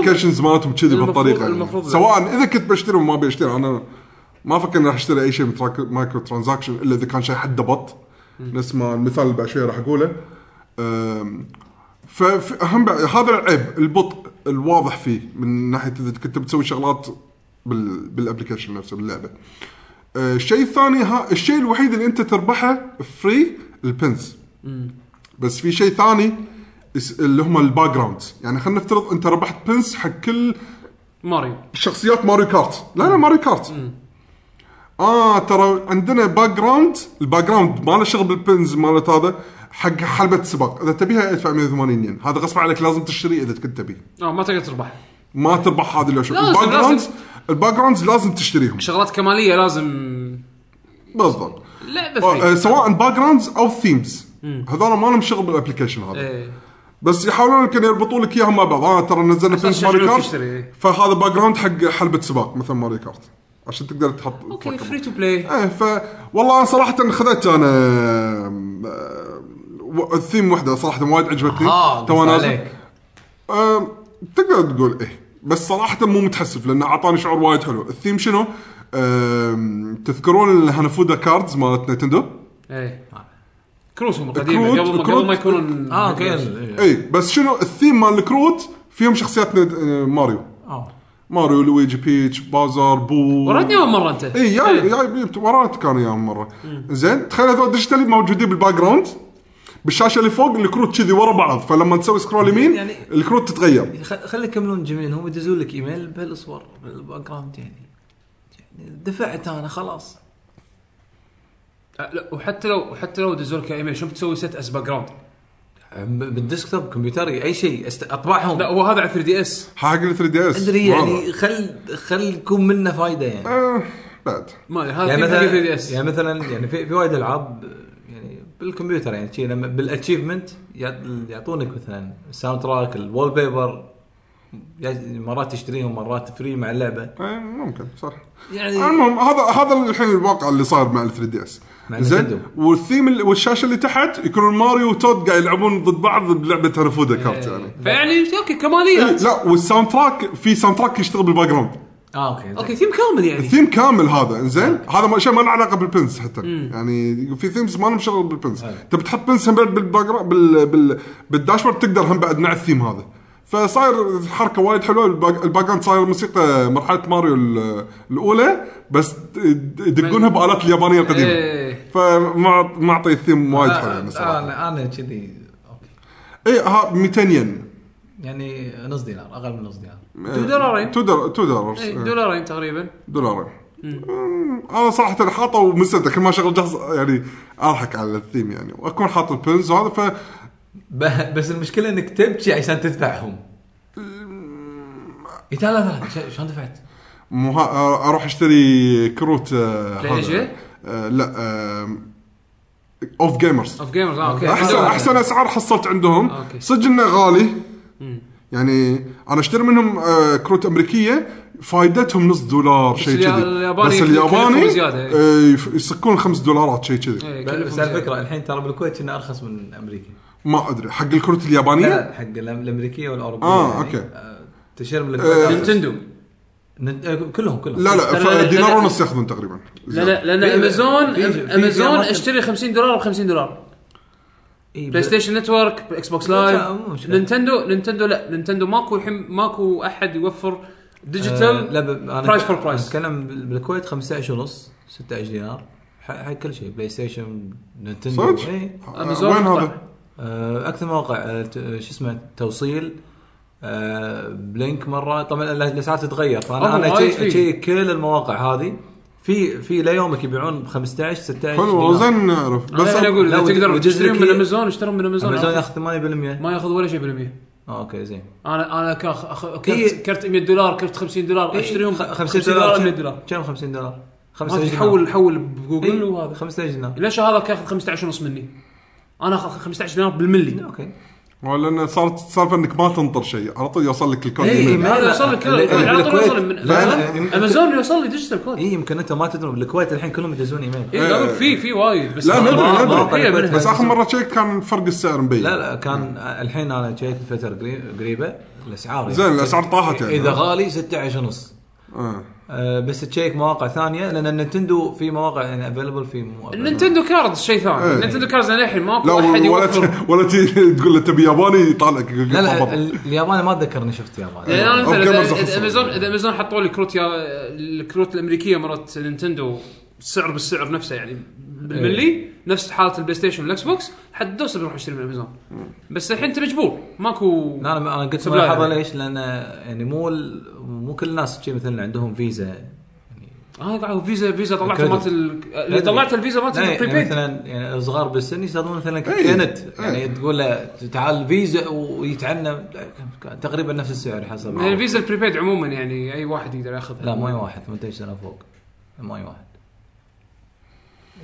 [SPEAKER 3] الابلكيشنز مالتهم كذي
[SPEAKER 1] المفروض-
[SPEAKER 3] بالطريقه يعني.
[SPEAKER 1] المفروض لا.
[SPEAKER 3] سواء اذا كنت بشتري وما بشتري انا ما افكر اني راح اشتري اي شيء من تراك- مايكرو ترانزاكشن الا اذا كان شيء حد بط نفس ما المثال اللي بعد شوي راح اقوله أم، فاهم هذا العيب البطء الواضح فيه من ناحيه اذا كنت بتسوي شغلات بال- بالابلكيشن نفسه باللعبه. أه، الشيء الثاني ها الشيء الوحيد اللي انت تربحه فري البنز. بس في شيء ثاني اس- اللي هم الباك جراوندز، يعني خلينا نفترض انت ربحت بنز حق كل
[SPEAKER 1] ماريو
[SPEAKER 3] شخصيات ماريو كارت لا لا ماريو كارت اه ترى عندنا باك جراوند الباك جراوند ما له شغل بالبنز مالت هذا حق حلبة سباق اذا تبيها ادفع 180 ين هذا غصب عليك لازم تشتري اذا كنت تبيه
[SPEAKER 1] اه ما تقدر تربح
[SPEAKER 3] ما تربح هذا اللي شو
[SPEAKER 1] لازم-
[SPEAKER 3] الباك جراوندز
[SPEAKER 1] لازم.
[SPEAKER 3] الباك جراوندز لازم تشتريهم
[SPEAKER 1] شغلات كماليه لازم إيه.
[SPEAKER 3] بالضبط
[SPEAKER 1] لعبه
[SPEAKER 3] آه، آه،
[SPEAKER 1] فري
[SPEAKER 3] سواء باك جراوندز او ثيمز هذول ما لهم شغل بالابلكيشن هذا
[SPEAKER 1] إيه.
[SPEAKER 3] بس يحاولون يمكن يربطون لك اياها مع بعض اه ترى نزلنا
[SPEAKER 1] عشان
[SPEAKER 3] فيلم ماري
[SPEAKER 1] يشجعونك
[SPEAKER 3] كارت
[SPEAKER 1] تشتري، إيه.
[SPEAKER 3] فهذا باك جراوند حق حلبه سباق مثل ماري كارت عشان تقدر تحط
[SPEAKER 1] اوكي
[SPEAKER 3] تركبه.
[SPEAKER 1] فري تو بلاي
[SPEAKER 3] ايه ف والله أنا صراحه خذت انا آم، آه، و- الثيم وحده صراحه وايد عجبتني
[SPEAKER 5] آه،
[SPEAKER 3] تو
[SPEAKER 5] قص
[SPEAKER 3] نازل.
[SPEAKER 5] عليك.
[SPEAKER 3] آم، تقدر تقول ايه بس صراحه مو متحسف لانه اعطاني شعور وايد حلو الثيم شنو آم، تذكرون الهانفودا كاردز مالت نينتندو
[SPEAKER 1] ايه كروسهم القديمه
[SPEAKER 3] أه، كروت-
[SPEAKER 1] قبل ما
[SPEAKER 3] كروت-
[SPEAKER 1] قبل ما يكونون
[SPEAKER 5] اه اوكي
[SPEAKER 3] اي إيه، بس شنو الثيم مال الكروت فيهم شخصيات نيد- آه، ماريو
[SPEAKER 5] آه.
[SPEAKER 3] ماريو لويجي بيتش بازار بو
[SPEAKER 1] وردني اول مره انت
[SPEAKER 3] اي
[SPEAKER 5] إيه.
[SPEAKER 3] ياي ياي ورات كانوا ياهم مره زين تخيل هذول ديجيتالي موجودين بالباك جراوند بالشاشه اللي فوق الكروت كذي ورا بعض فلما تسوي سكرول يمين
[SPEAKER 5] يعني-
[SPEAKER 3] الكروت تتغير
[SPEAKER 5] خل- خلي يكملون جميل هم يدزون لك ايميل بالصور بالباك جراوند يعني يعني دفعت انا خلاص
[SPEAKER 1] آه، لا وحتى لو وحتى لو دزوا لك ايميل شو بتسوي ست اس باك جراوند
[SPEAKER 5] بالديسكتوب كمبيوتري اي شيء أست- اطبعهم
[SPEAKER 1] لا هو هذا على 3 دي اس
[SPEAKER 3] حق ال 3 دي اس
[SPEAKER 5] ادري يعني خل خل يكون منه فايده
[SPEAKER 1] آه،
[SPEAKER 5] يعني
[SPEAKER 3] آه، بعد
[SPEAKER 1] ما أدري، هذا
[SPEAKER 5] يعني
[SPEAKER 1] يعني 3 دي
[SPEAKER 5] مثلا
[SPEAKER 1] اس
[SPEAKER 5] يعني مثلا يعني في في وايد العاب يعني بالكمبيوتر يعني شي لما بالاتشيفمنت يعطونك مثلا الساوند تراك الوول بيبر مرات تشتريهم مرات فري مع اللعبه
[SPEAKER 3] إيه، ممكن صح
[SPEAKER 5] يعني
[SPEAKER 3] المهم هذا هذا الحين الواقع اللي صاير مع ال 3 دي اس
[SPEAKER 5] مع
[SPEAKER 3] زين
[SPEAKER 5] نينتندو.
[SPEAKER 3] والثيم اللي- والشاشه اللي تحت يكونون ماريو وتود قاعد يلعبون ضد بعض بلعبه هرفودا
[SPEAKER 5] إيه.
[SPEAKER 3] كارت يعني إيه،
[SPEAKER 1] فيعني اوكي كماليات
[SPEAKER 3] لا والساوند تراك في ساوند تراك يشتغل بالباك جراوند
[SPEAKER 5] اه اوكي
[SPEAKER 1] اوكي ثيم كامل يعني
[SPEAKER 3] الثيم كامل هذا انزين هذا ما- شيء ما له علاقه بالبنز حتى يعني في ثيمز ما لهم شغل بالبنز انت بتحط بنز هم بعد بالباك جراوند- بال بال بالداشبورد تقدر هم بعد مع الثيم هذا فصاير حركه وايد حلوه الباك الباك جراوند صاير موسيقى مرحله ماريو ال- الاولى بس يدقونها بالات اليابانيه القديمه
[SPEAKER 1] ايه
[SPEAKER 3] فمع- معطي الثيم
[SPEAKER 1] آه،
[SPEAKER 2] آه،
[SPEAKER 3] وايد حلو يعني صراحه
[SPEAKER 5] انا انا كذي اوكي
[SPEAKER 3] اي ها 200 ين
[SPEAKER 5] يعني نص دينار اقل من نص دينار
[SPEAKER 1] تو دولارين.
[SPEAKER 3] تو دولار تو دولار
[SPEAKER 1] إيه، دولارين تقريبا
[SPEAKER 3] دولارين أمم، انا صراحه حاطه ومسنته كل ما شغل جهاز يعني اضحك على الثيم يعني واكون حاط البنز وهذا ف
[SPEAKER 5] ب- بس المشكله انك تبكي عشان تدفعهم اي تعال تعال ش- شلون دفعت؟
[SPEAKER 3] مها... اروح اشتري آه، كروت آه،
[SPEAKER 1] بلاي
[SPEAKER 3] هذا.
[SPEAKER 1] جي؟
[SPEAKER 3] آه، لا آه، اوف جيمرز
[SPEAKER 1] اوف جيمرز اه اوكي
[SPEAKER 3] احسن
[SPEAKER 1] دولار.
[SPEAKER 3] احسن اسعار حصلت عندهم
[SPEAKER 1] أوكي.
[SPEAKER 3] صدق انه غالي يعني انا اشتري منهم آه، كروت امريكيه فائدتهم نص دولار شيء
[SPEAKER 1] اليا-
[SPEAKER 3] كذي
[SPEAKER 1] الياباني
[SPEAKER 3] بس
[SPEAKER 1] يكلفهم
[SPEAKER 3] الياباني
[SPEAKER 1] زيادة، إيه.
[SPEAKER 3] آه، يف- يسكون خمس دولارات شيء كذي
[SPEAKER 1] إيه،
[SPEAKER 5] بس
[SPEAKER 1] كلفهم
[SPEAKER 5] على
[SPEAKER 1] زيادة.
[SPEAKER 5] فكره الحين ترى بالكويت كنا ارخص من امريكا
[SPEAKER 3] ما ادري حق الكروت اليابانيه
[SPEAKER 5] لا حق الأم- الامريكيه والاوروبيه
[SPEAKER 3] آه،
[SPEAKER 5] يعني.
[SPEAKER 3] أوكي.
[SPEAKER 5] آه، تشير من
[SPEAKER 3] آه،
[SPEAKER 5] الكويت أرخص.
[SPEAKER 1] نينتندو
[SPEAKER 5] نت- آه، كلهم كلهم
[SPEAKER 3] لا لا
[SPEAKER 1] لا، لا، لا،
[SPEAKER 3] فدينار
[SPEAKER 1] لا.
[SPEAKER 3] ونص ياخذون تقريبا
[SPEAKER 1] لا لا لان
[SPEAKER 5] في-
[SPEAKER 1] امازون
[SPEAKER 5] في- في-
[SPEAKER 1] امازون
[SPEAKER 5] في-
[SPEAKER 1] اشتري 50 دولار ب 50 دولار
[SPEAKER 5] إي،
[SPEAKER 1] بلاي
[SPEAKER 5] ب-
[SPEAKER 1] ستيشن نتورك اكس بوكس
[SPEAKER 5] لا،
[SPEAKER 1] لايف
[SPEAKER 5] مو مشكلة.
[SPEAKER 1] نينتندو نينتندو لا نينتندو ماكو الحين ماكو احد يوفر
[SPEAKER 5] آه، لا
[SPEAKER 1] ديجيتال
[SPEAKER 5] ب- انا
[SPEAKER 1] برايس فور برايس.
[SPEAKER 5] اتكلم بال- بالكويت 15 ونص 16 دينار ح- حق كل شيء بلاي ستيشن نينتندو
[SPEAKER 3] صدق؟
[SPEAKER 5] إي.
[SPEAKER 3] آه،
[SPEAKER 1] امازون
[SPEAKER 3] وين
[SPEAKER 1] مقطع.
[SPEAKER 3] هذا؟
[SPEAKER 2] آه، اكثر مواقع آه، ت- آه، شو اسمه توصيل آه، بلينك مره طبعا ال- الاسعار تتغير فانا
[SPEAKER 1] أوه،
[SPEAKER 2] انا
[SPEAKER 1] وايد
[SPEAKER 2] شي-
[SPEAKER 1] في.
[SPEAKER 2] شي كل المواقع هذه في في ليومك يبيعون ب 15 16
[SPEAKER 3] حلو
[SPEAKER 2] دينار.
[SPEAKER 3] زين نعرف
[SPEAKER 1] بس
[SPEAKER 3] بس
[SPEAKER 1] انا اقول
[SPEAKER 2] لو
[SPEAKER 1] لو تقدر
[SPEAKER 2] وجز
[SPEAKER 1] تشتريهم
[SPEAKER 2] لك
[SPEAKER 1] من
[SPEAKER 2] إيه؟
[SPEAKER 1] امازون اشترهم من امازون
[SPEAKER 2] امازون
[SPEAKER 1] أنا-
[SPEAKER 2] ياخذ 8%
[SPEAKER 1] ما ياخذ ولا شيء بالمية
[SPEAKER 2] آه، اوكي زين
[SPEAKER 1] انا انا كان أخ- أخ-
[SPEAKER 2] إيه.
[SPEAKER 1] كرت كرت 100 دولار كرت 50 دولار اشتريهم
[SPEAKER 2] 50
[SPEAKER 1] دولار
[SPEAKER 2] دولار
[SPEAKER 1] 100 دولار
[SPEAKER 2] كم 50 دولار؟
[SPEAKER 1] ما
[SPEAKER 2] 15
[SPEAKER 1] في،
[SPEAKER 2] دينار.
[SPEAKER 1] حول حول بجوجل
[SPEAKER 2] إيه،
[SPEAKER 1] وهذا
[SPEAKER 2] 15 دينار
[SPEAKER 1] ليش هذا كان 15 ونص مني انا اخذ 15 دينار بالملي
[SPEAKER 2] اوكي
[SPEAKER 3] لان صارت السالفه انك ما تنطر شيء على طول يوصل لك الكود
[SPEAKER 2] إيه،
[SPEAKER 3] إيميل.
[SPEAKER 2] ما-
[SPEAKER 1] هذا يوصل لك كذا،
[SPEAKER 2] ال- ال-
[SPEAKER 1] على طول
[SPEAKER 2] الكويت.
[SPEAKER 1] يوصل من
[SPEAKER 2] لا، لا.
[SPEAKER 1] امازون يوصل لي ديجيتال كود
[SPEAKER 2] اي إيه، يمكن انت ما تدرون بالكويت الحين كلهم يدزون ايميل
[SPEAKER 1] اي اقول في في وايد بس
[SPEAKER 3] إيه. لا
[SPEAKER 1] ما-
[SPEAKER 3] ندري
[SPEAKER 1] ما-
[SPEAKER 3] ندري.
[SPEAKER 1] ما- هي منها.
[SPEAKER 3] بس اخر مره شيك كان فرق السعر مبين
[SPEAKER 2] لا لا كان الحين انا شايف الفتره قري- قريبه الاسعار يعني.
[SPEAKER 3] زين الاسعار طاحت يعني
[SPEAKER 2] اذا غالي 16 ونص
[SPEAKER 3] آه.
[SPEAKER 2] أه بس تشيك مواقع ثانيه لان النينتندو في مواقع يعني افيلبل في مو available.
[SPEAKER 1] النينتندو كاردز شيء ثاني
[SPEAKER 3] إيه.
[SPEAKER 1] النينتندو كاردز للحين ماكو
[SPEAKER 3] لا
[SPEAKER 1] احد
[SPEAKER 3] ولا
[SPEAKER 1] يوفر
[SPEAKER 3] ت- ولا تي- تقول له تبي ياباني يطالعك
[SPEAKER 2] لا لا ال- الياباني ما اتذكر اني شفت ياباني
[SPEAKER 1] لان انا
[SPEAKER 3] أوكي،
[SPEAKER 1] مثلا إيه، إذا-
[SPEAKER 3] مرزخ
[SPEAKER 1] اذا
[SPEAKER 3] خصوصاً.
[SPEAKER 1] امازون اذا امازون حطوا لي كروت يا الكروت الامريكيه مرات نينتندو السعر بالسعر نفسه يعني
[SPEAKER 3] إيه.
[SPEAKER 1] بالملي نفس حاله البلاي ستيشن والاكس بوكس حد الدوسه بيروح يشتري من امازون بس الحين انت مجبور ماكو
[SPEAKER 2] لا، انا انا قلت
[SPEAKER 1] سبلاير.
[SPEAKER 2] ملاحظه ليش لان يعني مو ال- مو كل الناس شي مثلا عندهم فيزا
[SPEAKER 1] اه قاعد فيزا فيزا طلعت
[SPEAKER 2] الكريدت.
[SPEAKER 1] مالت ال- اللي طلعت الفيزا مالت
[SPEAKER 2] لا، يعني
[SPEAKER 1] البريبيد
[SPEAKER 2] مثلا يعني صغار بالسن يستخدمون مثلا
[SPEAKER 3] إيه.
[SPEAKER 2] كنت
[SPEAKER 3] إيه.
[SPEAKER 2] يعني تقول له تعال فيزا ويتعنى لا، تقريبا نفس السعر حسب
[SPEAKER 1] يعني الفيزا البريبيد عموما يعني اي واحد يقدر ياخذها
[SPEAKER 2] لا ماي واحد 18 سنه فوق ماي واحد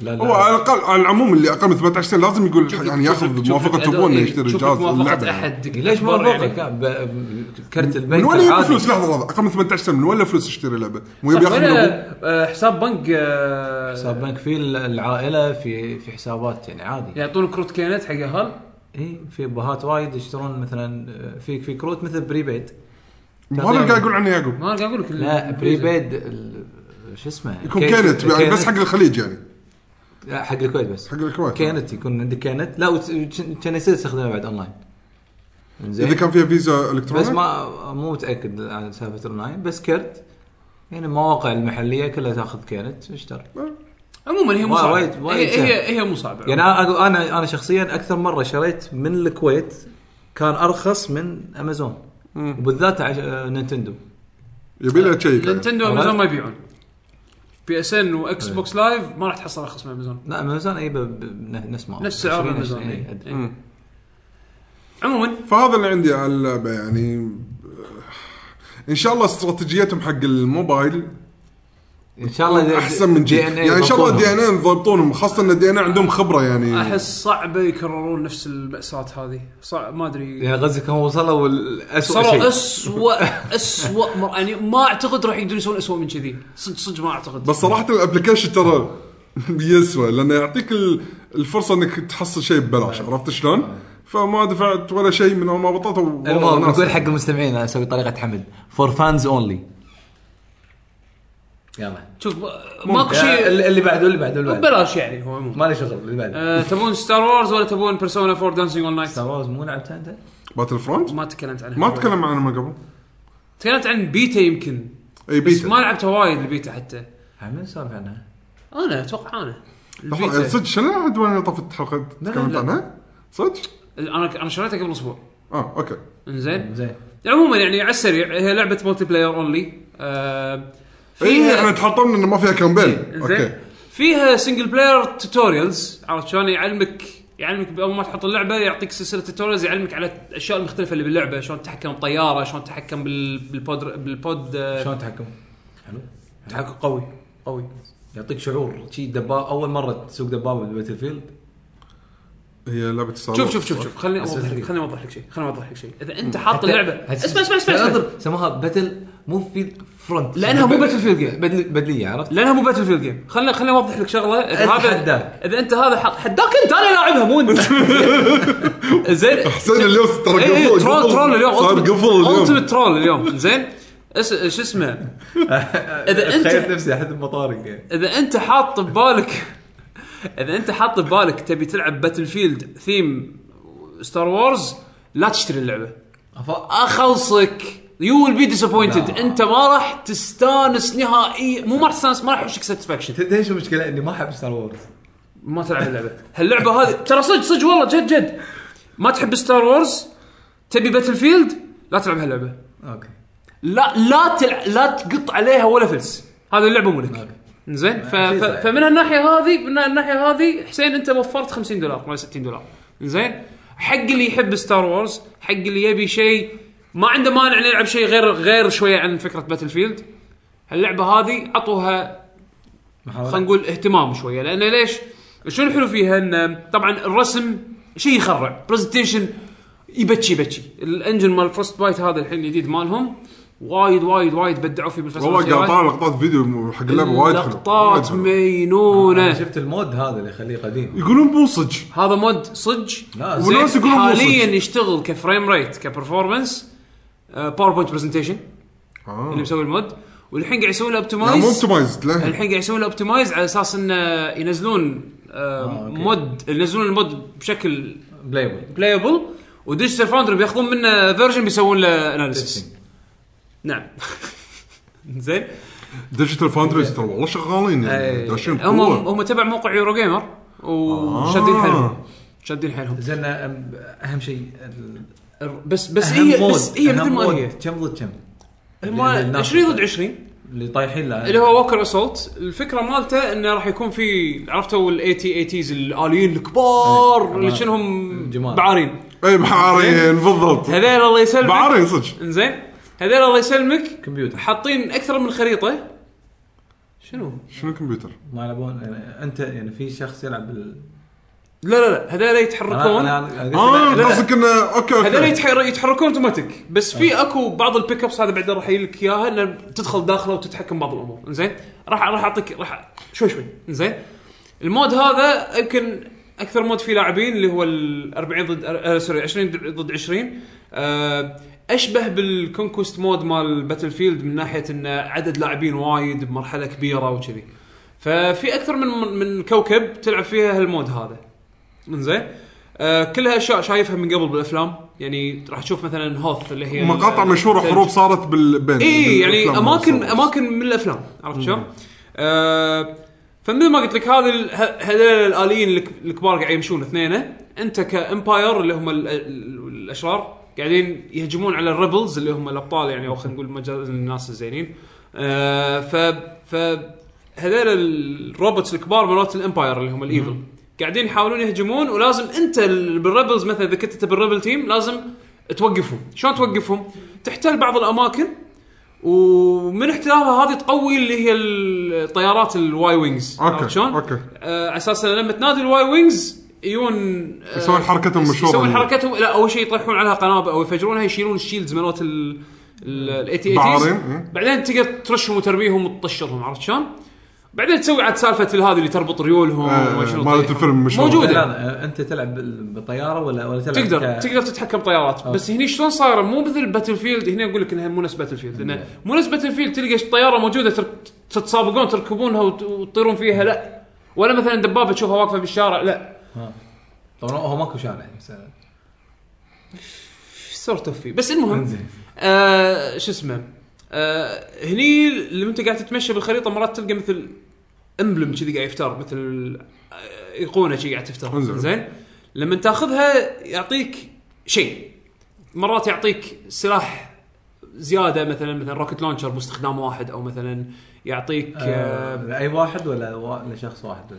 [SPEAKER 2] لا
[SPEAKER 3] هو على الاقل على العموم اللي اقل من 18 سنه لازم يقول يعني ياخذ موافقه ابوه
[SPEAKER 2] إيه،
[SPEAKER 3] انه يشتري
[SPEAKER 1] إيه، شوف
[SPEAKER 3] جهاز اللعبه
[SPEAKER 1] موافقه
[SPEAKER 3] يعني.
[SPEAKER 1] احد
[SPEAKER 2] ليش ما
[SPEAKER 1] أكبر يعني.
[SPEAKER 2] فوقك لا، ب- ب- كرت البنك
[SPEAKER 3] من وين يجيب
[SPEAKER 2] العادي.
[SPEAKER 3] فلوس لحظه لحظه اقل من 18 سنه من وين له فلوس يشتري لعبه؟ مو يبي
[SPEAKER 1] صح،
[SPEAKER 3] ياخذ من ابوه
[SPEAKER 1] ولا، آه، حساب بنك آه،
[SPEAKER 2] حساب بنك في ال- العائله في في حسابات يعني عادي
[SPEAKER 1] يعطون كروت كينت حق اهل
[SPEAKER 2] اي في ابهات وايد يشترون مثلا آه، في في كروت مثل بريبيد
[SPEAKER 3] ما هذا اللي قاعد يقول عنه يعقوب
[SPEAKER 1] ما انا قاعد اقول لك
[SPEAKER 2] لا
[SPEAKER 1] الفيزا.
[SPEAKER 2] بريبيد ال- شو اسمه
[SPEAKER 3] يكون
[SPEAKER 2] كينت-
[SPEAKER 3] كانت يعني بس حق الخليج يعني
[SPEAKER 2] لا، حق الكويت بس
[SPEAKER 3] حق الكويت.
[SPEAKER 2] كانت يكون عندك كانت لا وت- وت- كان يصير تستخدمها بعد اونلاين
[SPEAKER 3] اذا
[SPEAKER 2] زين
[SPEAKER 3] كان فيها فيزا الكترونيه
[SPEAKER 2] بس ما مو متاكد عن سالفه اونلاين بس كرت يعني المواقع المحليه كلها تاخذ كانت اشتر
[SPEAKER 1] عموما هي مو
[SPEAKER 2] وايد-
[SPEAKER 1] صعبه
[SPEAKER 2] وايد- وايد
[SPEAKER 1] هي هي, هي مو صعبه
[SPEAKER 2] يعني أنا- أقول- انا انا شخصيا اكثر مره شريت من الكويت كان ارخص من امازون وبالذات عش... آه، نينتندو
[SPEAKER 3] يبي له تشيك يعني.
[SPEAKER 1] نينتندو
[SPEAKER 2] عرفت؟
[SPEAKER 1] امازون ما يبيعون بي اس ان واكس بوكس
[SPEAKER 2] إيه.
[SPEAKER 1] لايف ما راح تحصل ارخص من امازون
[SPEAKER 2] لا امازون اي ب... ب... نفس ما
[SPEAKER 1] نفس سعر امازون إيه.
[SPEAKER 2] اي
[SPEAKER 1] إيه. عموما
[SPEAKER 3] فهذا اللي عندي على اللعبه يعني ان شاء الله استراتيجيتهم حق الموبايل
[SPEAKER 2] ان شاء الله
[SPEAKER 3] احسن من جي
[SPEAKER 2] DNA
[SPEAKER 3] يعني ان شاء الله
[SPEAKER 2] يضبطونهم.
[SPEAKER 3] دي ان اي ضبطونهم خاصه ان دي ان اي عندهم خبره يعني
[SPEAKER 1] احس صعبه يكررون نفس الماساه هذه صعب ما ادري
[SPEAKER 3] إيه.
[SPEAKER 2] يعني قصدك هم وصلوا الاسوء
[SPEAKER 1] صاروا
[SPEAKER 2] شيء
[SPEAKER 1] اسوء اسوء مر- يعني ما اعتقد راح يقدرون يسوون اسوء من كذي صدق صدق ما اعتقد
[SPEAKER 3] بس صراحه الابلكيشن ترى يسوى لانه يعطيك ال- الفرصه انك تحصل شيء ببلاش
[SPEAKER 2] نعم.
[SPEAKER 3] عرفت شلون؟ فما دفعت ولا شيء من اول ما بطلت والله
[SPEAKER 2] المهم
[SPEAKER 3] ناس.
[SPEAKER 2] نقول حق المستمعين أنا اسوي طريقه حمد فور فانز اونلي يلا
[SPEAKER 1] شوف ماكو شيء
[SPEAKER 2] اللي اللي بعده اللي بعده اللي بعده
[SPEAKER 1] ببلاش يعني هو عموما
[SPEAKER 2] ما لي شغل اللي بعده
[SPEAKER 1] آه، تبون ستار وورز ولا تبون بيرسونا 4 دانسينج اون نايت
[SPEAKER 2] ستار وورز مو لعبتها انت؟
[SPEAKER 3] باتل فرونت
[SPEAKER 1] ما تكلمت عنها
[SPEAKER 3] ما تكلم عنه من قبل
[SPEAKER 1] تكلمت عن بيتا يمكن
[SPEAKER 3] اي
[SPEAKER 1] بس ما
[SPEAKER 3] بيتا
[SPEAKER 1] لعبتها وايد البيتا حتى
[SPEAKER 2] من سولف عنها؟
[SPEAKER 1] انا اتوقع انا
[SPEAKER 3] لحظة،
[SPEAKER 1] البيتا
[SPEAKER 3] صدق شنو العدوان اللي طافت حلقه تكلمت
[SPEAKER 1] لا.
[SPEAKER 3] عنها؟ صدق؟
[SPEAKER 1] انا انا شريتها قبل اسبوع
[SPEAKER 3] اه اوكي
[SPEAKER 1] انزين
[SPEAKER 2] زين
[SPEAKER 1] عموما يعني على السريع هي لعبه مالتي بلاير اونلي آه
[SPEAKER 3] اي احنا
[SPEAKER 1] فيها
[SPEAKER 3] إيه، تحطمنا انه ما فيها كامبين
[SPEAKER 1] زين
[SPEAKER 3] اوكي
[SPEAKER 1] فيها سنجل بلاير توتوريالز عرفت شلون يعلمك يعلمك اول ما تحط اللعبه يعطيك سلسله توتوريالز يعلمك على الاشياء المختلفه اللي باللعبه شلون تتحكم بطياره شلون تتحكم بال- بالبود بالبود آه،
[SPEAKER 2] شلون تحكم؟ حلو
[SPEAKER 1] تحكم قوي قوي
[SPEAKER 2] يعطيك شعور شي دباب اول مره تسوق دبابه بالباتل فيلد
[SPEAKER 3] هي لعبه ستار
[SPEAKER 1] شوف
[SPEAKER 3] وورز.
[SPEAKER 1] شوف شوف شوف خليني اوضح لك
[SPEAKER 2] أساسية.
[SPEAKER 1] خليني اوضح لك شيء خليني اوضح لك شيء اذا انت حاط اللعبه اسمع اسمع اسمع, اسمع.
[SPEAKER 2] اضرب سموها باتل مو في فرونت
[SPEAKER 1] لانها مو باتل فيلد جيم
[SPEAKER 2] بدل بدليه عرفت؟
[SPEAKER 1] لانها مو باتل فيلد جيم خليني خليني اوضح لك شغله اذا
[SPEAKER 2] أنت
[SPEAKER 1] هذا
[SPEAKER 2] حداك.
[SPEAKER 1] اذا انت هذا حط حداك انت انا لاعبها مو انت زين
[SPEAKER 3] حسين اليوم ترى
[SPEAKER 1] إيه، إيه،
[SPEAKER 3] قفل
[SPEAKER 1] ترول
[SPEAKER 3] قفل.
[SPEAKER 1] ترول اليوم
[SPEAKER 3] صار قفل طيب، اليوم
[SPEAKER 1] التمت ترول اليوم زين اس- شو اسمه إذا أنت-
[SPEAKER 2] تخيلت نفسي احد المطارق يعني
[SPEAKER 1] اذا انت حاط ببالك اذا انت حاط ببالك تبي تلعب باتل فيلد ثيم ستار وورز لا تشتري اللعبه اخلصك يو ويل بي ديسابوينتد
[SPEAKER 2] لا.
[SPEAKER 1] انت ما راح تستانس نهائيا مو ما راح تستانس ما راح يحوشك ساتسفاكشن
[SPEAKER 2] تدري شو المشكله اني ما احب ستار وورز
[SPEAKER 1] ما تلعب اللعبه هاللعبه هذه ترى صدق صدق والله جد جد ما تحب ستار وورز تبي باتل فيلد لا تلعب هاللعبه
[SPEAKER 5] اوكي
[SPEAKER 1] لا لا تلع... لا تقط عليها ولا فلس هذه اللعبه ملك زين ف... ف... فمن الناحيه هذه من الناحيه هذه حسين انت وفرت 50 دولار ما 60 دولار زين حق اللي يحب ستار وورز حق اللي يبي شيء ما عنده مانع انه يلعب شيء غير غير شويه عن فكره باتل فيلد هاللعبه هذه عطوها خلينا نقول اهتمام شويه لان ليش؟ شنو الحلو فيها ان طبعا الرسم شيء يخرع برزنتيشن يبكي يبكي الانجن مال فروست بايت هذا الحين الجديد مالهم وايد وايد وايد بدعوا فيه بالفصل
[SPEAKER 3] والله قاعد اطالع لقطات فيديو حق اللعبه وايد حلو وايد
[SPEAKER 1] لقطات
[SPEAKER 3] حلو.
[SPEAKER 2] آه،
[SPEAKER 5] انا
[SPEAKER 1] مينونه
[SPEAKER 5] شفت المود هذا اللي يخليه قديم
[SPEAKER 3] يقولون مو صج
[SPEAKER 1] هذا مود صج
[SPEAKER 5] لا،
[SPEAKER 1] زين.
[SPEAKER 3] والناس يقولون مو صج.
[SPEAKER 1] حاليا يشتغل كفريم ريت كبرفورمانس باوربوينت برزنتيشن
[SPEAKER 3] آه.
[SPEAKER 1] اللي مسوي المود والحين قاعد يسوي له
[SPEAKER 3] لا مو
[SPEAKER 1] اوبتمايز
[SPEAKER 3] اوبتمايزد لا
[SPEAKER 1] الحين قاعد يسوون له اوبتمايز على اساس انه ينزلون آه، مود ينزلون المود بشكل
[SPEAKER 5] بلايبل
[SPEAKER 1] بلايبل وديجيتال فاوندري بياخذون منه فيرجن بيسوون له اناليسيس نعم زين
[SPEAKER 3] ديجيتال فاندريز ترى والله شغالين يعني داشين
[SPEAKER 1] إيه. هم
[SPEAKER 3] بقوه
[SPEAKER 1] هم تبع موقع يورو جيمر وشادين
[SPEAKER 3] آه.
[SPEAKER 1] حيلهم شادين حيلهم
[SPEAKER 5] زين أم- اهم شيء ال-
[SPEAKER 1] بس بس
[SPEAKER 5] أهم
[SPEAKER 1] هي
[SPEAKER 5] مود.
[SPEAKER 1] بس هي
[SPEAKER 5] أهم
[SPEAKER 1] مثل ما
[SPEAKER 5] مود.
[SPEAKER 1] هي
[SPEAKER 5] كم ضد كم
[SPEAKER 1] هم
[SPEAKER 5] اللي- اللي
[SPEAKER 1] 20 ضد
[SPEAKER 5] الناس-
[SPEAKER 1] 20
[SPEAKER 5] اللي طايحين له
[SPEAKER 1] اللي هو ووكر اسولت الفكره مالته انه راح يكون في عرفتوا الاي تي اي تيز الاليين الكبار اللي شنهم
[SPEAKER 5] إيه، جمال.
[SPEAKER 1] بعارين
[SPEAKER 3] اي إيه، بعارين بالضبط
[SPEAKER 1] هذول الله يسلمك
[SPEAKER 3] بعارين صدق
[SPEAKER 1] انزين هذول الله يسلمك
[SPEAKER 5] كمبيوتر
[SPEAKER 1] حاطين اكثر من خريطه شنو؟
[SPEAKER 3] شنو الكمبيوتر؟
[SPEAKER 5] ما يلعبون يعني انت يعني في شخص يلعب بال
[SPEAKER 1] لا لا لا هذول يتحركون
[SPEAKER 5] انا
[SPEAKER 3] اه
[SPEAKER 1] لا.
[SPEAKER 3] قصدك انه اوكي
[SPEAKER 1] هذول
[SPEAKER 3] اوكي
[SPEAKER 1] يتحر- يتحركون اوتوماتيك بس في اكو بعض البيك ابس هذا بعدين راح يجيلك اياها انه تدخل داخله وتتحكم بعض الامور انزين راح راح اعطيك راح شوي شوي انزين المود هذا يمكن اكثر مود فيه لاعبين اللي هو ال 40 ضد آه سوري 20 ضد 20 آه اشبه بالكونكوست مود مال باتل فيلد من ناحيه ان عدد لاعبين وايد بمرحله كبيره وكذي ففي اكثر من من كوكب تلعب فيها هالمود هذا انزين آه كلها اشياء شايفها من قبل بالافلام يعني راح تشوف مثلا هوث اللي هي
[SPEAKER 3] مقاطع
[SPEAKER 1] ال-
[SPEAKER 3] مشهوره
[SPEAKER 1] الثلج.
[SPEAKER 3] حروب صارت بالبين
[SPEAKER 1] اي يعني
[SPEAKER 3] بالأفلام
[SPEAKER 1] اماكن
[SPEAKER 3] والصور.
[SPEAKER 1] اماكن من الافلام عرفت شلون؟ آه فمثل ما قلت لك هذه ال- ه- هذول الاليين الك- الكبار قاعد يمشون اثنينه انت كامباير اللي هم ال- ال- الاشرار قاعدين يهجمون على الريبلز اللي هم الابطال يعني او خلينا نقول مجاز الناس الزينين آه ف ف هذول الروبوتس الكبار مرات الامباير اللي هم الايفل قاعدين يحاولون يهجمون ولازم انت ال- بالريبلز مثلا اذا كنت انت بالريبل تيم لازم توقفهم، شلون توقفهم؟ تحتل بعض الاماكن ومن احتلالها هذه تقوي اللي هي الطيارات الواي وينجز
[SPEAKER 3] اوكي
[SPEAKER 1] عرفت شلون؟
[SPEAKER 3] اوكي
[SPEAKER 1] آه، على اساس إن لما تنادي الواي وينجز يجون آه،
[SPEAKER 3] يسوون حركتهم
[SPEAKER 1] يس-
[SPEAKER 3] مشهورة.
[SPEAKER 1] يسوون حركتهم لا اول شيء يطيحون عليها قنابل او يفجرونها يشيلون الشيلدز مالت الاي تي
[SPEAKER 3] بعارين،
[SPEAKER 1] اي
[SPEAKER 3] إيه.
[SPEAKER 1] بعدين تقدر ترشهم وترميهم وتطشرهم عرفت شلون؟ بعدين تسوي عاد سالفه هذه اللي تربط ريولهم
[SPEAKER 3] آه،
[SPEAKER 1] وما شنو طيب.
[SPEAKER 3] مالت
[SPEAKER 1] تطيحهم.
[SPEAKER 3] الفيلم مشهورة.
[SPEAKER 1] موجوده
[SPEAKER 5] انت تلعب بال- بالطياره ولا ولا تلعب
[SPEAKER 1] تقدر
[SPEAKER 5] ك-
[SPEAKER 1] تقدر تتحكم طيارات بس هني شلون صايره مو مثل باتل فيلد هنا اقول لك انها مو نفس باتل فيلد لان مو نفس باتل فيلد تلقى الطياره موجوده تر- تتسابقون تركبونها وت- وتطيرون فيها لا ولا مثلا دبابه تشوفها واقفه بالشارع لا
[SPEAKER 5] طبعا هو ماكو يعني، شارع مثلا
[SPEAKER 1] سورت اوف في بس المهم آه شو اسمه آه هني لما انت قاعد تتمشى بالخريطه مرات تلقى مثل امبلم كذي قاعد يفتر مثل آه، ايقونه شي قاعد تفتر
[SPEAKER 3] انزين.
[SPEAKER 1] زين لما تاخذها يعطيك شيء مرات يعطيك سلاح زياده مثلا مثلا روكت لونشر باستخدام واحد او مثلا يعطيك آه
[SPEAKER 5] آه، اي واحد ولا وا- لشخص واحد بس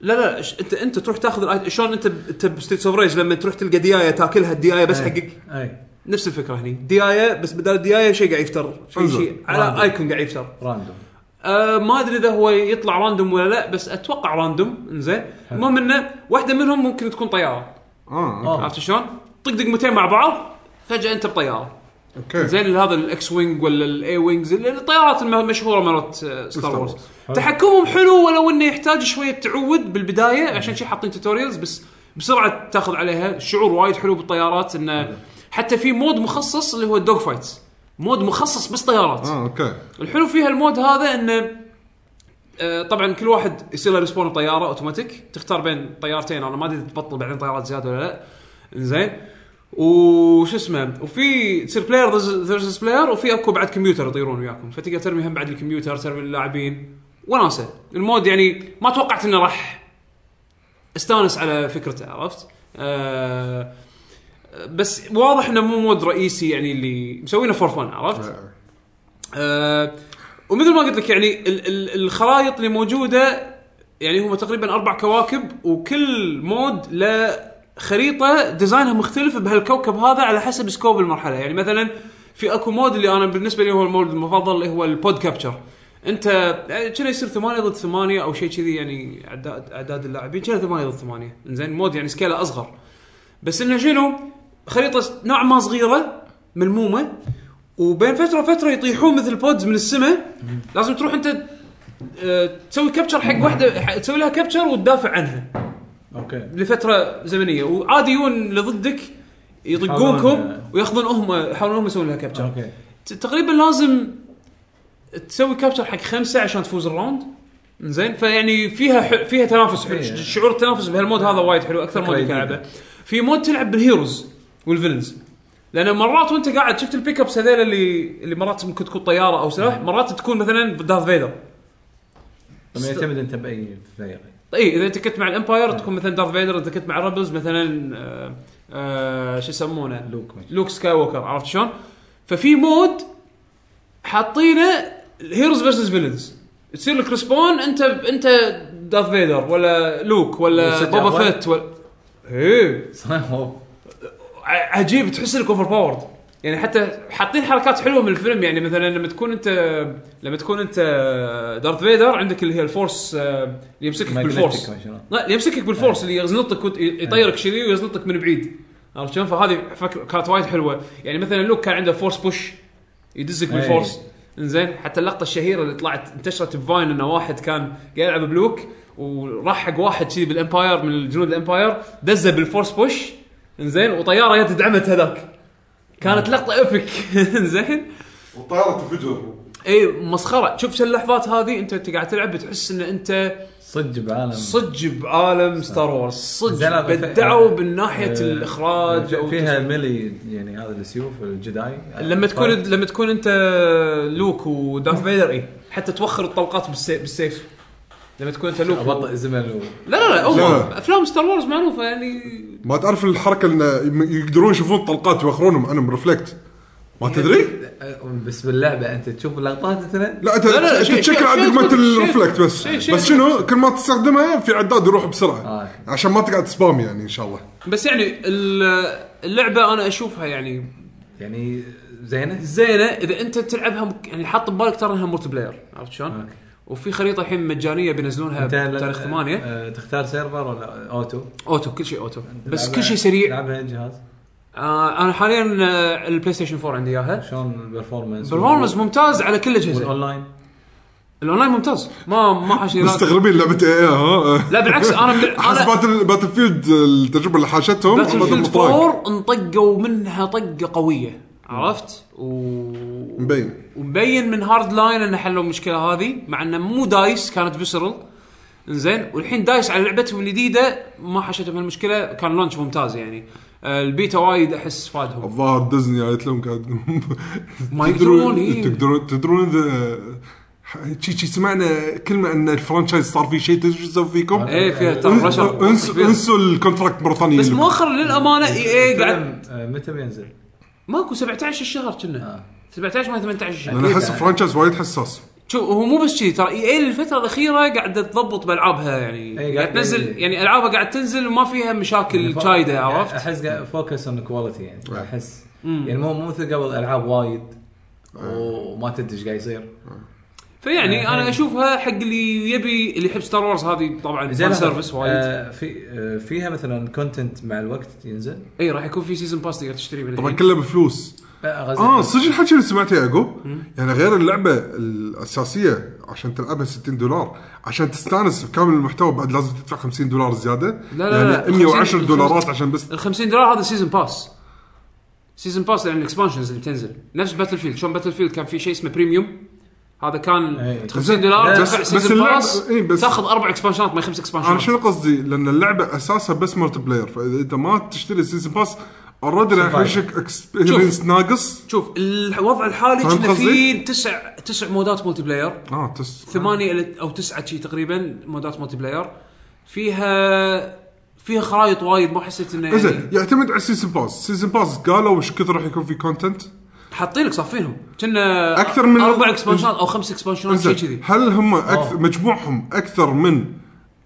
[SPEAKER 1] لا لا ش- انت انت تروح تاخذ الآيت- شلون انت ب- انت بستيتس اوف ريج لما تروح تلقى ديايه تاكلها الديايه بس
[SPEAKER 2] آه، إيه.
[SPEAKER 5] أي.
[SPEAKER 1] حقك
[SPEAKER 5] اي
[SPEAKER 1] نفس الفكره هني ديايه بس بدل الديايه شيء قاعد يفتر شيء
[SPEAKER 3] انزل.
[SPEAKER 1] شيء على
[SPEAKER 5] راندوم.
[SPEAKER 1] ايكون قاعد يفتر
[SPEAKER 5] راندوم
[SPEAKER 1] أه ما ادري اذا هو يطلع راندوم ولا لا بس اتوقع راندوم انزين المهم انه واحده منهم ممكن تكون طياره
[SPEAKER 3] اه
[SPEAKER 5] آه.
[SPEAKER 1] عرفت شلون؟ طق دقمتين مع بعض فجاه انت بطياره
[SPEAKER 3] اوكي
[SPEAKER 1] زين هذا الاكس وينج ولا الاي وينجز الطيارات الم- المشهوره مرات آه، ستار
[SPEAKER 3] Star
[SPEAKER 1] وورز
[SPEAKER 3] Wars.
[SPEAKER 1] تحكمهم حلو ولو انه يحتاج شويه تعود بالبدايه عشان شي حاطين توتوريالز بس بسرعه تاخذ عليها الشعور وايد حلو بالطيارات انه حتى في مود مخصص اللي هو الدوج فايتس مود مخصص بس طيارات
[SPEAKER 3] اه اوكي
[SPEAKER 1] الحلو فيها المود هذا انه آه، طبعا كل واحد يصير له ريسبون طياره اوتوماتيك تختار بين طيارتين انا ما ادري تبطل بعدين طيارات زياده ولا لا زين وش اسمه وفي تصير بلاير فيرسس بلاير وفي اكو بعد كمبيوتر يطيرون وياكم فتقدر ترمي هم بعد الكمبيوتر ترمي اللاعبين وناسه المود يعني ما توقعت انه راح استانس على فكرته عرفت؟ آه بس واضح انه مو مود رئيسي يعني اللي مسوينه فور فن
[SPEAKER 3] نعم.
[SPEAKER 1] عرفت؟ آه ومثل ما قلت لك يعني ال- ال- الخرائط اللي موجوده يعني هم تقريبا اربع كواكب وكل مود له خريطه ديزاينها مختلف بهالكوكب هذا على حسب سكوب المرحله يعني مثلا في اكو مود اللي انا بالنسبه لي هو المود المفضل اللي هو البود كابتشر انت يعني كنا يصير ثمانية ضد ثمانية او شيء كذي يعني اعداد اعداد اللاعبين كنا ثمانية ضد ثمانية زين مود يعني سكيله اصغر بس انه شنو خريطه نوع ما صغيره ملمومه وبين فتره وفتره يطيحون مثل بودز من السماء لازم تروح انت آه، تسوي كابتشر حق واحده ح- تسوي لها كابتشر وتدافع عنها
[SPEAKER 2] اوكي
[SPEAKER 1] لفتره زمنيه وعادي يجون اللي ضدك يطقونكم
[SPEAKER 2] يحاولون-
[SPEAKER 1] وياخذون هم يحاولون هم يسوون لها كابتشر
[SPEAKER 2] اوكي
[SPEAKER 1] ت- تقريبا لازم تسوي كابتشر حق خمسه عشان تفوز الراوند زين فيعني فيها ح... فيها تنافس حلو
[SPEAKER 2] إيه.
[SPEAKER 1] شعور التنافس بهالمود هذا وايد حلو اكثر مود
[SPEAKER 2] فكرة
[SPEAKER 1] يمكن العبه في مود تلعب بالهيروز والفيلنز لان مرات وانت قاعد شفت البيك ابس هذول اللي اللي مرات ممكن تكون طياره او سلاح مرات تكون مثلا دارث فيدر
[SPEAKER 2] طب يعتمد انت باي بلاير
[SPEAKER 1] اي اذا انت إيه، كنت مع الامباير تكون مثلا دارث فيدر اذا كنت مع رابلز مثلا آه آه شو يسمونه
[SPEAKER 2] لوك ما-
[SPEAKER 1] لوك سكاي ووكر عرفت شلون؟ ففي مود حاطينه هيروز فيرسز فيلنز تصير لك ريسبون انت انت دارث فيدر ولا لوك ولا
[SPEAKER 2] والسجع
[SPEAKER 1] بوبا
[SPEAKER 2] أول؟
[SPEAKER 1] فيت ولا ايه
[SPEAKER 2] صح هو
[SPEAKER 1] ع- عجيب تحس انك اوفر باورد يعني حتى حاطين حركات حلوه من الفيلم يعني مثلا لما تكون انت لما تكون انت دارث فيدر عندك اللي هي الفورس آه، اللي يمسكك بالفورس
[SPEAKER 2] ماجنتيك ما شنو.
[SPEAKER 1] لا اللي يمسكك بالفورس اللي يزنطك وت- يطيرك كذي ويزنطك من بعيد عرفت شلون؟ فهذه فك... كانت وايد حلوه يعني مثلا لوك كان عنده فورس بوش يدزك بالفورس انزين حتى اللقطه الشهيره اللي طلعت انتشرت بفاين انه واحد كان قاعد يلعب بلوك وراح حق واحد كذي بالامباير من جنود الامباير دزه بالفورس بوش انزين وطياره جت دعمت هذاك كانت لقطه ايبك انزين
[SPEAKER 3] والطياره تنفجر
[SPEAKER 1] اي مسخره إيه، شوف شو اللحظات هذه انت أنت قاعد تلعب بتحس ان انت
[SPEAKER 2] صدق بعالم
[SPEAKER 1] صدج بعالم ستار وورز
[SPEAKER 2] زين،
[SPEAKER 1] صدج
[SPEAKER 2] أنا بف-
[SPEAKER 1] بدعوا من ناحيه
[SPEAKER 2] آه،
[SPEAKER 1] الاخراج أو
[SPEAKER 2] فيها ميلي يعني هذا السيوف الجداي
[SPEAKER 1] لما تكون
[SPEAKER 2] طيب.
[SPEAKER 1] لما تكون انت لوك ودارث فيدر اي حتى توخر الطلقات بالسيف, بالسيف. لما تكون انت لوك و...
[SPEAKER 2] ابطئ زمن و...
[SPEAKER 1] لا لا لا هم
[SPEAKER 3] لا.
[SPEAKER 1] افلام ستار وورز معروفه يعني
[SPEAKER 3] ما تعرف الحركه اللي م- يقدرون يشوفون الطلقات يوخرونهم عنهم ريفلكت
[SPEAKER 1] إيه.
[SPEAKER 3] ما تدري؟
[SPEAKER 2] آه،
[SPEAKER 4] بس باللعبه انت تشوف اللقطات مثلا
[SPEAKER 3] لا انت
[SPEAKER 1] لا، لا،
[SPEAKER 3] انت
[SPEAKER 1] شيء- شيء-
[SPEAKER 3] تشكل عندك
[SPEAKER 1] شيء
[SPEAKER 3] مالت
[SPEAKER 1] تدخل- شيء-
[SPEAKER 3] الريفلكت بس
[SPEAKER 1] شيء- شيء
[SPEAKER 3] بس شنو كل ما تستخدمها في عداد يروح بسرعه
[SPEAKER 2] آه.
[SPEAKER 3] عشان ما تقعد سبام يعني ان شاء الله
[SPEAKER 1] بس يعني ال- اللعبه انا اشوفها يعني
[SPEAKER 2] يعني زينه
[SPEAKER 1] زينه اذا انت تلعبها مك- يعني حاط ببالك ترى انها ملتي بلاير عرفت شلون؟
[SPEAKER 2] أوكي.
[SPEAKER 1] وفي خريطه الحين مجانيه بينزلونها
[SPEAKER 2] انت ل-
[SPEAKER 1] بتاريخ 8
[SPEAKER 2] آه. آه، تختار سيرفر ولا اوتو
[SPEAKER 1] اوتو كل شيء اوتو بس
[SPEAKER 2] تلعبها-
[SPEAKER 1] كل شيء سريع
[SPEAKER 2] تلعبها اي جهاز
[SPEAKER 1] آه انا حاليا آه، البلاي ستيشن 4 عندي اياها
[SPEAKER 2] شلون البرفورمانس
[SPEAKER 1] برفورمانس ممتاز على كل الاجهزه
[SPEAKER 2] والاونلاين
[SPEAKER 1] الاونلاين ممتاز ما ما حاشني إيه، لا-
[SPEAKER 3] مستغربين لعبه اي ها آه.
[SPEAKER 1] لا بالعكس انا
[SPEAKER 3] احس
[SPEAKER 1] انا
[SPEAKER 3] باتل باتل فيلد التجربه اللي حاشتهم
[SPEAKER 1] باتل
[SPEAKER 3] أخذهم
[SPEAKER 1] فيلد
[SPEAKER 3] بطاق.
[SPEAKER 1] 4 انطقوا منها طقه قويه عرفت؟ و
[SPEAKER 3] مبين
[SPEAKER 1] ومبين من هارد لاين انه حلوا المشكله هذه مع انه مو دايس كانت فيسرال انزين والحين دايس على لعبتهم الجديده ما حشتهم المشكله كان لونش ممتاز يعني آه، البيتا وايد احس فادهم
[SPEAKER 3] الظاهر ديزني قالت لهم قاعد تدرون-
[SPEAKER 1] ما يقدرون إيه.
[SPEAKER 3] تقدرون تدرون اذا شي شي سمعنا كلمه ان الفرانشايز صار فيه شيء تدري شو نسوي فيكم؟
[SPEAKER 1] ايه فيها ترى
[SPEAKER 3] انسوا
[SPEAKER 1] رشر
[SPEAKER 3] انسوا انسوا الكونتراكت مره ثانيه
[SPEAKER 1] بس
[SPEAKER 3] لكم.
[SPEAKER 1] مؤخرا للامانه اي اي قاعد
[SPEAKER 2] فيلم، آه، متى بينزل؟ آه،
[SPEAKER 1] ماكو 17 الشهر كنا 17 ما 18 الشهر
[SPEAKER 3] انا احس الفرانشايز وايد حساس
[SPEAKER 1] شوف هو مو بس كذي ترى إيه اي الفتره الاخيره قاعده تضبط بالعابها
[SPEAKER 2] إي،
[SPEAKER 1] يعني
[SPEAKER 2] قاعد- يعني
[SPEAKER 1] قاعد تنزل يعني العابها قاعد تنزل وما فيها مشاكل
[SPEAKER 2] ف-
[SPEAKER 1] شايده عرفت؟
[SPEAKER 2] احس قاعد فوكس اون كواليتي يعني احس يعني مو مو مثل قبل العاب وايد وما تدري ايش قاعد يصير
[SPEAKER 1] يعني فيعني انا اشوفها حق اللي يبي اللي يحب ستار وورز هذه طبعا فان سيرفس وايد
[SPEAKER 2] آه، في آه، فيها مثلا كونتنت مع الوقت ينزل
[SPEAKER 1] اي راح يكون في سيزون باس تقدر تشتري من
[SPEAKER 3] طبعا
[SPEAKER 1] الحين.
[SPEAKER 3] كله بفلوس
[SPEAKER 2] آه، غزل.
[SPEAKER 3] اه صدق الحكي اللي سمعته يا يعقوب يعني غير اللعبه الاساسيه عشان تلعبها 60 دولار عشان تستانس بكامل المحتوى بعد لازم تدفع 50 دولار زياده
[SPEAKER 1] لا، لا، لا،
[SPEAKER 3] يعني 110
[SPEAKER 1] 50
[SPEAKER 3] دولارات عشان بس
[SPEAKER 1] ال 50 دولار هذا سيزون باس سيزون باس يعني الاكسبانشنز اللي تنزل نفس باتل فيلد شلون باتل فيلد كان في شيء اسمه بريميوم هذا كان
[SPEAKER 2] إي.
[SPEAKER 1] 50 دولار
[SPEAKER 3] بس-
[SPEAKER 1] تدفع
[SPEAKER 3] بس
[SPEAKER 1] سيزون
[SPEAKER 3] اللعبة-
[SPEAKER 1] باس
[SPEAKER 3] إي، بس-
[SPEAKER 1] تاخذ اربع اكسبانشنات ما هي خمس
[SPEAKER 3] انا
[SPEAKER 1] اكسبانشنات
[SPEAKER 3] شنو قصدي لان اللعبه اساسها بس مالتي بلاير فاذا انت ما تشتري سيزون باس اوريدي راح يحوشك اكسبيرينس ناقص
[SPEAKER 1] شوف الوضع الحالي
[SPEAKER 3] فاهم
[SPEAKER 1] كنا في
[SPEAKER 3] قصدي؟
[SPEAKER 1] تسع تسع مودات مولتي بلاير
[SPEAKER 3] اه تس
[SPEAKER 1] ثمانية إلى- او تسعة شي تقريبا مودات مولتي بلاير فيها فيها خرايط وايد ما حسيت انه
[SPEAKER 3] زين
[SPEAKER 1] يعني
[SPEAKER 3] يعتمد على السيزون باس السيزون باس قالوا ايش كثر راح يكون في كونتنت
[SPEAKER 1] حاطين لك صافينهم كنا
[SPEAKER 3] أكثر من-
[SPEAKER 1] اربع اكسبانشنات او خمس اكسبانشنات شيء
[SPEAKER 3] انزين
[SPEAKER 1] كذي آه.
[SPEAKER 3] هل هم أكثر مجموعهم اكثر من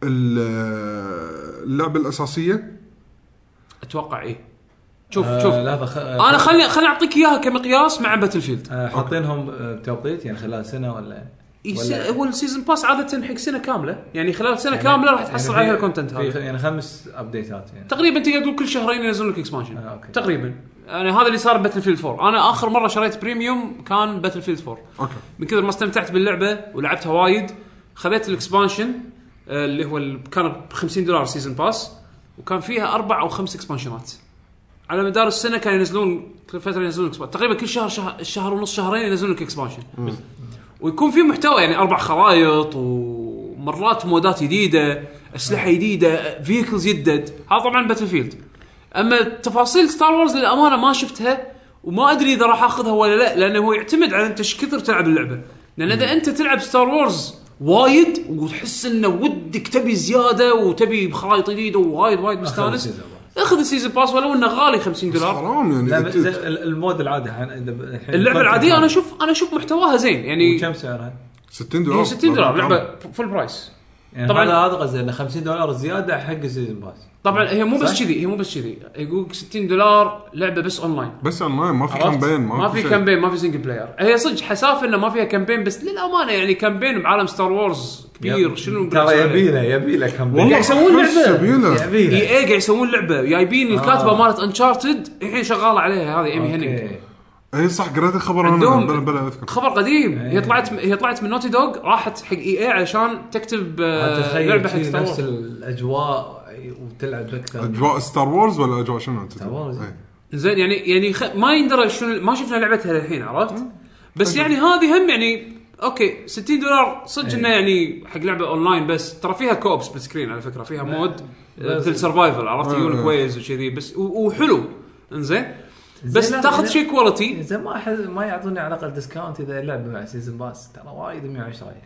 [SPEAKER 3] ال- اللعبه الاساسيه
[SPEAKER 1] اتوقع ايه شوف
[SPEAKER 2] آه،
[SPEAKER 1] شوف
[SPEAKER 2] لحظه خ...
[SPEAKER 1] انا خلي خلي اعطيك اياها كمقياس مع باتل فيلد
[SPEAKER 2] آه، حاطينهم آه، بتوقيت يعني خلال سنه ولا
[SPEAKER 1] إيه،
[SPEAKER 2] ولا-
[SPEAKER 1] س- هو السيزون باس عاده حق سنه كامله يعني خلال سنه كامله راح تحصل
[SPEAKER 2] يعني
[SPEAKER 1] عليها
[SPEAKER 2] في-
[SPEAKER 1] الكونتنت
[SPEAKER 2] في-
[SPEAKER 1] هذا
[SPEAKER 2] يعني خمس ابديتات يعني
[SPEAKER 1] تقريبا تقدر تقول كل شهرين ينزلون لك اكسبانشن
[SPEAKER 2] آه، أوكي.
[SPEAKER 1] تقريبا انا هذا اللي صار باتل فيلد 4 انا اخر مره شريت بريميوم كان باتل فيلد 4
[SPEAKER 3] اوكي
[SPEAKER 1] من كثر ما استمتعت باللعبه ولعبتها وايد خذيت الاكسبانشن آه، اللي هو ال- كان ب 50 دولار سيزون باس وكان فيها اربع او خمس اكسبانشنات على مدار السنه كانوا ينزلون كل فتره ينزلون expansion. تقريبا كل شهر شهر, شهر ونص شهرين ينزلون لك اكسبانشن ويكون في محتوى يعني اربع خرائط ومرات مودات جديده اسلحه جديده فيكلز جدد هذا طبعا باتل فيلد اما تفاصيل ستار وورز للامانه ما شفتها وما ادري اذا راح اخذها ولا لا لانه هو يعتمد على انت ايش كثر تلعب اللعبه لان اذا انت تلعب ستار وورز وايد وتحس انه ودك تبي زياده وتبي خرائط جديده ووايد وايد مستانس
[SPEAKER 2] السيزون
[SPEAKER 1] اخذ السيزون باس ولو انه غالي 50 دولار
[SPEAKER 3] حرام
[SPEAKER 2] لا
[SPEAKER 3] يعني
[SPEAKER 2] بس
[SPEAKER 3] أنت-
[SPEAKER 2] ال- المود العادي ح- الحين
[SPEAKER 1] اللعبه العاديه انا اشوف انا اشوف محتواها زين يعني
[SPEAKER 2] كم سعرها؟
[SPEAKER 3] 60 دولار
[SPEAKER 1] هي 60 إيه، دولار لعبه فول برايس
[SPEAKER 2] يعني
[SPEAKER 1] طبعاً.
[SPEAKER 2] طبعا هذا هذا قصدي انه 50 دولار زياده حق السيزون باس
[SPEAKER 1] طبعا هي مو
[SPEAKER 2] صح؟
[SPEAKER 1] بس كذي هي مو بس كذي يقول 60 دولار لعبه بس اونلاين
[SPEAKER 3] بس اونلاين ما في
[SPEAKER 1] عرفت؟
[SPEAKER 3] كامبين
[SPEAKER 1] ما في
[SPEAKER 3] شيء.
[SPEAKER 1] كامبين ما في سنجل بلاير هي صدق حسافه انه ما فيها كامبين بس للامانه يعني كامبين بعالم ستار وورز كبير شنو
[SPEAKER 2] ترى يبيله يبيله كم
[SPEAKER 3] والله
[SPEAKER 1] قاعد يسوون
[SPEAKER 3] أحس
[SPEAKER 1] لعبة. يعني
[SPEAKER 3] يبيله.
[SPEAKER 2] يبيله
[SPEAKER 1] اي اي E قاعد يسوون لعبه
[SPEAKER 2] آه.
[SPEAKER 1] جايبين الكاتبه مالت انشارتد الحين شغاله عليها هذه ايمي هينينج
[SPEAKER 2] أوكي.
[SPEAKER 3] اي إيه، صح قريت الخبر انا
[SPEAKER 1] عندهم-
[SPEAKER 3] بلا بلا اذكر
[SPEAKER 1] خبر قديم
[SPEAKER 2] إيه.
[SPEAKER 1] هي طلعت هي طلعت من نوتي دوغ راحت حق اي اي علشان تكتب آه، لعبه
[SPEAKER 2] تخيل
[SPEAKER 1] حق
[SPEAKER 2] شي
[SPEAKER 1] ستار
[SPEAKER 2] نفس
[SPEAKER 1] وورز
[SPEAKER 2] الاجواء وتلعب اكثر
[SPEAKER 3] اجواء ستار وورز ولا اجواء شنو انت؟
[SPEAKER 2] ستار وورز.
[SPEAKER 3] إيه.
[SPEAKER 1] زين يعني يعني خ... ما يندرى شنو ما شفنا لعبتها للحين عرفت؟ بس
[SPEAKER 2] طيب.
[SPEAKER 1] يعني هذه هم يعني اوكي 60 دولار
[SPEAKER 2] إيه.
[SPEAKER 1] صدق انه يعني حق لعبه اونلاين بس ترى فيها كوب سبليت سكرين على فكره فيها مود آه، مثل سرفايفل عرفت
[SPEAKER 3] آه،
[SPEAKER 1] يقول
[SPEAKER 3] آه.
[SPEAKER 1] لك ويز وكذي بس و... وحلو انزين بس
[SPEAKER 2] زين، لا،
[SPEAKER 1] تاخذ
[SPEAKER 2] زين.
[SPEAKER 1] شيء كواليتي
[SPEAKER 2] إيه، زين ما أحس ما يعطوني على الاقل ديسكاونت اذا اللعبه مع سيزون باس ترى وايد 110 يعني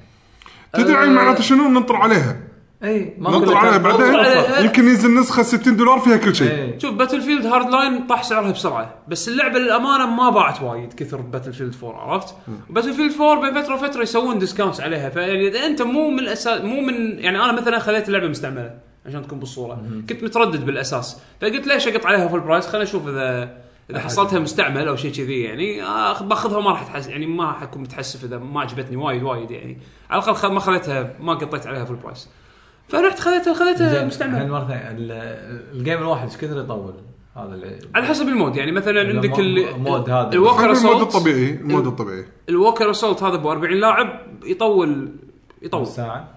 [SPEAKER 3] تدري
[SPEAKER 1] آه.
[SPEAKER 3] معناته شنو ننطر عليها
[SPEAKER 2] اي أه، إيه، ما
[SPEAKER 3] ننطر
[SPEAKER 2] أقول لك
[SPEAKER 3] عليها
[SPEAKER 2] أنا-
[SPEAKER 1] ننطر
[SPEAKER 3] بعدين
[SPEAKER 1] عليها.
[SPEAKER 3] يمكن ينزل نسخه 60 دولار فيها كل شيء
[SPEAKER 2] إيه.
[SPEAKER 1] شوف باتل فيلد هارد لاين طاح سعرها بسرعه بس اللعبه للامانه ما باعت وايد كثر باتل فيلد 4 عرفت؟ باتل فيلد 4 بين فتره وفتره يسوون ديسكاونتس عليها فيعني اذا انت مو من الاساس مو من يعني انا مثلا خليت اللعبه مستعمله عشان تكون بالصوره كنت متردد بالاساس فقلت ليش اقط عليها فول برايس خليني اشوف اذا اذا حصلتها مستعمل او شيء كذي يعني آخ- باخذها ما راح تحس يعني ما راح اكون متحسف اذا ما عجبتني وايد وايد يعني على الاقل خ- ما خليتها ما قطيت عليها فول برايس فرحت خليتها خليتها
[SPEAKER 2] إيه. زين،
[SPEAKER 1] مستعمله
[SPEAKER 2] الحين مره ثانيه ال- الجيم الواحد ايش كثر يطول هذا اللي-
[SPEAKER 1] على حسب المود يعني مثلا
[SPEAKER 2] المو-
[SPEAKER 1] عندك ال-
[SPEAKER 2] المود هذا.
[SPEAKER 3] خلينا
[SPEAKER 1] الوكر
[SPEAKER 3] المود
[SPEAKER 1] اسولت
[SPEAKER 3] الطبيعي
[SPEAKER 2] إيه.
[SPEAKER 3] المود الطبيعي
[SPEAKER 1] الوكر اسولت هذا ابو 40 لاعب يطول يطول
[SPEAKER 2] ساعه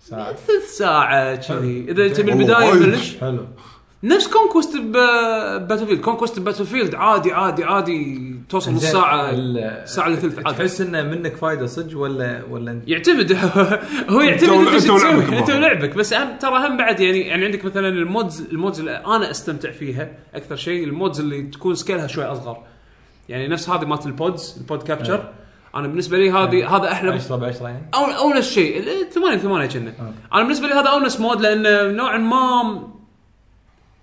[SPEAKER 2] ساعه
[SPEAKER 1] ثلث ساعه كذي اذا انت من
[SPEAKER 3] والله
[SPEAKER 1] البدايه
[SPEAKER 3] وايد.
[SPEAKER 1] تبلش
[SPEAKER 2] حلو
[SPEAKER 1] نفس كونكوست بباتل فيلد كونكوست باتل فيلد عادي عادي عادي توصل نص ساعه
[SPEAKER 2] ال-
[SPEAKER 1] ساعه الا ثلث عادي
[SPEAKER 2] تحس انه منك فايده صدق ولا ولا انت
[SPEAKER 1] يعتمد هو يعتمد
[SPEAKER 3] ول-
[SPEAKER 1] انت
[SPEAKER 3] أنت
[SPEAKER 1] شو
[SPEAKER 3] ولعبك
[SPEAKER 1] تسوي انت
[SPEAKER 3] ببعض.
[SPEAKER 1] ولعبك بس أهم ترى هم بعد يعني يعني عندك مثلا المودز المودز اللي انا استمتع فيها اكثر شيء المودز اللي تكون سكيلها شوي اصغر يعني نفس هذه مالت البودز البود كابتشر انا بالنسبه لي هذه هذا احلى
[SPEAKER 2] 10 ب 10 يعني
[SPEAKER 1] أو اونس شيء ال- 8 8 كنا انا بالنسبه لي هذا اونس مود لان نوعا ما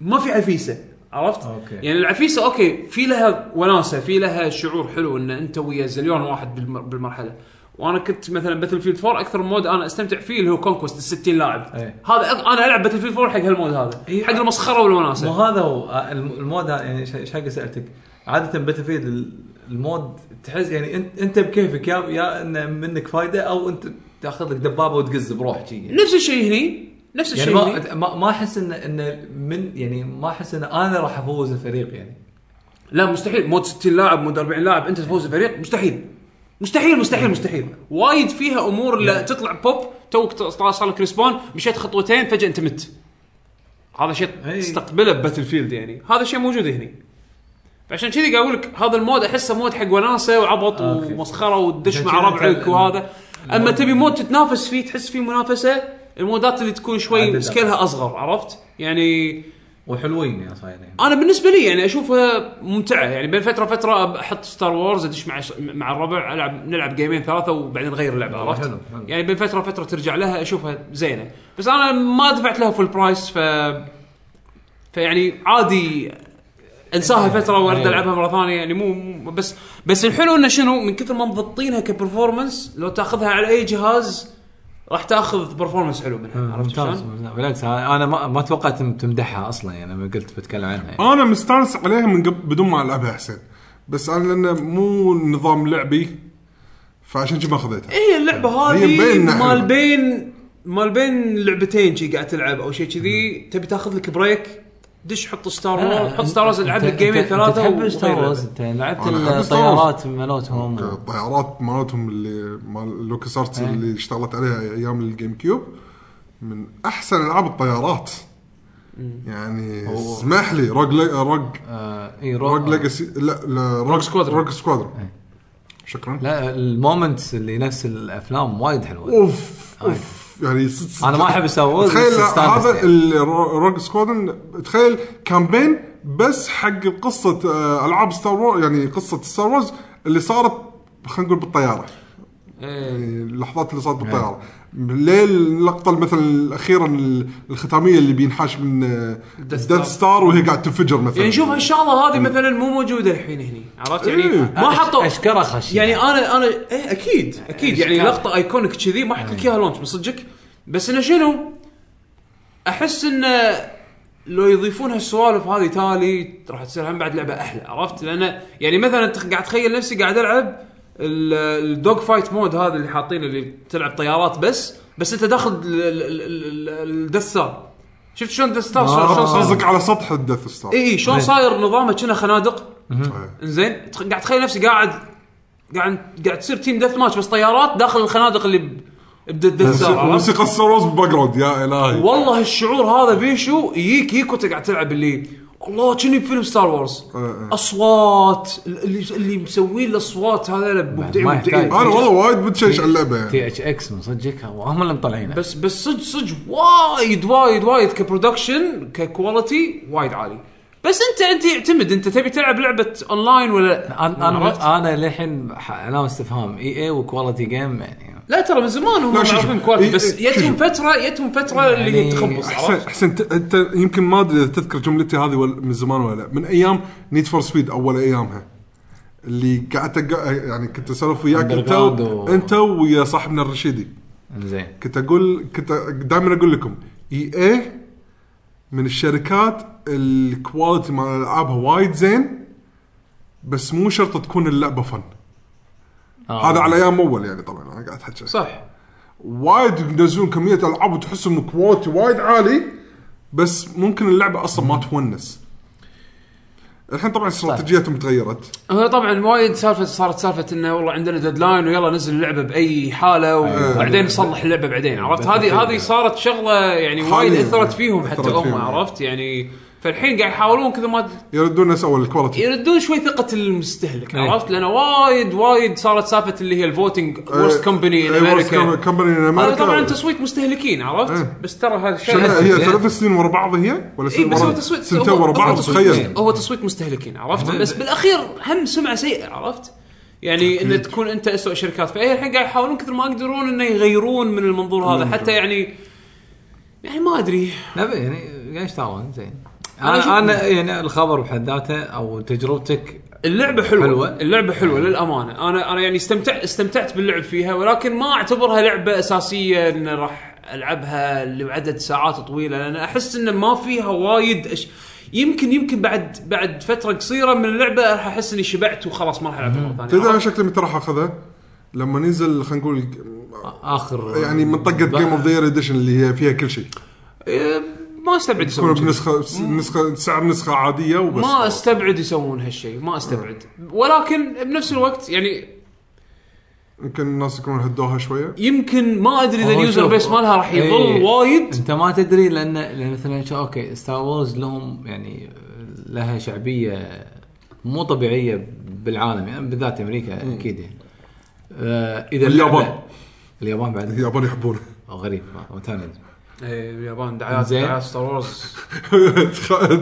[SPEAKER 1] ما في عفيسه عرفت؟
[SPEAKER 2] أوكي.
[SPEAKER 1] يعني العفيسه اوكي في لها وناسه في لها شعور حلو ان انت ويا زليون واحد بالم- بالمرحله وانا كنت مثلا باتل فيلد 4 اكثر مود انا استمتع فيه اللي هو كونكوست ال 60 لاعب
[SPEAKER 2] إيه.
[SPEAKER 1] هذا أ- انا العب باتل فيلد 4 حق هالمود هذا
[SPEAKER 2] إيه.
[SPEAKER 1] حق المسخره والوناسه
[SPEAKER 2] مو هذا هو آه، الم- المود هذا يعني ايش حق سالتك عاده باتل فيلد ال- المود تحس يعني انت انت بكيفك يا يا انه منك فايده او انت تاخذ لك دبابه وتقز بروحك يعني.
[SPEAKER 1] نفس الشيء هني نفس
[SPEAKER 2] يعني
[SPEAKER 1] الشيء
[SPEAKER 2] ما
[SPEAKER 1] هني.
[SPEAKER 2] ما- ما احس ان ان من يعني ما احس ان انا راح افوز الفريق يعني
[SPEAKER 1] لا مستحيل مود 60 لاعب مود 40 لاعب انت تفوز الفريق مستحيل مستحيل مستحيل مستحيل وايد فيها امور لا تطلع بوب توك ت- طلع صار لك ريسبون مشيت خطوتين فجاه انت مت هذا شيء
[SPEAKER 2] أي.
[SPEAKER 1] تستقبله بباتل فيلد يعني هذا الشيء موجود هنا فعشان كذي قاعد اقول لك هذا المود احسه مود حق وناسه وعبط
[SPEAKER 2] أوكي.
[SPEAKER 1] ومسخره وتدش
[SPEAKER 2] عشان كذا
[SPEAKER 1] مع ربعك
[SPEAKER 2] تل-
[SPEAKER 1] وهذا اما تبي مود تتنافس فيه تحس فيه منافسه المودات اللي تكون شوي
[SPEAKER 2] عدل.
[SPEAKER 1] سكيلها اصغر عرفت؟ يعني
[SPEAKER 2] وحلوين يا صايرين
[SPEAKER 1] انا بالنسبه لي يعني اشوفها ممتعه يعني بين فتره فتره احط ستار وورز ادش مع مع الربع العب نلعب جيمين ثلاثه وبعدين نغير اللعبه عرفت؟
[SPEAKER 2] آه، حلو، حلو.
[SPEAKER 1] يعني بين فتره فتره ترجع لها اشوفها زينه بس انا ما دفعت لها فول برايس ف فيعني عادي انساها فتره
[SPEAKER 2] إيه.
[SPEAKER 1] وارد العبها مره ثانيه يعني مو- مو بس بس الحلو انه شنو من كثر ما مضبطينها كبرفورمانس لو تاخذها على اي جهاز راح تاخذ برفورمانس حلو
[SPEAKER 2] إيه،
[SPEAKER 1] منها عرفت
[SPEAKER 5] ممتاز
[SPEAKER 1] شلون؟
[SPEAKER 5] ممتاز. بالعكس انا ما, ما توقعت إن تمدحها اصلا يعني لما قلت بتكلم عنها يعني.
[SPEAKER 3] انا مستانس عليها من قبل بدون ما العبها احسن بس انا لانه مو نظام لعبي فعشان كذي ما خذيتها
[SPEAKER 1] هي اللعبه
[SPEAKER 3] هي
[SPEAKER 1] إيه، هذه
[SPEAKER 3] مبين
[SPEAKER 1] مال
[SPEAKER 3] نحن.
[SPEAKER 1] بين مال بين لعبتين شي قاعد تلعب او شيء كذي تبي تاخذ لك بريك دش حط ستار وورز حط ستار وورز العب لك
[SPEAKER 5] آه، أنت-
[SPEAKER 1] جيمين
[SPEAKER 5] أنت-
[SPEAKER 1] ثلاثه
[SPEAKER 5] أنت تحب
[SPEAKER 1] وغير
[SPEAKER 5] ستار وورز
[SPEAKER 1] لعبة.
[SPEAKER 5] انت لعبت
[SPEAKER 3] أنا أحب ستار وورز.
[SPEAKER 5] الطيارات مالتهم
[SPEAKER 3] الطيارات مالتهم اللي مال لوكس ارتس
[SPEAKER 2] إيه.
[SPEAKER 3] اللي اشتغلت عليها ايام الجيم كيوب من احسن العاب الطيارات
[SPEAKER 2] إيه.
[SPEAKER 3] يعني اسمح لي روج لي- روج
[SPEAKER 5] آه، اي
[SPEAKER 3] روج
[SPEAKER 5] روك
[SPEAKER 3] ليجاسي لا لا روج
[SPEAKER 1] Squadron. إيه.
[SPEAKER 3] روج سكوادرون شكرا
[SPEAKER 5] لا المومنتس اللي نفس الافلام وايد حلوه
[SPEAKER 3] اوف اوف يعني صدق-
[SPEAKER 1] آه.
[SPEAKER 3] صدق.
[SPEAKER 5] انا ما احب ستار وورز
[SPEAKER 3] تخيل
[SPEAKER 5] بس أستانس
[SPEAKER 3] هذا
[SPEAKER 5] يعني.
[SPEAKER 3] الروج سكوادرون تخيل كامبين بس حق قصه آه، العاب ستار وورز يعني قصه ستار وورز اللي صارت خلينا نقول بالطياره
[SPEAKER 1] إيه.
[SPEAKER 3] يعني اللحظات اللي صارت بالطياره ليه اللقطه مثلا الاخيره ال- الختاميه اللي بينحاش من
[SPEAKER 1] Star.
[SPEAKER 3] ديث ستار وهي قاعد تنفجر مثلا
[SPEAKER 1] يعني شوف هالشغله هذه مثلا مو موجوده الحين هني عرفت يعني
[SPEAKER 3] إيه.
[SPEAKER 1] ما حطوا
[SPEAKER 5] اشكره خش
[SPEAKER 1] يعني انا انا ايه اكيد اكيد يعني لقطه ايكونيك كذي ما حط لك اياها لونش من صدقك بس انه شنو؟ احس انه لو يضيفون هالسوالف هذه تالي راح تصير هم بعد لعبه احلى عرفت؟ لان يعني مثلا تخ- قاعد اتخيل نفسي قاعد العب ال- الدوج فايت مود هذا اللي حاطينه اللي تلعب طيارات بس بس انت داخل الدثار شفت شلون دثار شلون
[SPEAKER 3] قصدك-
[SPEAKER 1] صار
[SPEAKER 3] آه،
[SPEAKER 1] إيه.
[SPEAKER 3] قصدك على سطح الديث ستار
[SPEAKER 1] اي اي شلون صاير نظامه كنا خنادق
[SPEAKER 3] إيه.
[SPEAKER 1] زين تخ- قاعد تخيل نفسي قاعد قاعد قاعد تصير تيم دث ماتش بس طيارات داخل الخنادق اللي ب- بدث ستار عرفت؟
[SPEAKER 3] موسيقى ستار وورز بالباك جراوند يا الهي
[SPEAKER 1] والله الشعور هذا بيشو يجيك يجيك وانت قاعد تلعب اللي الله كني بفيلم ستار وورز
[SPEAKER 3] إيه.
[SPEAKER 1] اصوات ال- اللي اللي مسوين الاصوات هذول مبدعين
[SPEAKER 5] ما
[SPEAKER 1] مبدعين
[SPEAKER 5] يحتاج.
[SPEAKER 3] انا والله وايد بتشيش على اللعبه يعني.
[SPEAKER 5] تي اتش اكس من صدقك وهم اللي مطلعينه
[SPEAKER 1] بس بس صدق صدق وايد وايد وايد كبرودكشن ككواليتي وايد عالي بس انت انت يعتمد انت تبي تلعب لعبه اونلاين ولا لا؟
[SPEAKER 5] انا
[SPEAKER 1] عرفت؟
[SPEAKER 5] انا انا للحين ح- علامه استفهام اي اي وكواليتي جيم يعني
[SPEAKER 1] لا ترى من زمان هم
[SPEAKER 3] لا، شوف-
[SPEAKER 1] معروفين
[SPEAKER 3] شوف.
[SPEAKER 1] كواليتي
[SPEAKER 3] إي-
[SPEAKER 1] بس
[SPEAKER 3] إي-
[SPEAKER 1] يتهم
[SPEAKER 3] شوف.
[SPEAKER 1] فتره يتهم فتره اللي هي
[SPEAKER 5] يعني
[SPEAKER 1] تخبص
[SPEAKER 3] احسن
[SPEAKER 1] عرفت؟
[SPEAKER 3] احسن ت- انت يمكن ما ادري إذا تذكر جملتي هذه ولا- من زمان ولا لا من ايام نيد فور سبيد اول ايامها اللي قعدت أق- يعني كنت اسولف وياك انت
[SPEAKER 5] Underground
[SPEAKER 3] و...
[SPEAKER 5] و-
[SPEAKER 3] انت ويا صاحبنا الرشيدي
[SPEAKER 5] زين
[SPEAKER 3] كنت اقول كنت دائما اقول لكم اي اي من الشركات الكواليتي مال العابها وايد زين بس مو شرط تكون اللعبه فن
[SPEAKER 5] آه.
[SPEAKER 3] هذا على ايام اول يعني طبعا انا قاعد احكي
[SPEAKER 1] صح
[SPEAKER 3] وايد ينزلون كميه العاب وتحسهم كواليتي وايد عالي بس ممكن اللعبه اصلا ما تونس الحين طبعا استراتيجيتهم تغيرت
[SPEAKER 1] هو طبعا وايد سالفه صارت سالفه انه والله عندنا ديدلاين ويلا نزل اللعبه باي حاله
[SPEAKER 3] أيوة.
[SPEAKER 1] وبعدين نصلح اللعبه بعدين عرفت هذه هذه صارت شغله يعني وايد
[SPEAKER 3] حالياً.
[SPEAKER 1] اثرت فيهم حتى
[SPEAKER 3] أثرت
[SPEAKER 1] هم
[SPEAKER 3] فيهم.
[SPEAKER 1] عرفت يعني فالحين قاعد يحاولون كذا ما
[SPEAKER 3] يردون ناس اول الكواليتي
[SPEAKER 1] يردون شوي ثقه المستهلك
[SPEAKER 3] إيه.
[SPEAKER 1] عرفت لان وايد وايد صارت سالفه اللي هي الفوتنج
[SPEAKER 3] إيه. أه،
[SPEAKER 1] ورست كومباني ان امريكا
[SPEAKER 3] كمباني ان
[SPEAKER 1] هذا طبعا
[SPEAKER 3] امريكا
[SPEAKER 1] تصويت مستهلكين عرفت
[SPEAKER 3] إيه.
[SPEAKER 1] بس ترى هذا
[SPEAKER 3] شنو
[SPEAKER 1] الشيء
[SPEAKER 3] هي ثلاث سنين ورا بعض هي ولا
[SPEAKER 1] اي
[SPEAKER 3] سنين
[SPEAKER 1] إيه، بس هو
[SPEAKER 3] ورا
[SPEAKER 1] تصويت
[SPEAKER 3] سنتين
[SPEAKER 1] هو-
[SPEAKER 3] ورا
[SPEAKER 1] هو
[SPEAKER 3] بعض
[SPEAKER 1] تصويت
[SPEAKER 3] تخيل
[SPEAKER 1] مست- هو تصويت مستهلكين عرفت بس بالاخير هم سمعه سيئه عرفت يعني ان تكون انت اسوء شركات فهي الحين قاعد يحاولون كثر ما يقدرون انه يغيرون من المنظور هذا حتى يعني يعني ما ادري
[SPEAKER 5] نبي يعني قاعد يشتغلون زين
[SPEAKER 1] أنا أشوف-
[SPEAKER 5] انا انا يعني الخبر بحد ذاته او تجربتك
[SPEAKER 1] اللعبه حلوه, حلوة.
[SPEAKER 5] حلوة.
[SPEAKER 1] اللعبه حلوه للامانه انا انا يعني استمتع استمتعت باللعب فيها ولكن ما اعتبرها لعبه اساسيه ان راح العبها لعدد ساعات طويله لان احس انه ما فيها وايد أش... يمكن يمكن بعد بعد فتره قصيره من اللعبه راح احس اني شبعت وخلاص ما راح العبها مره
[SPEAKER 3] تدري انا
[SPEAKER 1] ثانيه
[SPEAKER 3] شكلي متى راح اخذها؟ لما ننزل خلينا نقول
[SPEAKER 5] اخر
[SPEAKER 3] يعني منطقه
[SPEAKER 5] بقى-
[SPEAKER 3] جيم اوف ذا يير اديشن اللي هي فيها كل شيء
[SPEAKER 1] إيه، ما استبعد
[SPEAKER 3] تكون
[SPEAKER 1] يسوون كذي.
[SPEAKER 3] بنسخه نسخه سعر نسخه عاديه وبس
[SPEAKER 1] ما استبعد يسوون هالشيء ما استبعد ولكن بنفس الوقت يعني
[SPEAKER 3] يمكن الناس يكونون هدوها شويه
[SPEAKER 1] يمكن ما ادري اذا
[SPEAKER 5] هو
[SPEAKER 1] اليوزر
[SPEAKER 5] شوف.
[SPEAKER 1] بيس مالها راح يظل
[SPEAKER 5] إيه.
[SPEAKER 1] وايد
[SPEAKER 5] انت ما تدري لان لان مثلا شو- اوكي ستار وورز لهم يعني لها شعبيه مو طبيعيه بالعالم يعني بالذات امريكا اكيد يعني آه، اذا
[SPEAKER 3] واليابان.
[SPEAKER 5] اللعبة- اليابان بعد
[SPEAKER 3] اليابان يحبونه
[SPEAKER 5] غريب وثاني
[SPEAKER 1] ايه اليابان دعايات
[SPEAKER 5] زين.
[SPEAKER 1] دعايات ستار وورز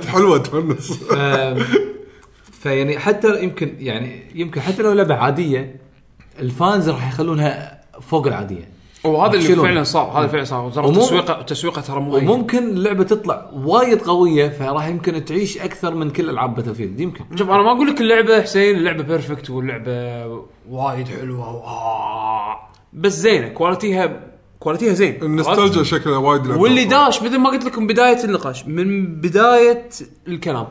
[SPEAKER 3] حلوه تونس
[SPEAKER 5] آم، فيعني حتى يمكن يعني يمكن حتى لو لعبه عاديه الفانز راح يخلونها فوق العاديه
[SPEAKER 1] وهذا اللي
[SPEAKER 5] يشيلون.
[SPEAKER 1] فعلا صار هذا فعلا صار ترى
[SPEAKER 5] ومو-
[SPEAKER 1] تسويقه تسويقه ترى مو غير.
[SPEAKER 5] وممكن اللعبه تطلع وايد قويه فراح يمكن تعيش اكثر من كل العاب باتل فيلد يمكن
[SPEAKER 1] شوف انا ما اقول لك اللعبه حسين اللعبه بيرفكت واللعبه وايد حلوه وآه. بس زينه كواليتيها كواليتيها زين
[SPEAKER 3] النستالجيا شكلها وايد لعبة.
[SPEAKER 1] واللي داش مثل ما قلت لكم بدايه النقاش من بدايه الكلام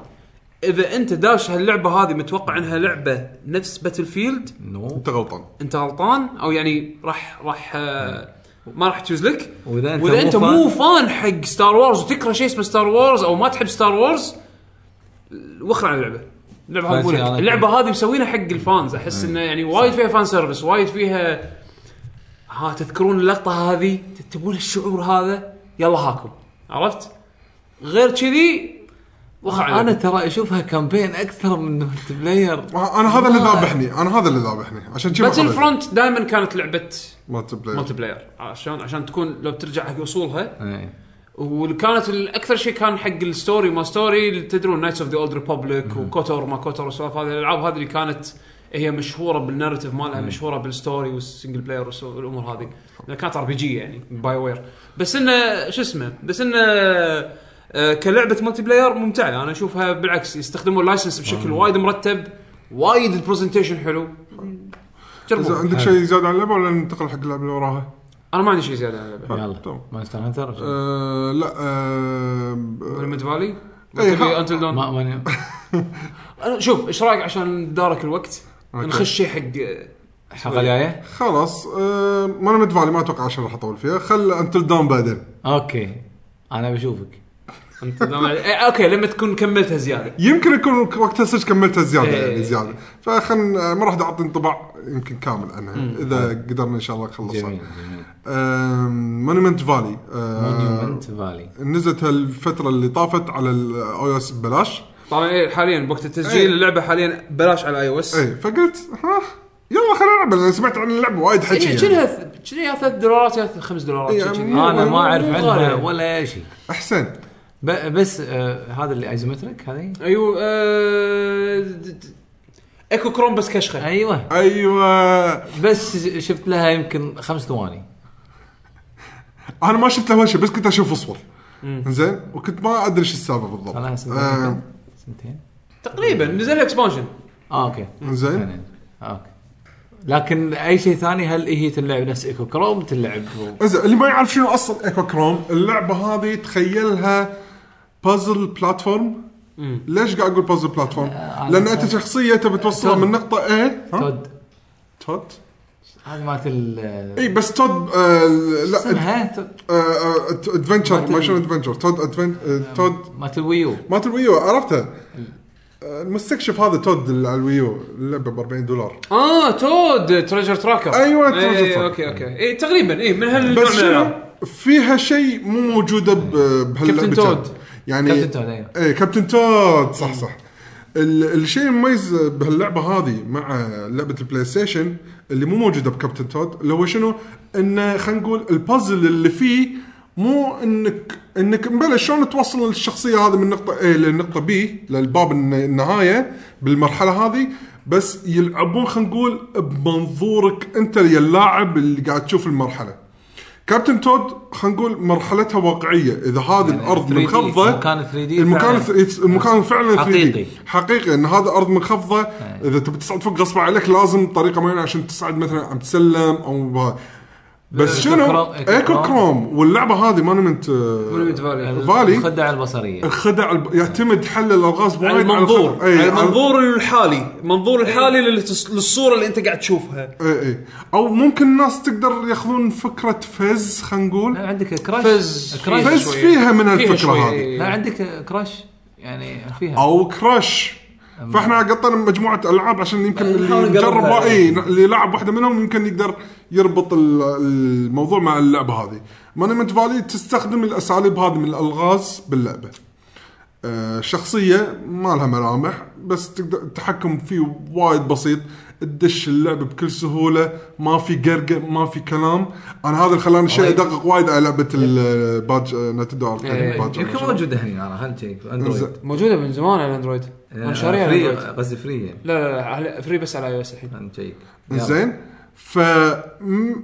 [SPEAKER 1] اذا انت داش هاللعبه هذه متوقع انها لعبه نفس باتل فيلد
[SPEAKER 5] نو
[SPEAKER 3] انت غلطان
[SPEAKER 1] انت غلطان او يعني راح راح آه، ما راح تجوز لك
[SPEAKER 5] واذا
[SPEAKER 1] واذا انت مو فان حق ستار وورز وتكره شيء اسمه ستار وورز او ما تحب ستار وورز وخر عن اللعبه اللعبه هذه
[SPEAKER 5] بس
[SPEAKER 1] أقول لك،
[SPEAKER 5] يعني-
[SPEAKER 1] اللعبه هذه مسوينها حق الفانز احس انه يعني وايد فيها فان سيرفيس وايد فيها ها تذكرون اللقطه هذه تبون الشعور هذا يلا هاكم عرفت غير كذي وخر عن
[SPEAKER 5] انا
[SPEAKER 1] اللعبة.
[SPEAKER 5] ترى اشوفها كامبين اكثر من ملتي بلاير
[SPEAKER 3] انا هذا اللي ذابحني انا هذا اللي ذابحني عشان كذا
[SPEAKER 1] باتل فرونت دائما كانت لعبه
[SPEAKER 3] مالتي بلاير
[SPEAKER 1] ملتي بلاير عشان عشان تكون لو ترجع حق اصولها
[SPEAKER 5] إيه.
[SPEAKER 1] وكانت الاكثر شيء كان حق الستوري ما ستوري اللي تدرون نايتس اوف ذا اولد ريببليك وكوتور ما كوتور والسوالف هذه الالعاب هذه اللي كانت هي مشهوره بالنارتيف مالها مشهوره بالستوري والسنجل بلاير والس- والامور هذه لأنها كانت ار بي جي يعني باي وير بس انه شو اسمه بس انه آه، كلعبه ملتي بلاير ممتعه انا اشوفها بالعكس يستخدموا اللايسنس بشكل وايد مرتب وايد البرزنتيشن حلو
[SPEAKER 3] إذا
[SPEAKER 1] جربوا
[SPEAKER 3] عندك شيء زياده عن اللعبه ولا ننتقل حق اللعبه اللي وراها؟
[SPEAKER 1] انا ما عندي شيء زياده عن
[SPEAKER 3] أه.
[SPEAKER 1] اللعبه
[SPEAKER 5] يلا.
[SPEAKER 3] تمام.
[SPEAKER 5] مونستر هانتر
[SPEAKER 3] آه، لا آه،
[SPEAKER 1] ريمد فالي
[SPEAKER 3] إيه، ها-
[SPEAKER 1] Until Dawn.
[SPEAKER 5] ما ماني
[SPEAKER 1] أنا- شوف ايش رايك عشان دارك الوقت
[SPEAKER 3] أوكي.
[SPEAKER 1] نخش شيء حق
[SPEAKER 5] الحلقه الجايه
[SPEAKER 3] خلاص آه، ما انا متفاعل ما اتوقع عشان راح اطول فيها خل انتل داون بعدين
[SPEAKER 5] اوكي انا بشوفك
[SPEAKER 1] انت إيه، اوكي لما تكون كملتها زياده
[SPEAKER 3] يمكن يكون وقتها صدق كملتها زياده
[SPEAKER 1] إيه.
[SPEAKER 3] يعني زياده فخلنا ما راح اعطي انطباع يمكن كامل عنها اذا قدرنا ان شاء الله نخلصها
[SPEAKER 5] جميل جميل
[SPEAKER 3] مونيمنت فالي
[SPEAKER 5] مونيومنت فالي
[SPEAKER 3] آه، نزلت هالفتره اللي طافت على الاي اس ببلاش
[SPEAKER 1] طبعا إيه حاليا بوقت
[SPEAKER 3] إيه.
[SPEAKER 1] التسجيل اللعبه حاليا بلاش على اي او اس
[SPEAKER 3] اي إيه، فقلت ها يلا خلينا نلعب انا سمعت عن اللعبه وايد حكي يعني.
[SPEAKER 1] شنها شنها يا ثلاث دولارات يا خمس دولارات
[SPEAKER 3] إيه،
[SPEAKER 1] شي كذي.
[SPEAKER 3] مو-
[SPEAKER 5] انا ما اعرف
[SPEAKER 1] مو
[SPEAKER 5] عنها
[SPEAKER 1] غالية.
[SPEAKER 5] ولا شيء
[SPEAKER 3] احسن
[SPEAKER 5] ب- بس آه، هذا اللي ايزومتريك هذه
[SPEAKER 1] ايوه آه، د- د- ايكو كروم بس كشخه
[SPEAKER 5] ايوه
[SPEAKER 3] ايوه
[SPEAKER 5] بس شفت لها يمكن خمس ثواني
[SPEAKER 3] انا ما شفت له ولا شيء بس كنت اشوف اصور زين وكنت ما ادري ايش السالفه
[SPEAKER 5] أنا
[SPEAKER 3] بالضبط
[SPEAKER 5] أحسب
[SPEAKER 3] آه،
[SPEAKER 5] سنتين
[SPEAKER 1] تقريبا نزل اكسبانشن
[SPEAKER 5] اه اوكي
[SPEAKER 3] زين
[SPEAKER 5] يعني، اوكي لكن اي شيء ثاني هل هي تلعب نفس ايكو كروم تلعب
[SPEAKER 3] زين اللي ما يعرف شنو اصلا ايكو كروم اللعبه هذه تخيلها بازل بلاتفورم ليش قاعد اقول بازل بلاتفورم؟ لان انت شخصيه تبي توصلها من نقطه A ها؟
[SPEAKER 5] تود
[SPEAKER 3] تود
[SPEAKER 5] هذه مالت ال
[SPEAKER 1] إيه،
[SPEAKER 3] اي بس تود آه، لا آه،
[SPEAKER 5] اسمها تود
[SPEAKER 3] ادفنشر ما شنو ادفنشر تود
[SPEAKER 1] نعم.
[SPEAKER 3] أدفن- تود
[SPEAKER 5] مالت الويو
[SPEAKER 3] مالت الويو عرفته آه، المستكشف هذا تود اللي على الويو اللعبه ب 40 دولار
[SPEAKER 1] اه تود إيه، تريجر تراكر
[SPEAKER 3] أيوة، Treasure Tracker.
[SPEAKER 1] اوكي اوكي اي تقريبا اي إيه، من هالنوع
[SPEAKER 3] بس
[SPEAKER 1] من
[SPEAKER 3] شنو
[SPEAKER 1] الألعاب.
[SPEAKER 3] فيها شيء مو موجوده ب- بهاللعبه
[SPEAKER 1] كابتن تود.
[SPEAKER 3] يعني
[SPEAKER 5] كابتن تود، أيوة.
[SPEAKER 3] ايه كابتن تود صح صح ال- الشيء المميز بهاللعبه هذه مع لعبه البلاي ستيشن اللي مو موجوده بكابتن تود اللي هو شنو؟ انه خلينا نقول البازل اللي فيه مو انك انك مبلش شلون توصل الشخصيه هذه من نقطه A للنقطه B للباب الن- النهايه بالمرحله هذه بس يلعبون خلينا نقول بمنظورك انت يا اللاعب اللي قاعد تشوف المرحله. كابتن تود خلينا نقول مرحلتها واقعيه اذا هذه الارض
[SPEAKER 5] 3D
[SPEAKER 3] منخفضه
[SPEAKER 5] مكان 3D
[SPEAKER 3] المكان
[SPEAKER 5] فعلاً.
[SPEAKER 3] المكان فعلا 3D.
[SPEAKER 5] حقيقي.
[SPEAKER 3] حقيقي ان هذا ارض منخفضه اذا تبي تصعد فوق غصب عليك لازم طريقه معينه عشان تصعد مثلا عم تسلم او بها. بس
[SPEAKER 5] إيكو
[SPEAKER 3] شنو
[SPEAKER 5] كروم- إيكو
[SPEAKER 3] ايكو
[SPEAKER 5] كروم.
[SPEAKER 3] كروم واللعبه هذه مونومنت
[SPEAKER 1] Monument Valley.
[SPEAKER 3] فالي
[SPEAKER 5] الخدعه البصريه
[SPEAKER 3] خدع الب- يعتمد حل الالغاز وايد
[SPEAKER 1] على يعني المنظور
[SPEAKER 3] الخدع. إيه،
[SPEAKER 1] على المنظور الحالي المنظور الحالي للتص- للصوره اللي انت قاعد تشوفها
[SPEAKER 3] اي اي او ممكن الناس تقدر ياخذون فكره فز خلينا نقول
[SPEAKER 5] لا عندك كراش
[SPEAKER 1] فز
[SPEAKER 5] كراش
[SPEAKER 3] فز
[SPEAKER 1] شوية.
[SPEAKER 3] فيها من
[SPEAKER 1] فيها
[SPEAKER 3] هالفكره
[SPEAKER 1] شوية.
[SPEAKER 3] هذه
[SPEAKER 5] لا عندك كراش يعني فيها
[SPEAKER 3] او كراش فاحنا قطنا مجموعه العاب عشان يمكن
[SPEAKER 1] نحاول
[SPEAKER 3] اللي
[SPEAKER 1] نقربها.
[SPEAKER 3] جرب اي اللي لعب واحده منهم يمكن يقدر يربط ال- الموضوع مع اللعبه هذه مونيمنت فالي تستخدم الاساليب هذه من الالغاز باللعبه آه، شخصيه ما لها ملامح بس تقدر التحكم فيه وايد بسيط تدش اللعبه بكل سهوله ما في قرقه ما في كلام انا هذا اللي خلاني شيء ادقق وايد على لعبه الباج نتندو أركيد باج
[SPEAKER 2] يمكن موجوده هنا انا خلنا شيك اندرويد
[SPEAKER 1] موجودة من زمان على اندرويد
[SPEAKER 2] آه،
[SPEAKER 1] انا شاريها على
[SPEAKER 2] فري
[SPEAKER 1] اندرويد
[SPEAKER 2] قصدي فري يعني
[SPEAKER 1] لا لا لا على- فري بس على اي او اس الحين
[SPEAKER 2] خلنا نشيك
[SPEAKER 3] زين ف م-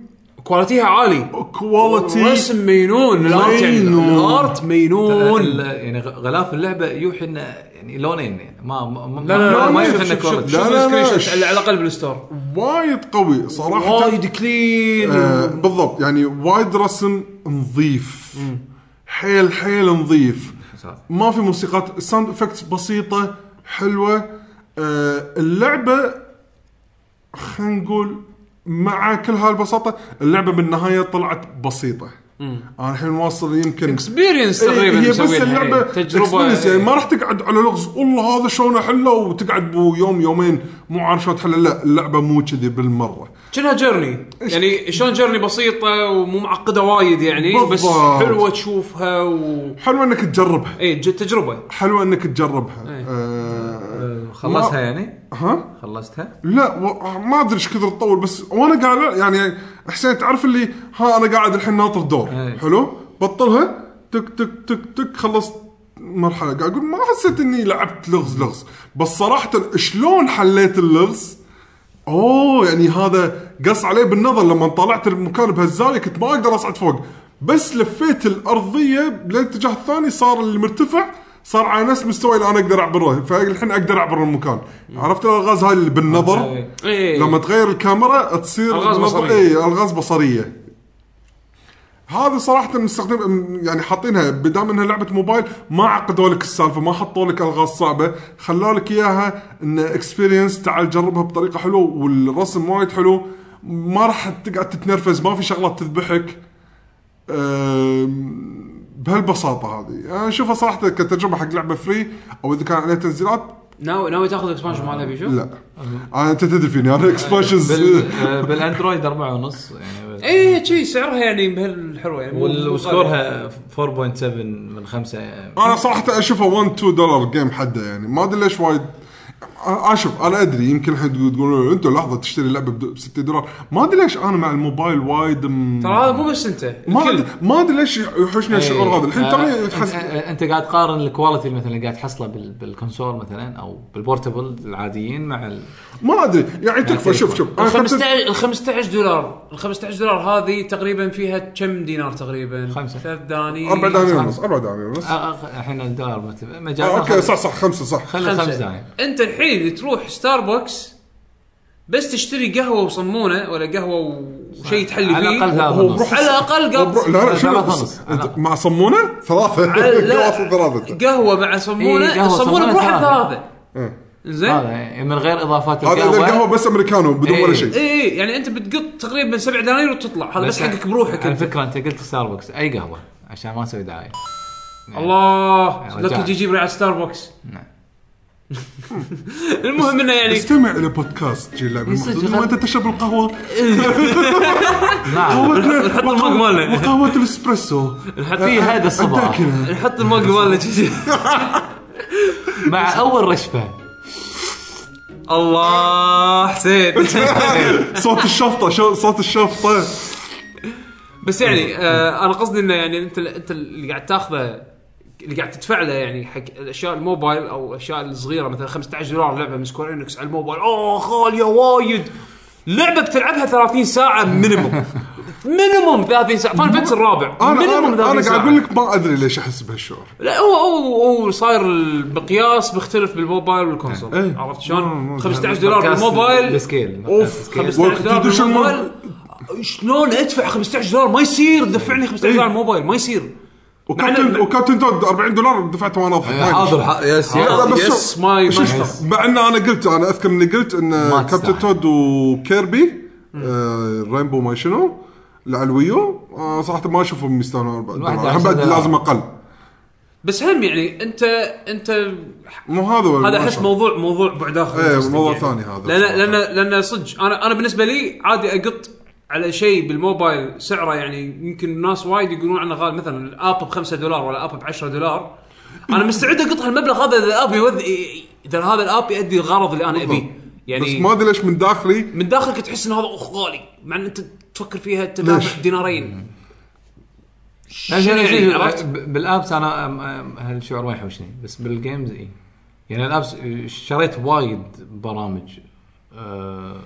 [SPEAKER 1] كواليتيها عالي
[SPEAKER 3] كواليتي
[SPEAKER 1] رسم مينون الارت يعني
[SPEAKER 3] مينون.
[SPEAKER 1] الارت مينون
[SPEAKER 2] ال- يعني غ- غلاف اللعبه يوحي انه يعني لونين يعني ما ما ما,
[SPEAKER 1] لا لا لا
[SPEAKER 2] ما
[SPEAKER 1] ما
[SPEAKER 2] يوحي
[SPEAKER 1] شوف
[SPEAKER 2] انه
[SPEAKER 1] شوف
[SPEAKER 2] كواليتي
[SPEAKER 1] شوف شوف
[SPEAKER 3] لا، لا،
[SPEAKER 1] السكرين
[SPEAKER 3] لا.
[SPEAKER 1] شوت على على الاقل بالستور
[SPEAKER 3] وايد قوي صراحه
[SPEAKER 1] وايد كلين
[SPEAKER 3] آه بالضبط يعني وايد رسم نظيف حيل حيل نظيف ما في موسيقات الساوند افكتس بسيطه حلوه آه اللعبه خلينا نقول مع كل هالبساطه اللعبه بالنهايه طلعت بسيطه انا الحين واصل يمكن
[SPEAKER 1] اكسبيرينس
[SPEAKER 3] إيه،
[SPEAKER 1] تقريبا
[SPEAKER 3] هي بس
[SPEAKER 1] مسوينها،
[SPEAKER 3] اللعبه
[SPEAKER 1] إيه. تجربه
[SPEAKER 3] experience، يعني ما راح تقعد على لغز والله هذا شلون احله وتقعد بو يوم يومين مو عارف شلون تحله لا اللعبه مو كذي بالمره
[SPEAKER 1] شنها جيرني يعني شلون جيرني بسيطه ومو معقده وايد يعني بس
[SPEAKER 3] بالضبط.
[SPEAKER 1] حلوه تشوفها و
[SPEAKER 3] حلو انك تجربها
[SPEAKER 1] اي ج- تجربه
[SPEAKER 3] حلو انك تجربها
[SPEAKER 1] إيه.
[SPEAKER 3] آه
[SPEAKER 2] خلصها
[SPEAKER 3] ما-
[SPEAKER 2] يعني
[SPEAKER 3] ها
[SPEAKER 2] خلصتها
[SPEAKER 3] لا و... ما ادري ايش كثر تطول بس وانا قاعد يعني حسين تعرف اللي ها انا قاعد الحين ناطر دور
[SPEAKER 2] إيه.
[SPEAKER 3] حلو بطلها تك تك تك تك خلصت مرحله قاعد اقول ما حسيت اني لعبت لغز لغز بس صراحه شلون حليت اللغز اوه يعني هذا قص عليه بالنظر لما طلعت المكان بهالزاويه كنت ما اقدر اصعد فوق بس لفيت الارضيه بالاتجاه الثاني صار المرتفع صار على نفس مستوى اللي انا اقدر اعبره فالحين اقدر اعبر المكان عرفت الالغاز هاي اللي بالنظر
[SPEAKER 1] اي
[SPEAKER 3] لما تغير الكاميرا تصير
[SPEAKER 1] ألغاز
[SPEAKER 3] نظر-
[SPEAKER 1] بصرية.
[SPEAKER 3] إيه الغاز بصريه هذه صراحه مستخدم م- يعني حاطينها بدام انها لعبه موبايل ما عقدوا لك السالفه ما حطوا لك الغاز صعبه خلوا لك اياها ان اكسبيرينس تعال جربها بطريقه حلوه والرسم وايد حلو ما راح تقعد تتنرفز ما في شغلات تذبحك أم، بهالبساطه هذه انا اشوفها صراحه كتجربه حق لعبه فري او اذا كان عليها تنزيلات
[SPEAKER 1] ناوي ناوي تاخذ اكسبانشن مالها بيشو؟
[SPEAKER 3] لا انا انت تدري فيني انا اكسبانشنز
[SPEAKER 2] بال آه، بالاندرويد أربعة ونص يعني
[SPEAKER 1] اي شي سعرها يعني بهالحلوه يعني مو-
[SPEAKER 2] وال-
[SPEAKER 1] مو
[SPEAKER 2] وسكورها 4.7 من 5 يعني
[SPEAKER 3] انا صراحه اشوفه 1 2 دولار جيم حده يعني ما ادري ليش وايد أ- اشوف انا ادري يمكن الحين تقول- تقولون انت لحظه تشتري لعبه ب 6 دولار ما ادري ليش انا مع الموبايل وايد م...
[SPEAKER 1] ترى هذا مو بس انت
[SPEAKER 3] ما
[SPEAKER 1] الكل
[SPEAKER 3] ادري ما ادري ليش يحوشني الشعور
[SPEAKER 1] إيه.
[SPEAKER 2] إيه.
[SPEAKER 3] هذا الحين
[SPEAKER 2] آه،
[SPEAKER 3] ترى تحس
[SPEAKER 2] انت قاعد تقارن الكواليتي اللي مثلا قاعد تحصله بال- بالكونسول مثلا او بالبورتبل العاديين مع ال...
[SPEAKER 3] ما ادري يعني تكفى شوف شوف
[SPEAKER 1] ال
[SPEAKER 3] انا كنت-
[SPEAKER 1] 15 ال 15 دولار ال 15 دولار هذه تقريبا فيها كم دينار تقريبا؟
[SPEAKER 2] خمسة.
[SPEAKER 1] ثلاث دنانير
[SPEAKER 3] اربع دنانير ونص اربع دنانير ونص
[SPEAKER 2] آه، آه، الحين الدولار مت- مجال
[SPEAKER 3] آه، اوكي صح صح خمسه صح
[SPEAKER 2] خلي يعني. خمس دنانير
[SPEAKER 1] انت الحين تروح ستاربكس بس تشتري قهوه وصمونه ولا قهوه وشيء تحلي
[SPEAKER 2] على
[SPEAKER 1] فيه
[SPEAKER 2] الأقل ثلاثة
[SPEAKER 1] هو
[SPEAKER 2] ونص.
[SPEAKER 1] على الاقل
[SPEAKER 3] وبرو-
[SPEAKER 1] قهوه
[SPEAKER 3] لا لا
[SPEAKER 2] ثلاثة
[SPEAKER 3] شنو
[SPEAKER 2] ونص.
[SPEAKER 3] أنت مع صمونه ثلاثه
[SPEAKER 1] على- لا.
[SPEAKER 3] قواصل ثلاثه
[SPEAKER 1] قهوه
[SPEAKER 2] إيه،
[SPEAKER 1] مع
[SPEAKER 2] قهوة
[SPEAKER 1] صمونه الصمونه
[SPEAKER 2] وصمونة
[SPEAKER 1] بروحها
[SPEAKER 2] ثلاثة.
[SPEAKER 1] ثلاثه
[SPEAKER 3] إيه.
[SPEAKER 1] زين
[SPEAKER 2] هذا يعني من غير اضافات
[SPEAKER 3] هذا إذا القهوه بس امريكانو بدون ولا
[SPEAKER 2] إيه.
[SPEAKER 3] شيء
[SPEAKER 1] اي يعني انت بتقط تقريبا سبع دنانير وتطلع هذا بس حقك بروحك
[SPEAKER 2] على
[SPEAKER 1] انت
[SPEAKER 2] فكره انت قلت ستاربكس اي قهوه عشان ما اسوي دعايه
[SPEAKER 1] الله
[SPEAKER 2] رجعت.
[SPEAKER 1] لك يجيب رعاية ستاربكس
[SPEAKER 2] يعني نعم.
[SPEAKER 1] المهم انه يعني
[SPEAKER 3] استمع الى بودكاست جيل لعبه المحظوظ لما انت تشرب القهوه
[SPEAKER 2] نعم
[SPEAKER 1] نحط الماء مالنا.
[SPEAKER 3] وقهوه الاسبريسو أه،
[SPEAKER 2] في هذا الصباح
[SPEAKER 3] أتأكد.
[SPEAKER 1] نحط الماج مالنا جديد
[SPEAKER 2] مع اول رشفه
[SPEAKER 1] الله حسين
[SPEAKER 3] صوت الشفطه شو- صوت الشفطه
[SPEAKER 1] بس
[SPEAKER 3] إيه.
[SPEAKER 1] يعني آه انا قصدي انه يعني انت انت اللي قاعد تاخذه اللي قاعد تدفع له يعني حق الاشياء الموبايل او الاشياء الصغيره مثلا 15 دولار لعبه من سكوير انكس على الموبايل اوه غاليه وايد لعبه بتلعبها 30 ساعه مينيموم مينيموم 30 ساعه فان فانتسي الرابع
[SPEAKER 3] انا
[SPEAKER 1] مينيموم 30
[SPEAKER 3] انا
[SPEAKER 1] ساعه
[SPEAKER 3] أنا قاعد اقول لك ما ادري ليش احس بهالشعور
[SPEAKER 1] لا هو هو هو صاير المقياس مختلف بالموبايل والكونسول
[SPEAKER 3] إيه.
[SPEAKER 1] عرفت
[SPEAKER 3] مم،
[SPEAKER 1] شلون؟
[SPEAKER 3] مم.
[SPEAKER 1] 15 دولار بالموبايل
[SPEAKER 2] بسكيل
[SPEAKER 3] اوف وقت
[SPEAKER 1] 15 دولار
[SPEAKER 3] تدش
[SPEAKER 1] بالموبايل شلون ادفع 15 دولار ما يصير دفعني 15 دولار
[SPEAKER 3] إيه.
[SPEAKER 1] موبايل ما يصير
[SPEAKER 3] وكابتن
[SPEAKER 1] معنا-
[SPEAKER 3] وكابتن دود 40 دولار دفعته وانا اضحك ما أدري.
[SPEAKER 5] أيوة، حاضر يس
[SPEAKER 3] لا، آه، بس شوف-
[SPEAKER 1] يس ما
[SPEAKER 3] شوف،
[SPEAKER 1] يشتغل
[SPEAKER 3] مع ان انا قلت انا اذكر اني قلت ان كابتن
[SPEAKER 2] تستاهل.
[SPEAKER 3] تود وكيربي آه، رينبو ما شنو اللي على الويو آه، صراحه ما اشوفهم يستاهلون 4 دولار
[SPEAKER 2] 11
[SPEAKER 3] بعد
[SPEAKER 2] دولار.
[SPEAKER 3] لازم اقل
[SPEAKER 1] بس هم يعني انت انت
[SPEAKER 3] مو هذا ولا
[SPEAKER 1] هذا
[SPEAKER 3] ما
[SPEAKER 1] احس
[SPEAKER 3] شاء
[SPEAKER 1] موضوع موضوع بعد اخر
[SPEAKER 3] إيه،
[SPEAKER 1] قصدي
[SPEAKER 3] موضوع ثاني هذا.
[SPEAKER 1] لان لان لان صدق انا انا بالنسبه لي عادي اقط على شيء بالموبايل سعره يعني يمكن الناس وايد يقولون عنه غالي مثلا الاب ب 5 دولار ولا اب ب 10 دولار انا مستعد اقط هالمبلغ هذا اذا الاب يوذ اذا هذا الاب يؤدي الغرض اللي انا ابيه
[SPEAKER 3] بس
[SPEAKER 1] يعني
[SPEAKER 3] ما ادري ليش من داخلي
[SPEAKER 1] من داخلك تحس ان هذا اخ غالي مع ان انت تفكر فيها تدافع دينارين شنو يعني عرفت؟
[SPEAKER 2] بالابس انا أم- أم- هالشعور ما يحوشني بس بالجيمز اي يعني الابس اشتريت وايد برامج آه،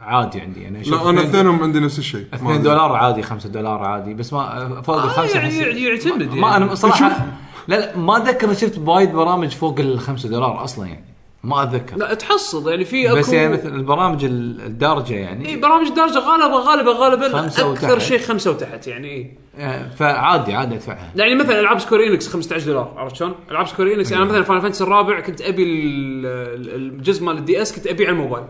[SPEAKER 2] عادي عندي انا أشوف
[SPEAKER 3] لا انا
[SPEAKER 2] اثنين-
[SPEAKER 3] اثنينهم عندي نفس الشيء ما
[SPEAKER 2] 2
[SPEAKER 3] أدري.
[SPEAKER 2] دولار عادي 5 دولار عادي بس ما فوق الخمسه
[SPEAKER 1] يعني
[SPEAKER 2] أحس-
[SPEAKER 1] يعتمد
[SPEAKER 2] ما
[SPEAKER 1] يعني.
[SPEAKER 2] انا صراحه لا لا ما اتذكر إني شفت وايد برامج فوق ال 5 دولار اصلا يعني ما اتذكر
[SPEAKER 1] لا تحصل يعني في اكو
[SPEAKER 2] بس يعني مثل البرامج ال- الدارجه
[SPEAKER 1] اي
[SPEAKER 2] يعني
[SPEAKER 1] برامج الدرجه غالبا غالبا غالبا
[SPEAKER 2] خمسة
[SPEAKER 1] اكثر
[SPEAKER 2] وتحت.
[SPEAKER 1] شيء خمسه وتحت يعني اي
[SPEAKER 2] آه، فعادي عادي ادفعها
[SPEAKER 1] يعني مثلا العاب سكوير انكس 15 دولار عرفت شلون؟ العاب سكوير انكس انا مثلا فاينل فانتسي الرابع كنت ابي ال- ال- الجزء مال الدي اس كنت ابيع على الموبايل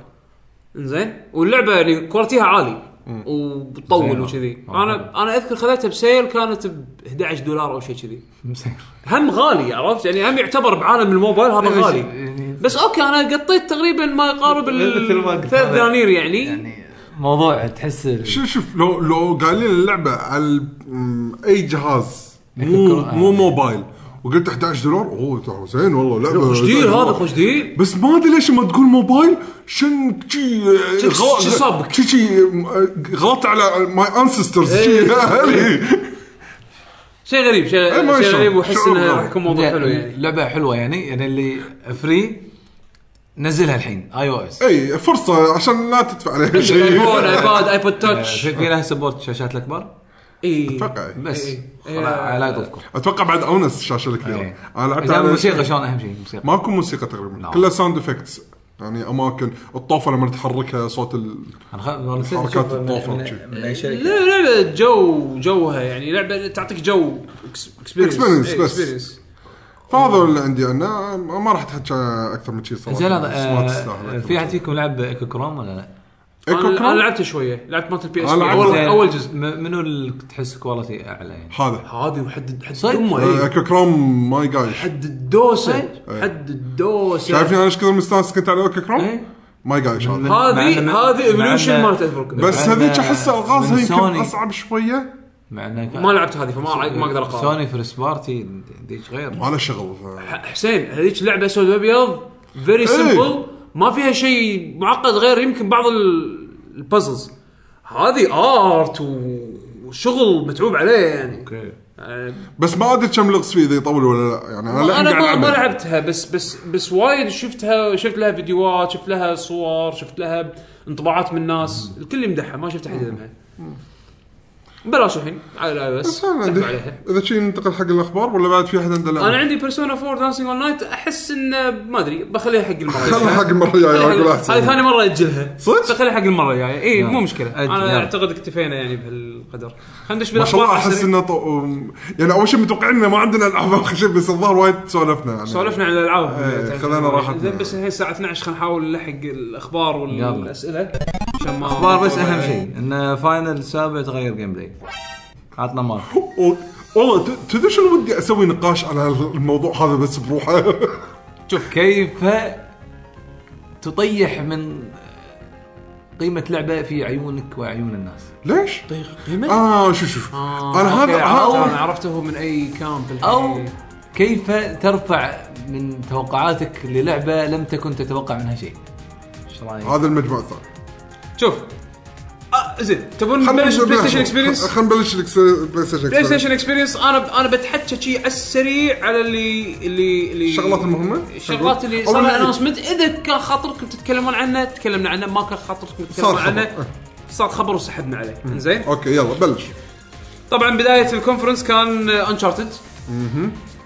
[SPEAKER 1] زين واللعبه يعني كواليتيها عالي وتطول
[SPEAKER 2] زين.
[SPEAKER 1] وكذي
[SPEAKER 2] آه.
[SPEAKER 1] انا انا اذكر خذيتها بسيل كانت ب 11 دولار او شيء كذي
[SPEAKER 2] مسير.
[SPEAKER 1] هم غالي عرفت يعني هم يعتبر بعالم الموبايل هذا غالي
[SPEAKER 2] يعني
[SPEAKER 1] بس اوكي انا قطيت تقريبا ما يقارب
[SPEAKER 7] مثل ما قلت
[SPEAKER 1] ال-
[SPEAKER 7] أنا.
[SPEAKER 1] ثلاث دنانير يعني
[SPEAKER 2] يعني موضوع تحس ال-
[SPEAKER 3] شوف شوف لو لو قايلين اللعبه على ال- م- اي جهاز مو
[SPEAKER 2] يفكروا- آه.
[SPEAKER 3] مو موبايل وقلت 11 دولار اوه ترى زين والله لعبه
[SPEAKER 1] خوش ديل هذا خوش ديل
[SPEAKER 3] بس ما ادري ليش ما تقول موبايل شن شي
[SPEAKER 1] شك- شي صابك.
[SPEAKER 3] شي شي غلط على ماي انسسترز شي
[SPEAKER 1] إيه.
[SPEAKER 3] اهلي
[SPEAKER 1] شيء غريب شيء
[SPEAKER 3] إيه، ما
[SPEAKER 1] شيء
[SPEAKER 3] شاء.
[SPEAKER 1] غريب واحس
[SPEAKER 3] شعور
[SPEAKER 1] انه
[SPEAKER 3] غريب.
[SPEAKER 1] راح يكون موضوع
[SPEAKER 2] زين،
[SPEAKER 1] حلو يعني
[SPEAKER 2] لعبه حلوه يعني يعني اللي فري نزلها الحين اي او اس
[SPEAKER 3] اي فرصه إيه، عشان لا تدفع عليها
[SPEAKER 1] إيه،
[SPEAKER 3] شيء
[SPEAKER 1] ايفون ايباد ايبود تاتش
[SPEAKER 2] آه، في في لها سبورت شاشات الاكبر
[SPEAKER 1] اي
[SPEAKER 3] اتوقع
[SPEAKER 2] بس
[SPEAKER 1] إيه.
[SPEAKER 2] خلاص، لا يطوفكم
[SPEAKER 3] اتوقع بعد اونس الشاشه الكبيره
[SPEAKER 2] إيه.
[SPEAKER 3] انا لعبت
[SPEAKER 2] زين
[SPEAKER 3] على
[SPEAKER 2] الموسيقى شلون اهم شيء الموسيقى
[SPEAKER 3] ماكو موسيقى تقريبا
[SPEAKER 2] لا.
[SPEAKER 3] كلها ساوند افكتس يعني اماكن الطوفه لما تحركها صوت ال...
[SPEAKER 2] انا خ- والله نسيت أشوف.
[SPEAKER 3] حركات
[SPEAKER 7] من-
[SPEAKER 3] الطوفه
[SPEAKER 7] من-
[SPEAKER 3] وشي.
[SPEAKER 7] من اي شركه
[SPEAKER 1] لا لعبه جو جوها يعني لعبه تعطيك جو إيه،
[SPEAKER 3] Experience،
[SPEAKER 1] اكسبيرينس
[SPEAKER 3] بس. فهذا اللي عندي انا ما راح اتحكى اكثر من شيء صراحه
[SPEAKER 2] زين هذا
[SPEAKER 3] بس ما
[SPEAKER 2] آه،
[SPEAKER 3] تستاهل أكثر
[SPEAKER 2] في
[SPEAKER 3] من
[SPEAKER 2] احد
[SPEAKER 3] شي.
[SPEAKER 2] فيكم لعب ايكو كروم ولا لا؟
[SPEAKER 3] إيكو
[SPEAKER 1] انا
[SPEAKER 3] كرام؟
[SPEAKER 1] لعبته شويه لعبت مالت البي اس
[SPEAKER 3] إيه، أنا لعبت
[SPEAKER 1] اول
[SPEAKER 2] زين،
[SPEAKER 1] اول جزء
[SPEAKER 2] م- منو اللي تحس كواليتي اعلى يعني؟
[SPEAKER 3] هذا
[SPEAKER 1] هذه وحد حد
[SPEAKER 2] صدق؟
[SPEAKER 1] امه
[SPEAKER 3] آه،
[SPEAKER 1] إيه.
[SPEAKER 3] ايكو كروم ماي جاي
[SPEAKER 1] حد الدوسه
[SPEAKER 3] صدق؟
[SPEAKER 1] حد الدوسه
[SPEAKER 3] شايفين انا ايش كثر مستانس كنت على ايكو كروم؟
[SPEAKER 2] إيه؟
[SPEAKER 3] ماي جاي هذا
[SPEAKER 2] مع أن-
[SPEAKER 1] هذه هذه
[SPEAKER 2] مع
[SPEAKER 1] ايفولوشن
[SPEAKER 2] أن-
[SPEAKER 1] مالت ايفولوشن
[SPEAKER 3] بس
[SPEAKER 2] عندنا
[SPEAKER 3] هذيك احس الغازها
[SPEAKER 2] من
[SPEAKER 3] يمكن
[SPEAKER 2] سوني.
[SPEAKER 3] اصعب شويه
[SPEAKER 2] مع انه كان-
[SPEAKER 1] ما لعبت هذه فما راح- ما اقدر اقارن
[SPEAKER 2] سوني فيرست بارتي ديش غير
[SPEAKER 3] ما له شغل ف-
[SPEAKER 1] حسين هذيك لعبه اسود وابيض
[SPEAKER 3] إيه.
[SPEAKER 1] فيري سمبل ما فيها شيء معقد غير يمكن بعض ال- البازلز هذه ارت و- وشغل متعوب عليه يعني آه،
[SPEAKER 3] بس ما ادري كم لغز فيه اذا يطول ولا لا يعني انا
[SPEAKER 1] انا
[SPEAKER 3] للحين
[SPEAKER 1] ما,
[SPEAKER 3] قاعد
[SPEAKER 1] ما
[SPEAKER 3] ألعبها.
[SPEAKER 1] لعبتها بس بس بس وايد شفتها شفت لها فيديوهات شفت لها صور شفت لها انطباعات من الناس الكل يمدحها ما شفت احد يذمها بلاش الحين على الاي
[SPEAKER 3] بس
[SPEAKER 1] بس
[SPEAKER 3] أنا عندي- اذا شيء ننتقل حق الاخبار ولا بعد في احد عنده لعبة؟
[SPEAKER 1] انا عندي بيرسونا 4 دانسينج اون نايت احس انه ما ادري بخليها حق المره
[SPEAKER 3] خلنا حق المره الجايه اقول احسن
[SPEAKER 1] هاي ثاني مره اجلها
[SPEAKER 3] صدق؟ نعم.
[SPEAKER 1] خلي حق المره الجايه اي مو مشكله
[SPEAKER 2] أجل،
[SPEAKER 1] انا
[SPEAKER 2] يلا.
[SPEAKER 1] اعتقد اكتفينا يعني بهالقدر خلينا ندش
[SPEAKER 3] ما شاء الله
[SPEAKER 1] بالاخبار
[SPEAKER 3] احس
[SPEAKER 1] أحسن.
[SPEAKER 3] انه طو... أم- يعني اول شيء متوقعين انه ما عندنا العاب آخر شيء بس الظاهر وايد سولفنا يعني
[SPEAKER 1] سولفنا عن الالعاب
[SPEAKER 3] إيه، خلينا راحتنا.
[SPEAKER 1] زين بس الحين الساعه 12 خلينا نحاول نلحق الاخبار والاسئله عشان ما
[SPEAKER 2] اخبار بس اهم شيء ان فاينل سابع تغير جيم بلاي عطنا مارك
[SPEAKER 3] و- والله ت- تدري شنو ودي اسوي نقاش على الموضوع هذا بس بروحه
[SPEAKER 2] شوف كيف تطيح من قيمة لعبة في عيونك وعيون الناس
[SPEAKER 3] ليش؟
[SPEAKER 1] طيب، قيمة؟
[SPEAKER 3] اه شوف شوف
[SPEAKER 1] آه،
[SPEAKER 3] انا
[SPEAKER 1] أوكي،
[SPEAKER 3] هذا
[SPEAKER 1] عرفت-
[SPEAKER 3] هذا-
[SPEAKER 1] انا عرفته من اي كامب الحين.
[SPEAKER 2] أو كيف ترفع من توقعاتك للعبة لم تكن تتوقع منها شيء ايش رايك؟
[SPEAKER 3] هذا المجموع الثاني
[SPEAKER 1] شوف آه، زين تبون نبلش بلاي ستيشن اكسبيرينس
[SPEAKER 3] خلينا نبلش الإكس- بلاي ستيشن
[SPEAKER 1] بلاي
[SPEAKER 3] Experience.
[SPEAKER 1] ستيشن اكسبيرينس انا انا بتحكى شي على السريع على اللي اللي اللي
[SPEAKER 3] الشغلات المهمة؟
[SPEAKER 1] الشغلات اللي صار
[SPEAKER 3] أول
[SPEAKER 1] لها
[SPEAKER 3] شيء.
[SPEAKER 1] اناونسمنت اذا كان خاطركم تتكلمون عنه تكلمنا عنه ما كان خاطركم
[SPEAKER 3] صار
[SPEAKER 1] تتكلمون
[SPEAKER 3] خبر. أه.
[SPEAKER 1] عنه صار خبر وسحبنا عليه زين
[SPEAKER 3] اوكي يلا بلش
[SPEAKER 1] طبعا بدايه الكونفرنس كان انشارتد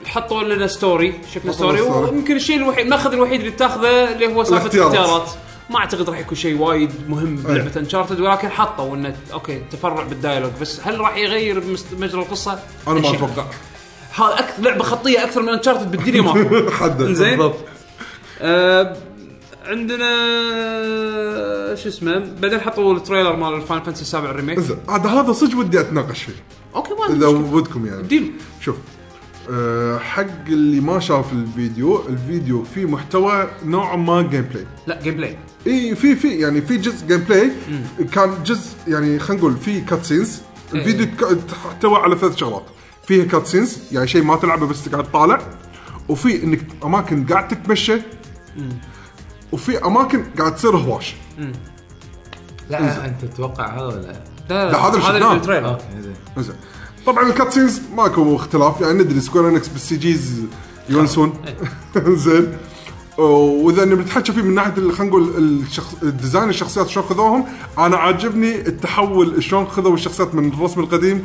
[SPEAKER 1] حطوا لنا ستوري شفنا ستوري
[SPEAKER 3] ستوري.
[SPEAKER 1] ويمكن الشيء الوحيد الماخذ الوحيد اللي بتاخذه اللي هو سالفه
[SPEAKER 3] الاختيارات.
[SPEAKER 1] الاختيارات ما اعتقد راح يكون شيء وايد مهم بلعبه انشارتد ولكن حطوا انه اوكي تفرع بالدايلوج بس هل راح يغير بمست- مجرى القصه؟
[SPEAKER 3] انا ما
[SPEAKER 1] شيء.
[SPEAKER 3] اتوقع
[SPEAKER 1] هذا اكثر لعبه خطيه اكثر من انشارتد بالدنيا ما
[SPEAKER 3] حد
[SPEAKER 1] زين آه عندنا شو اسمه بعدين حطوا التريلر مال الفاين فانتسي السابع الريميك
[SPEAKER 3] زين. عاد هذا صدق ودي اتناقش فيه
[SPEAKER 1] اوكي ما
[SPEAKER 3] اذا
[SPEAKER 1] عندي مشكلة.
[SPEAKER 3] ودكم يعني
[SPEAKER 1] ديل
[SPEAKER 3] شوف أه حق اللي ما شاف الفيديو الفيديو فيه محتوى نوع ما جيم بلاي
[SPEAKER 1] لا جيم بلاي
[SPEAKER 3] اي في في يعني في جزء جيم بلاي كان جزء يعني خلينا نقول في كاتسينز الفيديو ك- احتوى على ثلاث شغلات فيها كاتسينز يعني شيء ما تلعبه بس تقعد طالع وفي انك اماكن قاعد تتمشى وفي اماكن قاعد تصير هواش
[SPEAKER 2] لا انت تتوقع هذا ولا
[SPEAKER 1] لا
[SPEAKER 3] لا، هذا اللي
[SPEAKER 1] هذا
[SPEAKER 3] شفناه.
[SPEAKER 1] اللي بالتريلر
[SPEAKER 2] اوكي زين
[SPEAKER 3] زين طبعا الكاتسينز ماكو اختلاف يعني ندري سكوير انكس بالسي جيز يونسون زين واذا إن بنتحكى فيه من ناحيه ال- خلينا نقول الشخص ديزاين الشخصيات شلون خذوهم انا عاجبني التحول شلون خذوا الشخصيات من الرسم القديم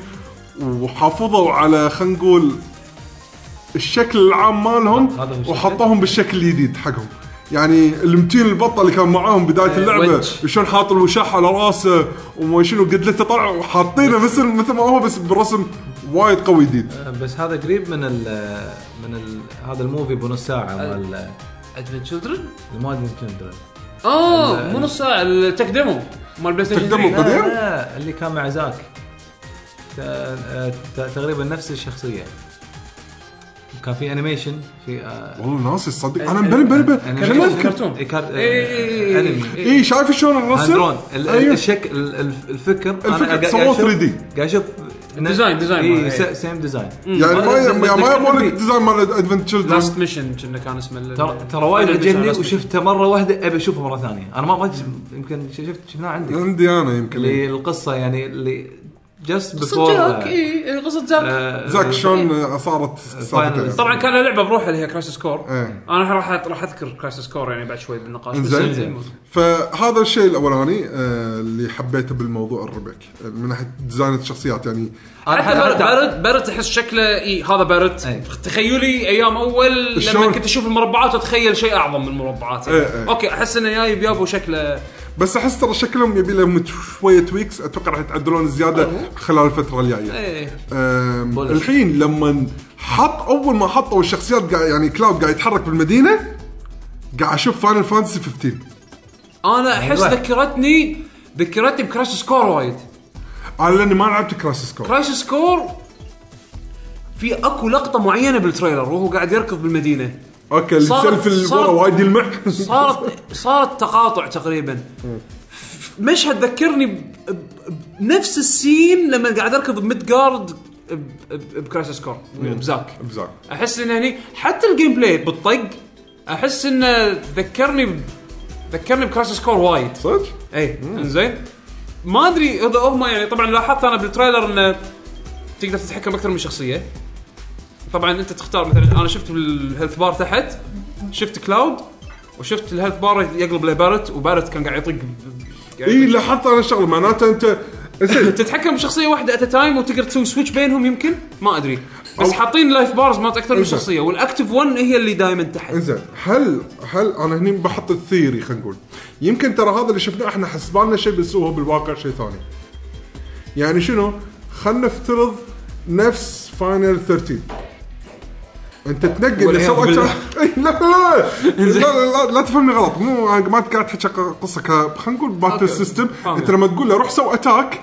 [SPEAKER 3] وحافظوا على خلينا نقول الشكل العام مالهم
[SPEAKER 2] هذا هو الشكل.
[SPEAKER 3] وحطوهم بالشكل الجديد حقهم يعني المتين البطه اللي كان معاهم بدايه اللعبه
[SPEAKER 1] وجه.
[SPEAKER 3] شلون حاط الوشاح على راسه وما شنو قدلته طلع وحاطينه مثل مثل ما هو بس بالرسم وايد قوي جديد
[SPEAKER 2] آه، بس هذا قريب من ال من ال هذا الموفي بنص ساعه مال
[SPEAKER 1] ادفنت تشلدرن
[SPEAKER 2] المادن تندرن
[SPEAKER 1] اه مو نص ساعه التك ديمو مال بلاي ستيشن
[SPEAKER 3] تك ديمو.
[SPEAKER 1] 3.
[SPEAKER 3] قديم؟
[SPEAKER 2] اللي كان مع زاك تا- آه، تا- تقريبا نفس الشخصيه كان في انيميشن في آه،
[SPEAKER 3] والله ناسي تصدق انا مبلى مبلى مبلى
[SPEAKER 2] أنيميشن.
[SPEAKER 3] شنو اذكر
[SPEAKER 1] كرتون.
[SPEAKER 2] إيه، كار- آه،
[SPEAKER 1] إيه، إيه، إيه،
[SPEAKER 2] أنمي.
[SPEAKER 1] إيه.
[SPEAKER 3] اي شايف شلون الرسم؟
[SPEAKER 2] هاندرون ال-
[SPEAKER 3] أيوه.
[SPEAKER 2] الشكل ال- الف- الفكر
[SPEAKER 3] الفكر
[SPEAKER 2] قاعد-
[SPEAKER 3] تصور
[SPEAKER 2] قاعد أشوف-
[SPEAKER 3] 3D.
[SPEAKER 2] قاعد اشوف
[SPEAKER 1] الديزاين- ديزاين ماله، إيه.
[SPEAKER 2] اي سيم ديزاين
[SPEAKER 3] يعني ما
[SPEAKER 2] لما
[SPEAKER 3] يعني ما
[SPEAKER 2] تتكلم
[SPEAKER 3] يبون
[SPEAKER 2] فيه.
[SPEAKER 3] لك ديزاين مال ادفنت تشلدرن
[SPEAKER 1] لاست ميشن كنا كان اسمه ال-
[SPEAKER 2] ترى ترى وايد
[SPEAKER 1] Last
[SPEAKER 2] عجبني
[SPEAKER 1] Mission.
[SPEAKER 2] وشفته مره واحده ابي اشوفه مره ثانيه انا ما ما أدري، يمكن شفت شفناه عندي
[SPEAKER 3] عندي انا يمكن
[SPEAKER 2] اللي القصه يعني اللي جاست
[SPEAKER 1] قصه
[SPEAKER 2] بيفور
[SPEAKER 1] جاك إيه. اي قصه زاك
[SPEAKER 2] آه،
[SPEAKER 3] زاك شلون صارت
[SPEAKER 2] Finally.
[SPEAKER 3] سالفته
[SPEAKER 1] طبعا كان لها لعبه بروحها اللي هي كرايسس كور
[SPEAKER 3] إيه.
[SPEAKER 1] انا راح راح اذكر كرايسس كور يعني بعد شوي بالنقاش بس
[SPEAKER 3] إنزين.
[SPEAKER 1] إنزين.
[SPEAKER 3] فهذا الشيء الاولاني آه، اللي حبيته بالموضوع الربك من ناحيه ديزاين الشخصيات يعني
[SPEAKER 2] انا
[SPEAKER 1] حتى بارت
[SPEAKER 2] حتى
[SPEAKER 1] بارت, بارت تحس شكله اي هذا بارت
[SPEAKER 2] أي.
[SPEAKER 1] تخيلي ايام اول لما
[SPEAKER 3] الشلون؟
[SPEAKER 1] كنت اشوف المربعات اتخيل شيء اعظم من المربعات يعني.
[SPEAKER 3] إيه، إيه.
[SPEAKER 1] اوكي احس انه جاي بيابو شكله
[SPEAKER 3] بس احس ترى شكلهم يبي لهم شويه تويكس اتوقع راح يتعدلون زياده خلال الفتره الجايه
[SPEAKER 1] ايه
[SPEAKER 3] أم، الحين لما حط اول ما حطوا الشخصيات قاعد يعني كلاود قاعد يتحرك بالمدينه قاعد اشوف فاينل فانتسي 15
[SPEAKER 1] انا احس
[SPEAKER 2] أيوة.
[SPEAKER 1] ذكرتني ذكرتني بكراش سكور وايد
[SPEAKER 3] انا لاني ما لعبت كراسس كور
[SPEAKER 1] كراش سكور في اكو لقطه معينه بالتريلر وهو قاعد يركض بالمدينه
[SPEAKER 3] اوكي اللي
[SPEAKER 1] صارت-
[SPEAKER 3] سيلف اللي
[SPEAKER 1] صارت-
[SPEAKER 3] ورا وايد يلمع
[SPEAKER 1] صارت صارت تقاطع تقريبا مشهد ذكرني ب- ب- بنفس السين لما قاعد اركض بميد جارد بكراش سكور بزاك
[SPEAKER 3] بزاف.
[SPEAKER 1] احس انه هني حتى الجيم بلاي بالطق احس انه ذكرني ب... ذكرني بكراش سكور وايد
[SPEAKER 3] صدق؟
[SPEAKER 1] اي انزين ما ادري اذا هم يعني طبعا لاحظت انا بالتريلر انه تقدر تتحكم اكثر من شخصيه طبعا انت تختار مثلا انا شفت الهيلث بار تحت شفت كلاود وشفت الهيلث بار يقلب لبارت وبارت كان قاعد يطق قاعد
[SPEAKER 3] اي
[SPEAKER 1] يطق.
[SPEAKER 3] لاحظت انا شغله معناته انت زين
[SPEAKER 1] تتحكم بشخصيه واحده ات تايم وتقدر تسوي سويتش بينهم يمكن ما ادري بس
[SPEAKER 3] أو-
[SPEAKER 1] حاطين لايف بارز مالت اكثر من
[SPEAKER 3] إنزين.
[SPEAKER 1] شخصيه والاكتف 1 هي اللي دائما تحت
[SPEAKER 3] انزين هل هل انا هني بحط الثيري خلينا نقول يمكن ترى هذا اللي شفناه احنا حسبالنا شيء بس هو بالواقع شيء ثاني يعني شنو خلينا نفترض نفس فاينل 13 انت تنقل
[SPEAKER 1] والعياذ
[SPEAKER 3] يسار اكثر
[SPEAKER 1] بالله.
[SPEAKER 3] إي، لا لا لا لا, لا, لا تفهمني غلط مو ما قاعد تحكي قصه ك- خلينا نقول باتل
[SPEAKER 1] أوكي.
[SPEAKER 3] سيستم
[SPEAKER 1] فاهم.
[SPEAKER 3] انت لما تقول له روح سو اتاك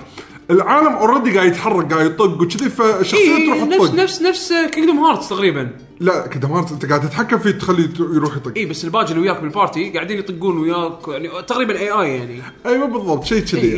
[SPEAKER 3] العالم اوريدي قاعد يتحرك قاعد يطق وكذي فالشخصيه
[SPEAKER 1] إيه
[SPEAKER 3] تروح
[SPEAKER 1] نفس
[SPEAKER 3] تطق
[SPEAKER 1] نفس نفس كينجدوم هارتس تقريبا
[SPEAKER 3] لا كده ما انت قاعد تتحكم فيه تخليه يروح يطق
[SPEAKER 1] اي إيه، بس الباجي اللي وياك بالبارتي قاعدين يطقون وياك يعني تقريبا اي اي يعني
[SPEAKER 3] ايوه بالضبط شيء كذي
[SPEAKER 1] إيه.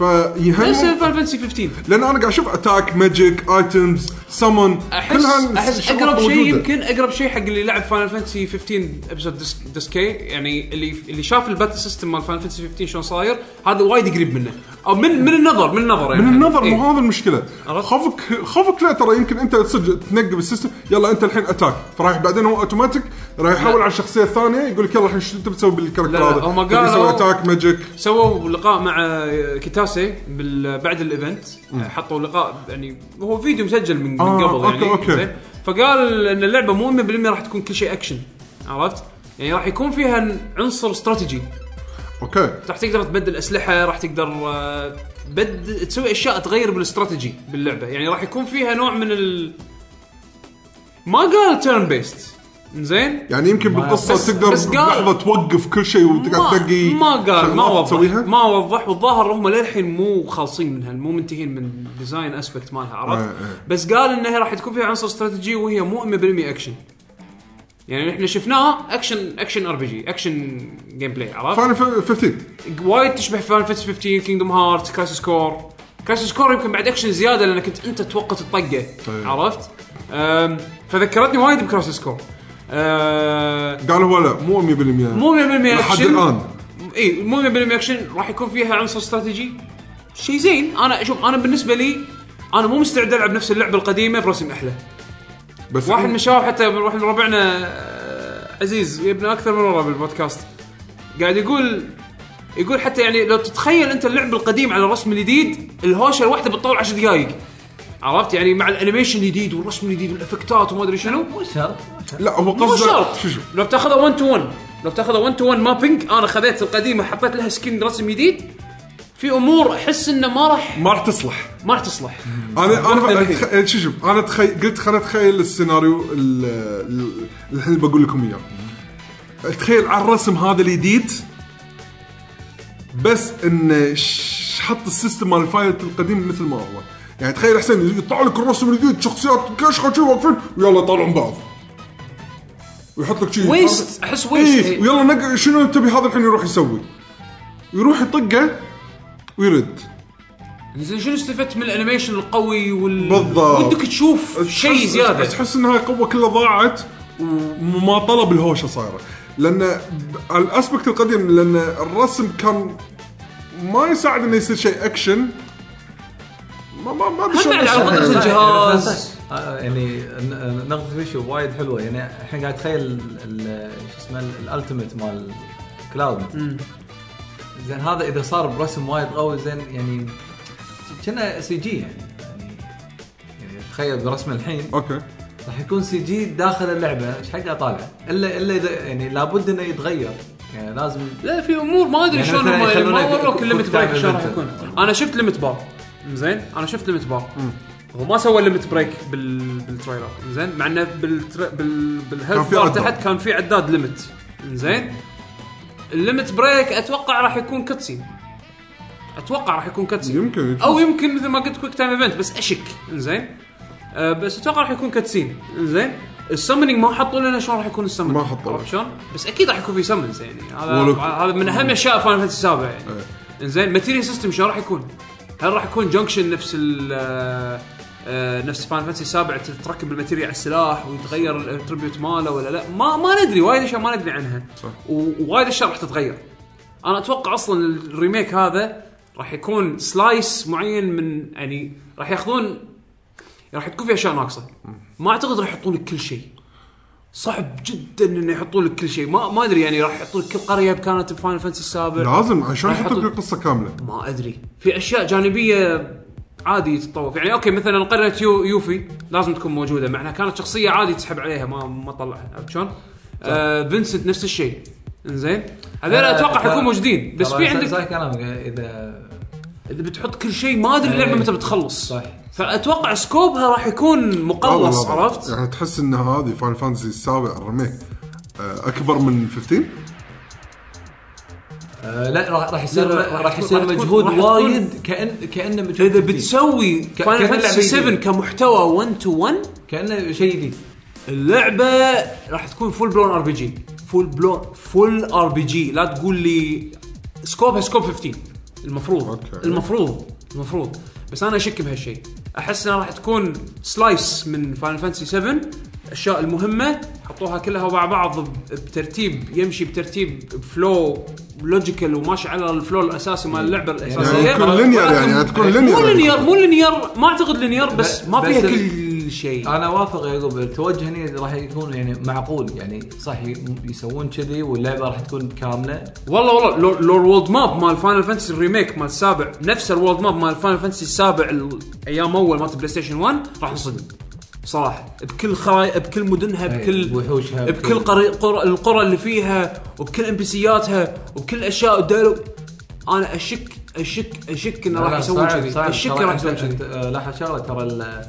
[SPEAKER 3] يعني
[SPEAKER 1] نفس
[SPEAKER 3] فيهم
[SPEAKER 1] فاينل فانتسي 15
[SPEAKER 3] لان انا قاعد اشوف اتاك ماجيك ايتمز سمون
[SPEAKER 1] احس احس اقرب شيء
[SPEAKER 3] موجودة.
[SPEAKER 1] يمكن اقرب شيء حق اللي لعب فاينل فانتسي 15 ابسود ديسكي يعني اللي اللي شاف الباتل سيستم مال فاينل فانتسي 15 شلون صاير هذا وايد قريب منه او من من النظر من النظر يعني
[SPEAKER 3] من النظر مو
[SPEAKER 1] إيه.
[SPEAKER 3] هذا المشكله
[SPEAKER 1] عرفت؟
[SPEAKER 3] خوفك خوفك لا ترى يمكن انت صدق تنقب السيستم يلا انت الحين اتاك فرايح بعدين هو اوتوماتيك راح يحول على الشخصيه الثانيه يقول لك يلا الحين شو انت بتسوي بالكاركتر
[SPEAKER 1] لا،
[SPEAKER 3] هذا
[SPEAKER 1] هم
[SPEAKER 3] تبي
[SPEAKER 1] قالوا-
[SPEAKER 3] تسوي اتاك ماجيك
[SPEAKER 1] سووا لقاء مع كيتاسي بال- بعد الايفنت حطوا لقاء يعني هو فيديو مسجل من, من
[SPEAKER 3] آه،
[SPEAKER 1] قبل
[SPEAKER 3] أوكي،
[SPEAKER 1] يعني
[SPEAKER 3] أوكي.
[SPEAKER 1] زين. فقال ان اللعبه مو 100% راح تكون كل شيء اكشن عرفت؟ يعني راح يكون فيها عنصر استراتيجي
[SPEAKER 3] اوكي
[SPEAKER 1] راح تقدر تبدل اسلحه راح تقدر آه، تبدل تسوي اشياء تغير بالاستراتيجي باللعبه يعني راح يكون فيها نوع من ال ما قال تيرن بيست زين
[SPEAKER 3] يعني يمكن
[SPEAKER 1] بس-
[SPEAKER 3] بالقصه تقدر
[SPEAKER 1] بس قال-
[SPEAKER 3] لحظه توقف كل شيء وتقعد تنقي
[SPEAKER 1] ما قال ما
[SPEAKER 3] شغلات
[SPEAKER 1] وضح
[SPEAKER 3] تسويها
[SPEAKER 1] ما وضح والظاهر هم للحين مو خالصين منها مو منتهين من ديزاين اسبكت مالها عرفت
[SPEAKER 3] إيه، إيه.
[SPEAKER 1] بس قال انها راح تكون فيها عنصر استراتيجي وهي مو 100% اكشن يعني احنا شفناها اكشن اكشن ار بي جي اكشن جيم بلاي عرفت
[SPEAKER 3] فاينل 15
[SPEAKER 1] وايد تشبه فان فانتسي 15 كينجدوم هارت كرايسس كور كرايسس كور يمكن بعد اكشن زياده لانك انت انت توقت الطقه
[SPEAKER 3] طيب.
[SPEAKER 1] عرفت أم، فذكرتني وايد بكرايسس كور أه،
[SPEAKER 3] قال هو لا مو 100% مو
[SPEAKER 1] مو 100% اكشن
[SPEAKER 3] لحد الآن.
[SPEAKER 1] اي مو 100% اكشن راح يكون فيها عنصر استراتيجي شيء زين انا شوف انا بالنسبه لي انا مو مستعد العب نفس اللعبه القديمه برسم احلى
[SPEAKER 3] بس
[SPEAKER 1] واحد من الشباب حتى واحد من ربعنا آه، عزيز يبنى اكثر من مره بالبودكاست قاعد يقول يقول حتى يعني لو تتخيل انت اللعب القديم على الرسم الجديد الهوشه الواحده بتطول 10 دقائق عرفت يعني مع الانيميشن الجديد والرسم الجديد والافكتات وما ادري شنو
[SPEAKER 2] مو شرط
[SPEAKER 3] لا هو
[SPEAKER 1] مو
[SPEAKER 3] قصده
[SPEAKER 1] شرط
[SPEAKER 3] شو شو
[SPEAKER 1] لو بتاخذه 1 تو 1 لو بتاخذه 1 تو 1 مابينج انا خذيت القديمه حطيت لها سكين رسم جديد في امور احس انه ما راح
[SPEAKER 3] ما راح تصلح
[SPEAKER 1] ما راح تصلح
[SPEAKER 3] انا انا
[SPEAKER 1] وقت الحين.
[SPEAKER 3] أتخ- شو إيه، شوف انا تخي... قلت خليني اتخيل السيناريو ال- ال- الحين اللي بقول لكم اياه تخيل على الرسم هذا الجديد بس ان ش- حط السيستم مال الفايت القديم مثل ما هو يعني تخيل حسين يطلع لك الرسم الجديد شخصيات كشخه شي واقفين ويلا يطالعون بعض ويحط لك شي
[SPEAKER 1] ويست احس
[SPEAKER 3] ايه
[SPEAKER 1] ويست إيه.
[SPEAKER 3] ويلا نق... شنو تبي هذا الحين يروح يسوي يروح يطقه ويرد
[SPEAKER 1] زين شنو استفدت من الانيميشن القوي وال
[SPEAKER 3] بالضبط.
[SPEAKER 1] ودك تشوف شيء
[SPEAKER 3] تحس-
[SPEAKER 1] زياده
[SPEAKER 3] تحس انها قوه كلها ضاعت وما طلب الهوشه صايره لان ب- على الاسبكت القديم لان الرسم كان ما يساعد انه يصير شيء اكشن ما ما ما أدري
[SPEAKER 1] هم
[SPEAKER 3] شلون
[SPEAKER 1] بعد على
[SPEAKER 3] أشرح.
[SPEAKER 1] قدرة الجهاز.
[SPEAKER 2] آه، يعني ن- نقطة فيشو وايد حلوة يعني الحين قاعد اتخيل ال- شو اسمه الالتيميت مال كلاود زين هذا اذا صار برسم وايد قوي زين يعني كنا سي جي يعني يعني- يعني تخيل برسم الحين
[SPEAKER 3] اوكي
[SPEAKER 2] راح يكون سي جي داخل اللعبه ايش حق اطالع الا الا اذا يعني لابد انه يتغير يعني لازم
[SPEAKER 1] لا في امور ما ادري
[SPEAKER 2] يعني
[SPEAKER 1] شلون
[SPEAKER 2] مثلاً
[SPEAKER 1] هم
[SPEAKER 2] يخلونه
[SPEAKER 1] ما وروك
[SPEAKER 2] يكون
[SPEAKER 1] الليمت
[SPEAKER 2] full
[SPEAKER 1] بريك
[SPEAKER 2] time
[SPEAKER 1] شلون راح
[SPEAKER 2] event.
[SPEAKER 1] يكون انا شفت ليمت بار زين انا شفت ليمت بار هو ما سوى ليمت بريك بال... بالتريلر زين مع انه بالتر... بال... بالهيلث
[SPEAKER 3] في
[SPEAKER 1] بار
[SPEAKER 3] عداد.
[SPEAKER 1] تحت كان في عداد ليمت زين الليمت بريك اتوقع راح يكون كاتسين اتوقع راح يكون كاتسين
[SPEAKER 3] يمكن
[SPEAKER 1] او يمكن مثل ما قلت كويك تايم ايفنت بس اشك انزين أه بس اتوقع راح يكون كاتسين انزين السمنينج ما حطوا لنا شلون راح يكون السمنينج
[SPEAKER 3] ما حطوا.
[SPEAKER 1] عرفت شلون؟ بس اكيد راح يكون في سمنز يعني
[SPEAKER 3] ولو-
[SPEAKER 1] هذا هذا من اهم اشياء فاينل فانتسي السابع يعني
[SPEAKER 3] إيه.
[SPEAKER 1] انزين ماتيريال سيستم شلون راح يكون؟ هل راح يكون جنكشن نفس ال آه، آه، نفس فاينل فانتسي السابع تركب الماتيريال على السلاح ويتغير الاتربيوت ماله ولا لا ما ما ندري وايد اشياء ما ندري عنها
[SPEAKER 3] صح.
[SPEAKER 1] و- ووايد اشياء راح تتغير انا اتوقع اصلا الريميك هذا راح يكون سلايس معين من يعني راح ياخذون راح تكون في اشياء ناقصه ما اعتقد راح يحطون لك كل شيء صعب جدا انه يحطون لك كل شيء ما ما ادري يعني راح يحطون لك كل قريه كانت بفاينل فانتسي السابع
[SPEAKER 3] لازم عشان
[SPEAKER 1] راح
[SPEAKER 3] يحطوا
[SPEAKER 1] يحطوا-
[SPEAKER 3] لك القصه كامله
[SPEAKER 1] ما ادري في اشياء جانبيه عادي تتطوف يعني اوكي مثلا قريه يو يوفي لازم تكون موجوده مع انها كانت شخصيه عادي تسحب عليها ما ما طلعها عرفت شلون؟ آه فينسنت نفس الشيء انزين هذول
[SPEAKER 2] آه،
[SPEAKER 1] اتوقع
[SPEAKER 2] ترى-
[SPEAKER 1] حيكونوا موجودين بس
[SPEAKER 2] ترى
[SPEAKER 1] في
[SPEAKER 2] صح-
[SPEAKER 1] عندك
[SPEAKER 2] صح كلامك اذا
[SPEAKER 1] اذا بتحط كل شيء ما ادري اللعبه
[SPEAKER 2] إيه.
[SPEAKER 1] متى بتخلص
[SPEAKER 2] صح.
[SPEAKER 1] فاتوقع سكوبها راح يكون مقلص
[SPEAKER 3] هذا- هذا.
[SPEAKER 1] عرفت؟
[SPEAKER 3] يعني تحس ان هذه فاين فانتسي السابع الريميك آه، اكبر من 15
[SPEAKER 2] آه، لا راح راح يصير
[SPEAKER 1] لا، راح
[SPEAKER 2] راح
[SPEAKER 1] تكون-
[SPEAKER 2] يصير
[SPEAKER 1] راح تكون-
[SPEAKER 2] مجهود
[SPEAKER 1] راح تكون-
[SPEAKER 2] وايد كان كانه مجهود
[SPEAKER 1] اذا
[SPEAKER 2] جديد.
[SPEAKER 1] بتسوي فاينل
[SPEAKER 2] كأنها
[SPEAKER 1] فانتسي
[SPEAKER 2] لعبة
[SPEAKER 1] 7
[SPEAKER 2] جديدة.
[SPEAKER 1] كمحتوى 1 تو 1
[SPEAKER 2] كانه شيء جديد
[SPEAKER 1] اللعبه راح تكون فول بلون ار بي جي فول بلون فول ار بي جي لا تقول لي سكوبها سكوب 15 المفروض
[SPEAKER 3] أوكي.
[SPEAKER 1] المفروض المفروض بس انا اشك بهالشيء احس انها راح تكون سلايس من فاينل فانتسي 7 الاشياء المهمه حطوها كلها مع بعض ب- بترتيب يمشي بترتيب فلو لوجيكال وماشي على الفلو الاساسي مال اللعبه الاساسيه
[SPEAKER 3] يعني تكون linear يعني، يعني تكون linear
[SPEAKER 1] مو
[SPEAKER 3] يعني.
[SPEAKER 1] لينير مو لينير ما اعتقد لينير بس
[SPEAKER 2] بس-
[SPEAKER 1] ما
[SPEAKER 2] بس
[SPEAKER 1] فيها
[SPEAKER 2] ال-
[SPEAKER 1] كل شيء
[SPEAKER 2] انا وافق يا يعقوب التوجه هني راح يكون يعني معقول يعني صح ي- يسوون كذي واللعبه راح تكون كامله
[SPEAKER 1] والله والله لو لو الوولد ماب مال فاينل فانتسي الريميك مال السابع نفس الوولد ماب مال فاينل فانتسي السابع ال- ايام اول مالت بلاي ستيشن 1 راح نصدم صراحه بكل خراي بكل مدنها
[SPEAKER 2] أي،
[SPEAKER 1] بكل
[SPEAKER 2] وحوشها
[SPEAKER 1] بكل قري... قر... القرى اللي فيها وبكل ام بي سياتها وبكل اشياء الدايلوج انا اشك اشك اشك انه
[SPEAKER 2] لا،
[SPEAKER 1] راح
[SPEAKER 2] لا،
[SPEAKER 1] يسوون
[SPEAKER 2] صعب-
[SPEAKER 1] كذي
[SPEAKER 2] صعب.
[SPEAKER 1] اشك
[SPEAKER 2] ترى
[SPEAKER 1] راح
[SPEAKER 2] أنت-
[SPEAKER 1] يسوون كذي
[SPEAKER 2] أنت، آه، لاحظ شغله ترى ال-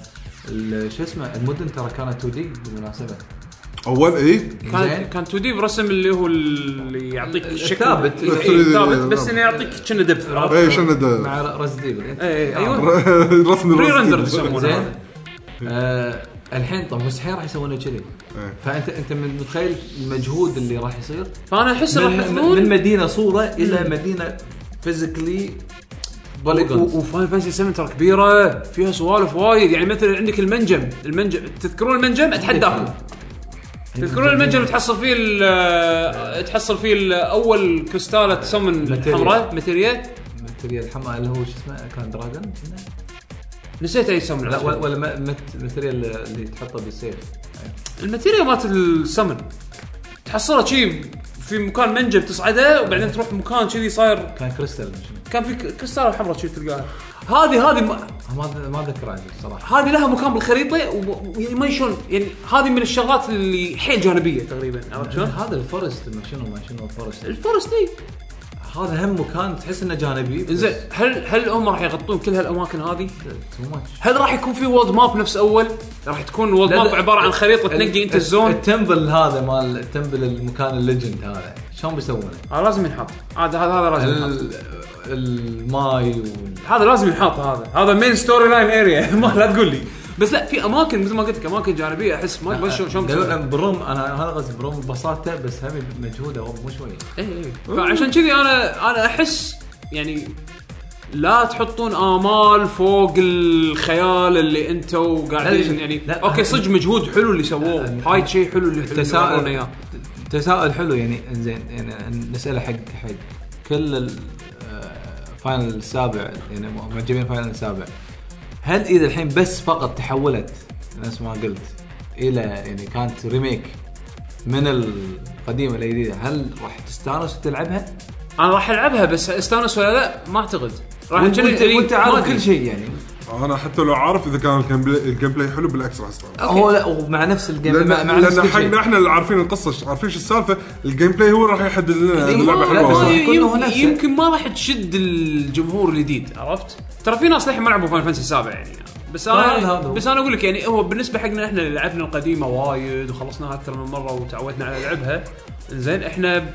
[SPEAKER 2] ال- شو اسمه المدن ترى كانت 2 دي بالمناسبه
[SPEAKER 3] اول اي
[SPEAKER 1] كان
[SPEAKER 2] زين.
[SPEAKER 1] كان 2 دي برسم اللي هو اللي يعطيك الشكل
[SPEAKER 2] الثابت.
[SPEAKER 1] إيه،
[SPEAKER 3] الثري-
[SPEAKER 1] ثابت بس انه يعطيك كنا دبث عرفت؟
[SPEAKER 2] إيه.
[SPEAKER 3] اي إيه، شنو ده؟
[SPEAKER 2] مع رزديفل
[SPEAKER 1] إيه، ايوه
[SPEAKER 3] رسم
[SPEAKER 1] بري
[SPEAKER 3] الرسم.
[SPEAKER 1] رندر يسمونه
[SPEAKER 2] زين
[SPEAKER 1] هذا.
[SPEAKER 2] آه الحين طب مستحيل راح يسوون كذي
[SPEAKER 3] إيه.
[SPEAKER 2] فانت انت من- متخيل المجهود اللي راح يصير
[SPEAKER 1] فانا احس راح
[SPEAKER 2] من,
[SPEAKER 1] ياخذون
[SPEAKER 2] من مدينه صوره الى مدينه فيزيكلي بوليجونز
[SPEAKER 1] وفاين فانسي 7 ترى كبيره فيها سوالف وايد يعني مثلا عندك المنجم المنجم تذكرون المنجم اتحداكم تذكرون المنجم تحصل فيه ال- تحصل فيه ال- اول كريستاله تسمن
[SPEAKER 2] ماتيريال.
[SPEAKER 1] حمراء ماتيريا
[SPEAKER 2] الماتريال الحمراء اللي هو شو اسمه كان دراجون
[SPEAKER 1] نسيت اي سمن
[SPEAKER 2] لا ولا- ولا الماتريال اللي تحطه بالسيف
[SPEAKER 1] الماتيريال مالت السمن تحصلها شي في مكان منجم تصعده وبعدين تروح مكان كذي صاير
[SPEAKER 2] كان كريستال شنو.
[SPEAKER 1] كان في ك- كستاره حمراء شي تلقاها هذه هذه م-
[SPEAKER 2] ما ما اتذكر عدل صراحه
[SPEAKER 1] هذه لها مكان بالخريطه وب- ويعني ما شلون يعني هذه من الشغلات اللي حيل جانبيه تقريبا عرفت شلون؟
[SPEAKER 2] هذا الفورست ما شنو ما شنو الفورست
[SPEAKER 1] الفورست اي
[SPEAKER 2] هذا هم مكان تحس انه جانبي بس
[SPEAKER 1] زين هل هل هم راح يغطون كل هالاماكن هذه؟
[SPEAKER 2] تو ماتش
[SPEAKER 1] هل راح يكون في وولد ماب نفس اول؟ راح تكون وولد
[SPEAKER 2] لا،
[SPEAKER 1] ماب
[SPEAKER 2] لا.
[SPEAKER 1] عباره عن خريطه تنقي انت الزون
[SPEAKER 2] التمبل هذا مال التمبل المكان الليجند هذا شلون بيسوونه؟
[SPEAKER 1] هذا لازم ينحط هذا هذا هذا لازم ينحط
[SPEAKER 2] ال- الماي وال
[SPEAKER 1] هذا لازم ينحط هذا هذا مين ستوري لاين اريا ما لا تقول لي بس لا في اماكن مثل ما قلت لك اماكن جانبيه احس ما ما شلون شلون
[SPEAKER 2] دلوقتي
[SPEAKER 1] بتسوي.
[SPEAKER 2] بروم انا هذا قصدي بروم ببساطه بس هم مجهوده هو مو شويه
[SPEAKER 1] إيه، إيه. فعشان كذي انا انا احس يعني لا تحطون امال فوق الخيال اللي انتم قاعدين
[SPEAKER 2] لا،
[SPEAKER 1] يعني
[SPEAKER 2] لا.
[SPEAKER 1] اوكي صدق مجهود حلو اللي سووه
[SPEAKER 2] لا،
[SPEAKER 1] هاي شيء حلو اللي اللي ورونا
[SPEAKER 2] تساؤل
[SPEAKER 1] اياه
[SPEAKER 2] تساؤل حلو يعني انزين يعني نساله حق حق كل ال- آه، فاينل السابع يعني معجبين فاينل السابع هل اذا الحين بس فقط تحولت نفس ما قلت الى يعني كانت ريميك من القديمه الى الجديده هل راح تستانس وتلعبها؟
[SPEAKER 1] انا راح العبها بس استانس ولا لا ما اعتقد راح
[SPEAKER 2] وانت
[SPEAKER 1] كذي- يعني
[SPEAKER 2] وأنت
[SPEAKER 1] ما
[SPEAKER 2] عارف
[SPEAKER 1] أدري.
[SPEAKER 2] كل شيء يعني
[SPEAKER 3] انا حتى لو عارف اذا كان الجيم بلاي- الجيم بلاي حلو بالعكس راح استانس
[SPEAKER 1] أوكي.
[SPEAKER 2] هو لا ومع نفس الجيم
[SPEAKER 1] يعني
[SPEAKER 3] لان
[SPEAKER 2] مع- مع نفس
[SPEAKER 3] لان
[SPEAKER 2] كل شيء.
[SPEAKER 3] حقنا احنا اللي عارفين القصه ش- عارفين شو السالفه الجيم بلاي هو راح يحدد لنا
[SPEAKER 1] إيه،
[SPEAKER 3] اللعبه
[SPEAKER 1] ما-
[SPEAKER 3] حلوه
[SPEAKER 1] ما-
[SPEAKER 2] بس
[SPEAKER 3] ولا لا.
[SPEAKER 2] راح يكون هو
[SPEAKER 1] يمكن,
[SPEAKER 2] نفسه.
[SPEAKER 1] يمكن ما راح تشد الجمهور الجديد عرفت؟ ترى في ناس للحين ما لعبوا فاينل فانتسي السابع يعني بس
[SPEAKER 2] هذا- هذا
[SPEAKER 1] انا
[SPEAKER 2] هو.
[SPEAKER 1] بس انا اقول لك يعني هو بالنسبه حقنا احنا اللي لعبنا القديمه وايد وخلصناها اكثر من مره وتعودنا على لعبها زين احنا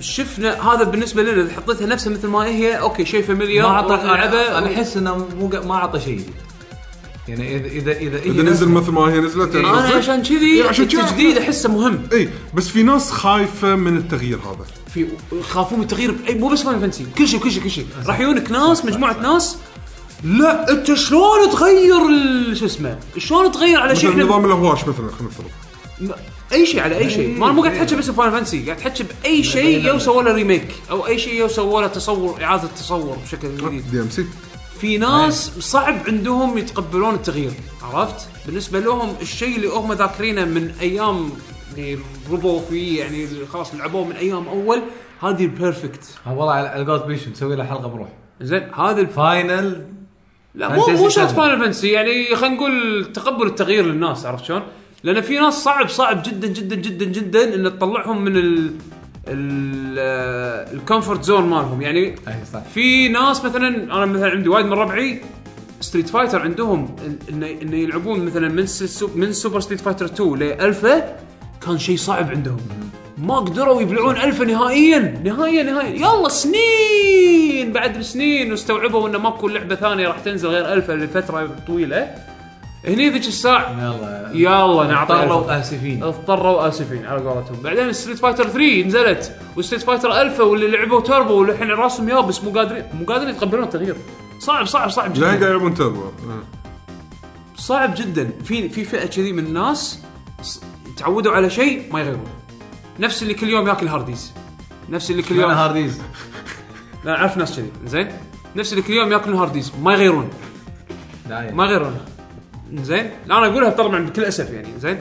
[SPEAKER 1] شفنا هذا بالنسبه لنا اذا حطيتها نفسها مثل ما هي اوكي شيء فاميليار
[SPEAKER 2] ما اعطى
[SPEAKER 1] لعبه
[SPEAKER 2] انا احس انه مو قا- ما اعطى شيء جديد. يعني اذا اذا اذا هي
[SPEAKER 3] اذا
[SPEAKER 2] نفس-
[SPEAKER 1] إيه.
[SPEAKER 3] نزل مثل ما هي نزلت يعني
[SPEAKER 1] انا
[SPEAKER 3] قصدك؟
[SPEAKER 1] عشان كذي
[SPEAKER 3] إيه، عشان كذي.
[SPEAKER 1] التجديد احسه مهم
[SPEAKER 3] اي بس في ناس خايفه من التغيير هذا
[SPEAKER 1] في يخافون من التغيير بأي- مو بس فاينل فانتسي كل شيء كل شيء كل شيء راح يجونك ناس مجموعه ناس لا انت شلون تغير ال- شو اسمه شلون تغير على شيء
[SPEAKER 3] مثلا
[SPEAKER 1] احنا
[SPEAKER 3] نظام الهواش مثلا خلينا نفترض
[SPEAKER 1] م- اي شيء على اي شيء ما انا مو قاعد احكي بس بفاينل فانتسي قاعد احكي باي شيء يو سووا له ريميك او اي شيء يو سووا له تصور اعاده تصور بشكل جديد
[SPEAKER 3] دي ام سي
[SPEAKER 1] في ناس صعب عندهم يتقبلون التغيير عرفت بالنسبه لهم الشيء اللي هم ذاكرينه من ايام اللي ربوا فيه يعني خلاص لعبوه من ايام اول هذه البيرفكت
[SPEAKER 2] آه والله على على قولت بيشو نسوي له حلقه بروح
[SPEAKER 1] زين هذا الف...
[SPEAKER 2] فاينل
[SPEAKER 1] لا
[SPEAKER 2] فانتسي
[SPEAKER 1] مو مو شرط
[SPEAKER 2] سبعة.
[SPEAKER 1] فاينل فانتسي يعني خلينا نقول تقبل التغيير للناس عرفت شلون؟ لان في ناس صعب صعب جدا جدا جدا جدا ان تطلعهم من ال ال- آه، الكومفورت زون مالهم يعني
[SPEAKER 2] اي طيب، صح
[SPEAKER 1] في ناس مثلا انا مثلا عندي وايد من ربعي ستريت فايتر عندهم إن- انه إن يلعبون مثلا من سو من سوبر ستريت فايتر 2 لالفا كان شيء صعب عندهم ما قدروا يبلعون الفا نهائيا نهائيا نهائيا يلا سنين بعد سنين واستوعبوا انه ماكو لعبه ثانيه راح تنزل غير الفا لفتره طويله هني ذيك الساعه
[SPEAKER 2] نعم. يلا
[SPEAKER 1] يلا نعطي ألفا.
[SPEAKER 2] اضطروا اسفين
[SPEAKER 1] اضطروا اسفين على قولتهم بعدين ستريت فايتر 3 نزلت وستريت فايتر الفا واللي لعبوا توربو والحين راسهم يابس مو قادرين مو قادرين يتقبلون التغيير صعب صعب صعب
[SPEAKER 3] لا قاعد
[SPEAKER 1] جدا
[SPEAKER 3] يلعبون تربو
[SPEAKER 1] صعب جدا في في فئه كذي من الناس ص- تعودوا على شيء ما يغيرون نفس اللي كل يوم ياكل هارديز نفس اللي كل يوم
[SPEAKER 2] انا هارديز
[SPEAKER 1] لا اعرف ناس كذي زين نفس اللي كل يوم ياكلون هارديز ما يغيرون
[SPEAKER 2] دايم.
[SPEAKER 1] ما يغيرون زين لا انا اقولها طبعا بكل اسف يعني زين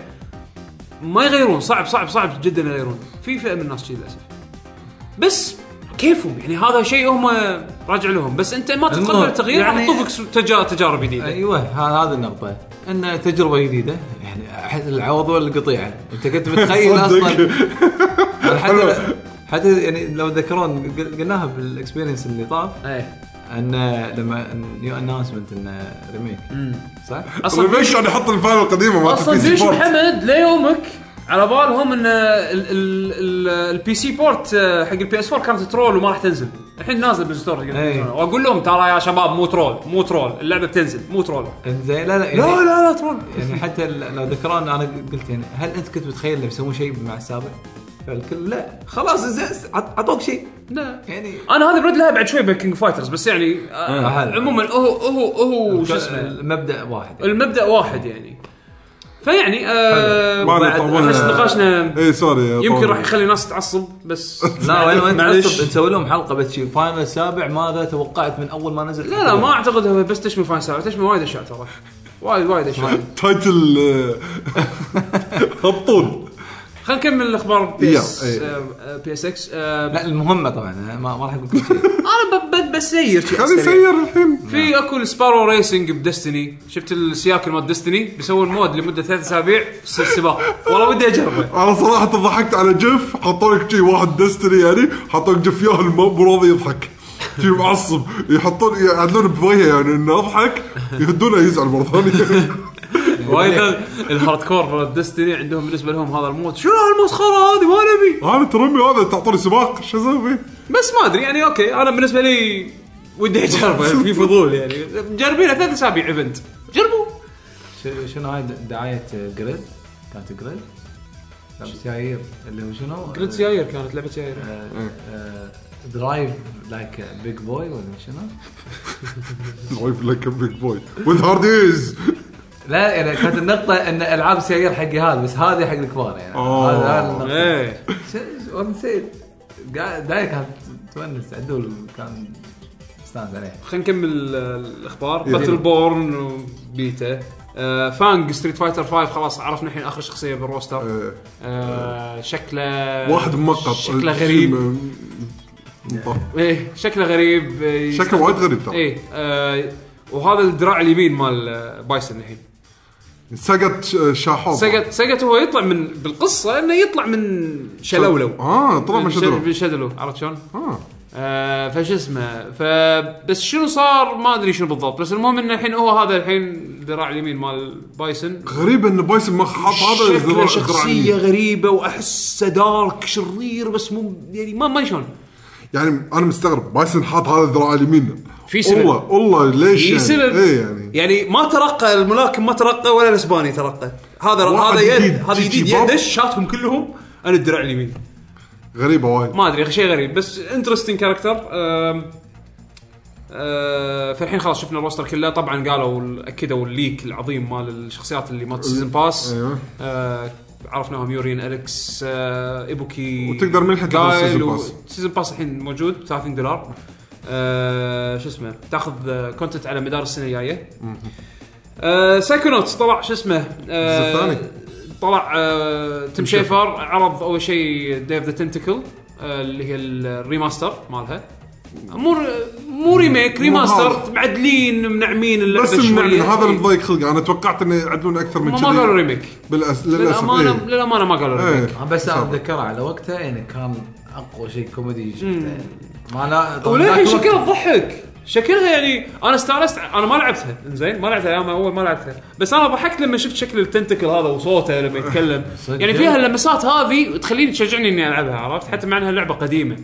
[SPEAKER 1] ما يغيرون صعب صعب صعب جدا يغيرون في فئه من الناس شي للاسف بس كيفهم يعني هذا شيء هم راجع لهم بس انت ما تتقبل
[SPEAKER 2] المهم،
[SPEAKER 1] التغيير
[SPEAKER 2] يعني-
[SPEAKER 1] يعني راح تطوفك تجا- تجارب جديده
[SPEAKER 2] ايوه ه- هذه النقطه ان تجربه جديده يعني احس العوض ولا القطيعه انت كنت متخيل
[SPEAKER 3] صدق.
[SPEAKER 2] اصلا أنا حتى حتى يعني لو تذكرون قل- قلناها بالاكسبيرينس اللي طاف
[SPEAKER 1] اي
[SPEAKER 2] ان لما نيو اناونسمنت انه ريميك صح؟
[SPEAKER 1] اصلا
[SPEAKER 3] طيب ليش انا احط الفايل القديمه ما
[SPEAKER 1] اصلا ديش محمد ليومك على بالهم ان ال- ال- ال- البي سي بورت آه، حق البي اس 4 كانت ترول وما راح تنزل الحين نازل بالستور
[SPEAKER 2] إيه.
[SPEAKER 1] واقول لهم ترى يا شباب مو ترول مو ترول اللعبه بتنزل مو ترول
[SPEAKER 2] زين لا لا يعني
[SPEAKER 1] لا لا لا ترول
[SPEAKER 2] يعني حتى ال- لو ذكران انا قلت يعني هل انت كنت متخيل انه بيسوون شيء مع السابع؟ فالكل لا خلاص زين عط- عطوك شيء
[SPEAKER 1] لا
[SPEAKER 2] يعني
[SPEAKER 1] انا هذه برد لها بعد شوي بكينج فايترز بس يعني آه،
[SPEAKER 2] حلو.
[SPEAKER 1] عموما هو هو هو شو اسمه
[SPEAKER 2] المبدا واحد يعني.
[SPEAKER 1] المبدا واحد يعني فيعني آه،
[SPEAKER 3] ما
[SPEAKER 1] بعد
[SPEAKER 3] نطولنا.
[SPEAKER 1] احس نقاشنا
[SPEAKER 3] اي إيه، سوري
[SPEAKER 1] يمكن راح يخلي الناس تتعصب بس
[SPEAKER 2] لا وين وين
[SPEAKER 1] معلش.
[SPEAKER 2] تعصب نسوي لهم حلقه بس شي فاينل السابع ماذا توقعت من اول ما نزل
[SPEAKER 1] لا لا ما اعتقد هو بس تشمل فاين ساعه تشمل وايد اشياء ترى وايد وايد اشياء
[SPEAKER 3] تايتل آه، هبطون
[SPEAKER 1] خلينا نكمل الاخبار بي اس
[SPEAKER 3] Yeah, إيه.
[SPEAKER 1] بي اس اكس انا
[SPEAKER 2] لا المهمه طبعا ما, ما راح اقول كل شيء
[SPEAKER 1] ب- ب- بسير شي
[SPEAKER 3] خلي
[SPEAKER 1] أسريع.
[SPEAKER 3] نسير الحين
[SPEAKER 1] في اكو سبارو ريسنج بدستني شفت السياكل مال دستني بيسوون مود لمده ثلاث اسابيع س- سباق والله ودي اجربه
[SPEAKER 3] انا صراحه ضحكت على جيف حطوا لك شي واحد دستني يعني حطوا لك جيف ياهل مو مو راضي يضحك شي معصب يحطون يعدلون بوجهه يعني انه اضحك يهدونه يزعل مره ثانيه
[SPEAKER 1] وايد الهارد كور دستني عندهم بالنسبه لهم هذا المود شنو هالمسخره هذه ما نبي
[SPEAKER 3] انا ترمي هذا تعطوني سباق شو اسوي؟
[SPEAKER 1] بس ما ادري يعني اوكي انا بالنسبه لي ودي اجربه في فضول يعني جربينه ثلاث اسابيع ايفنت جربوا
[SPEAKER 2] ش- شنو هاي د- دعايه جريد كانت جريد لعبه سيايير اللي هو شنو آه،
[SPEAKER 1] قلت سيايير كانت لعبه سيايير
[SPEAKER 2] درايف لايك بيج بوي ولا شنو؟
[SPEAKER 3] لايف لايك بيج بوي وذ هارد ايز
[SPEAKER 2] لا يعني كانت النقطة ان العاب سيايير حقي هذا بس هذه حق الكبار يعني
[SPEAKER 3] أوه.
[SPEAKER 2] هذا هذا النقطة.
[SPEAKER 1] ايه
[SPEAKER 2] ش- ش- والله نسيت قاعد- داية كانت تونس عدول كان استانس عليه
[SPEAKER 1] خلينا نكمل آه، الاخبار
[SPEAKER 3] يلا.
[SPEAKER 1] باتل بورن وبيتا آه، فانج ستريت فايتر 5 خلاص عرفنا الحين اخر شخصيه بالروستر آه، شكله
[SPEAKER 3] واحد مقط
[SPEAKER 1] شكله غريب ايه شكله غريب آه،
[SPEAKER 3] شكله وايد غريب ترى
[SPEAKER 1] ايه آه، وهذا الدراع اليمين مال آه، بايسن الحين
[SPEAKER 3] سقط شاحوب
[SPEAKER 1] سقط سقط هو يطلع من بالقصه انه يطلع من شلولو
[SPEAKER 3] اه طلع ما شدوه
[SPEAKER 1] من شلولو عرفت شلون؟
[SPEAKER 3] اه
[SPEAKER 1] آه فش اسمه فبس شنو صار ما ادري شنو بالضبط بس المهم انه الحين هو هذا الحين الذراع اليمين مال بايسن
[SPEAKER 3] غريب ان بايسن ما حط هذا
[SPEAKER 1] شكله
[SPEAKER 3] الذراع-
[SPEAKER 1] شخصيه
[SPEAKER 3] الذراعين.
[SPEAKER 1] غريبه واحسه دارك شرير بس مو يعني ما ما شلون
[SPEAKER 3] يعني انا مستغرب بايسن حاط هذا الذراع اليمين
[SPEAKER 1] في سبب.
[SPEAKER 3] والله والله ليش
[SPEAKER 1] في
[SPEAKER 3] يعني؟
[SPEAKER 1] سبب
[SPEAKER 3] ايه يعني
[SPEAKER 1] يعني ما ترقى الملاكم ما ترقى ولا الاسباني ترقى هذا
[SPEAKER 3] واحد
[SPEAKER 1] هذا يد
[SPEAKER 3] جديد،
[SPEAKER 1] هذا
[SPEAKER 3] جي جي
[SPEAKER 1] جديد
[SPEAKER 3] بوب.
[SPEAKER 1] يدش شاتهم كلهم انا الدراع اليمين
[SPEAKER 3] غريبه وايد
[SPEAKER 1] ما ادري شيء غريب بس انترستنج كاركتر آه، فالحين خلاص شفنا الروستر كله طبعا قالوا ال- اكدوا الليك العظيم مال الشخصيات اللي مال سيزون باس
[SPEAKER 3] ايوه
[SPEAKER 1] آه، عرفناهم يورين اليكس آه، ايبوكي
[SPEAKER 3] وتقدر من الحين تاخذ
[SPEAKER 1] جايل
[SPEAKER 3] سيزون
[SPEAKER 1] و-
[SPEAKER 3] باس.
[SPEAKER 1] سيزون باس الحين موجود 30 دولار آه، شو اسمه تاخذ كونتنت على مدار السنه الجايه آه، سايكونوتس طلع شو اسمه آه،
[SPEAKER 3] الجزء الثاني.
[SPEAKER 1] طلع آه، تيم
[SPEAKER 3] تيم
[SPEAKER 1] شيفر عرض اول شيء ديف ذا تنتكل آه، اللي هي الريماستر مالها مو مو ريميك
[SPEAKER 3] مو
[SPEAKER 1] ريماستر
[SPEAKER 3] هذا.
[SPEAKER 1] معدلين منعمين اللعبه
[SPEAKER 3] بس من
[SPEAKER 1] شوية.
[SPEAKER 3] هذا اللي مضايق خلقي انا توقعت انه يعدلون اكثر من
[SPEAKER 1] ما ما قالوا
[SPEAKER 3] كذي
[SPEAKER 1] ريميك
[SPEAKER 3] بالأس... للاسف
[SPEAKER 1] للامانه
[SPEAKER 3] ايه.
[SPEAKER 1] للامانه ما قالوا ريميك
[SPEAKER 3] ايه.
[SPEAKER 2] آه، بس انا اتذكرها على وقتها يعني كان اقوى شيء كوميدي شفته يعني. ما لا طبعاً
[SPEAKER 1] وللحين
[SPEAKER 2] ذاك الوقت-
[SPEAKER 1] شكلها تضحك شكلها يعني انا استانست انا ما لعبتها زين ما لعبتها ايام اول ما لعبتها بس انا ضحكت لما شفت شكل التنتكل هذا وصوته لما يتكلم
[SPEAKER 2] صدق؟
[SPEAKER 1] يعني فيها اللمسات هذه تخليني تشجعني اني العبها عرفت حتى مع انها لعبه قديمه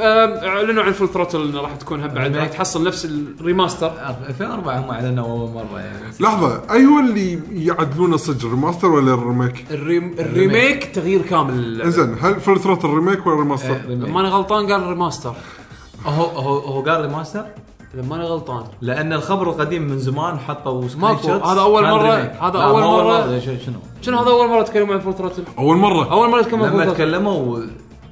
[SPEAKER 1] آم، اعلنوا عن فول ثروتل انه راح تكون هم بعد
[SPEAKER 2] أمي.
[SPEAKER 1] راح تحصل نفس الريماستر
[SPEAKER 2] أه، 2004 هم اعلنوا اول مره يعني
[SPEAKER 3] لحظه اي هو أيوة اللي يعدلونه صدق ريماستر ولا الريميك؟
[SPEAKER 1] الريم الريميك تغيير كامل للعبة.
[SPEAKER 3] زين هل فول ثروت الريميك ولا الريماستر؟
[SPEAKER 2] ريميك.
[SPEAKER 1] لما انا غلطان قال ريماستر
[SPEAKER 2] هو هو هو قال ريماستر
[SPEAKER 1] لما انا غلطان
[SPEAKER 2] لان الخبر القديم من زمان حطوا سكرين
[SPEAKER 1] ماكو،
[SPEAKER 2] شوتس
[SPEAKER 1] هذا أول
[SPEAKER 2] كان
[SPEAKER 1] مرة-
[SPEAKER 2] ريميك.
[SPEAKER 1] هذا
[SPEAKER 2] لا،
[SPEAKER 1] أول
[SPEAKER 2] مو
[SPEAKER 1] مرة.
[SPEAKER 2] شو- شنو
[SPEAKER 1] شنو هذا اول مره تكلموا عن فول ثروتل
[SPEAKER 3] اول مره
[SPEAKER 1] اول مره تكلموا عن Full
[SPEAKER 2] لما
[SPEAKER 1] Throttle.
[SPEAKER 2] تكلموا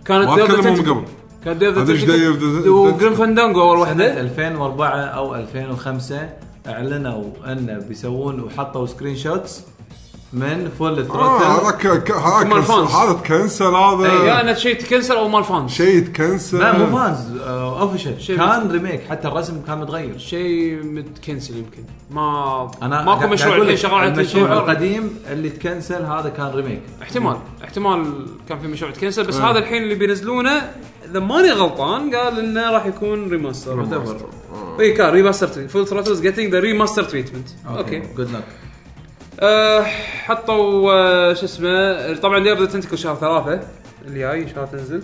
[SPEAKER 1] كانت
[SPEAKER 3] ما
[SPEAKER 1] Dave the
[SPEAKER 3] تكلموا من
[SPEAKER 1] Tentacle.
[SPEAKER 3] قبل
[SPEAKER 1] كان ديف
[SPEAKER 3] هذا إيش Dave the Tentacle؟
[SPEAKER 1] وجرين فاندانجو اول
[SPEAKER 2] سنة
[SPEAKER 1] واحده
[SPEAKER 2] 2004 او 2005 اعلنوا انه بيسوون وحطوا سكرين شوتس من فول
[SPEAKER 3] آه، هذا
[SPEAKER 2] ثروتل
[SPEAKER 3] ك- ك- هذا
[SPEAKER 1] مال
[SPEAKER 3] كنسل-
[SPEAKER 1] فانز.
[SPEAKER 3] هذا تكنسل
[SPEAKER 1] إيه، يا
[SPEAKER 3] هذا
[SPEAKER 1] انا شيء تكنسل او مال فانز
[SPEAKER 3] شيء تكنسل
[SPEAKER 2] لا مو فانز آه، اوفيشال
[SPEAKER 1] شيء-
[SPEAKER 2] كان ريميك حتى الرسم كان متغير
[SPEAKER 1] شيء متكنسل يمكن ما
[SPEAKER 2] انا
[SPEAKER 1] ماكو
[SPEAKER 2] قاعد-
[SPEAKER 1] مشروع
[SPEAKER 2] قاعد أقول
[SPEAKER 1] الحين
[SPEAKER 2] لك
[SPEAKER 1] شغال على
[SPEAKER 2] المشروع
[SPEAKER 1] تنشيفر
[SPEAKER 2] القديم اللي تكنسل هذا كان ريميك
[SPEAKER 1] احتمال احتمال كان في مشروع تكنسل بس هذا الحين اللي بينزلونه اذا ماني غلطان قال انه راح يكون ريماستر
[SPEAKER 2] whatever.
[SPEAKER 1] اي كان ريماستر فول ثروتلز جيتنج ذا ريماستر تريتمنت اوكي
[SPEAKER 2] جود لك
[SPEAKER 1] آه، حطوا آه، شو اسمه طبعا دي ابدا تنتكل شهر ثلاثة أه، اللي جاي ان شاء الله تنزل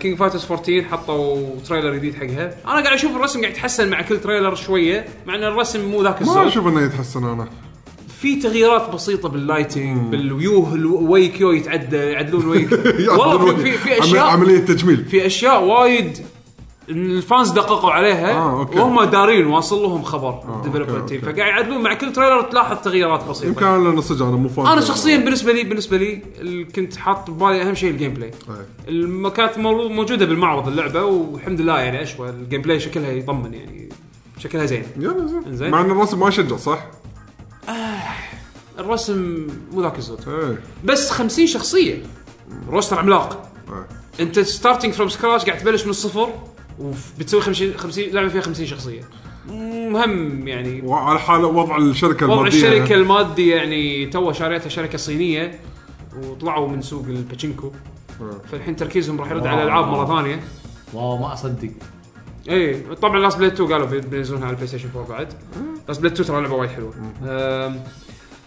[SPEAKER 1] كينج فايترز 14 حطوا تريلر جديد حقها انا قاعد اشوف الرسم قاعد يتحسن مع كل تريلر شويه مع ان الرسم مو ذاك
[SPEAKER 3] ما
[SPEAKER 1] الزود
[SPEAKER 3] اشوف انه يتحسن انا
[SPEAKER 1] في تغييرات بسيطه باللايتنج بالويوه الواي كيو يتعدى يعدلون واي كيو. والله في, في, في
[SPEAKER 3] عمل-
[SPEAKER 1] اشياء
[SPEAKER 3] عمليه تجميل
[SPEAKER 1] في اشياء وايد الفانز دققوا عليها
[SPEAKER 3] آه، أوكي. آه،
[SPEAKER 1] وهم دارين واصل لهم خبر
[SPEAKER 3] أوكي،
[SPEAKER 1] الديفلوبمنت
[SPEAKER 3] أوكي.
[SPEAKER 1] تيم فقاعد يعدلون مع كل تريلر تلاحظ تغييرات بسيطه
[SPEAKER 3] يمكن انا لأنه صدق انا مو فان
[SPEAKER 1] انا شخصيا بالنسبه لي بالنسبه لي اللي كنت حاط ببالي اهم شيء الجيم بلاي
[SPEAKER 3] إيه.
[SPEAKER 1] الم- كانت مو- موجوده بالمعرض اللعبه والحمد لله يعني اشوى الجيم بلاي شكلها يطمن يعني شكلها زين
[SPEAKER 3] يلا زين
[SPEAKER 1] إنزين.
[SPEAKER 3] مع ان الرسم ما يشجع صح؟
[SPEAKER 1] الرسم مو ذاك الزود
[SPEAKER 3] ايه
[SPEAKER 1] بس 50 شخصيه روستر عملاق
[SPEAKER 3] إيه.
[SPEAKER 1] انت ستارتنج فروم سكراش قاعد تبلش من الصفر وبتسوي 50 50 لعبه فيها 50 شخصيه مهم يعني
[SPEAKER 3] وعلى حال وضع الشركه
[SPEAKER 1] وضع
[SPEAKER 3] المادية.
[SPEAKER 1] الشركه المادي يعني تو شاريتها شركه صينيه وطلعوا من سوق الباتشينكو
[SPEAKER 3] إيه.
[SPEAKER 1] فالحين تركيزهم راح يرد على الالعاب مره ثانيه
[SPEAKER 2] واو ما اصدق
[SPEAKER 1] اي طبعا لاست بليد 2 قالوا بي- بينزلونها على البلاي ستيشن 4 بعد لاست بليد 2 ترى لعبه وايد حلوه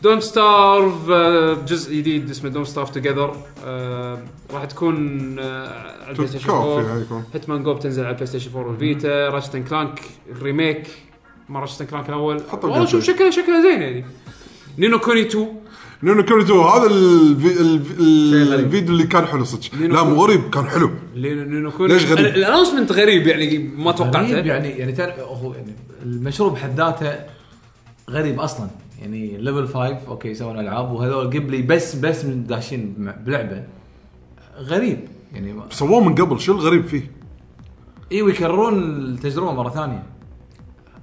[SPEAKER 1] دونت ستارف آه، جزء جديد اسمه دونت ستارف توجذر راح تكون آه، على البلاي ستيشن
[SPEAKER 3] تكاف
[SPEAKER 1] 4
[SPEAKER 2] يعني.
[SPEAKER 3] فيها يكون
[SPEAKER 1] هيتمان جو بتنزل على البلاي ستيشن 4 والفيتا راشتن كلانك ريميك ما راشتن كلانك الاول
[SPEAKER 3] حطوا
[SPEAKER 1] والله شوف
[SPEAKER 3] الجزء.
[SPEAKER 1] شكلها شكلها زين يعني نينو كوني 2
[SPEAKER 3] نينو كوني 2 هذا الفي... الفي...
[SPEAKER 2] غريب.
[SPEAKER 3] الفيديو اللي كان حلو صدق
[SPEAKER 1] نينو
[SPEAKER 3] لا مو
[SPEAKER 1] كوني.
[SPEAKER 3] غريب كان حلو
[SPEAKER 1] لينو نينو كوني
[SPEAKER 3] ليش غريب؟
[SPEAKER 1] الانونسمنت غريب يعني ما توقعته
[SPEAKER 2] غريب يعني يعني تعرف هو يعني المشروب بحد ذاته غريب اصلا يعني ليفل 5 اوكي يسوون العاب وهذول قبلي بس بس من داشين مع- بلعبه غريب يعني ما-
[SPEAKER 3] سووه من قبل شو الغريب فيه؟
[SPEAKER 2] ايوه يكررون التجربه مره ثانيه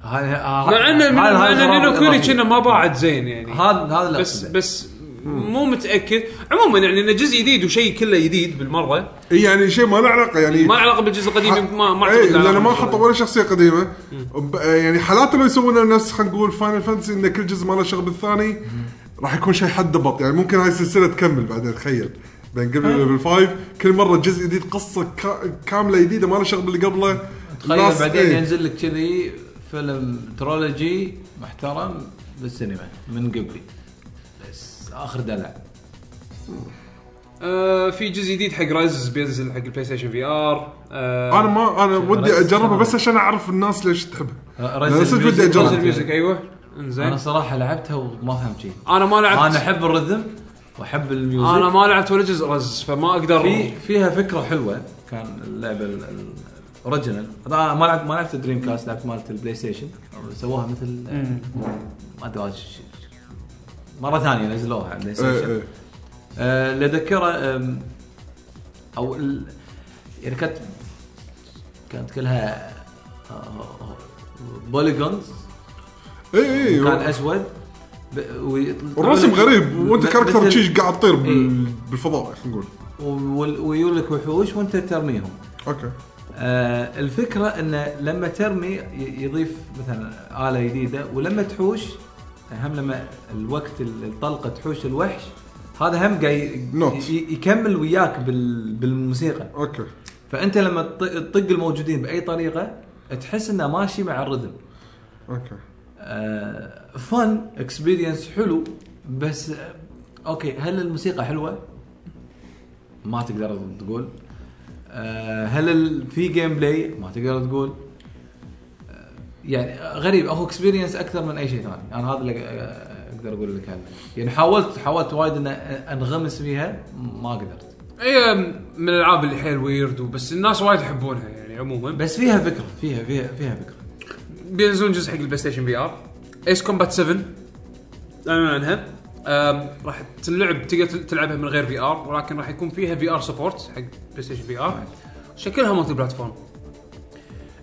[SPEAKER 1] مع انه من- مع انه نينو كوني كنا ما باعت زين يعني
[SPEAKER 2] هذا هذا اللي
[SPEAKER 1] بس
[SPEAKER 2] أقصده.
[SPEAKER 1] بس مو متاكد عموما يعني انه جزء جديد وشيء كله جديد بالمره
[SPEAKER 3] إيه يعني شيء ما له علاقه يعني
[SPEAKER 1] ما له علاقه بالجزء القديم ما ما
[SPEAKER 3] اي
[SPEAKER 1] اعتقد له
[SPEAKER 3] لان
[SPEAKER 1] علاقة
[SPEAKER 3] إيه، ما
[SPEAKER 1] بالجزء
[SPEAKER 3] حطوا ولا شخصيه قديمه ب- يعني حالات لو يسوون نفس خلينا نقول فاينل فانتسي ان كل جزء ما له شغل بالثاني راح يكون شيء حد ضبط يعني ممكن هاي السلسله تكمل بعدين تخيل بين قبل ليفل 5 كل مره جزء جديد قصه كا- كامله جديده ما له شغل باللي قبله
[SPEAKER 2] تخيل
[SPEAKER 3] ناس-
[SPEAKER 2] بعدين
[SPEAKER 3] إيه.
[SPEAKER 2] ينزل لك كذي فيلم ترولوجي محترم بالسينما من قبلي بس اخر دلع
[SPEAKER 1] آه، في جزء جديد حق رز بينزل حق البلاي ستيشن في ار آه،
[SPEAKER 3] انا ما انا ودي
[SPEAKER 2] رز-
[SPEAKER 3] اجربها بس عشان اعرف الناس ليش تحبها
[SPEAKER 2] رز
[SPEAKER 3] أنا صدق ودي
[SPEAKER 2] الميوزك-
[SPEAKER 3] أجرب.
[SPEAKER 1] رز الميوزك ايوه
[SPEAKER 2] انا
[SPEAKER 1] انزين
[SPEAKER 2] صراحه لعبتها وما فهمت شيء
[SPEAKER 1] انا ما
[SPEAKER 2] انا
[SPEAKER 1] لعبت
[SPEAKER 2] احب الرذم واحب الميوزك
[SPEAKER 1] انا ما لعبت ولا جزء رز فما اقدر
[SPEAKER 2] في فيها فكره حلوه كان اللعبه ال- ال- الاوريجنال طبعاً أنا ما لعبت ما لعبت دريم كاست لعبت مالت البلاي ستيشن سووها مثل
[SPEAKER 1] مم.
[SPEAKER 2] ما ادري وش- ش- مره ثانيه نزلوها على البلاي
[SPEAKER 3] إيه،
[SPEAKER 2] ستيشن
[SPEAKER 3] إيه.
[SPEAKER 2] آه، اللي اذكره آم، او ال- يعني كانت كانت كلها آه، بوليجونز
[SPEAKER 3] اي اي
[SPEAKER 2] كان
[SPEAKER 3] إيه، و-
[SPEAKER 2] اسود ب- ويطلع-
[SPEAKER 3] والرسم غريب وانت
[SPEAKER 2] مثل-
[SPEAKER 3] كاركتر شي قاعد تطير بال-
[SPEAKER 2] إيه.
[SPEAKER 3] بالفضاء خلينا نقول
[SPEAKER 2] وال- ويجولك وحوش وانت ترميهم
[SPEAKER 3] اوكي
[SPEAKER 2] آه الفكره انه لما ترمي ي- يضيف مثلا اله جديده ولما تحوش هم لما الوقت ال- الطلقه تحوش الوحش هذا هم قاعد ي-
[SPEAKER 3] Note.
[SPEAKER 2] ي- يكمل وياك بال- بالموسيقى
[SPEAKER 3] اوكي
[SPEAKER 2] فانت لما تط- تطق الموجودين باي طريقه تحس انه ماشي مع الرذم
[SPEAKER 3] اوكي
[SPEAKER 2] آه فن اكسبيرينس حلو بس آه اوكي هل الموسيقى حلوه؟ ما تقدر تقول آه هل ال- في جيم بلاي؟ ما تقدر تقول آه، يعني غريب اخو اكسبيرينس اكثر من اي شيء ثاني انا هذا اللي آه، اقدر اقول لك عنه يعني حاولت حاولت وايد ان انغمس فيها ما قدرت
[SPEAKER 1] هي إيه، من الالعاب اللي حيل ويرد وبس الناس وايد يحبونها يعني عموما
[SPEAKER 2] بس فيها فكره فيها فيها فيها فكره
[SPEAKER 1] بينزلون جزء حق البلاي ستيشن في ار ايس كومبات 7 اعلنوا عنها أم، راح تلعب تقدر تل- تلعبها من غير في ار ولكن راح يكون فيها في ار سبورت حق بلاي ستيشن في ار شكلها مالتي بلاتفورم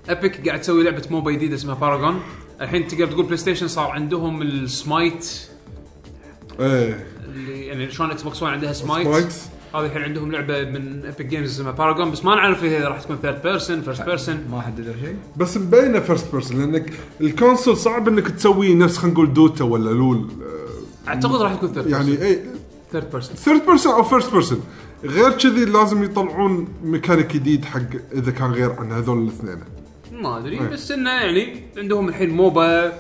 [SPEAKER 1] ابيك قاعد تسوي لعبه موبا جديده اسمها باراجون الحين تقدر تقول بلاي ستيشن صار عندهم السمايت
[SPEAKER 3] ايه
[SPEAKER 1] اللي يعني شلون اكس بوكس 1 عندها سمايت
[SPEAKER 3] سبايكس
[SPEAKER 1] هذه الحين عندهم لعبه من ابيك جيمز اسمها باراجون بس ما نعرف اذا راح تكون ثيرد بيرسون فيرست بيرسون
[SPEAKER 2] ما حددوا شيء
[SPEAKER 3] بس مبينه فيرست بيرسون لانك الكونسول صعب انك تسوي نفس خلينا نقول دوتا ولا لول آه،
[SPEAKER 1] اعتقد راح تكون ثيرد
[SPEAKER 3] يعني اي
[SPEAKER 1] ثيرد بيرسون
[SPEAKER 3] ثيرد بيرسون او فيرست بيرسون غير كذي لازم يطلعون ميكانيك جديد حق اذا كان غير عن هذول الاثنين
[SPEAKER 1] ما ادري
[SPEAKER 3] إيه.
[SPEAKER 1] بس انه يعني عندهم الحين موبا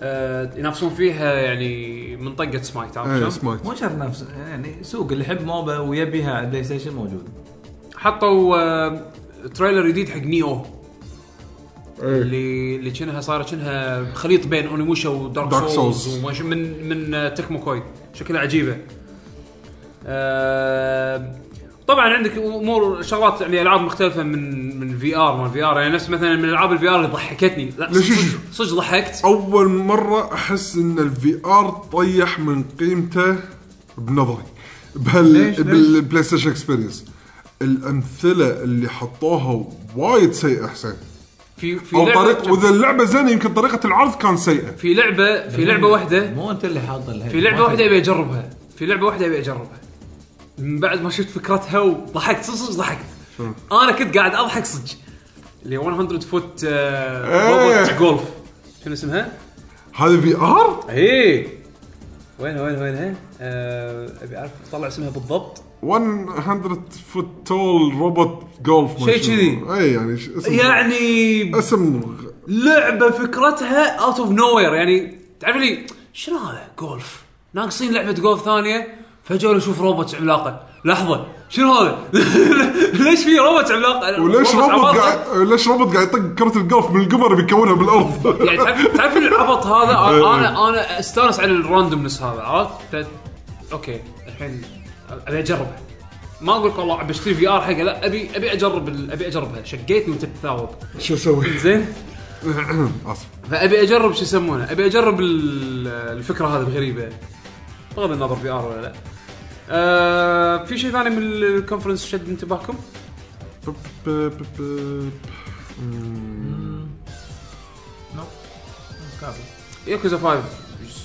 [SPEAKER 1] آه ينافسون فيها يعني منطقه سمايت
[SPEAKER 3] ايه
[SPEAKER 1] عرفت شلون؟
[SPEAKER 3] سمايت
[SPEAKER 2] مو شرط نفس يعني سوق اللي يحب موبا ويبيها على البلاي ستيشن موجود
[SPEAKER 1] حطوا آه تريلر جديد حق نيو
[SPEAKER 3] إيه.
[SPEAKER 1] اللي اللي كأنها صارت كأنها خليط بين اونيموشا ودارك
[SPEAKER 3] Dark
[SPEAKER 1] سولز
[SPEAKER 3] Souls.
[SPEAKER 1] وما شو- من من آه، تكمو كوي شكلها عجيبه آه طبعا عندك امور شغلات يعني العاب مختلفه من من في ار ما في ار يعني نفس مثلا من العاب الفي ار اللي ضحكتني لا
[SPEAKER 3] ليش؟
[SPEAKER 1] صدق- صدق ضحكت
[SPEAKER 3] اول مره احس ان الفي ار طيح من قيمته بنظري بهال بالبلاي ستيشن اكسبيرينس الامثله اللي حطوها وايد سيئه حسين
[SPEAKER 1] في في
[SPEAKER 3] او
[SPEAKER 1] لعبه
[SPEAKER 3] طريق واذا اللعبه زينه يمكن طريقه العرض كان سيئه
[SPEAKER 1] في لعبه في لعبه واحده
[SPEAKER 2] مو انت اللي حاط الهيد.
[SPEAKER 1] في لعبه
[SPEAKER 2] ما
[SPEAKER 1] واحده
[SPEAKER 2] تدري.
[SPEAKER 1] ابي اجربها في لعبه واحده ابي اجربها من بعد ما شفت فكرتها وضحكت صدق صدق ضحكت انا كنت قاعد اضحك صدق اللي 100 فوت
[SPEAKER 3] إيه.
[SPEAKER 1] روبوت جولف آه، شنو اسمها؟
[SPEAKER 3] هذا في ار
[SPEAKER 1] اي وين وين وينها؟ آه، ابي اعرف اطلع اسمها بالضبط
[SPEAKER 3] 100 فوت تول روبوت جولف
[SPEAKER 1] شيء كذي.
[SPEAKER 3] اي يعني ش- اسم
[SPEAKER 1] يعني
[SPEAKER 3] اسم غ-
[SPEAKER 1] لعبه فكرتها اوت اوف نو وير يعني تعرف لي شنو هذا جولف ناقصين لعبه جولف ثانيه فجاه لو اشوف روبوتس عملاقه لحظه شنو هذا ليش في روبوت عملاقه
[SPEAKER 3] وليش
[SPEAKER 1] روبوتس
[SPEAKER 3] روبوت
[SPEAKER 1] عباقرة؟
[SPEAKER 3] قاعد ليش روبوت قاعد يطق كره الجولف من القمر بيكونها بالارض
[SPEAKER 1] يعني تعرف تعرف العبط هذا أنا- انا انا استانس على الراندومنس هذا عرفت ف... اوكي الحين ابي اجربها ما اقول لك والله بشتري في ار حقه لا ابي ابي اجرب ال- ابي اجربها شقيتني وانت تتثاوب
[SPEAKER 3] شو اسوي؟
[SPEAKER 1] زين
[SPEAKER 3] اسف
[SPEAKER 1] فابي اجرب شو يسمونه ابي اجرب ال- الفكره هذه الغريبه بغض النظر في ار ولا لا آه في شيء ثاني من الكونفرنس شد انتباهكم؟
[SPEAKER 3] بب- بب- بب- بب. مم.
[SPEAKER 2] كافي.
[SPEAKER 1] ياكوزا 5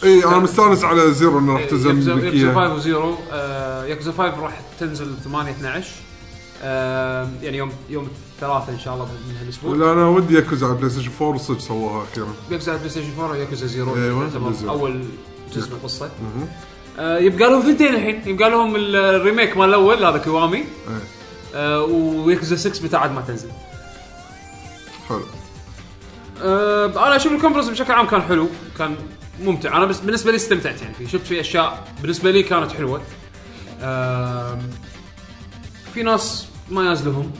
[SPEAKER 3] اي انا مستانس إيه، على زيرو انه
[SPEAKER 1] إيه،
[SPEAKER 3] راح تنزل
[SPEAKER 1] ياكوزا
[SPEAKER 3] ملكيه
[SPEAKER 1] 5 وزيرو آه ياكوزا 5 راح تنزل 8 12 آه يعني يوم يوم الثلاثاء ان شاء الله من هالاسبوع
[SPEAKER 3] ولا انا ودي ياكوزا على بلاي ستيشن 4 صدق سووها اخيرا
[SPEAKER 1] ياكوزا بلاي ستيشن 4 وياكوزا زيرو
[SPEAKER 3] أيوة،
[SPEAKER 1] يعتبر
[SPEAKER 3] زيرو.
[SPEAKER 1] اول جزء من القصه
[SPEAKER 3] مهم.
[SPEAKER 1] آه يبقى لهم ثنتين الحين يبقى لهم الريميك مال الاول هذا كوامي
[SPEAKER 3] إيه.
[SPEAKER 1] آه وياكوزا 6 متى عاد ما تنزل
[SPEAKER 3] حلو
[SPEAKER 1] أه انا اشوف الكونفرنس بشكل عام كان حلو كان ممتع انا بس بالنسبه لي استمتعت يعني فيه شفت فيه اشياء بالنسبه لي كانت حلوه أه في ناس ما يازلهم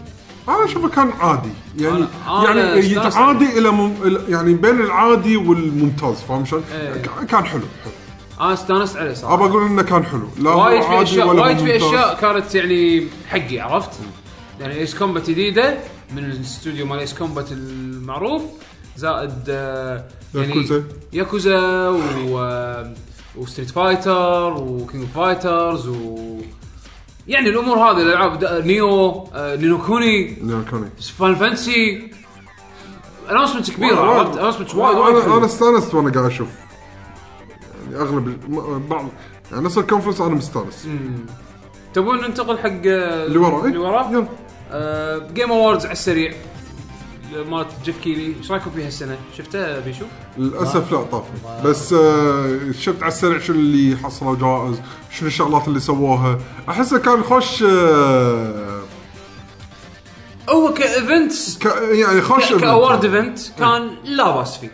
[SPEAKER 3] انا اشوفه كان عادي يعني
[SPEAKER 1] أنا- أنا
[SPEAKER 3] يعني
[SPEAKER 1] استانست
[SPEAKER 3] عادي الى مم... إلى- يعني بين العادي والممتاز فاهم شلون؟
[SPEAKER 1] إيه.
[SPEAKER 3] ك- كان حلو
[SPEAKER 1] انا استانست عليه
[SPEAKER 3] ابى
[SPEAKER 1] صراحه
[SPEAKER 3] اقول انه كان حلو لا هو
[SPEAKER 1] وايد في
[SPEAKER 3] عادي
[SPEAKER 1] اشياء
[SPEAKER 3] ولا هو
[SPEAKER 1] وايد في
[SPEAKER 3] ممتاز.
[SPEAKER 1] اشياء كانت يعني حقي عرفت يعني ايس كومبات جديده من الاستوديو مال ايس كومبات المعروف زائد آه، يعني
[SPEAKER 3] ياكوزا.
[SPEAKER 1] ياكوزا و وستريت فايتر وكينج فايترز و يعني الامور هذه الالعاب دا- نيو آه، نينوكوني
[SPEAKER 3] نعم، كان إيه.
[SPEAKER 1] فان فانسي اناونسمنت كبيره
[SPEAKER 3] وايد-
[SPEAKER 1] عرفت اناونسمنت وايد
[SPEAKER 3] أنا-
[SPEAKER 1] وايد
[SPEAKER 3] انا انا
[SPEAKER 1] حلوة.
[SPEAKER 3] استانست وانا قاعد اشوف يعني اغلب ال- م- بعض يعني نفس الكونفرنس انا مستانس
[SPEAKER 1] مم. تبون ننتقل حق آه،
[SPEAKER 3] اللي ورا إيه؟
[SPEAKER 1] اللي ورا
[SPEAKER 3] يلا
[SPEAKER 1] جيم اووردز على السريع مالت جيف كيلي ايش رايكم فيه هالسنه؟ شفته بيشو؟
[SPEAKER 3] للاسف لا طافني بس آه، شفت على السريع شنو اللي حصلوا جوائز شنو الشغلات اللي سووها احسه كان خوش آه،
[SPEAKER 1] هو كايفنتس
[SPEAKER 3] ك- يعني خوش
[SPEAKER 1] كاورد ايفنت كان لا باس فيه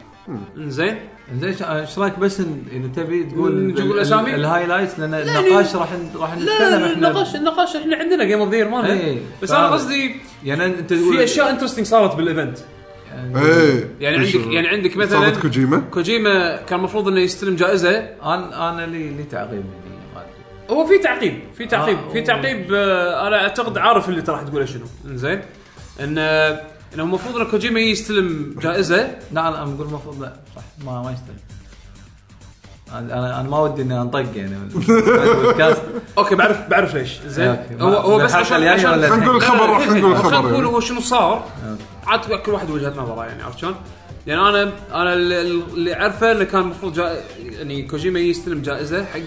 [SPEAKER 1] زين
[SPEAKER 2] زين إيش- ايش رايك بس إن- اذا تبي
[SPEAKER 1] نقول
[SPEAKER 2] تقول بال-
[SPEAKER 1] أسامي؟
[SPEAKER 2] الهايلايتس لان النقاش راح ن- راح نتكلم
[SPEAKER 1] لا
[SPEAKER 2] احنا
[SPEAKER 1] النقاش النقاش احنا عندنا جيم اوف ذير مالنا
[SPEAKER 2] إيه.
[SPEAKER 1] بس انا
[SPEAKER 2] فهذا.
[SPEAKER 1] قصدي
[SPEAKER 2] يعني انت
[SPEAKER 1] في اشياء انترستنج صارت بالايفنت
[SPEAKER 3] ايه
[SPEAKER 1] يعني عندك يعني عندك مثلا
[SPEAKER 3] صارت كوجيما
[SPEAKER 1] كوجيما كان المفروض انه يستلم جائزه
[SPEAKER 2] انا انا لي لي تعقيب يعني ما ادري
[SPEAKER 1] هو في تعقيب في تعقيب
[SPEAKER 2] آه،
[SPEAKER 1] في
[SPEAKER 2] أوه.
[SPEAKER 1] تعقيب آه، انا اعتقد عارف اللي أنت راح تقوله شنو زين انه انه المفروض ان كوجيما يستلم جائزه
[SPEAKER 2] لا انا اقول المفروض لا صح ما ما يستاهل انا انا أنا ما ودي اني انطق يعني من البودكاست
[SPEAKER 1] اوكي بعرف بعرف ليش زين
[SPEAKER 2] أوكي، ما-
[SPEAKER 1] هو هو
[SPEAKER 2] من
[SPEAKER 1] بس
[SPEAKER 2] الحلقة
[SPEAKER 1] عشان
[SPEAKER 2] الجاية
[SPEAKER 1] عشان
[SPEAKER 2] ولا
[SPEAKER 1] لا،
[SPEAKER 3] خلينا نقول
[SPEAKER 1] لا،
[SPEAKER 3] الخبر راح
[SPEAKER 1] خلينا-
[SPEAKER 3] نقول
[SPEAKER 1] خلينا
[SPEAKER 3] الخبر
[SPEAKER 1] نقول
[SPEAKER 3] يعني.
[SPEAKER 1] هو شنو صار عاد كل واحد وجهه نظره يعني عرفت شلون؟ يعني انا انا ال- ال- اللي اعرفه انه كان المفروض جا- يعني كوجيما يستلم جائزه حق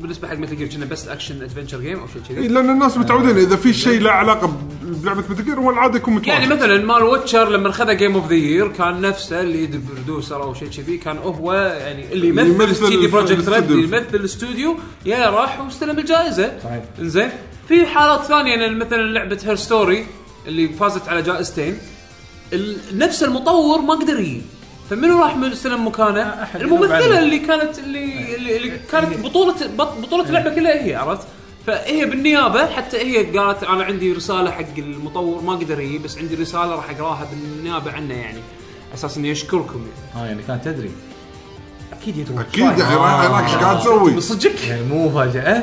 [SPEAKER 1] بالنسبه حق مثل جير كنا بس اكشن ادفنشر جيم او شيء
[SPEAKER 3] إيه،
[SPEAKER 1] كذي
[SPEAKER 3] لان الناس متعودين اذا في شيء له علاقه ب- بلعبه متجر هو العاده يكون متواجد
[SPEAKER 1] يعني مثلا مال ويتشر لما خذ جيم اوف ذا يير كان نفسه الليد برودوسر او شيء كذي كان هو يعني
[SPEAKER 3] اللي
[SPEAKER 1] اللي يمثل
[SPEAKER 3] يمثل
[SPEAKER 1] سي دي بروجكت ريد
[SPEAKER 3] الاستوديو.
[SPEAKER 1] اللي يمثل الاستوديو يا راح واستلم الجائزه انزين في حالات ثانيه يعني مثلا لعبه هير ستوري اللي فازت على جائزتين ال- نفس المطور ما قدر يجي فمنو راح من استلم مكانه؟
[SPEAKER 2] أحد ينوب
[SPEAKER 1] الممثله
[SPEAKER 2] عليه.
[SPEAKER 1] اللي كانت اللي اللي, اللي كانت بطوله بط- بطوله اللعبه كلها هي عرفت؟ فهي بالنيابه حتى هي قالت انا عندي رساله حق المطور ما قدر يجي بس عندي رساله راح اقراها بالنيابه عنه يعني اساس انه يشكركم يعني
[SPEAKER 2] اه يعني كان تدري
[SPEAKER 1] اكيد يدرون
[SPEAKER 3] اكيد يعني راح هناك ايش قاعد تسوي؟
[SPEAKER 1] من صدقك
[SPEAKER 2] يعني مو مفاجاه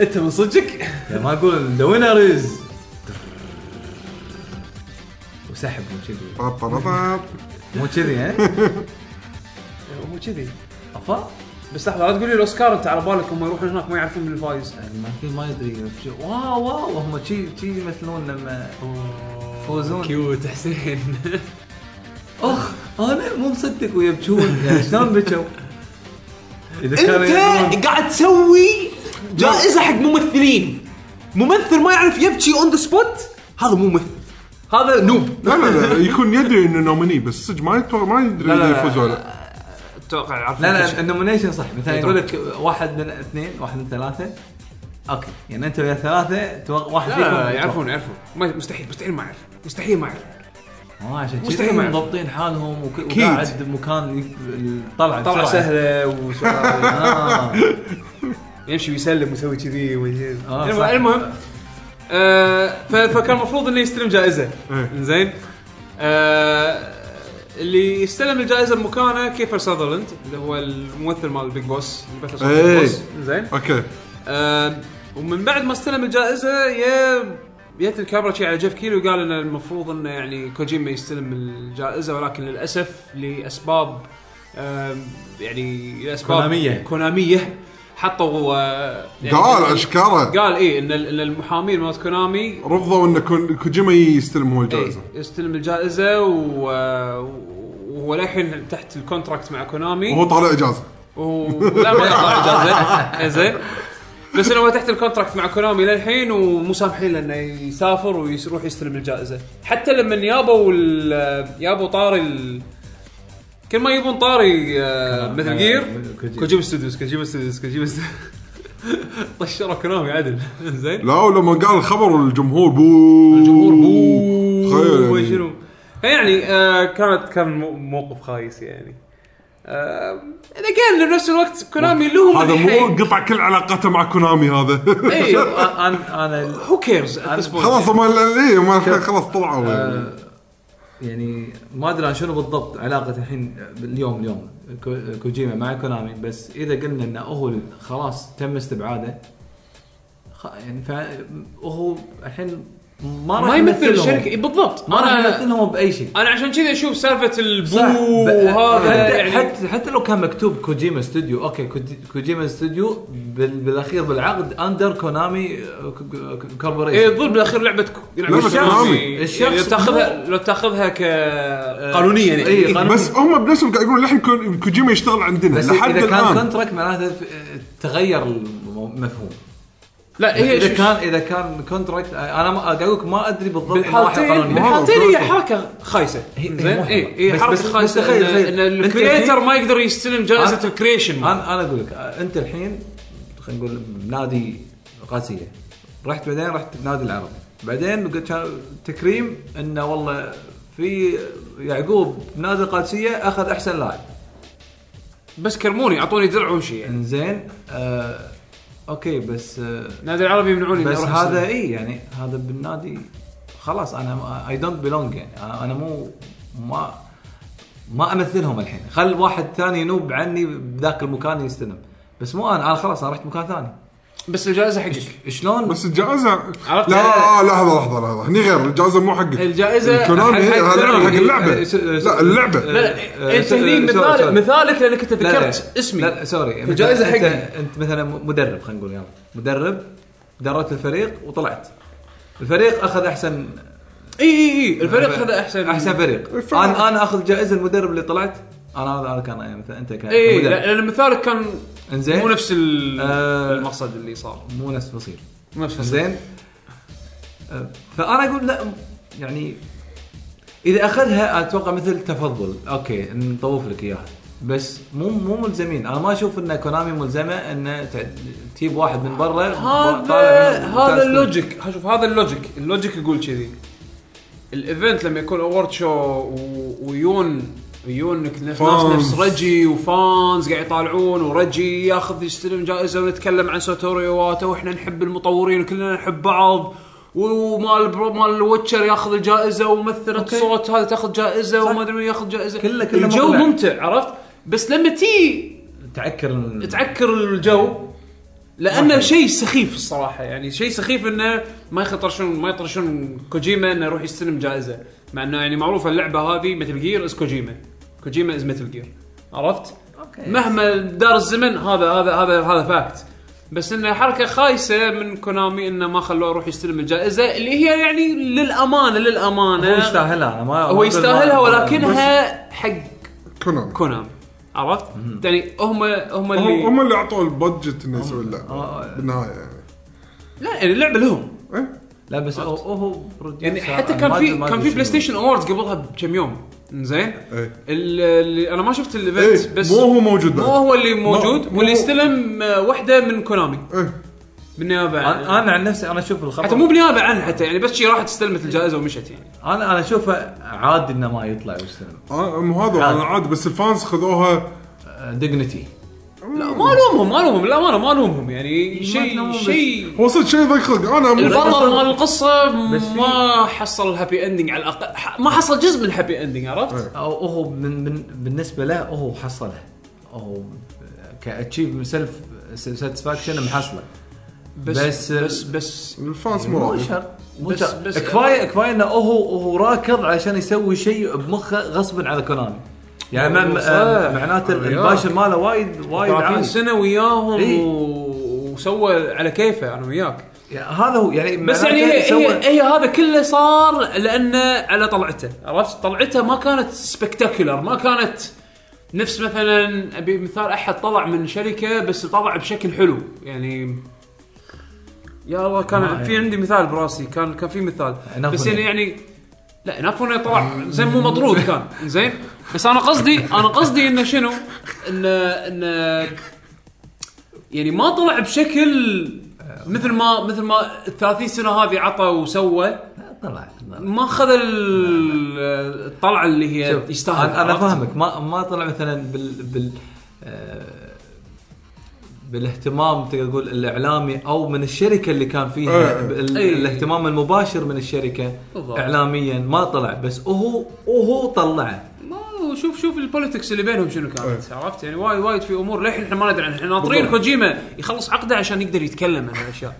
[SPEAKER 1] انت من صدقك
[SPEAKER 2] يعني ما اقول ذا وينرز وسحب مو كذي
[SPEAKER 3] طب طب طب.
[SPEAKER 2] مو كذي إيه؟ ها
[SPEAKER 1] مو كذي
[SPEAKER 2] افا
[SPEAKER 1] بس لحظه لا تقول لي الاوسكار انت على بالك هم يروحون هناك ما يعرفون من الفايز
[SPEAKER 2] يعني ما في ما يدري شو- واو واو هم شي شي يمثلون لما يفوزون
[SPEAKER 1] كيوت حسين
[SPEAKER 2] اخ انا مو مصدق ويبكون يعني شلون بكوا؟ اذا كانوا يدرون-
[SPEAKER 8] انت قاعد تسوي جائزه حق ممثلين ممثل ما يعرف يبكي اون ذا سبوت هذا مو ممثل هذا نوب
[SPEAKER 3] لا لا لا يكون يدري انه نوميني بس صدق ما يتوقع ما يدري
[SPEAKER 1] لا، لا،
[SPEAKER 3] اذا
[SPEAKER 1] لا.
[SPEAKER 3] يفوز ولا لا
[SPEAKER 1] اتوقع يعرفون
[SPEAKER 2] لا
[SPEAKER 1] كل
[SPEAKER 2] لا
[SPEAKER 1] شيء.
[SPEAKER 2] النومينيشن صح مثلا يقول لك واحد من اثنين واحد من ثلاثه اوكي يعني انت ويا ثلاثه توق... واحد
[SPEAKER 1] لا لا, لا
[SPEAKER 2] فيكم-
[SPEAKER 1] يعرفون يعرفون ما مستحيل مستحيل ما يعرف مستحيل ما يعرف
[SPEAKER 2] ما عشان كذي
[SPEAKER 1] مستحيل ما يعرف.
[SPEAKER 2] مضبطين حالهم وك... وقاعد مكان ي- الطلعه
[SPEAKER 1] طلعه
[SPEAKER 2] بسرعة.
[SPEAKER 1] سهله وسرعة.
[SPEAKER 2] آه.
[SPEAKER 1] يمشي ويسلم ويسوي كذي ويجي.
[SPEAKER 2] آه،
[SPEAKER 1] الم-
[SPEAKER 2] صح.
[SPEAKER 1] المهم آه، ف- فكان المفروض انه يستلم جائزه
[SPEAKER 3] إيه.
[SPEAKER 1] زين آه، اللي استلم الجائزه بمكانه كيفر ساذرلاند اللي هو الممثل مال البيج بوس يمثل صوت
[SPEAKER 3] إيه.
[SPEAKER 1] البيج بوس زين
[SPEAKER 3] اوكي
[SPEAKER 1] آه، ومن بعد ما استلم الجائزه يا جت الكاميرا شي على جيف كيلي وقال ان المفروض انه يعني كوجيما يستلم الجائزه ولكن للاسف لاسباب آم، يعني لاسباب
[SPEAKER 2] كونامية.
[SPEAKER 1] كوناميه حطوا آه، يعني
[SPEAKER 3] قال اشكاره
[SPEAKER 1] قال ايه ان ال- ان المحامين مال كونامي
[SPEAKER 3] رفضوا ان كون- كوجيما يستلم هو
[SPEAKER 1] إيه،
[SPEAKER 3] الجائزه
[SPEAKER 1] يستلم الجائزه و وهو للحين تحت الكونتراكت مع كونامي
[SPEAKER 3] وهو طالع اجازه
[SPEAKER 1] و... لا ما يطلع اجازه زين بس انه هو تحت الكونتراكت مع كونامي للحين ومو سامحين لانه يسافر ويروح يستلم الجائزه حتى لما يابوا ال- يابوا طاري ال... كل ما يبون طاري آه، مثل جير
[SPEAKER 2] كوجيما.
[SPEAKER 1] كوجيما ستوديوز كوجيما ستوديوز كوجيما ستوديوز طشروا كونامي عدل زين
[SPEAKER 3] لا لما قال الخبر الجمهور بو
[SPEAKER 1] الجمهور
[SPEAKER 3] تخيل
[SPEAKER 1] بو
[SPEAKER 3] يعني.
[SPEAKER 1] شنو يعني آه كانت كان مو- موقف خايس يعني آه اجين بنفس الوقت كونامي لهم
[SPEAKER 3] هذا
[SPEAKER 1] الحين.
[SPEAKER 3] مو قطع كل علاقته مع كونامي هذا
[SPEAKER 2] إيه.
[SPEAKER 1] اي
[SPEAKER 2] انا انا
[SPEAKER 1] هو كيرز
[SPEAKER 3] خلاص هم ال- إيه، هم الحين خلاص طلعوا
[SPEAKER 1] طيب.
[SPEAKER 3] يعني.
[SPEAKER 2] آه، يعني ما ادري عن شنو بالضبط علاقه الحين اليوم اليوم كو- كوجيما مع كونامي بس اذا قلنا انه هو خلاص تم استبعاده خ- يعني فهو الحين ما راح
[SPEAKER 1] ما يمثل
[SPEAKER 2] يمثلهم.
[SPEAKER 1] الشركه إي، بالضبط
[SPEAKER 2] ما راح
[SPEAKER 1] انا
[SPEAKER 2] يمثلهم باي شيء
[SPEAKER 1] انا عشان كذا اشوف سالفه
[SPEAKER 2] صح
[SPEAKER 1] البو
[SPEAKER 2] ب-
[SPEAKER 1] هذا
[SPEAKER 2] حتى,
[SPEAKER 1] يعني
[SPEAKER 2] حتى حتى لو كان مكتوب كوجيما استوديو اوكي كوجي- كوجيما استوديو بال- بالاخير بالعقد اندر كونامي آه،
[SPEAKER 1] اي
[SPEAKER 2] كوربوريشن
[SPEAKER 1] ضل بالاخير لعبه ك- لعبه
[SPEAKER 3] لعبة
[SPEAKER 1] كونامي
[SPEAKER 3] كونامي.
[SPEAKER 2] الشخص
[SPEAKER 1] يعني لو تاخذها لو تاخذها
[SPEAKER 2] آه.
[SPEAKER 1] كقانونيا يعني
[SPEAKER 2] إي، قانونياً.
[SPEAKER 3] إيه، بس هم بنفسهم قاعد يقولون لحين كون- كوجيما يشتغل عندنا
[SPEAKER 2] بس
[SPEAKER 3] لحد
[SPEAKER 2] اذا كان
[SPEAKER 3] الان
[SPEAKER 2] كونتراكت معناته ف- تغير المفهوم
[SPEAKER 1] لا هي
[SPEAKER 2] اذا
[SPEAKER 1] شوف-
[SPEAKER 2] كان اذا كان كونتراكت انا ما- قاعد اقول لك ما ادري بالضبط إنه راح
[SPEAKER 1] بالحالتين
[SPEAKER 2] يقررون منه.
[SPEAKER 1] بالحالتين هي
[SPEAKER 3] مو-
[SPEAKER 1] حركه خايسه
[SPEAKER 2] هي- هي
[SPEAKER 1] زين إيه،
[SPEAKER 2] مو
[SPEAKER 1] اي
[SPEAKER 2] حلوة.
[SPEAKER 1] هي
[SPEAKER 2] بس-
[SPEAKER 1] حركه
[SPEAKER 2] بس- بس
[SPEAKER 1] خايسه
[SPEAKER 2] تخيل-
[SPEAKER 1] إن-
[SPEAKER 2] تخيل.
[SPEAKER 1] ان
[SPEAKER 2] أنت
[SPEAKER 1] الكريتر
[SPEAKER 2] الحين-
[SPEAKER 1] ما يقدر يستلم جائزه
[SPEAKER 2] أنا-
[SPEAKER 1] الكريشن
[SPEAKER 2] انا انا اقول لك انت الحين خلينا نقول بنادي غازيه رحت بعدين رحت بنادي العرب بعدين قلت شا- تكريم انه والله في يعقوب بنادي القادسيه اخذ احسن لاعب
[SPEAKER 1] بس كرموني اعطوني درع وامشي يعني
[SPEAKER 2] انزين آه اوكي بس آه
[SPEAKER 1] نادي العربي يمنعوني إني
[SPEAKER 2] بس
[SPEAKER 1] أروح
[SPEAKER 2] هذا
[SPEAKER 1] أستلم.
[SPEAKER 2] اي يعني هذا بالنادي خلاص انا اي دونت بيلونج يعني أنا- انا مو ما ما امثلهم الحين خل واحد ثاني ينوب عني بذاك المكان يستلم بس مو انا انا خلاص انا رحت مكان ثاني
[SPEAKER 1] بس الجائزه حقك
[SPEAKER 2] شلون
[SPEAKER 3] بس الجائزه
[SPEAKER 1] عرفت؟
[SPEAKER 3] لا آه، لحظه لحظه لحظه هني غير الجائزه مو حقك
[SPEAKER 1] الجائزة
[SPEAKER 3] الكونامي
[SPEAKER 1] حق- حق
[SPEAKER 3] هذا
[SPEAKER 1] كونامي.
[SPEAKER 3] حق اللعبه
[SPEAKER 2] إيه، س- س-
[SPEAKER 3] لا اللعبه
[SPEAKER 1] لا إيه،
[SPEAKER 2] آه،
[SPEAKER 1] لا انت
[SPEAKER 2] سوري-
[SPEAKER 1] هني
[SPEAKER 2] سوري- سوري.
[SPEAKER 1] مثال مثالك لانك انت
[SPEAKER 2] لا، لا.
[SPEAKER 1] ذكرت اسمي
[SPEAKER 2] لا لا سوري يعني
[SPEAKER 1] الجائزة
[SPEAKER 2] أنت-
[SPEAKER 1] حقي.
[SPEAKER 2] انت مثلا مدرب خلينا نقول يلا مدرب دربت الفريق وطلعت الفريق اخذ احسن
[SPEAKER 1] اي اي اي الفريق خذ احسن
[SPEAKER 2] احسن فريق
[SPEAKER 3] الفريق.
[SPEAKER 2] انا انا اخذ جائزه المدرب اللي طلعت انا هذا هذا كان يعني مثلا انت كان
[SPEAKER 1] اي
[SPEAKER 2] مدرب.
[SPEAKER 1] لان مثالك كان
[SPEAKER 2] انزين
[SPEAKER 1] إيه، مو نفس ال-
[SPEAKER 2] آه.
[SPEAKER 1] المقصد اللي صار
[SPEAKER 2] مو نفس بصير
[SPEAKER 1] مو نفس الصدق.
[SPEAKER 2] زين أه، فانا اقول لا يعني اذا اخذها اتوقع مثل تفضل اوكي نطوف لك اياها بس مو مو ملزمين انا ما اشوف ان كونامي ملزمه ان ت- تجيب واحد من برا
[SPEAKER 1] هذا هذا اللوجيك شوف هذا اللوجيك اللوجيك يقول كذي الايفنت لما يكون اوورد شو و- ويون ويونك نفس ناس
[SPEAKER 3] فانز.
[SPEAKER 1] نفس رجي وفانز قاعد يطالعون ورجي ياخذ يستلم جائزه ونتكلم عن ساتوري واتا واحنا نحب المطورين وكلنا نحب بعض ومال برو مال الوتشر ياخذ الجائزه وممثله صوت هذا تاخذ جائزه وما ادري مين ياخذ جائزه
[SPEAKER 2] كله- كله
[SPEAKER 1] الجو
[SPEAKER 2] مطلع.
[SPEAKER 1] ممتع عرفت بس لما تي
[SPEAKER 2] تعكر
[SPEAKER 1] تعكر الجو لانه شيء سخيف الصراحه يعني شيء سخيف انه ما يخطرشون ما يطرشون كوجيما انه يروح يستلم جائزه مع انه يعني معروفه اللعبه هذه مثل جير از كوجيما كوجيما از مثل جير عرفت؟
[SPEAKER 2] أوكي.
[SPEAKER 1] مهما دار الزمن هذا هذا هذا هذا فاكت بس انه حركه خايسه من كونامي انه ما خلوه يروح يستلم الجائزه اللي هي يعني للامانه
[SPEAKER 2] هو
[SPEAKER 1] للامانه
[SPEAKER 2] يستاهلها أنا ما- ما
[SPEAKER 1] هو
[SPEAKER 2] أقول
[SPEAKER 1] يستاهلها
[SPEAKER 2] ما-
[SPEAKER 1] ولكنها حق
[SPEAKER 3] كونان
[SPEAKER 1] كونامي عرفت؟ يعني هم هم
[SPEAKER 3] هم هم
[SPEAKER 1] اللي
[SPEAKER 3] اللي اعطوا البادجت انه يسوي اللعبه
[SPEAKER 2] آه.
[SPEAKER 3] بالنهايه يعني
[SPEAKER 1] لا يعني اللعبه لهم
[SPEAKER 3] إيه؟
[SPEAKER 2] لا بس هو- هو producer.
[SPEAKER 1] يعني حتى
[SPEAKER 2] أنا
[SPEAKER 1] كان
[SPEAKER 2] ما
[SPEAKER 1] في
[SPEAKER 2] أدري- ما
[SPEAKER 1] كان
[SPEAKER 2] أدري
[SPEAKER 1] في
[SPEAKER 2] شنو.
[SPEAKER 1] بلاي ستيشن اووردز قبلها بكم يوم زين
[SPEAKER 3] إيه.
[SPEAKER 1] ال- اللي انا ما شفت الايفنت
[SPEAKER 2] إيه،
[SPEAKER 3] ايه
[SPEAKER 1] بس
[SPEAKER 3] مو هو موجود
[SPEAKER 1] مو
[SPEAKER 3] بعد.
[SPEAKER 1] هو اللي موجود
[SPEAKER 3] مو- مو-
[SPEAKER 1] واللي استلم آه، واحده من كونامي
[SPEAKER 3] ايه
[SPEAKER 1] بالنيابه
[SPEAKER 2] أنا-
[SPEAKER 1] عن-
[SPEAKER 2] انا عن نفسي انا اشوف الخبر
[SPEAKER 1] حتى مو بالنيابه عنه حتى يعني بس شي راحت استلمت الجائزه ومشت يعني
[SPEAKER 2] انا انا اشوفه عادي انه ما يطلع ويستلم
[SPEAKER 3] آه، مو هذا
[SPEAKER 2] عادي.
[SPEAKER 3] انا عاد بس الفانز خذوها
[SPEAKER 2] ديجنتي
[SPEAKER 1] لا ما الومهم ما الومهم للامانه ما الومهم يعني شيء
[SPEAKER 2] تلومهم، بس-
[SPEAKER 1] شيء
[SPEAKER 3] هو صدق شيء ضيق خلق انا مو-
[SPEAKER 1] البطل مال القصه
[SPEAKER 2] بس في-
[SPEAKER 1] ما حصل الهابي اندنج على الاقل ح- ما حصل جزء من الهابي اندنج عرفت؟
[SPEAKER 2] او هو من من بالنسبه له هو حصله هو كاتشيف سيلف ساتسفاكشن محصله
[SPEAKER 1] بس
[SPEAKER 2] بس-
[SPEAKER 1] بس بس
[SPEAKER 3] الفانز مو
[SPEAKER 2] مو
[SPEAKER 3] راضي.
[SPEAKER 2] شرط مو
[SPEAKER 1] بس-
[SPEAKER 2] شرط.
[SPEAKER 1] بس-
[SPEAKER 2] كفايه كفايه انه هو هو راكض علشان يسوي شيء بمخه غصبا على كونامي يعني مع-
[SPEAKER 1] صح.
[SPEAKER 2] آه، معناته
[SPEAKER 1] وياك.
[SPEAKER 2] الباشر ماله وايد وايد
[SPEAKER 1] 30
[SPEAKER 2] عالي
[SPEAKER 1] سنه وياهم
[SPEAKER 2] إيه.
[SPEAKER 1] و- وسوى على كيفه انا وياك
[SPEAKER 2] يعني هذا هو يعني
[SPEAKER 1] بس
[SPEAKER 2] معناته
[SPEAKER 1] يعني هي,
[SPEAKER 2] سوى-
[SPEAKER 1] هي, هي هذا كله صار لانه على طلعته عرفت طلعته ما كانت سبكتاكولر ما كانت نفس مثلا ابي مثال احد طلع من شركه بس طلع بشكل حلو يعني يا الله كان
[SPEAKER 2] ما
[SPEAKER 1] في
[SPEAKER 2] يعني.
[SPEAKER 1] عندي مثال براسي كان كان في مثال
[SPEAKER 2] نافوني.
[SPEAKER 1] بس يعني يعني لا نافونه طلع زين مو مطرود كان زين بس انا قصدي انا قصدي انه شنو انه انه يعني ما طلع بشكل مثل ما مثل ما ال 30 سنه هذه عطى وسوى
[SPEAKER 2] طلع طلع.
[SPEAKER 1] ما خذ ال- الطلعه اللي هي
[SPEAKER 2] شوف،
[SPEAKER 1] يعني يستاهل
[SPEAKER 2] أنا- انا
[SPEAKER 1] عرفت؟
[SPEAKER 2] فاهمك ما ما طلع مثلا بال بال آه، بالاهتمام تقدر تقول الاعلامي او من الشركه اللي كان
[SPEAKER 3] إيه،
[SPEAKER 2] فيها
[SPEAKER 3] إيه.
[SPEAKER 2] بال-
[SPEAKER 1] إيه.
[SPEAKER 2] الاهتمام المباشر من الشركه
[SPEAKER 1] بالضبط.
[SPEAKER 2] اعلاميا ما طلع بس هو هو طلعه
[SPEAKER 1] ما شوف شوف البوليتكس اللي بينهم شنو كانت عرفت يعني وايد وايد في امور للحين احنا ما ندري عنها احنا ناطرين
[SPEAKER 3] إيه. بالضبط.
[SPEAKER 1] كوجيما يخلص عقده عشان يقدر يتكلم عن هالاشياء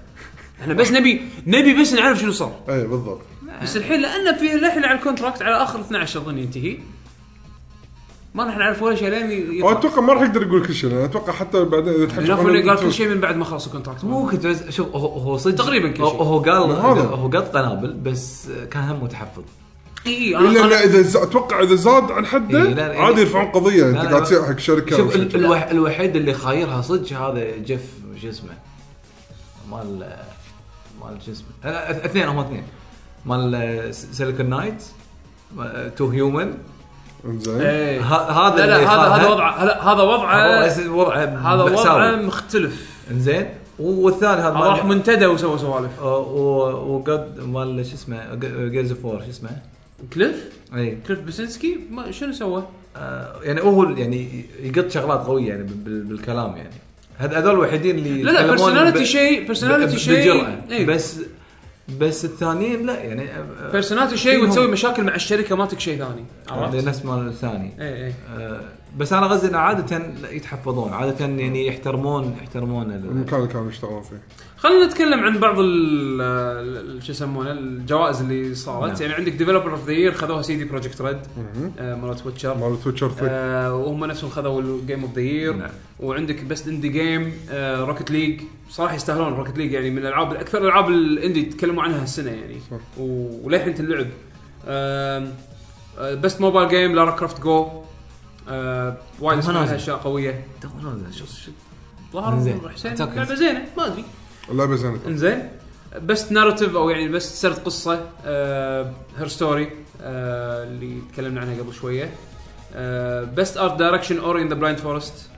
[SPEAKER 1] احنا بس نبي نبي بس نعرف شنو صار
[SPEAKER 3] ايه بالضبط
[SPEAKER 1] بس الحين لان في للحين على الكونتراكت على اخر 12 اظن ينتهي ما راح نعرف ولا شيء لين ي- يطلع.
[SPEAKER 3] اتوقع ما راح يقدر يقول كل شيء لأن اتوقع حتى بعدين اذا تحكي
[SPEAKER 1] لافوني قال كل شيء من بعد ما خلص الكونتراكت
[SPEAKER 2] مو كنت بس شوف هو هو صدق
[SPEAKER 1] تقريباً كل
[SPEAKER 2] هو-
[SPEAKER 1] شيء.
[SPEAKER 2] هو قال
[SPEAKER 3] هذا.
[SPEAKER 2] هو قال قنابل بس كان هم متحفظ
[SPEAKER 1] اي اي
[SPEAKER 3] الا
[SPEAKER 1] انا إيه، أنا-
[SPEAKER 3] إلا اذا ز- اتوقع اذا زاد عن حده
[SPEAKER 2] إيه، لا، لا،
[SPEAKER 3] عادي
[SPEAKER 2] إيه.
[SPEAKER 3] يرفعون قضيه انت
[SPEAKER 2] لا،
[SPEAKER 3] قاعد
[SPEAKER 2] لا.
[SPEAKER 3] تصير حق شركه أو
[SPEAKER 2] شوف
[SPEAKER 3] شيء.
[SPEAKER 2] ال- الوح- الوحيد اللي خايرها صدق هذا جيف شو اسمه مال مال شو اسمه لا، اث- اثنين هم اثنين مال آه، سيليكون نايت تو هيومن
[SPEAKER 3] انزين
[SPEAKER 1] إيه.
[SPEAKER 2] هذا
[SPEAKER 1] لا لا
[SPEAKER 2] اللي
[SPEAKER 1] هذا هذا
[SPEAKER 2] خاضها.
[SPEAKER 1] وضعه لا، هذا وضعه
[SPEAKER 2] هذا وضعه
[SPEAKER 1] هذا وضعه
[SPEAKER 2] مأساوي.
[SPEAKER 1] مختلف
[SPEAKER 2] انزين والثاني هذا مال-
[SPEAKER 1] راح منتدى وسوى سوالف
[SPEAKER 2] آه، و- وقد مال شو اسمه جيز فور شو اسمه
[SPEAKER 1] كليف
[SPEAKER 2] اي
[SPEAKER 1] كليف بسنسكي ما شنو سوى؟
[SPEAKER 2] آه، يعني هو يعني يقط شغلات قويه يعني بال- بال- بالكلام يعني هذ- هذول الوحيدين اللي
[SPEAKER 1] لا لا
[SPEAKER 2] يتكلمون
[SPEAKER 1] بيرسوناليتي
[SPEAKER 2] ب-
[SPEAKER 1] شيء بيرسوناليتي شيء إيه.
[SPEAKER 2] بجرأة. بس بس الثانيين لا يعني آه،
[SPEAKER 1] بيرسوناليتي شيء
[SPEAKER 2] فيهم-
[SPEAKER 1] وتسوي مشاكل مع الشركه مالتك شيء ثاني
[SPEAKER 2] آه،
[SPEAKER 1] عرفت؟ إيه،
[SPEAKER 2] نفس مال الثاني
[SPEAKER 1] اي اي
[SPEAKER 2] آه، بس انا قصدي انه عاده لا يتحفظون عاده يعني يحترمون يحترمون ال-
[SPEAKER 3] المكان اللي كانوا يشتغلون فيه
[SPEAKER 1] خلينا نتكلم عن بعض ال- ال- شو يسمونه الجوائز اللي صارت
[SPEAKER 2] نعم.
[SPEAKER 1] يعني عندك ديفلوبر اوف ذا يير خذوها سيدي بروجكت ريد
[SPEAKER 3] مهم.
[SPEAKER 1] آه، مرات ويتشر
[SPEAKER 3] مال تويتشر 3
[SPEAKER 1] آه، وهم نفسهم خذوا الجيم اوف ذا يير
[SPEAKER 2] نعم.
[SPEAKER 1] وعندك بيست اندي جيم روكت ليج صراحه يستاهلون روكت ليج يعني من الالعاب الاكثر الالعاب الاندي تكلموا عنها السنه يعني
[SPEAKER 3] صح.
[SPEAKER 1] و- وللحين تنلعب آه، بيست موبايل جيم لارا كرافت جو آه، وايد
[SPEAKER 2] ما
[SPEAKER 1] اسمها
[SPEAKER 2] نازل.
[SPEAKER 1] اشياء قويه
[SPEAKER 2] تو نازل، شو- شو-
[SPEAKER 1] ظهر
[SPEAKER 2] إنزين.
[SPEAKER 1] حسين
[SPEAKER 2] أتوقع.
[SPEAKER 1] لعبه زينه ما ادري
[SPEAKER 3] اللعبه زينه
[SPEAKER 1] انزين بس نارتيف او يعني بس سرد آه، قصه هير ستوري آه، اللي تكلمنا عنها قبل آه، شويه بست ارت دايركشن اوري ان ذا بلايند فورست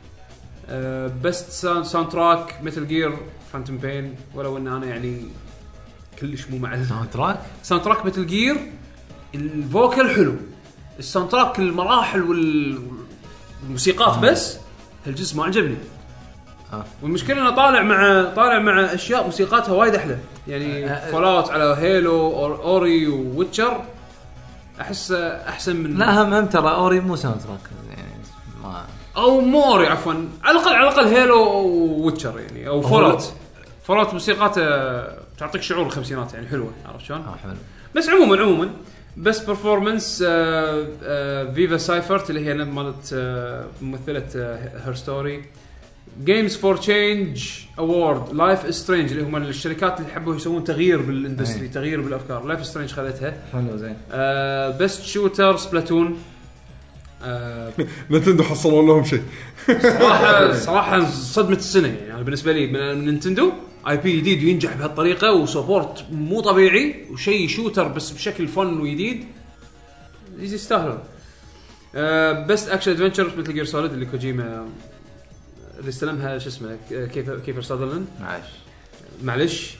[SPEAKER 1] بست ساوند تراك متل جير فانتوم بين ولو ان انا يعني كلش مو مع
[SPEAKER 2] ساوند تراك
[SPEAKER 1] الساوند تراك متل جير الفوكل حلو الساوند تراك المراحل وال- والموسيقات بس هالجزء ما عجبني
[SPEAKER 2] آه.
[SPEAKER 1] والمشكله انه طالع مع طالع مع اشياء موسيقاتها وايد احلى يعني
[SPEAKER 2] آه، آه.
[SPEAKER 1] فول اوت على هيلو أور اوري وويتشر احس احسن من
[SPEAKER 2] لا هم هم ترى اوري مو ساوند تراك يعني ما
[SPEAKER 1] او مو اوري عفوا على الاقل على الاقل هيلو وويتشر يعني او فول اوت فول اوت موسيقاتها تعطيك شعور الخمسينات يعني حلوه عرفت شلون؟
[SPEAKER 2] آه، حلو
[SPEAKER 1] بس عموما عموما بس برفورمنس آه، آه، فيفا سايفرت اللي هي مالت آه، ممثله هير ستوري جيمز فور تشينج اوورد لايف سترينج اللي هم الشركات اللي حبوا يسوون تغيير بالاندستري تغيير بالافكار لايف سترينج خذتها
[SPEAKER 2] حلو زين
[SPEAKER 1] آه بيست شوتر سبلاتون آه
[SPEAKER 3] نتندو حصلوا لهم شيء
[SPEAKER 1] صراحه صراحه صدمه السنه يعني أنا بالنسبه لي من من نينتندو اي بي جديد ينجح بهالطريقه وسبورت مو طبيعي وشيء شوتر بس بشكل فن وجديد يستاهلون آه، بس اكشن ادفنشر مثل جير سوليد اللي كوجيما اللي استلمها شو اسمه كيف كيفر ساذرلاند
[SPEAKER 2] معلش
[SPEAKER 1] معلش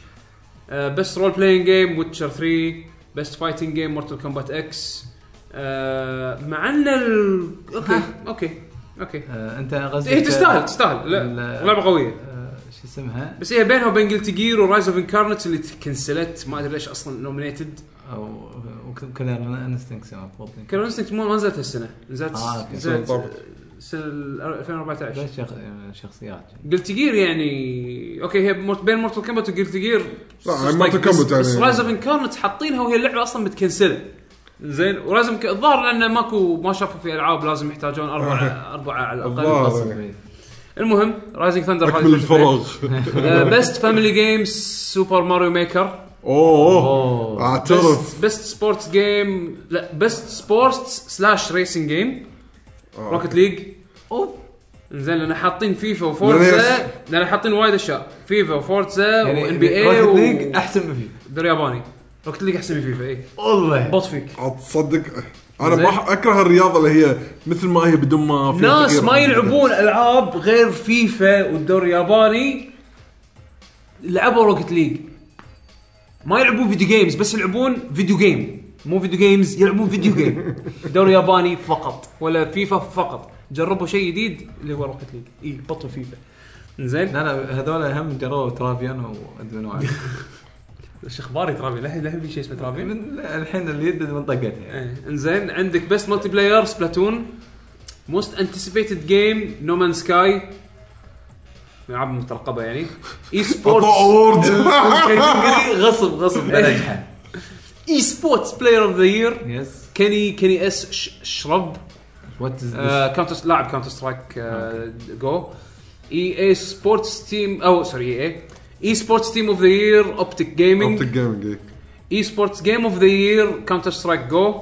[SPEAKER 1] آه، بس رول بلاين جيم ويتشر 3 بس فايتنج جيم مورتال كومبات اكس آه، مع ان ال... اوكي اوكي اوكي
[SPEAKER 2] آه، انت قصدك
[SPEAKER 1] هي إيه، تستاهل تستاهل لا
[SPEAKER 2] ال-
[SPEAKER 1] لعبه قويه
[SPEAKER 2] آه، شو اسمها
[SPEAKER 1] بس هي بينها وبين جلتي جير ورايز اوف انكارنت اللي تكنسلت ما ادري ليش اصلا نومينيتد
[SPEAKER 2] او كلر انستنكس المفروض
[SPEAKER 1] كان انستنكت مو ما نزلت هالسنه نزلت
[SPEAKER 2] آه، أوكي.
[SPEAKER 1] نزلت
[SPEAKER 3] طبعاً.
[SPEAKER 1] سنه ال 2014
[SPEAKER 2] بس شخ- شخصيات
[SPEAKER 1] جلتي جير يعني اوكي هي مورت- بين مورتال كومبات وجلتي جير
[SPEAKER 3] لا، Mortal Kombat يعني.
[SPEAKER 1] بس رايز اوف انكارنت حاطينها وهي اللعبه اصلا متكنسله زين ورايز اوف الظاهر لانه ماكو ما شافوا في العاب لازم يحتاجون اربعه اربعه على الاقل
[SPEAKER 3] الظاهر.
[SPEAKER 1] المهم رايزنج ثندر
[SPEAKER 3] اكمل الفراغ
[SPEAKER 1] بيست فاميلي جيمز سوبر ماريو ميكر
[SPEAKER 3] اوه اعترف
[SPEAKER 1] بيست بيست سبورتس جيم لا بيست سبورتس سلاش ريسنج جيم
[SPEAKER 3] آه،
[SPEAKER 1] روكت ليج اوف زين لان حاطين فيفا وفورتزا لان حاطين وايد اشياء فيفا وفورتزا
[SPEAKER 2] يعني
[SPEAKER 1] وان بي اي
[SPEAKER 2] روكت ليج احسن ما في
[SPEAKER 1] دوري ياباني روكت ليج احسن من إيه. فيفا اي
[SPEAKER 2] والله
[SPEAKER 1] بط فيك
[SPEAKER 3] عاد تصدق انا
[SPEAKER 1] زين.
[SPEAKER 3] ما اكره الرياضه اللي هي مثل ما هي بدون ما فيها
[SPEAKER 1] ناس
[SPEAKER 3] تغيير.
[SPEAKER 1] ما يلعبون العاب غير فيفا والدوري الياباني لعبوا روكت ليج ما يلعبون فيديو جيمز بس يلعبون فيديو جيم مو فيديو جيمز يلعبون فيديو جيم دوري ياباني فقط ولا فيفا فقط جربوا شيء جديد اللي هو روكت ليج اي بطل فيفا نعم. زين
[SPEAKER 2] لا لا هذول هم جربوا ترافيان وادمنوا عليه
[SPEAKER 1] ايش اخباري ترابي لا لا في شيء اسمه ترابي
[SPEAKER 2] من يعني الحين اللي يد منطقتها يعني
[SPEAKER 1] إيه، انزين عندك بس مالتي بلاير سبلاتون موست انتسيبيتد جيم نومان سكاي العاب مترقبه يعني اي سبورتس
[SPEAKER 3] أعطوه أورد.
[SPEAKER 1] غصب غصب
[SPEAKER 2] بلجحه
[SPEAKER 1] اي سبورتس بلاير اوف ذا يير
[SPEAKER 2] يس
[SPEAKER 1] كيني كيني اس ش- شرب
[SPEAKER 2] وات از
[SPEAKER 1] آه، كاونتر لاعب كاونتر سترايك آه، E جو اي اي سبورتس تيم او سوري اي اي سبورتس تيم اوف ذا يير اوبتيك جيمنج
[SPEAKER 3] اوبتيك جيمنج إيه.
[SPEAKER 1] اي سبورتس جيم اوف ذا يير كاونتر سترايك جو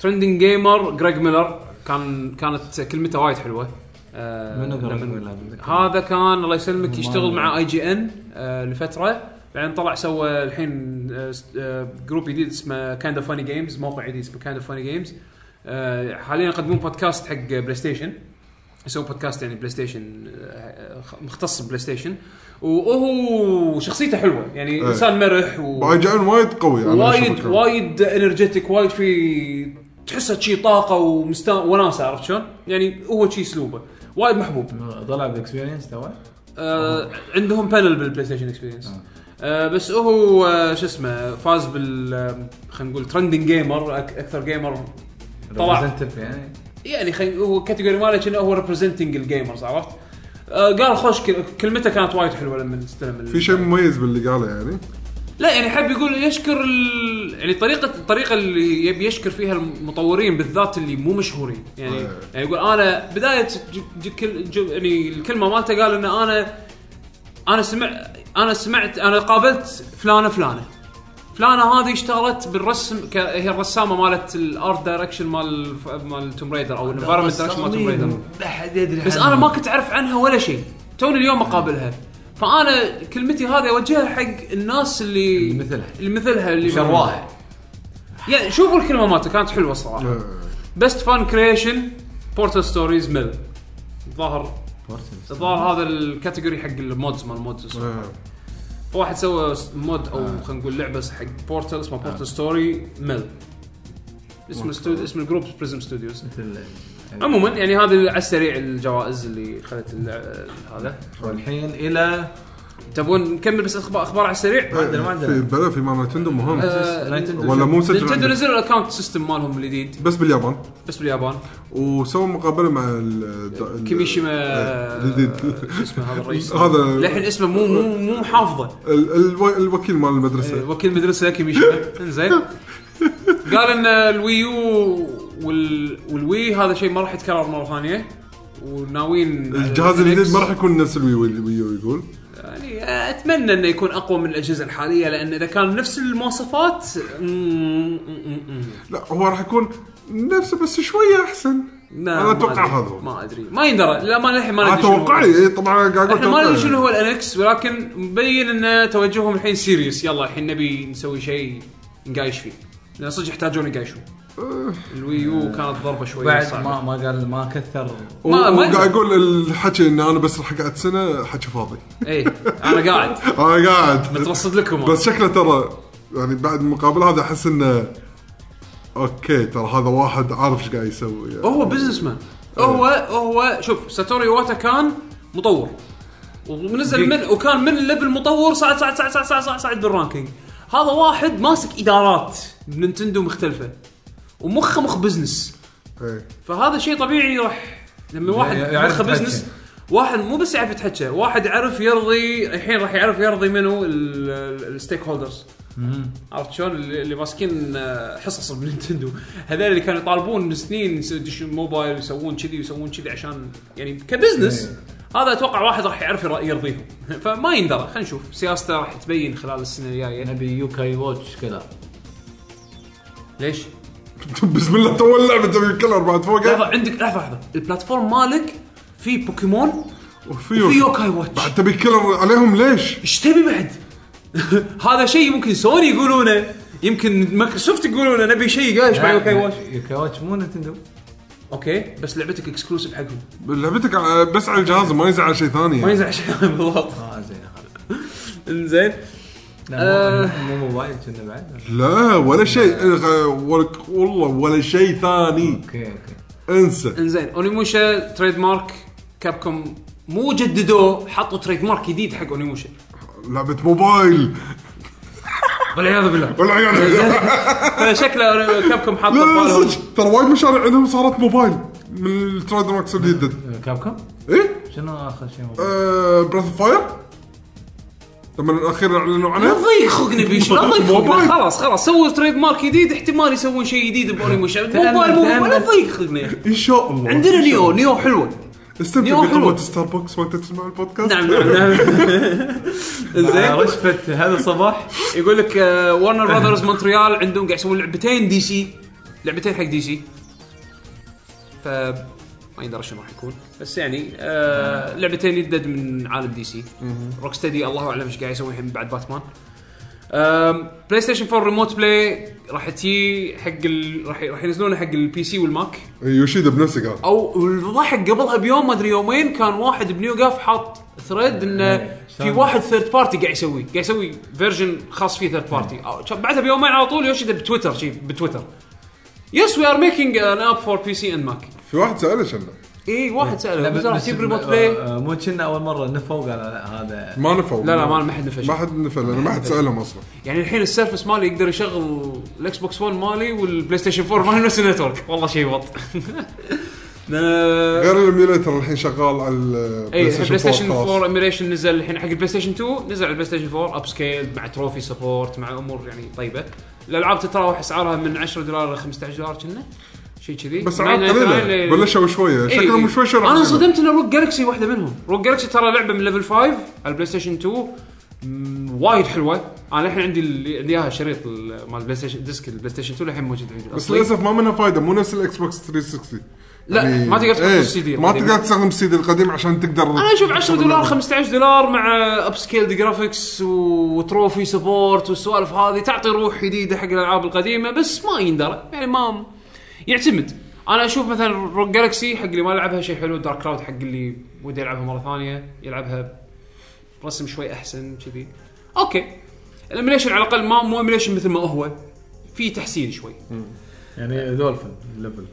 [SPEAKER 1] ترندنج جيمر جريج ميلر كان كانت كلمته وايد حلوه آه،
[SPEAKER 2] منو Greg
[SPEAKER 1] لما-
[SPEAKER 2] Miller؟
[SPEAKER 1] هذا كان الله يسلمك يشتغل مع اي جي ان لفتره بعدين طلع سوى الحين آه، س- آه، جروب جديد اسمه كايند اوف فاني جيمز موقع جديد اسمه كايند اوف فاني جيمز Eh, حاليا يقدمون بودكاست حق بلاي ستيشن يسوي بودكاست يعني بلاي ستيشن آه، خ- مختص بلاي ستيشن وهو شخصيته حلوه يعني
[SPEAKER 3] إيه.
[SPEAKER 1] انسان مرح و...
[SPEAKER 3] باي جاين وايد قوي أنا
[SPEAKER 1] وايد
[SPEAKER 3] أشوفك.
[SPEAKER 1] وايد انرجيتك وايد في تحسه شي طاقه ومستا وناسه عرفت شلون؟ يعني هو شي اسلوبه وايد محبوب
[SPEAKER 2] طلع بالاكسبيرينس تو
[SPEAKER 1] آه عندهم بانل بالبلاي ستيشن اكسبيرينس آه بس هو آه شو اسمه فاز بال آه، خلينا نقول ترندنج جيمر أك- اكثر جيمر طلع
[SPEAKER 2] Representative يعني
[SPEAKER 1] يعني خلينا هو الكاتيجوري ماله كأنه هو ريبريزنتنج الجيمرز عرفت؟ آه قال خوش كل- كلمته كانت وايد حلوه لما استلم ال-
[SPEAKER 3] في شيء مميز باللي قاله يعني
[SPEAKER 1] لا يعني حاب يقول يشكر ال... يعني طريقه الطريقه اللي يبي يشكر فيها المطورين بالذات اللي مو مشهورين يعني
[SPEAKER 3] آه.
[SPEAKER 1] يعني يقول انا بدايه ج... ج... كل... ج... يعني الكلمه مالته قال ان انا انا سمع انا سمعت انا قابلت فلانه فلانه فلانه هذه اشتغلت بالرسم ك... هي الرسامه مالت الارت دايركشن مال مال توم ريدر
[SPEAKER 2] آه،
[SPEAKER 1] او الانفايرمنت دايركشن مال توم ريدر
[SPEAKER 2] لا حد يدري
[SPEAKER 1] بس انا ما كنت اعرف عنها ولا شيء توني اليوم اقابلها فانا كلمتي هذه اوجهها حق الناس اللي
[SPEAKER 2] اللي مثلها.
[SPEAKER 1] اللي مثلها اللي
[SPEAKER 2] شرواها
[SPEAKER 1] يعني شوفوا الكلمه مالته كانت حلوه صراحه
[SPEAKER 3] نعم. آه،
[SPEAKER 1] بيست فان كريشن بورتال ستوريز ميل ظهر الظاهر هذا الكاتيجوري حق المودز مال المودز
[SPEAKER 3] آه.
[SPEAKER 1] واحد سوى مود او خلينا نقول لعبه حق بورتال اسمها بورتال ستوري ميل اسم الاستوديو اسم الجروب بريزم ستوديوز
[SPEAKER 2] مثل
[SPEAKER 1] عموما يعني هذا على السريع الجوائز اللي خلت هذا
[SPEAKER 2] والحين الى
[SPEAKER 1] تبون نكمل بس اخبار اخبار على السريع
[SPEAKER 2] عندنا- ما عندنا.
[SPEAKER 3] في بلا في مال نتندو
[SPEAKER 1] آه،
[SPEAKER 3] مهم
[SPEAKER 2] نايتندو
[SPEAKER 3] ولا مو مسجل
[SPEAKER 1] نتندو
[SPEAKER 3] عندك.
[SPEAKER 1] نزلوا الاكونت سيستم مالهم الجديد
[SPEAKER 3] بس باليابان
[SPEAKER 1] بس باليابان
[SPEAKER 3] وسووا مقابله مع
[SPEAKER 1] آه،
[SPEAKER 3] ال-
[SPEAKER 1] كيميشيما آه،
[SPEAKER 3] إيه، الجديد.
[SPEAKER 1] شو اسمه هذا الرئيس
[SPEAKER 3] هذا-
[SPEAKER 1] للحين اسمه مو مو مو حافظه
[SPEAKER 3] ال- الو- الوكيل مال
[SPEAKER 1] إيه،
[SPEAKER 3] المدرسه
[SPEAKER 1] وكيل مدرسه كيميشيما انزين قال ان الويو وال... والوي هذا شيء ما راح يتكرر مره ثانيه وناويين آه،
[SPEAKER 3] الجهاز الجديد ما راح يكون نفس الويو الويو يقول
[SPEAKER 1] يعني اتمنى انه يكون اقوى من الاجهزه الحاليه لان اذا كان نفس المواصفات مم، مم، مم.
[SPEAKER 3] لا هو راح يكون نفسه بس شويه احسن
[SPEAKER 1] لا،
[SPEAKER 3] أنا
[SPEAKER 1] ما
[SPEAKER 3] أتوقع
[SPEAKER 1] أدري.
[SPEAKER 3] هذا هو.
[SPEAKER 1] ما ادري ما يندرى لا ما للحين ما ندري شنو هو.
[SPEAKER 3] اتوقعي إيه، طبعا قاعد اقول
[SPEAKER 1] احنا ما ندري
[SPEAKER 3] توقعي.
[SPEAKER 1] شنو هو الانكس ولكن مبين ان توجههم الحين سيريس يلا الحين نبي نسوي شيء نقايش فيه لان صدق يحتاجون يقايشون
[SPEAKER 3] أه.
[SPEAKER 1] الويو كانت ضربه شوي
[SPEAKER 2] بعد
[SPEAKER 1] صعبة.
[SPEAKER 2] ما ما قال ما كثر
[SPEAKER 1] ما- ما
[SPEAKER 3] وقاعد اقول الحكي ان انا بس لحقت سنه حكي فاضي
[SPEAKER 1] ايه انا قاعد
[SPEAKER 3] انا قاعد
[SPEAKER 1] مترصد لكم
[SPEAKER 3] بس شكله ترى يعني بعد المقابله هذا احس انه اوكي ترى هذا واحد عارف ايش قاعد يسوي يعني.
[SPEAKER 1] هو بزنس مان هو هو شوف ساتوري واتا كان مطور ونزل من وكان من ليفل مطور صعد صعد صعد صعد صعد, صعد, صعد بالرانكينج هذا واحد ماسك ادارات بننتندو مختلفه ومخه مخ بزنس
[SPEAKER 3] إيه.
[SPEAKER 1] فهذا شيء طبيعي راح لما واحد
[SPEAKER 2] يعرف
[SPEAKER 1] مخه
[SPEAKER 2] يتحكى.
[SPEAKER 1] بزنس واحد مو بس يعرف يتحكى واحد يعرف يرضي الحين راح يعرف يرضي منو الستيك هولدرز عرفت شلون اللي اللي ماسكين آه، حصص بننتندو هذول اللي كانوا يطالبون من سنين يس- يدشون موبايل يسوون كذي ويسوون كذي عشان يعني كبزنس هذا اتوقع واحد راح يعرف ير- يرضيهم فما يندرى خلينا نشوف سياسته راح تبين خلال السنه الجايه
[SPEAKER 5] نبي يوكاي واتش كذا
[SPEAKER 1] ليش؟
[SPEAKER 3] بسم الله تو اللعبه تبي الكلر بعد
[SPEAKER 1] لحظه
[SPEAKER 3] فوقه
[SPEAKER 1] عندك لحظه لحظه البلاتفورم مالك في بوكيمون وفي
[SPEAKER 3] وفيه
[SPEAKER 1] يوكاي واتش
[SPEAKER 3] بعد تبي الكلر عليهم ليش؟
[SPEAKER 1] ايش تبي بعد؟ هذا شيء ممكن سوني يقولونه يمكن مايكروسوفت يقولونه نبي شيء قايش مع يوكاي واتش
[SPEAKER 2] يوكاي واتش مو نتندو
[SPEAKER 1] اوكي بس لعبتك اكسكلوسيف حقهم
[SPEAKER 3] لعبتك ع- بس على الجهاز ما ينزل على شيء ثاني
[SPEAKER 1] ما
[SPEAKER 3] يعني.
[SPEAKER 1] ينزع شيء بالضبط
[SPEAKER 2] اه زين
[SPEAKER 1] انزين
[SPEAKER 2] لا
[SPEAKER 1] آه.
[SPEAKER 2] مو- مو موبايل كنا بعد
[SPEAKER 3] لا ولا شيء إيه، غ- ولا- والله ولا شيء ثاني
[SPEAKER 2] اوكي اوكي
[SPEAKER 3] انسى
[SPEAKER 1] انزين اونيموشا تريد مارك كابكوم مو جددوه حطوا تريد مارك جديد حق اونيموشا
[SPEAKER 3] لعبه موبايل
[SPEAKER 1] والعياذ بالله
[SPEAKER 3] والعيال إيه، لا
[SPEAKER 1] فشكله كابكوم حاط
[SPEAKER 3] لا
[SPEAKER 1] ببالهم-
[SPEAKER 3] صدق ترى وايد مشاريع عندهم صارت موبايل من التريد ماركس الجدد
[SPEAKER 2] كاب كوم
[SPEAKER 3] ايه
[SPEAKER 2] شنو اخر شيء موبايل؟
[SPEAKER 3] براث فاير لما الاخير اعلنوا
[SPEAKER 1] لا
[SPEAKER 3] عنها
[SPEAKER 1] تضيق خلقنا بيش لا تضيق خلقنا
[SPEAKER 3] موبايل.
[SPEAKER 1] خلاص خلاص سووا تريد مارك جديد احتمال يسوون شيء جديد باونيموشا موبايل مو
[SPEAKER 2] تأمل.
[SPEAKER 1] لا تضيق خلقنا يا أخي.
[SPEAKER 3] ان شاء الله
[SPEAKER 1] عندنا نيو نيو حلوه نيو
[SPEAKER 3] استمتع
[SPEAKER 1] حلو.
[SPEAKER 3] بقهوه ستاربكس وانت تسمع البودكاست
[SPEAKER 1] نعم نعم نعم
[SPEAKER 2] آه،
[SPEAKER 1] زين
[SPEAKER 2] رشفه هذا الصباح
[SPEAKER 1] يقول لك آه، ورنر براذرز مونتريال عندهم قاعد يسوون لعبتين دي سي لعبتين حق دي سي ف ما يندرى شنو راح يكون بس يعني آه لعبتين يدد من عالم دي سي روك ستدي الله اعلم ايش قاعد يسوي الحين بعد باتمان آم، بلاي ستيشن 4 ريموت بلاي راح تجي حق ال... راح راح ينزلونها حق البي سي والماك
[SPEAKER 3] يوشيدا إيه، بنفسه قال
[SPEAKER 1] او الضحك قبلها بيوم ما ادري يومين كان واحد بنيو جاف حاط ثريد انه في واحد ثيرد بارتي قاعد يسوي قاعد يسوي فيرجن خاص فيه ثيرد بارتي بعدها بيومين على طول يوشيدا بتويتر شي بتويتر يس وي ار ميكينج ان اب فور بي سي اند ماك
[SPEAKER 3] في واحد ساله شنو
[SPEAKER 1] اي إيه، واحد ساله
[SPEAKER 2] بس-
[SPEAKER 1] بس راح
[SPEAKER 2] بس-
[SPEAKER 1] تجيب ريموت بلاي
[SPEAKER 2] آه، مو كنا اول مره نفوا قال لا هذا
[SPEAKER 3] ما نفوا
[SPEAKER 1] لا لا ما ما حد نفش
[SPEAKER 3] ما حد نفى لانه ما حد سالهم اصلا
[SPEAKER 1] يعني الحين السيرفس مالي يقدر يشغل الاكس بوكس 1 مالي والبلاي ستيشن 4 مالي نفس النتورك والله شيء بط أنا-
[SPEAKER 3] غير الايميوليتر الحين شغال على البلاي
[SPEAKER 1] اي بلاي ستيشن 4
[SPEAKER 3] خلاص.
[SPEAKER 1] اميريشن نزل الحين حق البلاي ستيشن 2 نزل على البلاي ستيشن 4 اب سكيل مع تروفي سبورت مع امور يعني طيبه الالعاب تتراوح اسعارها من 10 دولار ل 15 دولار كنا شيء كذي
[SPEAKER 3] بس العاب
[SPEAKER 1] 999
[SPEAKER 3] قليله
[SPEAKER 1] ل-
[SPEAKER 3] بلشوا شويه
[SPEAKER 1] إي،
[SPEAKER 3] شكلهم
[SPEAKER 1] إي.
[SPEAKER 3] شوي شوي راح
[SPEAKER 1] انا
[SPEAKER 3] يصير.
[SPEAKER 1] انصدمت ان روك جالكسي واحده منهم روك جالكسي ترى لعبه من ليفل 5 على البلاي ستيشن 2 مم، وايد حلوه انا الحين عندي ال- عندي اياها شريط ال- مال البلاي ستيشن ديسك البلاي ستيشن 2 الحين موجود عندي
[SPEAKER 3] بس
[SPEAKER 1] أصلي.
[SPEAKER 3] للاسف ما منها فايده مو نفس الاكس بوكس 360
[SPEAKER 1] لا،
[SPEAKER 3] يعني-
[SPEAKER 1] ما تقدر تحط
[SPEAKER 3] إيه،
[SPEAKER 1] السي دي
[SPEAKER 3] ما
[SPEAKER 1] القديم.
[SPEAKER 3] تقدر تستخدم السي دي القديم عشان تقدر
[SPEAKER 1] انا اشوف 10 دولار 15 دولار مع اب سكيلد جرافيكس وتروفي سبورت والسوالف هذه تعطي روح جديده حق الالعاب القديمه بس ما يندرى يعني ما يعتمد انا اشوف مثلا روك جالكسي حق اللي ما لعبها شيء حلو دارك كلاود حق اللي وده يلعبها مره ثانيه يلعبها رسم شوي احسن كذي اوكي الاميليشن على الاقل ما مو اميليشن مثل ما هو في تحسين شوي
[SPEAKER 2] يعني دولفين ليفل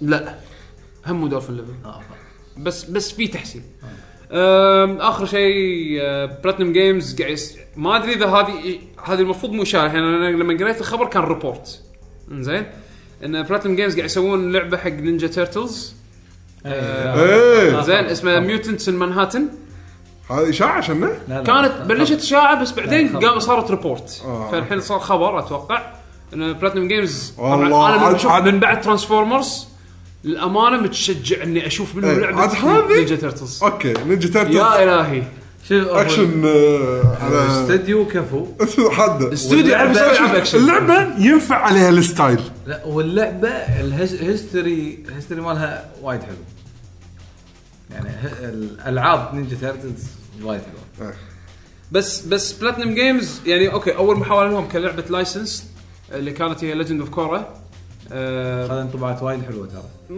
[SPEAKER 1] لا هم دولفين ليفل
[SPEAKER 2] آه.
[SPEAKER 1] بس بس في تحسين أم، اخر شيء بلاتنم جيمز قاعد يس- ما ادري اذا هذه هذه المفروض مو اشاره يعني انا لما قريت الخبر كان ريبورت زين ان بلاتنم جيمز قاعد يسوون لعبه حق نينجا تيرتلز
[SPEAKER 2] إيه. آه،
[SPEAKER 3] ايه
[SPEAKER 1] زين اسمها ميوتنتس ان مانهاتن
[SPEAKER 3] هذه اشاعه شنه؟
[SPEAKER 1] كانت بلشت اشاعه بس بعدين
[SPEAKER 2] خبر.
[SPEAKER 1] قام صارت ريبورت
[SPEAKER 3] آه،
[SPEAKER 1] فالحين صار خبر اتوقع ان بلاتنم جيمز
[SPEAKER 3] والله،
[SPEAKER 1] انا من-
[SPEAKER 3] عاد-
[SPEAKER 1] شوف،
[SPEAKER 3] عاد-
[SPEAKER 1] من بعد ترانسفورمرز الامانه متشجع اني اشوف منهم
[SPEAKER 3] إيه،
[SPEAKER 1] لعبه
[SPEAKER 3] عاد هذه؟
[SPEAKER 1] نينجا تيرتلز
[SPEAKER 3] اوكي نينجا
[SPEAKER 1] يا
[SPEAKER 3] تيرتلز
[SPEAKER 1] الهي
[SPEAKER 2] شوف أول
[SPEAKER 3] اكشن آه، على
[SPEAKER 2] استديو كفو
[SPEAKER 3] حد
[SPEAKER 1] استوديو يعرف يسوي العاب اكشن
[SPEAKER 3] اللعبه ينفع عليها الستايل
[SPEAKER 2] لا واللعبه الهيستوري الهيستوري مالها وايد حلو يعني ه- الالعاب نينجا تيرتلز وايد حلوه
[SPEAKER 1] بس بس بلاتنم جيمز يعني اوكي اول محاوله لهم كلعبه لايسنس اللي كانت هي ليجند اوف كورا آه،
[SPEAKER 2] خذ انطباعات وايد حلوه ترى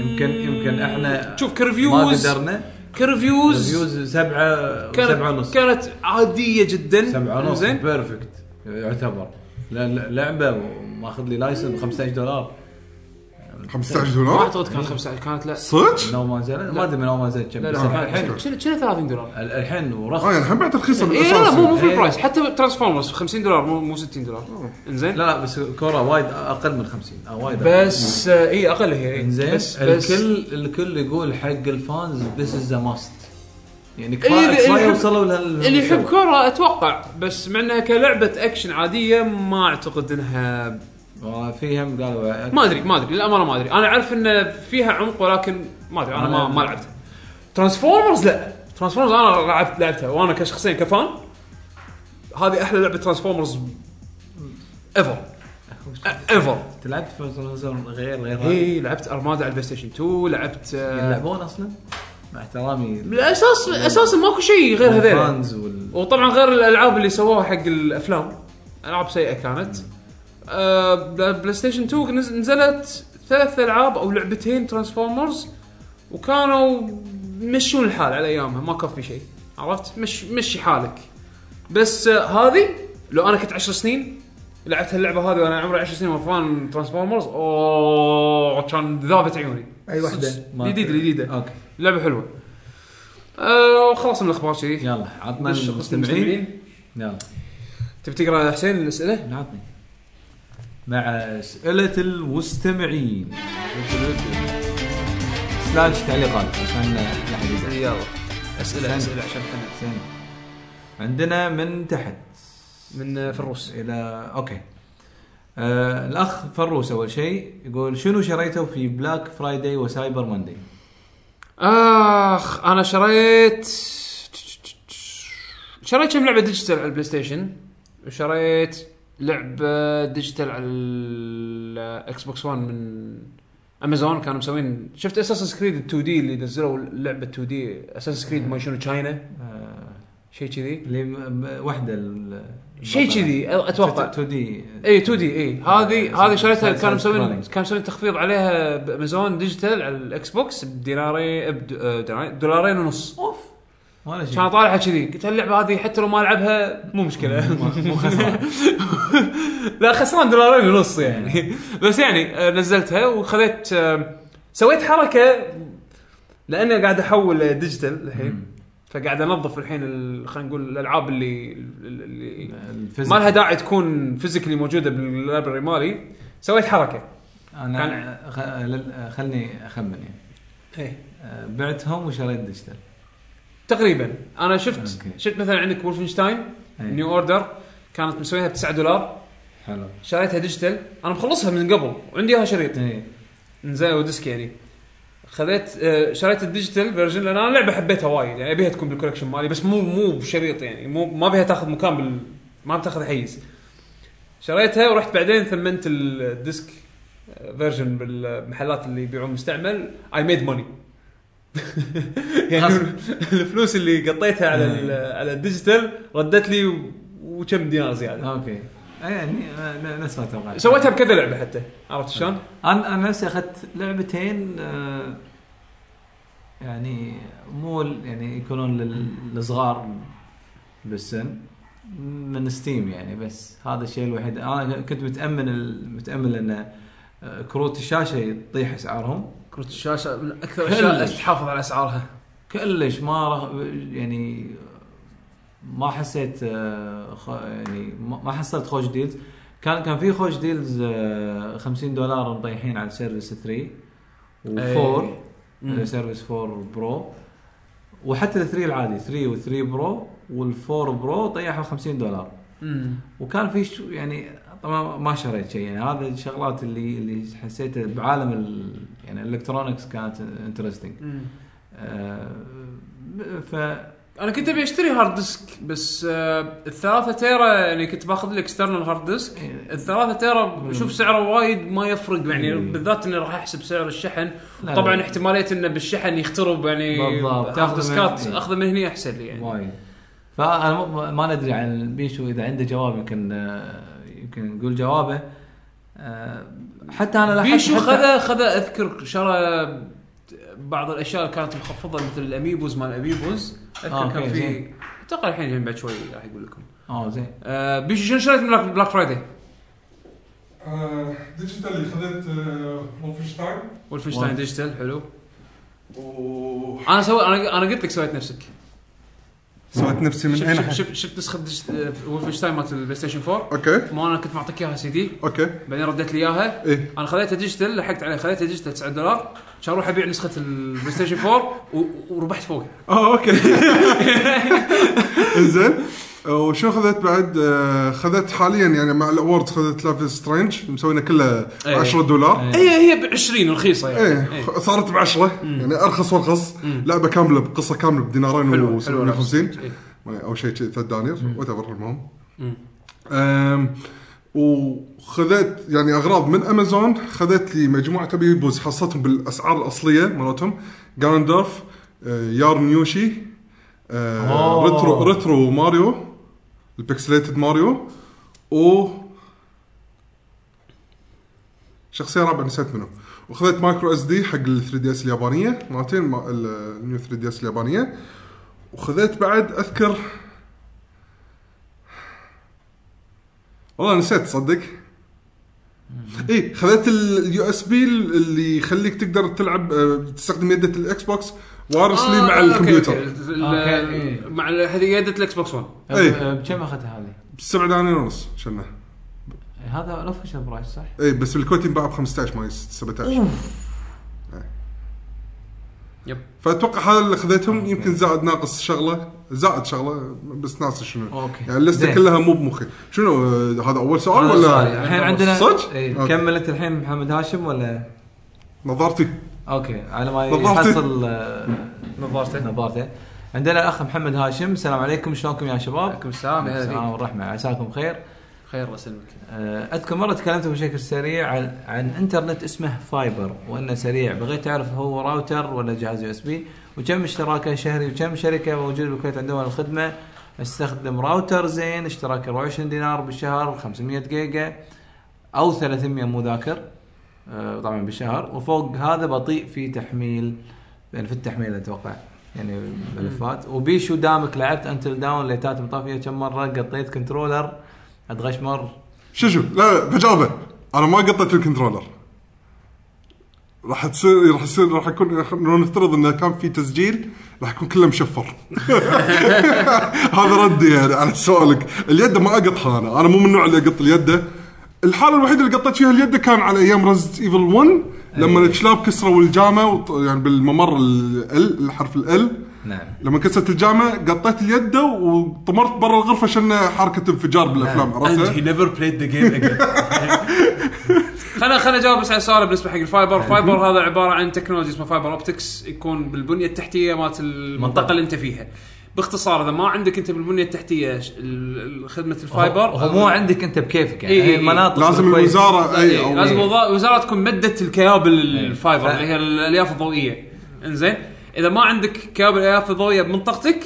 [SPEAKER 2] يمكن يمكن احنا
[SPEAKER 1] شوف
[SPEAKER 2] ما
[SPEAKER 1] كريفيوز
[SPEAKER 2] قدرنا
[SPEAKER 1] كريفيوز
[SPEAKER 2] ريفيوز سبعه سبعه
[SPEAKER 1] كانت
[SPEAKER 2] ونص
[SPEAKER 1] كانت عاديه جدا
[SPEAKER 2] سبعة ونص
[SPEAKER 1] زين
[SPEAKER 2] بيرفكت يعتبر لا- لا- لعبه ماخذ لي لايسن ب 15 دولار
[SPEAKER 3] 15
[SPEAKER 1] ما
[SPEAKER 3] دولار
[SPEAKER 1] اعتقد كانت 15 كانت لا
[SPEAKER 3] صدق؟
[SPEAKER 2] من اول ما نزلت ما ادري من اول ما نزلت كم
[SPEAKER 1] لا
[SPEAKER 2] بس
[SPEAKER 1] لا كان الحين
[SPEAKER 2] الحين
[SPEAKER 1] شنو شنو 30 دولار
[SPEAKER 2] ال- الحين
[SPEAKER 3] اه يعني
[SPEAKER 2] ورخص
[SPEAKER 3] الحين بعد رخيصه من
[SPEAKER 1] اي إيه، لا لا مو مو
[SPEAKER 3] الاساس
[SPEAKER 1] في
[SPEAKER 2] إيه.
[SPEAKER 1] البرايس حتى ترانسفورمرز 50 دولار مو مو 60 دولار
[SPEAKER 2] لا
[SPEAKER 1] انزين
[SPEAKER 2] لا بس كوره وايد اقل من 50 او وايد أقل.
[SPEAKER 1] بس آه، اي اقل هي إي.
[SPEAKER 2] زين
[SPEAKER 1] بس بس
[SPEAKER 2] الكل الكل يقول حق الفانز ذيس از ذا ماست يعني
[SPEAKER 1] إيه،
[SPEAKER 2] كفايه
[SPEAKER 1] اللي- اللي
[SPEAKER 2] كفايه
[SPEAKER 1] يحب-
[SPEAKER 2] وصلوا لهال
[SPEAKER 1] اللي يحب كوره اتوقع بس مع انها كلعبه اكشن عاديه ما اعتقد انها
[SPEAKER 2] آه، في هم قالوا
[SPEAKER 1] ما ادري ما ادري للامانه ما ادري انا اعرف ان فيها عمق ولكن ما ادري انا ما ما لعبتها ترانسفورمرز لا ترانسفورمرز انا لعبت لعبتها وانا كشخصيا كفان هذه احلى لعبه ترانسفورمرز ايفر ايفر
[SPEAKER 2] تلعب في فانز غير غير هذا.
[SPEAKER 1] اي لعبت ارمادا على البلاي ستيشن 2 لعبت آه،
[SPEAKER 2] يلعبون اصلا مع احترامي
[SPEAKER 1] بالاساس اساسا ماكو شيء غير هذول
[SPEAKER 2] الفانز وال
[SPEAKER 1] وطبعا غير الالعاب اللي سووها حق الافلام العاب سيئه كانت آه بلا- بلاي ستيشن 2 نز- نزلت ثلاث العاب او لعبتين ترانسفورمرز وكانوا مشون الحال على ايامها ما كان في شيء عرفت مش مشي حالك بس آه هذه لو انا كنت 10 سنين لعبت هاللعبه هذه وانا عمري 10 سنين وفان ترانسفورمرز اوه كان ذابت عيوني
[SPEAKER 2] أي واحدة؟
[SPEAKER 1] صدق.
[SPEAKER 2] ما-
[SPEAKER 1] الجديده الجديده
[SPEAKER 2] اوكي
[SPEAKER 1] لعبه حلوه آه وخلاص من الاخبار كذي
[SPEAKER 2] يلا عطنا
[SPEAKER 1] دش قسم
[SPEAKER 2] المستمعين
[SPEAKER 1] المستمعين
[SPEAKER 2] يلا
[SPEAKER 1] تبي تقرا حسين الاسئله؟
[SPEAKER 2] عطني مع اسئله المستمعين سلاش تعليقات عشان لا أحد يزعل.
[SPEAKER 1] يلا اسئله
[SPEAKER 2] أسئلة
[SPEAKER 1] عشان احنا
[SPEAKER 2] زين. عندنا من تحت
[SPEAKER 1] من فروس
[SPEAKER 2] الى اوكي آه، الاخ فروس اول شيء يقول شنو شريته في بلاك فرايداي وسايبر موندي؟
[SPEAKER 1] اخ انا شريت شريت كم لعبه ديجيتال على البلاي ستيشن وشريت لعبه ديجيتال على الاكس بوكس 1 من امازون كانوا مسوين شفت اساسن كريد 2 دي اللي نزلوا لعبه 2 دي اساسن كريد ما شنو تشاينا
[SPEAKER 2] آه،
[SPEAKER 1] شيء كذي
[SPEAKER 2] اللي م- م- وحده ال-
[SPEAKER 1] شيء كذي اتوقع
[SPEAKER 2] 2 دي آه،
[SPEAKER 1] اي 2 دي اي إيه. هذه هذه شريتها
[SPEAKER 2] سايد- سايد
[SPEAKER 1] كانوا مسوين
[SPEAKER 2] سكرولينج.
[SPEAKER 1] كانوا مسوين تخفيض عليها بامازون ديجيتال على الاكس بوكس بديناري بد- آه، ديناري- دولارين ونص
[SPEAKER 2] ولا شيء
[SPEAKER 1] كان اطالعها كذي قلت هاللعبه هذه حتى لو ما العبها مو مشكله
[SPEAKER 2] مو خسران
[SPEAKER 1] لا خسران دولارين ونص يعني بس يعني آه، نزلتها وخذيت آه، سويت حركه لاني قاعد احول ديجيتال الحين فقاعد انظف الحين ال- خلينا نقول الالعاب اللي اللي
[SPEAKER 2] الفيزيك.
[SPEAKER 1] ما لها داعي تكون فيزيكلي موجوده باللايبرري مالي سويت حركه
[SPEAKER 2] انا خ- لل- خلني اخمن يعني
[SPEAKER 1] ايه
[SPEAKER 2] آه، بعتهم وشريت ديجيتال
[SPEAKER 1] تقريبا انا شفت
[SPEAKER 2] أوكي.
[SPEAKER 1] شفت مثلا عندك وولفنشتاين
[SPEAKER 2] إيه.
[SPEAKER 1] نيو اوردر كانت مسويها ب 9 دولار
[SPEAKER 2] حلو
[SPEAKER 1] شريتها ديجيتال انا مخلصها من قبل وعندي اياها شريط
[SPEAKER 2] ايه
[SPEAKER 1] زين وديسك يعني خذيت آه، شريت الديجيتال فيرجن لان انا لعبه حبيتها وايد يعني ابيها تكون بالكولكشن مالي بس مو مو بشريط يعني مو ما بيها تاخذ مكان بال ما بتاخذ حيز شريتها ورحت بعدين ثمنت الديسك فيرجن بالمحلات اللي يبيعون مستعمل اي ميد ماني يعني
[SPEAKER 2] غصب.
[SPEAKER 1] الفلوس اللي قطيتها على ال- على الديجيتال ردت لي و- وكم دينار زياده
[SPEAKER 2] اوكي آه، يعني آه، نفس ما توقعت
[SPEAKER 1] سويتها بكذا لعبه حتى عرفت شلون؟
[SPEAKER 2] انا انا نفسي اخذت لعبتين آه، يعني مو ال- يعني يكونون لل- للصغار بالسن من ستيم يعني بس هذا الشيء الوحيد انا كنت متامل ال- متامل ان آه، كروت الشاشه يطيح اسعارهم
[SPEAKER 1] كرة الشاشه من اكثر
[SPEAKER 2] الأشياء اللي
[SPEAKER 1] تحافظ على اسعارها
[SPEAKER 2] كلش ما رح يعني ما حسيت آه، خ- يعني ما ما حصلت خوش ديلز كان كان في خوش ديلز آه، 50 دولار مطيحين على سيرفيس 3 و4
[SPEAKER 1] أي.
[SPEAKER 2] آه، سيرفيس 4 برو وحتى ال 3 العادي 3 و 3 برو وال4 برو طيحوا 50 دولار وكان في شو يعني طبعا ما شريت شيء يعني هذا الشغلات اللي اللي حسيتها بعالم ال... يعني الالكترونكس كانت انترستنج ف
[SPEAKER 1] انا كنت ابي اشتري هارد ديسك بس آه الثلاثة تيرا يعني كنت باخذ الاكسترنال هارد ديسك الثلاثة تيرا بشوف سعره وايد ما يفرق يعني بالذات اني راح احسب سعر الشحن
[SPEAKER 2] لا.
[SPEAKER 1] طبعا احتمالية انه بالشحن يخترب يعني
[SPEAKER 2] بالضبط.
[SPEAKER 1] تاخذ
[SPEAKER 2] تاخذ
[SPEAKER 1] ديسكات
[SPEAKER 2] من-
[SPEAKER 1] اخذه من هنا احسن لي يعني
[SPEAKER 2] وايد فانا ما- ما ندري عن بيشو اذا عنده جواب يمكن آه، يمكن نقول جوابه آه، حتى انا لاحظت
[SPEAKER 1] بيشو
[SPEAKER 2] حتى-
[SPEAKER 1] خذا خذا اذكر شرى بعض الاشياء اللي كانت مخفضه مثل الاميبوز مال الاميبوز اذكر
[SPEAKER 2] آه،
[SPEAKER 1] كان
[SPEAKER 2] أوكي،
[SPEAKER 1] في
[SPEAKER 2] زين.
[SPEAKER 1] اتوقع الحين الحين بعد شوي راح يقول لكم
[SPEAKER 2] اه زين
[SPEAKER 1] آه بيشو شنو شريت من بلاك- بلاك فرايداي
[SPEAKER 3] ديجيتال آه، خذيت آه، وولفنشتاين
[SPEAKER 1] ولفنشتاين ديجيتال حلو
[SPEAKER 3] و
[SPEAKER 1] انا سويت انا انا قلت لك سويت نفسك
[SPEAKER 9] سويت نفسي من
[SPEAKER 1] شفت
[SPEAKER 9] اين
[SPEAKER 1] شفت شف شفت نسخه ديجيت- آه، ولفنشتاين مالت البلاي ستيشن 4
[SPEAKER 3] اوكي
[SPEAKER 1] ما انا كنت معطيك اياها سي دي
[SPEAKER 3] اوكي
[SPEAKER 1] بعدين رديت لي اياها
[SPEAKER 3] ايه
[SPEAKER 1] انا خليتها ديجيتال لحقت عليها خليتها ديجيتال 9 دولار عشان اروح ابيع نسخه البلاي ستيشن 4 و- و- وربحت فوق
[SPEAKER 3] اه اوكي زين وشو خذت بعد؟ آه، خذت حاليا يعني مع الاوردز خذت لايف سترينج مسوينا كله
[SPEAKER 1] إيه.
[SPEAKER 3] 10
[SPEAKER 2] آه،
[SPEAKER 3] دولار
[SPEAKER 1] هي هي ب 20 رخيصه يعني
[SPEAKER 3] ايه خ- صارت ب 10 يعني ارخص وارخص لعبه كامله بقصه كامله بدينارين
[SPEAKER 1] حلو
[SPEAKER 3] و
[SPEAKER 1] حلو لعبة.
[SPEAKER 3] 50
[SPEAKER 1] إيه.
[SPEAKER 3] او شيء شيء ثلاث دنانير وات ايفر المهم أم، وخذت يعني اغراض من امازون خذت لي مجموعه ابيبوز حصتهم بالاسعار الاصليه مالتهم جاندرف يارن يوشي أه، ريترو ريترو ماريو البكسليتد ماريو و شخصيه رابعه نسيت منه وخذت مايكرو اس دي حق ال 3 دي اس اليابانيه مالتين ما- ال- النيو 3 دي اس اليابانيه وخذيت بعد اذكر والله نسيت تصدق اي خذيت اليو اس بي اللي يخليك تقدر تلعب آه، تستخدم يده الاكس بوكس وارسلي
[SPEAKER 1] آه،
[SPEAKER 3] مع
[SPEAKER 1] أوكي،
[SPEAKER 3] الكمبيوتر
[SPEAKER 1] أوكي. ال-
[SPEAKER 2] أوكي، إيه.
[SPEAKER 1] مع ال- هذه يدة الاكس بوكس 1
[SPEAKER 3] إيه.
[SPEAKER 2] أه، بكم اخذتها هذه؟
[SPEAKER 3] سبع دنانير ونص شنه
[SPEAKER 2] هذا الاوفشل برايس صح؟
[SPEAKER 3] اي إيه، بس بالكويت ينباع ب 15 ما 17
[SPEAKER 1] يب.
[SPEAKER 3] فاتوقع إيه. هذا اللي خذيتهم يمكن زائد ناقص شغله زائد شغله بس ناسي شنو
[SPEAKER 2] اوكي
[SPEAKER 3] يعني اللسته
[SPEAKER 2] زين.
[SPEAKER 3] كلها مو بمخي شنو آه، هذا اول سؤال
[SPEAKER 2] هذا يعني. سؤالي.
[SPEAKER 3] ولا
[SPEAKER 2] الحين عندنا
[SPEAKER 3] صدق؟
[SPEAKER 2] إيه.
[SPEAKER 3] أوكي.
[SPEAKER 2] كملت الحين محمد هاشم ولا
[SPEAKER 3] نظارتي
[SPEAKER 2] اوكي على ما
[SPEAKER 3] نظارته.
[SPEAKER 2] يحصل نظارته نظارته عندنا الاخ محمد هاشم السلام عليكم شلونكم يا شباب؟
[SPEAKER 1] عليكم السلام يا هلا
[SPEAKER 2] السلام
[SPEAKER 1] نعم، فيك.
[SPEAKER 2] والرحمه عساكم بخير
[SPEAKER 1] خير الله يسلمك
[SPEAKER 2] آه، اذكر مره تكلمت بشكل سريع عن, عن انترنت اسمه فايبر وانه سريع بغيت اعرف هو راوتر ولا جهاز يو اس بي وكم اشتراكه شهري وكم شركه موجوده بالكويت عندهم الخدمه استخدم راوتر زين اشتراك 24 دينار بالشهر 500 جيجا او 300 مو ذاكر آه، طبعا بالشهر وفوق هذا بطيء في تحميل يعني في التحميل اتوقع يعني ملفات وبيشو دامك لعبت انتل داون ليتات مطافيه كم مره قطيت كنترولر اتغشمر
[SPEAKER 3] شو شو لا لا بجاوبه انا ما قطيت الكنترولر راح تصير راح يصير راح يكون راح- لو نفترض انه كان في تسجيل راح يكون كله مشفر هذا ردي يعني على سؤالك اليد ما اقطها انا انا مو من النوع اللي اقط اليد الحاله الوحيده اللي قطيت فيها اليد كان على ايام رزت ايفل 1 لما الكلاب كسروا الجامه وط- يعني بالممر ال الحرف ال
[SPEAKER 2] نعم
[SPEAKER 3] لما كسرت الجامه قطيت اليد وطمرت برا الغرفه عشان حركه انفجار بالافلام عرفتها؟
[SPEAKER 9] نيفر بلايد ذا جيم اجين
[SPEAKER 1] خلنا خلنا اجاوب بس على السؤال بالنسبه حق الفايبر، فايبر هذا عباره عن تكنولوجيا اسمها فايبر اوبتكس يكون بالبنيه التحتيه مالت المنطقه اللي انت فيها. باختصار اذا ما عندك انت بالبنيه التحتيه ش- ال- ال- خدمه الفايبر
[SPEAKER 2] هو مو عندك انت بكيفك يعني
[SPEAKER 1] إي إي
[SPEAKER 2] هي
[SPEAKER 1] إي.
[SPEAKER 2] المناطق
[SPEAKER 3] لازم
[SPEAKER 2] الكويس.
[SPEAKER 3] الوزاره اي
[SPEAKER 1] إيه،
[SPEAKER 3] او
[SPEAKER 1] لازم وزا- وزاره تكون مدت الكيابل الفايبر
[SPEAKER 2] إيه. ف-
[SPEAKER 1] اللي هي ال- الالياف الضوئيه. انزين اذا ما عندك كابل الالياف الضوئيه بمنطقتك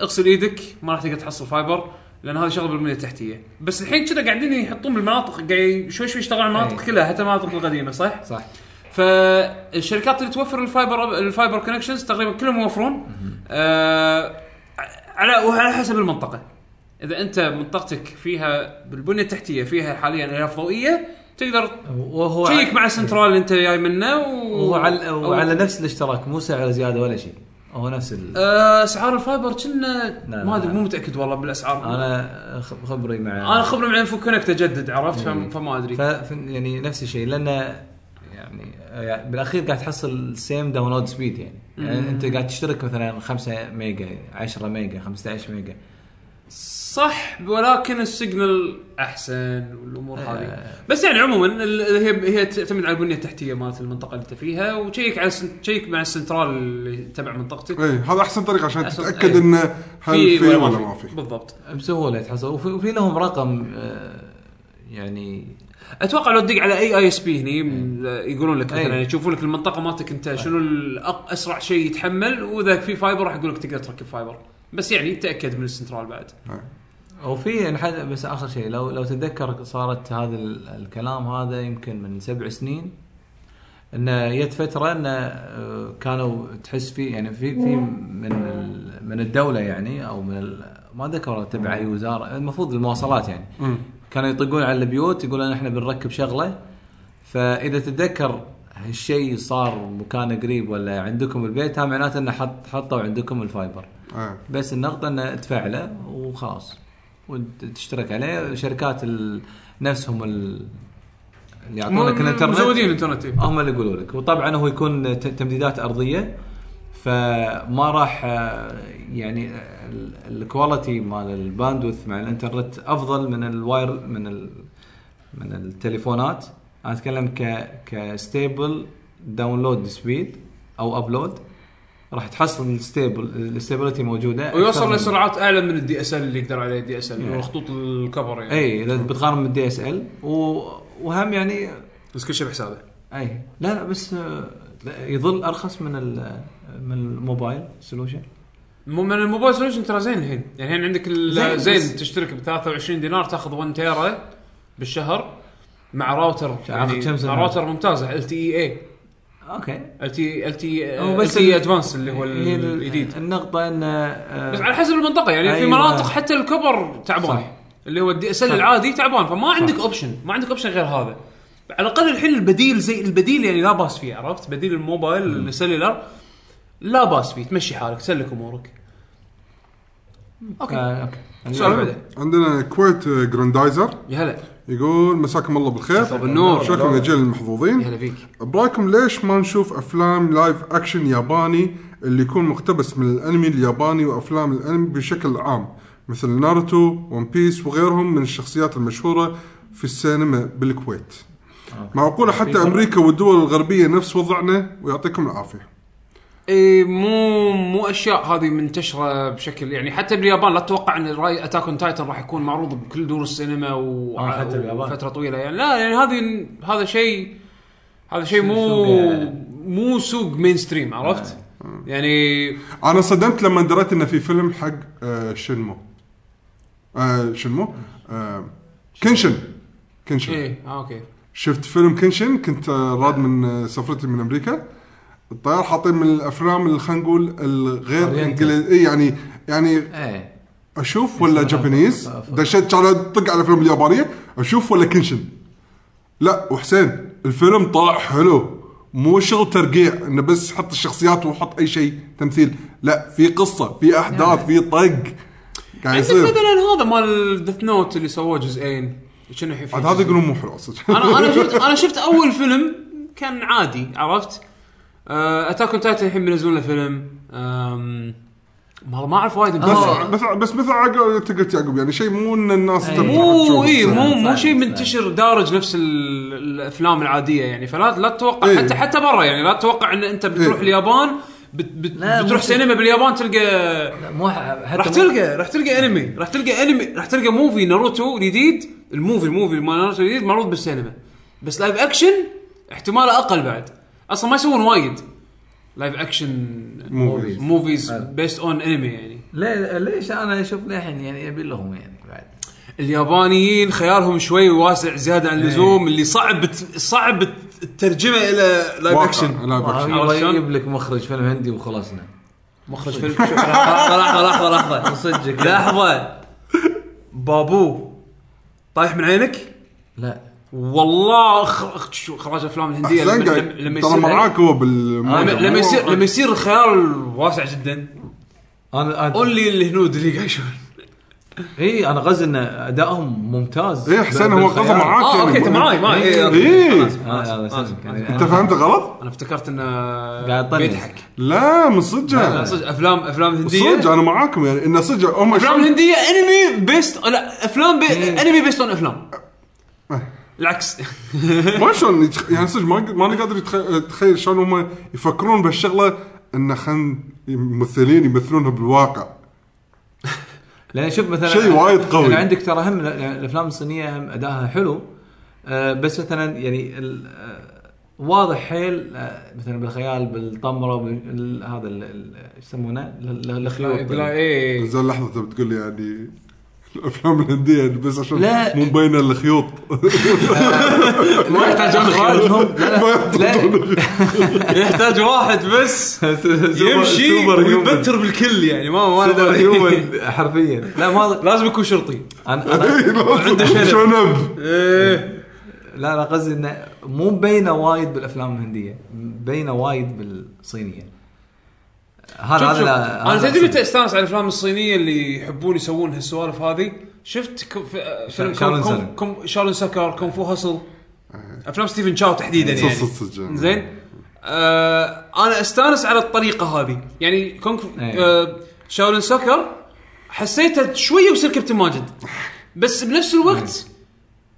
[SPEAKER 1] اغسل ايدك ما راح تقدر تحصل فايبر لان هذه شغله بالبنيه التحتيه، بس الحين كنا قاعدين يحطون بالمناطق قاعد شوي شوي يشتغلون على المناطق
[SPEAKER 2] إي.
[SPEAKER 1] كلها حتى المناطق القديمه صح؟
[SPEAKER 2] إيه. صح
[SPEAKER 1] فالشركات اللي توفر الفايبر الفايبر كونكشنز تقريبا كلهم يوفرون آه على وعلى حسب المنطقه اذا انت منطقتك فيها بالبنيه التحتيه فيها حاليا الياف ضوئيه تقدر
[SPEAKER 2] وهو
[SPEAKER 1] تشيك مع السنترال اللي انت جاي منه و...
[SPEAKER 2] وعلى
[SPEAKER 1] أو-
[SPEAKER 2] وعلى نفس الاشتراك مو سعر زياده ولا شيء هو نفس ال...
[SPEAKER 1] آه، اسعار الفايبر كنا
[SPEAKER 2] لا،
[SPEAKER 1] ما
[SPEAKER 2] لا،
[SPEAKER 1] ادري
[SPEAKER 2] لا.
[SPEAKER 1] مو متاكد والله بالاسعار
[SPEAKER 2] انا خ- خبري مع
[SPEAKER 1] انا خبري من انفو كونكت اجدد عرفت فم- فما ادري
[SPEAKER 2] إيه. ف... ف- يعني نفس الشيء لان يعني يعني بالاخير قاعد تحصل سيم داونلود سبيد يعني, يعني انت قاعد تشترك مثلا 5 ميجا 10 ميجا 15 ميجا
[SPEAKER 1] صح ولكن السيجنال احسن والامور
[SPEAKER 2] إيه.
[SPEAKER 1] هذه بس يعني عموما ال- هي هي تعتمد على البنيه التحتيه مالت المنطقه اللي انت فيها وتشيك على السن- تشيك مع السنترال اللي تبع منطقتك
[SPEAKER 3] اي إيه، هذا احسن طريقه عشان
[SPEAKER 1] أحسن-
[SPEAKER 3] تتاكد
[SPEAKER 1] إيه.
[SPEAKER 3] انه هل في ولا ما في
[SPEAKER 1] بالضبط
[SPEAKER 2] بسهوله يتحصل وفي, وفي لهم رقم آه، يعني
[SPEAKER 1] اتوقع لو تدق على اي اي اس بي هني م-
[SPEAKER 2] إيه.
[SPEAKER 1] يقولون لك مثلا
[SPEAKER 2] أي.
[SPEAKER 1] يشوفون لك المنطقه مالتك
[SPEAKER 2] إيه.
[SPEAKER 1] انت شنو الأق- اسرع شيء يتحمل واذا في فايبر راح يقول لك تقدر تركب فايبر بس يعني تاكد من السنترال بعد
[SPEAKER 2] او في إن حد- بس اخر شيء لو لو تتذكر صارت هذا ال- الكلام هذا يمكن من سبع سنين انه جت فتره انه آه، كانوا تحس في يعني في في من ال- من الدوله يعني او من ال- ما ذكر تبع اي وزاره المفروض المواصلات يعني كانوا يطقون على البيوت يقولون احنا بنركب شغله فاذا تتذكر هالشيء صار مكان قريب ولا عندكم البيت ها معناته انه حط حطوا عندكم الفايبر
[SPEAKER 3] إيه.
[SPEAKER 2] بس النقطه انه تفعله وخلاص وتشترك عليه شركات ال... نفسهم ال... اللي يعطونك آه،
[SPEAKER 1] م- مزودين
[SPEAKER 2] الانترنت
[SPEAKER 1] الانترنت إيه.
[SPEAKER 2] هم اللي يقولوا لك وطبعا هو يكون ت- تمديدات ارضيه فما راح آه، يعني آه، ال- الكواليتي مال الباندوث مع الانترنت افضل من الواير من ال... من التليفونات انا اتكلم ك كستيبل داونلود سبيد او ابلود راح تحصل الستيبل الستيبلتي موجوده أكثر
[SPEAKER 1] ويوصل
[SPEAKER 2] من-
[SPEAKER 1] لسرعات اعلى من الدي اس ال اللي يقدر عليه الدي اس ال
[SPEAKER 2] يعني.
[SPEAKER 1] والخطوط الكفر يعني
[SPEAKER 2] اي اذا إيه، بتقارن من الدي اس ال وهم يعني
[SPEAKER 1] بس كل شيء بحسابه
[SPEAKER 2] اي لا لا بس آه، لا، يظل ارخص من ال- من الموبايل سولوشن
[SPEAKER 1] مو من الموبايل سوليوشن ترى زين الحين يعني الحين عندك ال-
[SPEAKER 2] زين، بس-
[SPEAKER 1] زين تشترك ب 23 دينار تاخذ 1 تيرا بالشهر مع راوتر يعني
[SPEAKER 2] كم سنة؟
[SPEAKER 1] مع راوتر ممتازه ال تي اي اي
[SPEAKER 2] اوكي
[SPEAKER 1] ال تي ال تي
[SPEAKER 2] هو
[SPEAKER 1] ال
[SPEAKER 2] بس
[SPEAKER 1] تي
[SPEAKER 2] ال-
[SPEAKER 1] ادفانس اللي هو
[SPEAKER 2] هي ال-
[SPEAKER 1] الجديد
[SPEAKER 2] النقطه ان آه،
[SPEAKER 1] بس على حسب المنطقه يعني في
[SPEAKER 2] أيوة.
[SPEAKER 1] مناطق حتى الكبر تعبان
[SPEAKER 2] صح.
[SPEAKER 1] اللي هو الدي اس ال العادي تعبان فما عندك اوبشن ما عندك اوبشن غير هذا على الاقل الحين البديل زي البديل يعني لا باس فيه عرفت بديل الموبايل السلولار لا باس فيه تمشي حالك تسلك امورك اوكي
[SPEAKER 2] آه، اوكي
[SPEAKER 1] السؤال بعده
[SPEAKER 3] عندنا كويت آه، جراندايزر
[SPEAKER 1] يا هلا
[SPEAKER 3] يقول مساكم الله بالخير
[SPEAKER 1] مساك بالنور.
[SPEAKER 3] شكرا يا جيل
[SPEAKER 1] يا هلا
[SPEAKER 3] المحظوظين
[SPEAKER 1] فيك
[SPEAKER 3] برايكم ليش ما نشوف افلام لايف اكشن ياباني اللي يكون مقتبس من الانمي الياباني وافلام الانمي بشكل عام مثل ناروتو ون بيس وغيرهم من الشخصيات المشهوره في السينما بالكويت آه. معقوله حتى امريكا والدول الغربيه نفس وضعنا ويعطيكم العافيه
[SPEAKER 1] إيه مو مو اشياء هذه منتشره بشكل يعني حتى باليابان لا تتوقع ان راي اتاك اون تايتن راح يكون معروض بكل دور السينما و...
[SPEAKER 2] آه، حتى باليابان.
[SPEAKER 1] وفتره طويله يعني لا يعني هذه هذا شيء هذا شيء مو
[SPEAKER 2] سوق آه. يعني.
[SPEAKER 1] مو سوق مين ستريم عرفت؟ يعني
[SPEAKER 3] انا صدمت لما دريت انه في فيلم حق آه شنمو آه شنمو آه كنشن كنشن
[SPEAKER 1] ايه آه اوكي
[SPEAKER 3] شفت فيلم كنشن كنت آه، راد من آه، سفرتي من امريكا الطيار حاطين من الافلام اللي خلينا نقول الغير
[SPEAKER 2] Oriental.
[SPEAKER 3] انجليزي إيه يعني يعني
[SPEAKER 2] ايه
[SPEAKER 3] اشوف ولا
[SPEAKER 2] يسمونها
[SPEAKER 3] جابانيز
[SPEAKER 2] ف- ف-
[SPEAKER 3] دشيت على طق على الافلام اليابانيه اشوف ولا كنشن لا وحسين الفيلم طلع حلو مو شغل ترقيع انه بس حط الشخصيات وحط اي شيء تمثيل لا في قصه في احداث في طق قاعد
[SPEAKER 1] عندك
[SPEAKER 3] يعني يصير
[SPEAKER 1] مثلا هذا مال ديث نوت اللي سووه جزئين شنو حي-
[SPEAKER 3] عاد هذا يقولون مو حلو صدق
[SPEAKER 1] انا انا شفت انا شفت اول فيلم كان عادي عرفت؟ اتاك اون تايتن الحين بينزلون له فيلم أم، والله ما اعرف وايد
[SPEAKER 3] بس
[SPEAKER 1] متابع.
[SPEAKER 3] بس بس مثل عقب انت قلت يعقوب يعني شيء مو ان الناس تبدأ
[SPEAKER 1] مو
[SPEAKER 3] تشوفه.
[SPEAKER 1] اي إيه. مو
[SPEAKER 3] يعني
[SPEAKER 1] مو
[SPEAKER 2] صحيح،
[SPEAKER 1] شيء
[SPEAKER 2] صحيح.
[SPEAKER 1] منتشر دارج نفس ال- الافلام العاديه يعني فلا لا تتوقع
[SPEAKER 3] إيه.
[SPEAKER 1] حتى حتى برا يعني لا تتوقع ان انت بتروح
[SPEAKER 3] إيه.
[SPEAKER 1] اليابان بت بت
[SPEAKER 2] لا،
[SPEAKER 1] بتروح
[SPEAKER 2] ممكن.
[SPEAKER 1] سينما باليابان تلقى
[SPEAKER 2] مو ح- حتى
[SPEAKER 1] راح
[SPEAKER 2] مو-
[SPEAKER 1] تلقى راح تلقى انمي راح تلقى انمي راح تلقى موفي ناروتو الجديد الموفي الموفي مال ناروتو الجديد معروض بالسينما بس لايف اكشن احتماله اقل بعد اصلا ما يسوون وايد لايف اكشن
[SPEAKER 3] موفيز.
[SPEAKER 1] موفيز بيست اون انمي يعني
[SPEAKER 2] ليه ليش انا اشوف للحين يعني ابي لهم يعني بعد
[SPEAKER 1] اليابانيين خيارهم شوي واسع زياده
[SPEAKER 3] إيه.
[SPEAKER 1] عن اللزوم اللي صعب بت- صعب الترجمه الى لايف
[SPEAKER 3] واقع،
[SPEAKER 1] اكشن
[SPEAKER 3] لايف
[SPEAKER 2] ما
[SPEAKER 3] اكشن
[SPEAKER 1] عرفت
[SPEAKER 2] يبغى
[SPEAKER 1] شلون؟
[SPEAKER 2] يجيب لك مخرج فيلم هندي وخلصنا
[SPEAKER 1] مخرج فيلم شوف، لحظه لحظه لحظه لحظه
[SPEAKER 2] صدقك
[SPEAKER 1] لحظه بابو طايح من عينك
[SPEAKER 2] لا
[SPEAKER 1] والله خ- خ- شو اخراج الافلام الهنديه
[SPEAKER 3] احسن
[SPEAKER 1] لما
[SPEAKER 3] قاعد
[SPEAKER 1] لما- لما
[SPEAKER 3] ترى
[SPEAKER 1] يصير آه،
[SPEAKER 3] مرعاك هو
[SPEAKER 1] لما-
[SPEAKER 3] بالموجة.
[SPEAKER 1] لما يصير لما يصير الخيار واسع جدا
[SPEAKER 2] انا أنا- إيه،
[SPEAKER 1] اونلي الهنود اللي قاعد يشوفون
[SPEAKER 2] اي انا غز ان ادائهم ممتاز
[SPEAKER 3] ايه حسين هو قصه معاك
[SPEAKER 1] اه اوكي انت
[SPEAKER 3] مو-
[SPEAKER 1] معاي معاي إيه، أوكي.
[SPEAKER 3] إيه.
[SPEAKER 1] آسف، آسف،
[SPEAKER 2] آه، آسف،
[SPEAKER 1] آسف،
[SPEAKER 2] يعني
[SPEAKER 1] آسف.
[SPEAKER 3] انت فهمت غلط؟
[SPEAKER 1] انا افتكرت انه
[SPEAKER 2] قاعد يطنز.
[SPEAKER 1] بيضحك
[SPEAKER 3] لا من صدق
[SPEAKER 1] لا، صدق إيه؟ افلام افلام هنديه
[SPEAKER 3] صدق انا معاكم يعني انه صدق هم
[SPEAKER 1] افلام
[SPEAKER 3] شلون-
[SPEAKER 1] هنديه انمي بيست لا افلام بي... انمي بيست اون افلام العكس
[SPEAKER 3] ما شلون يتخ- يعني صدق ما ما انا قادر يتخ- اتخيل شلون هم يفكرون بالشغله ان خلينا ممثلين يمثلونها بالواقع
[SPEAKER 2] لان شوف مثلا
[SPEAKER 3] شيء وايد قوي.
[SPEAKER 2] يعني عندك ترى هم ال- الافلام الصينيه هم ادائها حلو آه، بس مثلا يعني ال- آه، واضح حيل آه، مثلا بالخيال بالطمره بال- هذا ال- ال- ايش يسمونه ال- ال- الخيوط
[SPEAKER 1] ايه
[SPEAKER 3] زين لحظه انت بتقول لي يعني الافلام الهنديه بس عشان
[SPEAKER 2] لا.
[SPEAKER 3] مو مبينه الخيوط
[SPEAKER 2] ما يحتاجون اخراجهم
[SPEAKER 1] يحتاج واحد بس يمشي ويبتر بالكل يعني ما ما له داعي.
[SPEAKER 2] هيومن حرفيا لا ما
[SPEAKER 1] لازم يكون شرطي
[SPEAKER 2] انا انا
[SPEAKER 1] عنده شنب.
[SPEAKER 3] شنب
[SPEAKER 2] لا انا قصدي انه مو مبينه وايد بالافلام الهنديه مبينه وايد بالصينيه هذا
[SPEAKER 1] شوف شوف.
[SPEAKER 2] هذا
[SPEAKER 1] انا
[SPEAKER 2] هذا
[SPEAKER 1] تدري
[SPEAKER 2] أقصد.
[SPEAKER 1] متى استانس على الافلام الصينيه اللي يحبون يسوون هالسوالف هذه شفت كم- في- آه، فيلم
[SPEAKER 2] شارلن
[SPEAKER 1] كم- كم-
[SPEAKER 2] سكر.
[SPEAKER 1] كم- شارلن سكر كونغ فو هاسل افلام ستيفن شاو تحديدا
[SPEAKER 3] صدق
[SPEAKER 1] يعني
[SPEAKER 3] صدق صدق
[SPEAKER 1] زين آه انا استانس على الطريقه هذه يعني كونغ ف-
[SPEAKER 2] إيه.
[SPEAKER 1] آه شاولن سكر حسيته شويه وصير كابتن ماجد بس بنفس الوقت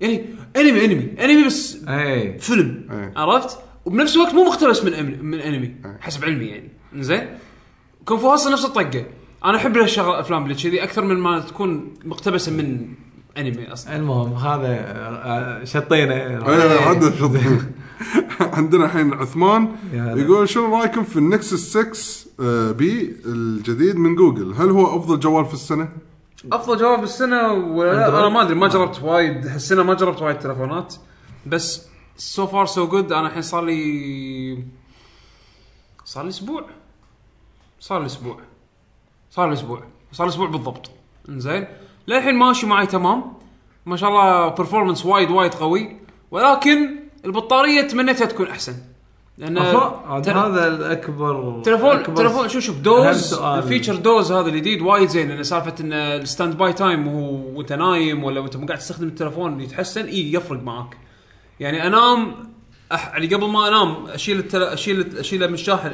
[SPEAKER 2] إيه.
[SPEAKER 1] يعني انمي انمي انمي بس
[SPEAKER 2] اي
[SPEAKER 1] فيلم
[SPEAKER 3] إيه.
[SPEAKER 1] عرفت وبنفس الوقت مو مقتبس من أم- من انمي حسب علمي يعني زين كونغ فو هاسل نفس الطقه انا احب هالشغل الافلام اللي كذي اكثر من ما تكون مقتبسه من انمي اصلا
[SPEAKER 2] المهم هذا آه، شطينا
[SPEAKER 3] ايه عندنا شط عندنا الحين عثمان
[SPEAKER 2] يا هلا.
[SPEAKER 3] يقول شنو رايكم في النكسس 6 آه، بي الجديد من جوجل هل هو افضل جوال في السنه؟
[SPEAKER 1] افضل جواب السنه ولا لا انا ما ادري ما جربت وايد هالسنه ما جربت وايد تلفونات بس سو فار سو جود انا الحين صار لي صار لي اسبوع صار لي اسبوع صار لي اسبوع صار لي اسبوع بالضبط انزين للحين ماشي معي تمام ما شاء الله برفورمانس وايد وايد قوي ولكن البطاريه تمنيتها تكون احسن لان
[SPEAKER 2] أفا، عاد
[SPEAKER 1] تل-
[SPEAKER 2] هذا الاكبر
[SPEAKER 1] تليفون
[SPEAKER 2] أكبر-
[SPEAKER 1] تليفون شوف شوف
[SPEAKER 2] أهم
[SPEAKER 1] دوز
[SPEAKER 2] سؤال.
[SPEAKER 1] الفيتشر دوز هذا الجديد وايد زين لان سالفه ان الستاند باي تايم وهو وانت نايم ولا وانت مو قاعد تستخدم التليفون يتحسن اي يفرق معاك يعني انام أح يعني قبل ما انام اشيل التل... اشيل اشيله من الشاحن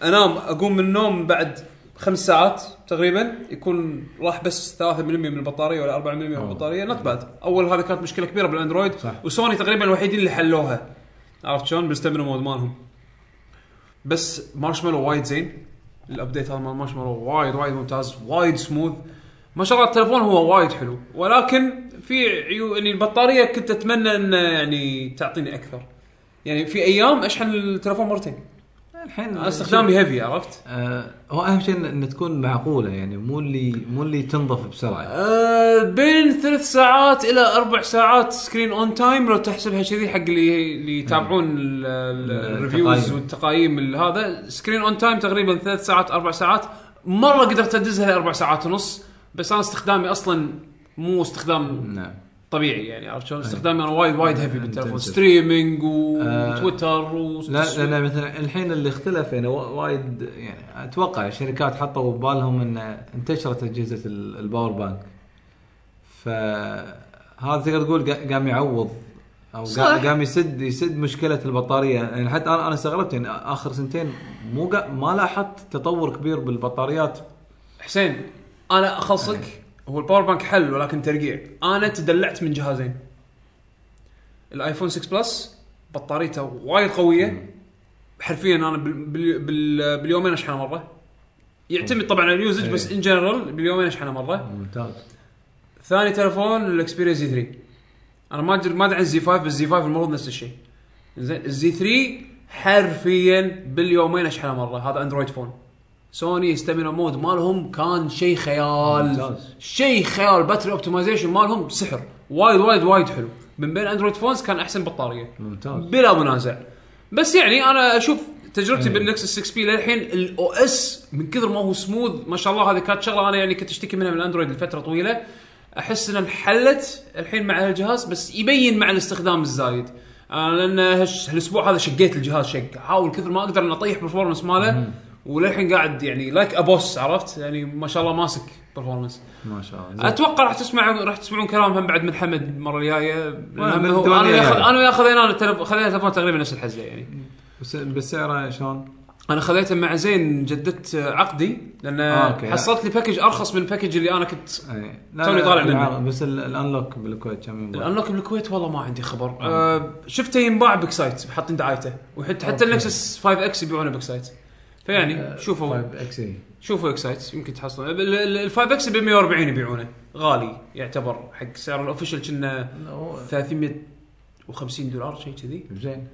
[SPEAKER 1] 100% انام اقوم من النوم بعد خمس ساعات تقريبا يكون راح بس 3% من البطاريه ولا 4% من البطاريه نوت باد اول هذا كانت مشكله كبيره بالاندرويد صح. وسوني تقريبا الوحيدين اللي حلوها عرفت شلون بالستامينا مود مالهم بس مارشميلو وايد زين الابديت هذا مال مارشميلو وايد وايد ممتاز وايد سموث ما شاء الله التليفون هو وايد حلو ولكن في عيوب يعني البطاريه كنت اتمنى ان يعني تعطيني اكثر يعني في ايام اشحن التليفون مرتين
[SPEAKER 2] الحين
[SPEAKER 1] أنا استخدامي هيفي عرفت
[SPEAKER 2] آه، هو اهم شيء إن- ان تكون معقوله يعني مو اللي مو اللي تنظف بسرعه
[SPEAKER 1] أه بين ثلاث ساعات الى اربع ساعات سكرين اون تايم لو تحسبها كذي حق اللي اللي يتابعون ال- ال- الريفيوز
[SPEAKER 2] التقايم.
[SPEAKER 1] والتقايم ال- هذا سكرين اون تايم تقريبا ثلاث ساعات اربع ساعات مره قدرت ادزها لاربع ساعات ونص بس انا استخدامي اصلا مو استخدام
[SPEAKER 2] نعم
[SPEAKER 1] طبيعي يعني عرفت شلون استخدامي انا وايد وايد هيفي بالتليفون
[SPEAKER 2] intensive.
[SPEAKER 1] ستريمينج
[SPEAKER 2] آه،
[SPEAKER 1] وتويتر
[SPEAKER 2] لا
[SPEAKER 1] وتصوير.
[SPEAKER 2] لان مثلا الحين اللي اختلف يعني وا- وايد يعني اتوقع الشركات حطوا ببالهم ان انتشرت اجهزه ال- الباور بانك فهذا تقدر تقول قا- قام يعوض او قا-
[SPEAKER 1] صح.
[SPEAKER 2] قام يسد يسد مشكله البطاريه يعني حتى انا انا استغربت يعني اخر سنتين مو قا- ما لاحظت تطور كبير بالبطاريات
[SPEAKER 1] حسين انا اخلصك هو الباور بانك حل ولكن ترقيع انا تدلعت من جهازين الايفون 6 بلس بطاريته وايد قويه حرفيا انا بال بال بال باليومين اشحنه مره يعتمد طبعا على اليوزج بس ان جنرال باليومين اشحنه مره
[SPEAKER 2] ممتاز
[SPEAKER 1] ثاني تلفون الاكسبيريا زي 3 انا ما ادري ما ادري عن الزي 5 بس الزي 5 المفروض نفس الشيء زين الزي 3 حرفيا باليومين اشحنه مره هذا اندرويد فون سوني ستامينا مود مالهم كان شيء خيال
[SPEAKER 2] ممتاز.
[SPEAKER 1] شيء خيال باتري اوبتمايزيشن مالهم سحر وايد وايد وايد حلو من بين اندرويد فونز كان احسن بطاريه
[SPEAKER 2] ممتاز
[SPEAKER 1] بلا منازع بس يعني انا اشوف تجربتي بالنكسس 6 بي للحين الاو اس من كثر ما هو سموث ما شاء الله هذه كانت شغله انا يعني كنت اشتكي منها من الاندرويد لفتره طويله احس انها انحلت الحين مع هالجهاز بس يبين مع الاستخدام الزايد آه، انا لان هالش- هالاسبوع هذا شقيت الجهاز شق احاول كثر ما اقدر ان اطيح برفورمانس ماله وللحين قاعد يعني لايك ابوس عرفت يعني ما شاء الله ماسك برفورمانس
[SPEAKER 2] ما شاء الله زين.
[SPEAKER 1] اتوقع راح تسمع راح تسمعون كلام هم بعد من حمد المره الجايه لأنه هو- انا
[SPEAKER 2] بالديوانية
[SPEAKER 1] وياخذ-
[SPEAKER 2] يعني.
[SPEAKER 1] انا وياه خذينا التلف- خذينا تلفون تقريبا نفس الحزه يعني
[SPEAKER 2] بس بالسعر شلون؟
[SPEAKER 1] انا خذيته مع زين جددت عقدي لان
[SPEAKER 2] آه، أوكي.
[SPEAKER 1] حصلت لي باكج ارخص من الباكج اللي انا كنت
[SPEAKER 2] اي
[SPEAKER 1] توني طالع منه.
[SPEAKER 2] بالعرض، بس ال- الانلوك بالكويت كم ينباع؟
[SPEAKER 1] الانلوك بالكويت والله ما عندي خبر
[SPEAKER 2] آه.
[SPEAKER 1] أه شفته ينباع بكسايت حاطين دعايته وحتى حتى النكسس 5 اكس يبيعونه بكسايت
[SPEAKER 2] آه،
[SPEAKER 1] فيعني شوفوا
[SPEAKER 2] 5 اكس اي
[SPEAKER 1] شوفوا اكسايت يمكن تحصلون ال 5 اكس ب 140 يبيعونه غالي يعتبر حق سعر الاوفيشال كنا 350 دولار شيء كذي
[SPEAKER 2] زين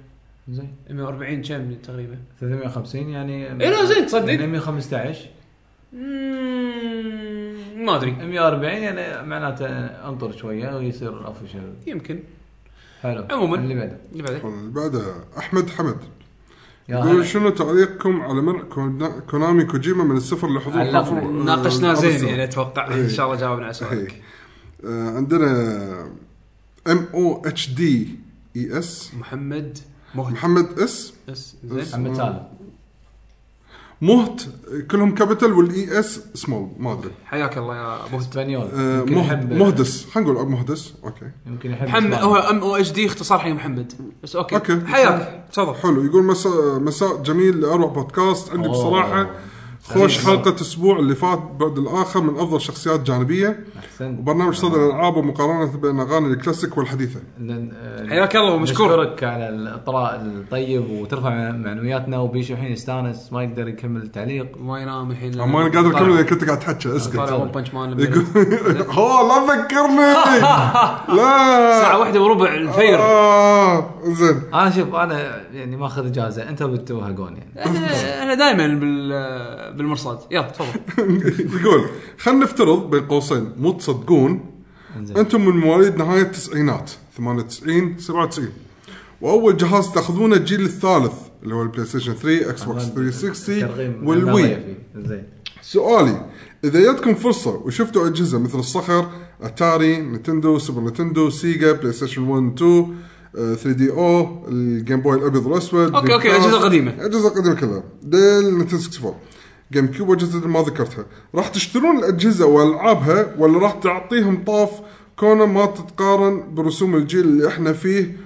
[SPEAKER 2] زين
[SPEAKER 1] 140 كم تقريبا
[SPEAKER 2] 350 يعني
[SPEAKER 1] اي إيه، لا زين تصدق
[SPEAKER 2] يعني 115
[SPEAKER 1] مم، ما ادري
[SPEAKER 2] 140 يعني معناته انطر شويه ويصير اوفشل
[SPEAKER 1] يمكن
[SPEAKER 2] حلو
[SPEAKER 1] عموماً.
[SPEAKER 2] اللي بعده
[SPEAKER 1] اللي بعده
[SPEAKER 3] بعده احمد حمد
[SPEAKER 2] يا
[SPEAKER 3] يقول
[SPEAKER 2] هلا.
[SPEAKER 3] شنو تعليقكم على منع كونا- كونامي كوجيما من السفر لحضور
[SPEAKER 2] علقنا.
[SPEAKER 3] حفل- آه،
[SPEAKER 1] ناقشنا زين
[SPEAKER 3] الأرسنال؟
[SPEAKER 1] يعني اتوقع ان شاء الله جاوبنا على سؤالك
[SPEAKER 3] إيه. آه، عندنا ام او اتش دي اي اس
[SPEAKER 1] محمد مهد
[SPEAKER 3] E محمد اس
[SPEAKER 1] بس زين
[SPEAKER 2] محمد سالم
[SPEAKER 3] مهت كلهم كابيتال والاي اس سمول ما ادري
[SPEAKER 1] حياك الله يا مهد
[SPEAKER 2] اسبانيول
[SPEAKER 3] آه،
[SPEAKER 2] يمكن
[SPEAKER 3] مهد
[SPEAKER 2] يحب-
[SPEAKER 3] مهدس خلينا نقول أبو مهدس اوكي
[SPEAKER 2] يمكن يحب
[SPEAKER 1] محمد
[SPEAKER 2] إسبانيا.
[SPEAKER 1] هو ام او اتش دي اختصار حق محمد بس اوكي,
[SPEAKER 3] أوكي.
[SPEAKER 1] حياك تفضل
[SPEAKER 3] حلو يقول مساء مساء جميل لاروع بودكاست عندي
[SPEAKER 2] أوه.
[SPEAKER 3] بصراحه خوش حلقه الاسبوع اللي فات بعد الاخر من افضل شخصيات جانبيه
[SPEAKER 2] احسنت
[SPEAKER 3] وبرنامج صدر الالعاب ومقارنه بين اغاني الكلاسيك والحديثه
[SPEAKER 2] لن- آه،
[SPEAKER 1] حياك الله ومشكور
[SPEAKER 2] نشكرك على الاطراء الطيب وترفع معنوياتنا وبيشو الحين يستانس ما يقدر يكمل التعليق
[SPEAKER 1] ما ينام الحين
[SPEAKER 3] ما انا قادر
[SPEAKER 1] طيب.
[SPEAKER 3] اكمل إذا كنت قاعد تحكي
[SPEAKER 1] طالع ون
[SPEAKER 3] اسكت
[SPEAKER 1] بنش مان
[SPEAKER 3] يقول هو لا تذكرني
[SPEAKER 1] الساعه
[SPEAKER 3] لا
[SPEAKER 1] واحدة وربع الفير
[SPEAKER 3] آه، زين
[SPEAKER 2] انا شوف انا يعني ماخذ اجازه انت بتوهقون يعني
[SPEAKER 1] انا أنا دائما بال بالمرصاد يلا تفضل
[SPEAKER 3] يقول خلينا نفترض بين قوسين مو تصدقون
[SPEAKER 2] إنزين.
[SPEAKER 3] انتم من مواليد نهايه التسعينات 98 97 واول جهاز تاخذونه الجيل الثالث اللي هو البلاي ستيشن 3 اكس بوكس 360
[SPEAKER 2] ترغيم
[SPEAKER 3] والوي
[SPEAKER 2] نظرية فيه. زين
[SPEAKER 3] سؤالي اذا جتكم فرصه وشفتوا اجهزه مثل الصخر اتاري نتندو سوبر نتندو سيجا بلاي ستيشن 1 2 3 آه، دي او الجيم بوي الابيض والاسود
[SPEAKER 1] أوكي، أوكي،
[SPEAKER 3] دريم كاست،
[SPEAKER 1] أجهزة قديمة.
[SPEAKER 3] اجهزه قديمه كلها للنتندو 64 جيم كيوب واجهزه اللي ما ذكرتها راح تشترون الاجهزه والعابها ولا راح تعطيهم طاف كونه ما تتقارن برسوم الجيل اللي احنا فيه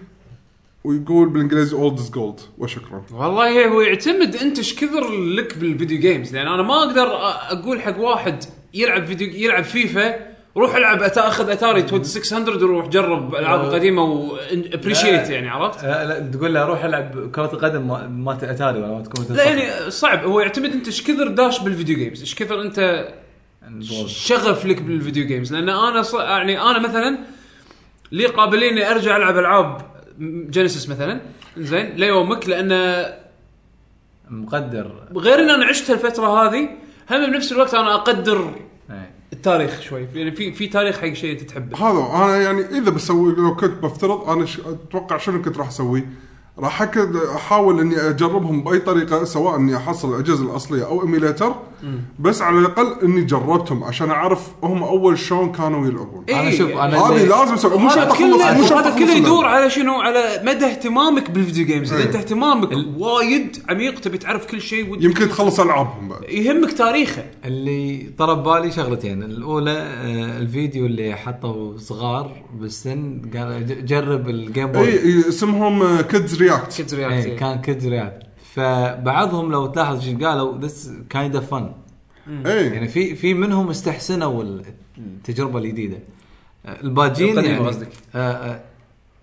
[SPEAKER 3] ويقول بالانجليزي اولد از جولد وشكرا
[SPEAKER 1] والله إيه، هو يعتمد انت ايش كثر لك بالفيديو جيمز لان انا ما اقدر أ- اقول حق واحد يلعب فيديو يلعب فيفا روح العب أتا- اخذ اتاري 2600 وروح جرب العاب قديمه وابريشيت يعني عرفت؟
[SPEAKER 2] لا آه، لا تقول له روح العب كره القدم ما- مالت اتاري ولا مالت كمبيوتر
[SPEAKER 1] لا يعني صعب هو يعتمد انت ايش كثر داش بالفيديو جيمز ايش كثر انت شغف لك بالفيديو جيمز لان انا ص... يعني انا مثلا لي قابليه اني ارجع العب العاب جينيسيس مثلا زين ليومك لان
[SPEAKER 2] مقدر
[SPEAKER 1] غير ان انا عشت الفتره هذه هم بنفس الوقت انا اقدر
[SPEAKER 2] إيه.
[SPEAKER 1] التاريخ شوي يعني في في تاريخ حق شيء انت تحبه
[SPEAKER 3] هذا انا يعني اذا بسوي لو كنت بفترض انا ش... اتوقع شنو كنت راح اسوي؟ راح أكد احاول اني اجربهم باي طريقه سواء اني احصل الاجهزه الاصليه او ايميليتر بس على الاقل اني جربتهم عشان اعرف هم اول شلون كانوا يلعبون.
[SPEAKER 1] إيه،
[SPEAKER 2] انا شوف انا
[SPEAKER 3] هذه
[SPEAKER 2] اللي-
[SPEAKER 3] لازم اسوي مو شرط
[SPEAKER 1] هذا
[SPEAKER 3] اخلص
[SPEAKER 1] كله
[SPEAKER 3] مو شرط
[SPEAKER 1] هذا
[SPEAKER 3] أخلص
[SPEAKER 1] كله
[SPEAKER 3] اللعبة.
[SPEAKER 1] يدور على شنو على مدى اهتمامك بالفيديو جيمز اذا
[SPEAKER 3] إيه.
[SPEAKER 1] انت اهتمامك وايد عميق تبي تعرف كل شيء ودك
[SPEAKER 3] يمكن تخلص العابهم بعد.
[SPEAKER 1] يهمك تاريخه
[SPEAKER 2] اللي طرب بالي شغلتين الاولى آه، الفيديو اللي حطوا صغار بالسن قال ج- جرب الجيم
[SPEAKER 1] إيه.
[SPEAKER 3] اي
[SPEAKER 2] بوي
[SPEAKER 3] إي، إيه، اسمهم آه، كيدز رياكت
[SPEAKER 1] كيدز
[SPEAKER 2] اي
[SPEAKER 1] رياكت
[SPEAKER 2] إيه، كان كيدز رياكت فبعضهم لو تلاحظ شو قالوا ذس كايند اوف فن
[SPEAKER 3] اي إيه،
[SPEAKER 2] يعني في في منهم استحسنوا ال- التجربه الجديده آه، الباجين
[SPEAKER 1] القديمة
[SPEAKER 2] يعني
[SPEAKER 1] قصدك.
[SPEAKER 2] آه، آه،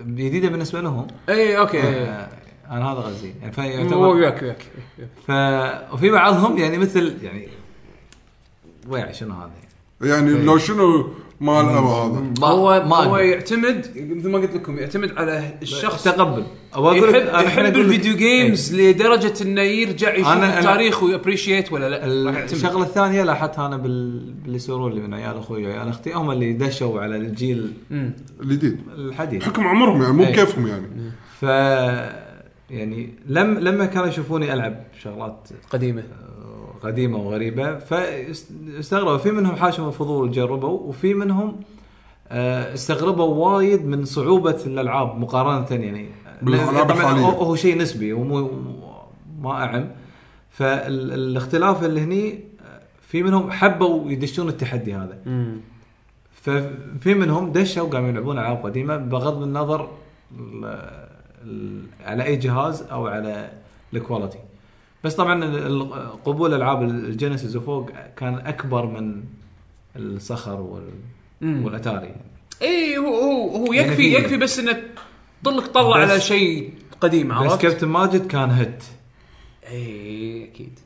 [SPEAKER 2] جديده بالنسبه لهم
[SPEAKER 1] اي اوكي
[SPEAKER 3] إيه.
[SPEAKER 2] آه، انا هذا قصدي يعني
[SPEAKER 1] هو
[SPEAKER 2] فيعتبر
[SPEAKER 1] وياك وياك
[SPEAKER 2] ف وفي بعضهم يعني مثل يعني ويع شنو هذا يعني
[SPEAKER 1] إيه.
[SPEAKER 3] يعني لو شنو مال هذا
[SPEAKER 2] ما-
[SPEAKER 1] هو
[SPEAKER 2] ما
[SPEAKER 1] هو
[SPEAKER 2] أدري.
[SPEAKER 1] يعتمد مثل ما قلت لكم يعتمد على الشخص
[SPEAKER 2] تقبل أو أقول لك-
[SPEAKER 1] يحب
[SPEAKER 2] أنا الحين أقول
[SPEAKER 1] يحب
[SPEAKER 2] لك- إيه.
[SPEAKER 1] الفيديو جيمز لدرجه انه يرجع يشوف
[SPEAKER 2] أنا- أنا-
[SPEAKER 1] التاريخ ويابريشيت ولا لا راح
[SPEAKER 2] ال-
[SPEAKER 1] يعتمد.
[SPEAKER 2] الشغله الثانيه لاحظتها انا بال... باللي يسولون لي من عيال اخوي وعيال اختي هم اللي دشوا على الجيل
[SPEAKER 1] أمم.
[SPEAKER 3] الجديد
[SPEAKER 2] الحديث
[SPEAKER 3] حكم عمرهم يعني مو
[SPEAKER 1] إيه.
[SPEAKER 2] إي.
[SPEAKER 3] بكيفهم يعني
[SPEAKER 2] ف يعني لم لما كانوا يشوفوني العب شغلات
[SPEAKER 1] قديمه
[SPEAKER 2] آه، قديمه وغريبه فاستغربوا في منهم حاشهم الفضول جربوا وفي منهم آه، استغربوا وايد من صعوبه الالعاب مقارنه يعني
[SPEAKER 3] بالألعاب
[SPEAKER 2] طبعاً
[SPEAKER 3] الحالية.
[SPEAKER 2] هو- هو شيء نسبي ومو ما اعم فالاختلاف اللي هني آه، في منهم حبوا يدشون التحدي هذا ففي منهم دشوا قاموا يلعبون العاب قديمه بغض النظر ال- ال- على اي جهاز او على الكواليتي بس طبعا ال- ال- قبول العاب الجينيسيس وفوق كان اكبر من الصخر وال- والاتاري يعني.
[SPEAKER 1] اي إيه، هو هو هو
[SPEAKER 2] يعني
[SPEAKER 1] يكفي
[SPEAKER 2] في-
[SPEAKER 1] يكفي بس انه طلق طلع
[SPEAKER 2] بس-
[SPEAKER 1] على شيء قديم
[SPEAKER 2] بس
[SPEAKER 1] عرفت؟ إيه،
[SPEAKER 2] كابتن ماجد كان هيت
[SPEAKER 1] اي اكيد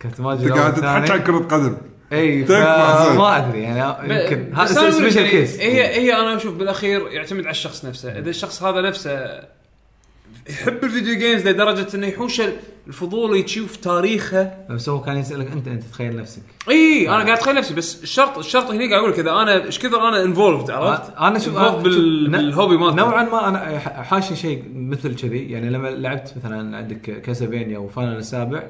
[SPEAKER 2] كابتن ماجد
[SPEAKER 3] انت
[SPEAKER 2] الأول
[SPEAKER 3] قاعد
[SPEAKER 2] والثاني.
[SPEAKER 3] تحكي عن كره قدم
[SPEAKER 2] اي
[SPEAKER 3] تكفى زين.
[SPEAKER 2] فا- ما ادري يعني يمكن
[SPEAKER 1] بس
[SPEAKER 2] هذا
[SPEAKER 1] أنا أقول لك
[SPEAKER 2] سبيشل
[SPEAKER 1] يعني
[SPEAKER 2] كيس
[SPEAKER 1] هي هي انا اشوف بالاخير يعتمد على الشخص نفسه اذا الشخص هذا نفسه يحب الفيديو جيمز لدرجه انه يحوش الفضول يشوف تاريخه
[SPEAKER 2] بس هو كان يسالك انت انت تخيل نفسك
[SPEAKER 1] اي
[SPEAKER 2] آه.
[SPEAKER 1] انا قاعد اتخيل نفسي بس الشرط الشرط هنا قاعد اقول لك اذا انا ايش كثر انا انفولفد عرفت؟
[SPEAKER 2] انا شوف
[SPEAKER 1] involved بال-
[SPEAKER 2] شوف، ن-
[SPEAKER 1] بالهوبي مالتي.
[SPEAKER 2] نوعا ما انا ح- حاشي شيء مثل كذي يعني لما لعبت مثلا عندك كاسلفينيا وفاينل السابع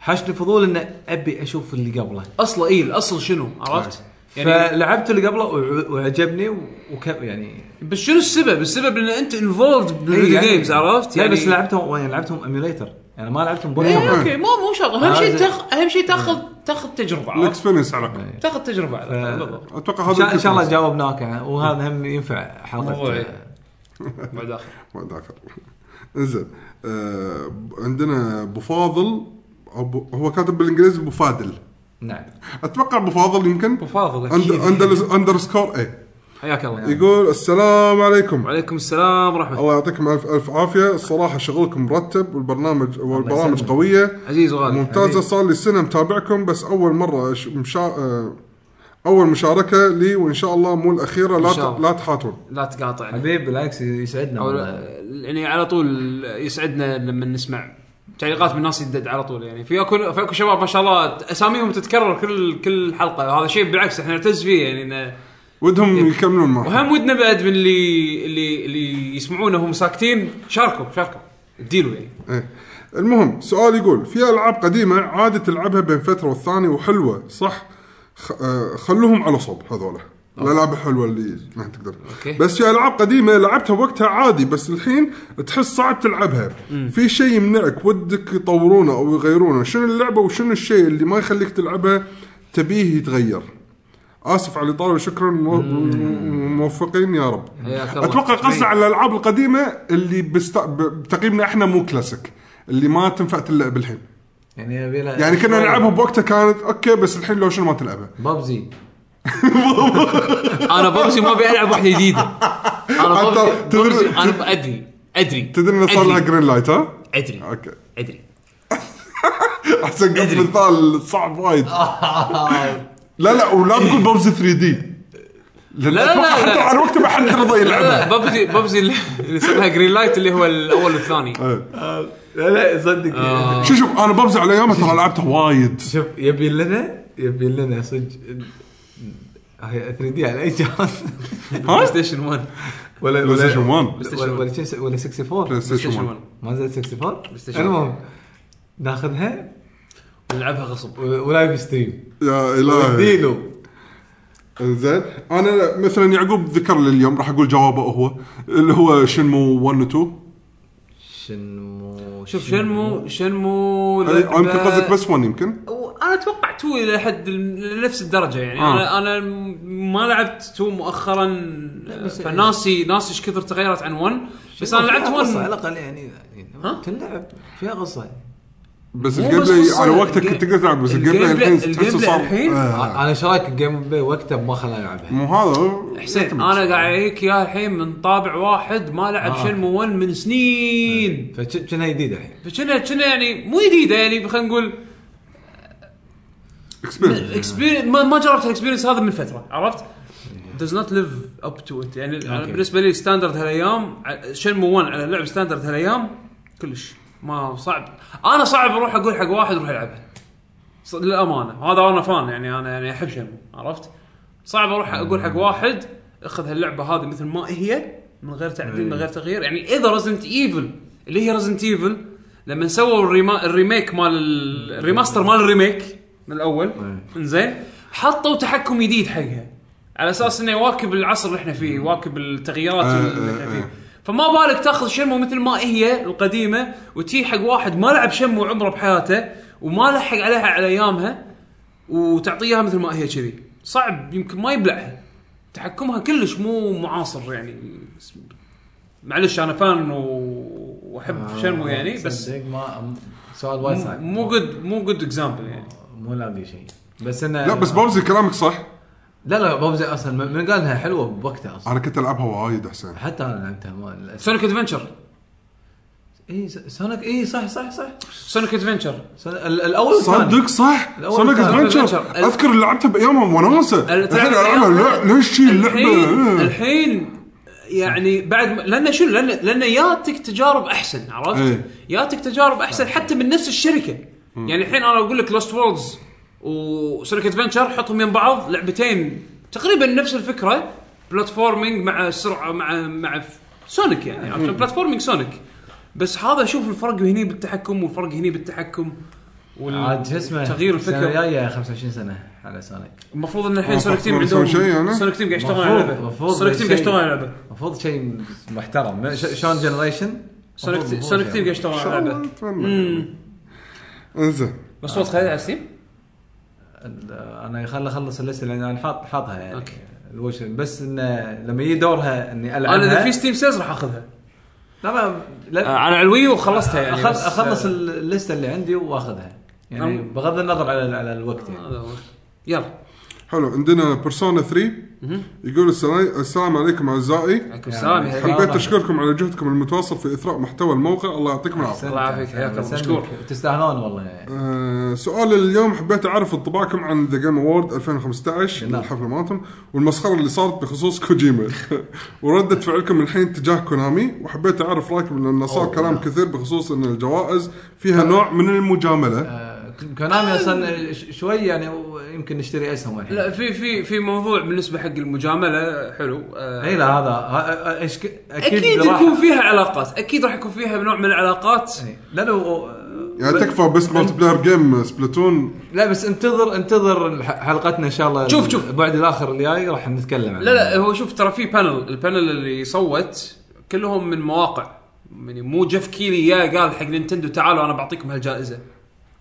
[SPEAKER 2] حاشني فضول انه ابي اشوف اللي قبله
[SPEAKER 1] اصلا اي الاصل شنو عرفت؟
[SPEAKER 2] آه.
[SPEAKER 1] يعني
[SPEAKER 2] فلعبت اللي قبله وع- وعجبني وك يعني
[SPEAKER 1] بس شنو السبب؟ السبب ان انت انفولفد بالفيديو جيمز عرفت؟
[SPEAKER 2] إيه، يعني لا بس لعبتهم يعني لعبتهم ايميوليتر يعني ما لعبتهم بولا
[SPEAKER 1] ايه اوكي مو مو شرط اهم
[SPEAKER 2] هذا- إيه.
[SPEAKER 1] شيء تاخ... اهم شيء تاخذ تاخذ تجربه عرفت؟
[SPEAKER 3] الاكسبيرينس على الاقل
[SPEAKER 1] تاخذ تجربه على الأقل،
[SPEAKER 2] ف-
[SPEAKER 1] بالضبط.
[SPEAKER 3] اتوقع
[SPEAKER 2] ان
[SPEAKER 3] هذا
[SPEAKER 2] شاء- يعني. إن شاء الله
[SPEAKER 3] الكيس.
[SPEAKER 2] جاوبناك يعني، وهذا هم ينفع
[SPEAKER 1] موضوعي.
[SPEAKER 2] حلقه
[SPEAKER 1] بعد آخر.
[SPEAKER 3] ما اتذكر انزين آه، عندنا ابو فاضل أو أبو- هو كاتب بالانجليزي ابو فادل
[SPEAKER 2] نعم
[SPEAKER 3] اتوقع ابو فاضل يمكن
[SPEAKER 1] وفاضل
[SPEAKER 3] أند-
[SPEAKER 1] اكيد
[SPEAKER 3] أندر- اندرسكور اي
[SPEAKER 1] حياك
[SPEAKER 2] نعم. إيه.
[SPEAKER 1] الله
[SPEAKER 3] يقول السلام عليكم
[SPEAKER 1] وعليكم السلام ورحمه الله
[SPEAKER 3] الله يعطيكم الف الف عافيه الصراحه شغلكم مرتب والبرنامج والبرامج
[SPEAKER 2] يسلمك.
[SPEAKER 3] قويه
[SPEAKER 1] عزيز وغالي
[SPEAKER 3] ممتازه صار لي سنه متابعكم بس اول مره ش- مشا... آه، اول مشاركه لي وان شاء الله مو الاخيره لا
[SPEAKER 1] إن شاء
[SPEAKER 3] ت...
[SPEAKER 1] الله.
[SPEAKER 3] لا تحاتون
[SPEAKER 1] لا تقاطع
[SPEAKER 2] حبيب بالعكس يسعدنا
[SPEAKER 1] أو
[SPEAKER 2] والله.
[SPEAKER 1] يعني على طول يسعدنا لما نسمع تعليقات من الناس يدد على طول يعني في اكو في اكو شباب ما شاء الله اساميهم تتكرر كل كل حلقه هذا شيء بالعكس احنا نعتز فيه يعني إنه
[SPEAKER 3] ودهم
[SPEAKER 2] إيه.
[SPEAKER 3] يكملون معكم
[SPEAKER 1] وهم ودنا بعد من اللي اللي اللي يسمعونا وهم ساكتين شاركوا شاركوا ديلوا يعني
[SPEAKER 3] إيه. المهم سؤال يقول في العاب قديمه عاده تلعبها بين فتره والثانيه وحلوه صح خ... آه، خلوهم على صوب هذولا الالعاب الحلوه اللي ما تقدر
[SPEAKER 1] أوكي.
[SPEAKER 3] بس في العاب قديمه لعبتها وقتها عادي بس الحين تحس صعب تلعبها في شيء يمنعك ودك يطورونه او يغيرونه شنو اللعبه وشنو الشيء اللي ما يخليك تلعبها تبيه يتغير اسف على الاطاله وشكرا مو- موفقين يا رب
[SPEAKER 1] حياك الله.
[SPEAKER 3] اتوقع قصده على الالعاب القديمه اللي بست... ب- بتقييمنا احنا مو كلاسيك اللي ما تنفع تلعب الحين
[SPEAKER 2] يعني يبي لها
[SPEAKER 3] يعني كنا
[SPEAKER 2] شوي.
[SPEAKER 1] أيوة.
[SPEAKER 3] نلعبها بوقتها كانت اوكي بس الحين لو شنو ما تلعبها
[SPEAKER 2] بابزي
[SPEAKER 1] انا بابجي ما ابي العب واحده جديده انا
[SPEAKER 3] أنت
[SPEAKER 1] بابجي-
[SPEAKER 3] تدري-
[SPEAKER 1] بابجي انا ب- ادري ادري
[SPEAKER 3] تدري انه صار لها
[SPEAKER 1] أدري.
[SPEAKER 3] جرين لايت ها؟
[SPEAKER 1] ادري
[SPEAKER 3] اوكي
[SPEAKER 1] ادري
[SPEAKER 3] احسن قلت
[SPEAKER 1] أدري.
[SPEAKER 3] مثال صعب وايد لا لا ولا تقول بوبز 3 دي لا
[SPEAKER 1] لا، لا، لا.
[SPEAKER 3] حتى على وقته ما حد رضى
[SPEAKER 1] لا لا
[SPEAKER 3] يلعبها
[SPEAKER 1] بابجي بابجي اللي- اللي صار لها جرين لايت اللي هو الاول والثاني
[SPEAKER 2] لا لا صدق
[SPEAKER 1] آه.
[SPEAKER 3] شوف شوف انا بوبز على ايامها ترى لعبتها وايد
[SPEAKER 2] شوف يبي لنا يبي لنا صدق هي 3 دي على اي جهاز
[SPEAKER 1] بلاي ستيشن 1
[SPEAKER 2] ولا
[SPEAKER 3] بلاي ستيشن 1
[SPEAKER 2] ولا ولا شي- ولا 64
[SPEAKER 3] بلاي ستيشن
[SPEAKER 1] بلاي
[SPEAKER 3] 1
[SPEAKER 1] ستيشن 1
[SPEAKER 2] ما زال 64
[SPEAKER 1] ستيشن.
[SPEAKER 2] المهم ناخذها
[SPEAKER 1] نلعبها غصب
[SPEAKER 2] و- ولايف ستريم
[SPEAKER 3] يا الهي
[SPEAKER 2] ديلو
[SPEAKER 3] انزين انا مثلا يعقوب ذكر لي اليوم راح اقول جوابه هو اللي هو شنمو 1 و 2
[SPEAKER 2] شنمو
[SPEAKER 1] شوف شنمو شنمو
[SPEAKER 3] هذه-
[SPEAKER 1] لعبة-
[SPEAKER 3] يمكن قصدك بس 1 يمكن
[SPEAKER 1] انا اتوقع تو الى حد ال- نفس الدرجه يعني
[SPEAKER 3] آه.
[SPEAKER 1] انا انا ما لعبت تو مؤخرا فناسي ناسي ايش كثر تغيرت عن 1 بس انا لعبت
[SPEAKER 2] قصه على
[SPEAKER 1] 1
[SPEAKER 2] الاقل يعني يعني
[SPEAKER 1] ها؟
[SPEAKER 2] تلعب فيها قصه
[SPEAKER 3] بس
[SPEAKER 1] مو
[SPEAKER 3] الجيم
[SPEAKER 1] بس
[SPEAKER 3] بلاي
[SPEAKER 1] قصة،
[SPEAKER 3] على وقتك
[SPEAKER 1] الجيم-
[SPEAKER 3] كنت تقدر تلعب بس الجيم
[SPEAKER 1] الجيم
[SPEAKER 3] بلاي
[SPEAKER 1] بلاي-
[SPEAKER 3] الحين
[SPEAKER 1] الجيم
[SPEAKER 3] تحسه
[SPEAKER 1] بلاي
[SPEAKER 3] صعب
[SPEAKER 1] الحين؟
[SPEAKER 3] آه.
[SPEAKER 2] انا ايش رايك الجيم بلاي وقته ما خلاني العبها
[SPEAKER 3] مو هذا
[SPEAKER 1] حسين
[SPEAKER 3] يعتمد.
[SPEAKER 1] انا إيه، قاعد اعيك يا الحين من طابع واحد ما لعب
[SPEAKER 2] آه.
[SPEAKER 1] شنمو 1 من سنين
[SPEAKER 2] فكنا جديد الحين
[SPEAKER 1] فكنا كنا يعني مو جديده يعني خلينا نقول
[SPEAKER 3] Experience.
[SPEAKER 1] اكسبيرينس ما ما جربت الاكسبيرينس هذا من فتره عرفت؟ does not live up to it يعني أنا بالنسبه لي ستاندرد هالايام ع- شنمو 1 على لعب ستاندرد هالايام كلش ما صعب انا صعب اروح اقول حق واحد روح العبها ص- للامانه هذا انا فان يعني انا يعني احب شنمو عرفت؟ صعب اروح اقول حق واحد اخذ هاللعبه هذه مثل ما هي من غير تعديل من غير تغيير يعني اذا رزنت ايفل اللي هي رزنت ايفل لما سووا الريما الريميك مال ال- الريماستر مال الريميك من الاول انزين حطوا تحكم جديد حقها على اساس انه يواكب العصر اللي احنا فيه يواكب التغييرات
[SPEAKER 3] آه،
[SPEAKER 1] اللي احنا
[SPEAKER 3] آه،
[SPEAKER 1] فيه
[SPEAKER 3] آه.
[SPEAKER 1] فما بالك تاخذ شنمو مثل ما هي القديمه وتي حق واحد ما لعب شنمو عمره بحياته وما لحق عليها على ايامها وتعطيها مثل ما هي كذي صعب يمكن ما يبلعها تحكمها كلش مو معاصر يعني معلش انا فان و- واحب شنمو يعني بس
[SPEAKER 2] آه، صدق ما سؤال وايد صعب
[SPEAKER 1] مو جود مو جود اكزامبل يعني
[SPEAKER 2] مو لاقي شيء بس انه
[SPEAKER 3] لا بس بابزي كلامك صح
[SPEAKER 2] لا لا بابزي اصلا من من قالها حلوه بوقتها اصلا
[SPEAKER 3] انا كنت العبها وايد حسين
[SPEAKER 2] حتى انا لعبتها ما للأسف.
[SPEAKER 1] سونيك ادفنشر
[SPEAKER 2] اي س- سونيك اي صح صح صح
[SPEAKER 1] سونيك ادفنشر
[SPEAKER 2] سون- ال- الاول كان-
[SPEAKER 3] صدق صح
[SPEAKER 2] الأول
[SPEAKER 3] سونيك
[SPEAKER 2] كان-
[SPEAKER 3] ادفنشر
[SPEAKER 1] Adventure. ال-
[SPEAKER 3] اذكر لعبتها بايامها وناسه
[SPEAKER 1] ال-
[SPEAKER 3] الحين
[SPEAKER 1] تلعب
[SPEAKER 3] العبها
[SPEAKER 1] بأيامها.
[SPEAKER 3] لا إيه. ليش شي
[SPEAKER 1] الحين
[SPEAKER 3] اللعبه
[SPEAKER 1] الحين يعني بعد ما- لان شنو لان لان ياتك تجارب احسن عرفت؟
[SPEAKER 3] إيه.
[SPEAKER 1] ياتك تجارب احسن حتى من نفس الشركه يعني الحين انا اقول لك لوست وورلدز وسونيك ادفنشر حطهم يم بعض لعبتين تقريبا نفس الفكره بلاتفورمينج مع سرعه مع مع سونيك يعني عرفت؟ بلاتفورمينج سونيك بس هذا شوف الفرق هني بالتحكم والفرق هني بالتحكم وال-
[SPEAKER 2] عاد شو اسمه
[SPEAKER 1] تغيير
[SPEAKER 2] السنه
[SPEAKER 1] الفكر
[SPEAKER 2] الجايه 25 سنه على سونيك
[SPEAKER 1] المفروض ان الحين
[SPEAKER 3] آه،
[SPEAKER 1] سونيك تيم
[SPEAKER 3] فاكر
[SPEAKER 1] عندهم
[SPEAKER 3] يسوي شيء يعني؟
[SPEAKER 1] سونيك تيم قاعد يشتغل على
[SPEAKER 2] مفروض-
[SPEAKER 1] لعبه
[SPEAKER 2] مفروض
[SPEAKER 1] سونيك تيم قاعد
[SPEAKER 2] شيء.
[SPEAKER 1] يشتغل على لعبه
[SPEAKER 2] المفروض شيء محترم ما- ش- شلون جنريشن
[SPEAKER 1] سونيك
[SPEAKER 2] مفروض-
[SPEAKER 1] سونيك تيم
[SPEAKER 2] مفروض
[SPEAKER 1] قاعد
[SPEAKER 2] يعني.
[SPEAKER 1] يشتغل على لعبه
[SPEAKER 3] انزين
[SPEAKER 1] بس صوت خليها على ستيم
[SPEAKER 2] ال- انا خل اخلص اللسته لان انا حاط حاطها يعني
[SPEAKER 1] أوكي.
[SPEAKER 2] الوش بس انه لما يجي دورها اني العبها
[SPEAKER 1] انا اذا في ستيم سيلز راح اخذها
[SPEAKER 2] لا ما لا
[SPEAKER 1] آه، على الوي وخلصتها يعني
[SPEAKER 2] أخل
[SPEAKER 1] بس،
[SPEAKER 2] اخلص
[SPEAKER 1] آه،
[SPEAKER 2] ال- اللسته اللي عندي واخذها يعني
[SPEAKER 1] أم-
[SPEAKER 2] بغض النظر على على الوقت يعني
[SPEAKER 1] هذا هو. يلا
[SPEAKER 3] حلو عندنا بيرسونا 3 يقول السلام السلام عليكم اعزائي
[SPEAKER 1] عليكم السلام يا حبيبي
[SPEAKER 3] حبيت اشكركم على جهدكم المتواصل في اثراء محتوى الموقع الله يعطيكم العافيه.
[SPEAKER 1] الله يعافيك، حياك الله،
[SPEAKER 2] بس
[SPEAKER 1] مشكور.
[SPEAKER 2] إنك تستاهلون والله
[SPEAKER 3] آه، سؤال اليوم حبيت اعرف انطباعكم عن ذا جيم اوورد 2015
[SPEAKER 2] نعم.
[SPEAKER 3] الحفله مالتهم والمسخره اللي صارت بخصوص كوجيما ورده فعلكم الحين تجاه كونامي وحبيت اعرف رايكم لان صار كلام كثير بخصوص ان الجوائز
[SPEAKER 1] أه.
[SPEAKER 3] فيها نوع من المجامله
[SPEAKER 2] آه، كونامي اصلا ش- شوي يعني و- يمكن نشتري اسهم الحين
[SPEAKER 1] لا في في في موضوع بالنسبه حق المجامله حلو آه،
[SPEAKER 2] اي لا هذا ه- أ- أشك... اكيد,
[SPEAKER 1] اكيد
[SPEAKER 2] راح-
[SPEAKER 1] يكون فيها علاقات اكيد راح يكون فيها نوع من العلاقات
[SPEAKER 2] إي. لا لو
[SPEAKER 3] يعني تكفى بس مالتي بلاير جيم سبلاتون
[SPEAKER 2] لا بس انتظر انتظر ح- حلقتنا ان شاء الله
[SPEAKER 1] شوف- شوف.
[SPEAKER 2] البعد الاخر الجاي راح نتكلم عنه
[SPEAKER 1] لا لا هو شوف ترى في بانل البانل اللي صوت كلهم من مواقع يعني مو جيف كيلي يا قال حق نينتندو تعالوا انا بعطيكم هالجائزه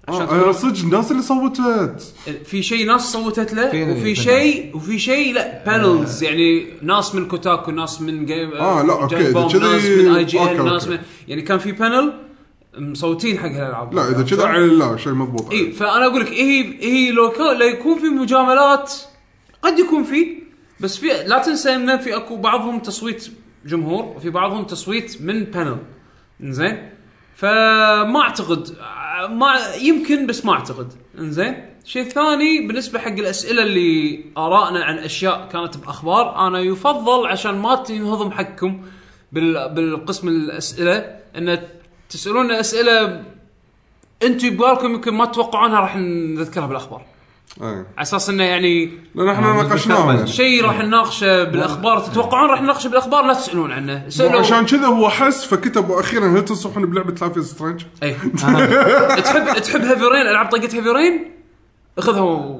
[SPEAKER 1] عشان
[SPEAKER 3] آه، آه، صدق الناس اللي صوتت
[SPEAKER 1] في شيء ناس صوتت له
[SPEAKER 2] في-
[SPEAKER 1] وفي
[SPEAKER 2] في
[SPEAKER 1] شيء وفي شيء لا بانلز يعني ناس من كوتاكو ناس من جيم
[SPEAKER 3] آه، لا، أوكي،
[SPEAKER 1] جيم
[SPEAKER 3] إذا
[SPEAKER 1] بوم،
[SPEAKER 3] كذي-
[SPEAKER 1] ناس من اي جي
[SPEAKER 3] أوكي،
[SPEAKER 1] ان ناس
[SPEAKER 3] أوكي.
[SPEAKER 1] من يعني كان في بانل مصوتين حق هالالعاب
[SPEAKER 3] لا اذا كذا على الله شيء مضبوط
[SPEAKER 1] اي فانا اقول إيه، لك ايه ايه لو كان- لو يكون في مجاملات قد يكون في بس في لا تنسى ان في اكو بعضهم تصويت جمهور وفي بعضهم تصويت من بانل انزين فما اعتقد ع- ما يمكن بس ما اعتقد انزين شيء ثاني بالنسبه حق الاسئله اللي ارائنا عن اشياء كانت باخبار انا يفضل عشان ما تنهضم حقكم بال- بالقسم الاسئله ان تسالونا اسئله انتم ببالكم يمكن ما تتوقعونها راح نذكرها بالاخبار
[SPEAKER 3] إيه.
[SPEAKER 1] على اساس انه يعني
[SPEAKER 3] لان احنا ناقشناهم يعني.
[SPEAKER 1] شيء راح نناقشه بالاخبار تتوقعون راح نناقشه بالاخبار لا تسالون عنه
[SPEAKER 3] مو
[SPEAKER 1] سالوا
[SPEAKER 3] عشان كذا هو حس فكتب اخيرا هل تنصحون بلعبه لايف سترينج؟
[SPEAKER 1] اي إيه. تحب تحب هيفي رين العاب طقه هيفي رين اخذها و...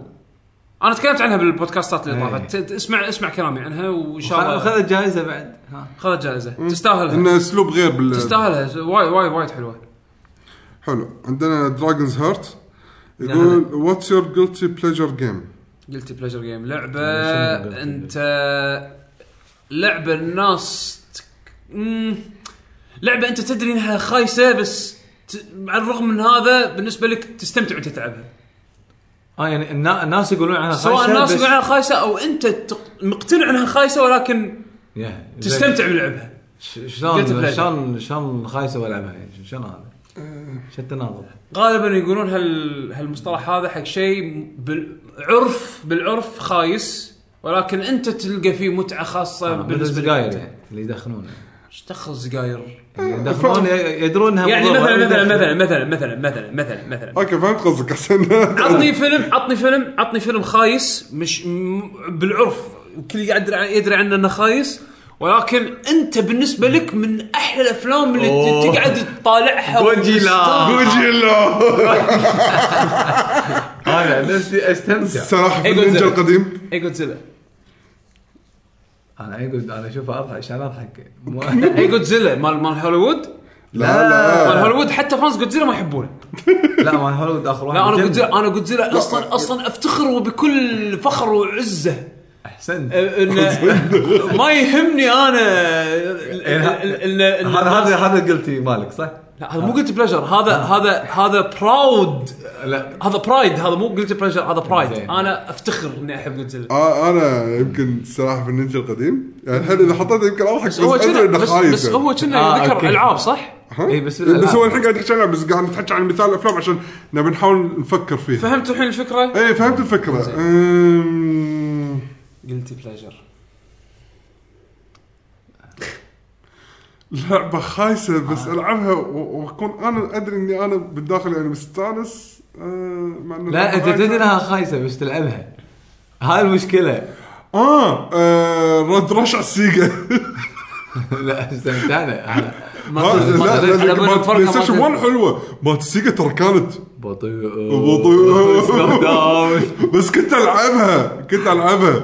[SPEAKER 1] انا تكلمت عنها بالبودكاستات اللي طافت ت- اسمع اسمع كلامي عنها وان شاء الله
[SPEAKER 2] خذ الجائزه بعد ها
[SPEAKER 1] خذ جائزه تستاهلها
[SPEAKER 3] انه اسلوب غير بال
[SPEAKER 1] تستاهلها وايد وايد وايد حلوه
[SPEAKER 3] حلو عندنا دراجونز هارت يقول واتس يور جلتي بليجر جيم
[SPEAKER 1] قلت بليجر جيم لعبه
[SPEAKER 2] شنو قلتي؟
[SPEAKER 1] انت لعبه الناس تك- مم. لعبه انت تدري انها خايسه بس ت... على الرغم من هذا بالنسبه لك تستمتع وانت تلعبها
[SPEAKER 2] اه يعني النا- الناس يقولون عنها
[SPEAKER 1] سواء
[SPEAKER 2] خايسة
[SPEAKER 1] الناس
[SPEAKER 2] بس-
[SPEAKER 1] يقولون عنها خايسه او انت تق- مقتنع انها خايسه ولكن
[SPEAKER 2] يا، زين.
[SPEAKER 1] تستمتع بلعبها
[SPEAKER 2] ش-
[SPEAKER 1] Guilty
[SPEAKER 2] شلون
[SPEAKER 1] pleasure.
[SPEAKER 2] شلون شلون خايسه والعبها يعني شلون هذا؟
[SPEAKER 1] آه.
[SPEAKER 2] شتى ناظر
[SPEAKER 1] غالبا يقولون هال... هالمصطلح هذا حق شيء بالعرف بالعرف خايس ولكن انت تلقى فيه متعه خاصه
[SPEAKER 2] مثل
[SPEAKER 1] بالنسبه لك
[SPEAKER 2] السجاير يعني اللي يدخنونه
[SPEAKER 1] ايش دخل السجاير؟
[SPEAKER 2] يعني يدخنون ي- يدرون انها
[SPEAKER 1] يعني
[SPEAKER 2] مضرة،
[SPEAKER 1] مثلا مثلا
[SPEAKER 2] يدخنون.
[SPEAKER 1] مثلا مثلا مثلا مثلا مثلا مثلا
[SPEAKER 3] اوكي فهمت قصدك حسين
[SPEAKER 1] عطني فيلم عطني فيلم عطني فيلم خايس مش م- بالعرف الكل يدري عن- يدري عنه انه خايس ولكن انت بالنسبه لك من احلى الافلام اللي ت- تقعد تطالعها
[SPEAKER 2] جوجيلا.
[SPEAKER 3] جوجيلا
[SPEAKER 2] انا نفسي استمتع
[SPEAKER 3] سلاحف
[SPEAKER 1] إيه،
[SPEAKER 3] النينجا
[SPEAKER 1] جودزيلا.
[SPEAKER 3] القديم
[SPEAKER 1] اي جودزيلا
[SPEAKER 2] إيه انا اقول انا اشوفها اضحك عشان اضحك مو-
[SPEAKER 1] اي جودزيلا مال مال هوليوود
[SPEAKER 3] لا
[SPEAKER 1] مال
[SPEAKER 3] لا
[SPEAKER 1] هوليوود حتى فانز جودزيلا ما يحبونه
[SPEAKER 2] لا ما هوليوود اخر واحد
[SPEAKER 1] لا انا
[SPEAKER 2] جن-
[SPEAKER 1] جودزيلا انا جودزيلا اصلا اصلا افتخر وبكل فخر وعزه
[SPEAKER 2] احسنت
[SPEAKER 1] ان ما يهمني انا ان ان
[SPEAKER 2] هذا هذا هذا قلتي مالك صح؟
[SPEAKER 1] لا هذا مو قلت بلجر هذا هذا هذا براود
[SPEAKER 2] لا
[SPEAKER 1] هذا برايد هذا مو قلت بلجر هذا برايد
[SPEAKER 2] زين.
[SPEAKER 1] انا افتخر اني احب جودزيلا
[SPEAKER 3] آه، انا يمكن سلاحف النينجا القديم يعني الحين اذا حطيته يمكن اضحك بس
[SPEAKER 1] هو
[SPEAKER 3] ادري
[SPEAKER 1] كنا
[SPEAKER 3] انه
[SPEAKER 1] بس,
[SPEAKER 3] خايس
[SPEAKER 1] بس
[SPEAKER 3] يعني.
[SPEAKER 1] هو كنا
[SPEAKER 2] آه،
[SPEAKER 1] ذكر
[SPEAKER 2] أوكي.
[SPEAKER 1] العاب صح؟
[SPEAKER 3] ها؟
[SPEAKER 2] اي إيه، بس
[SPEAKER 3] بس هو
[SPEAKER 2] بالألعاب.
[SPEAKER 3] الحين قاعد يحكي عنها بس قاعد نتحكي عن مثال الافلام عشان نبي نحاول نفكر فيه
[SPEAKER 1] فهمتوا الحين الفكره؟
[SPEAKER 3] ايه فهمت الفكره أمم،
[SPEAKER 1] قلت بلجر
[SPEAKER 3] لعبه خايسه
[SPEAKER 2] آه.
[SPEAKER 3] بس العبها و- واكون انا ادري اني انا بالداخل يعني مستانس آه، مع إن
[SPEAKER 2] لا
[SPEAKER 3] اللعبة
[SPEAKER 2] انت
[SPEAKER 3] خايسة.
[SPEAKER 2] تدري انها خايسه بس تلعبها هاي المشكله
[SPEAKER 3] اه آه، رد رش على السيجا
[SPEAKER 2] لا استمتعنا
[SPEAKER 3] لا آه، لا
[SPEAKER 2] تدري.
[SPEAKER 3] لا،
[SPEAKER 1] على بالي
[SPEAKER 3] مالت
[SPEAKER 1] الفرق
[SPEAKER 3] بلاي
[SPEAKER 1] ما
[SPEAKER 3] ستيشن
[SPEAKER 1] تدري.
[SPEAKER 3] 1 حلوه مالت السيجا ترى كانت
[SPEAKER 2] بطيء
[SPEAKER 3] بطيء.
[SPEAKER 2] استخدام
[SPEAKER 3] بس كنت العبها كنت العبها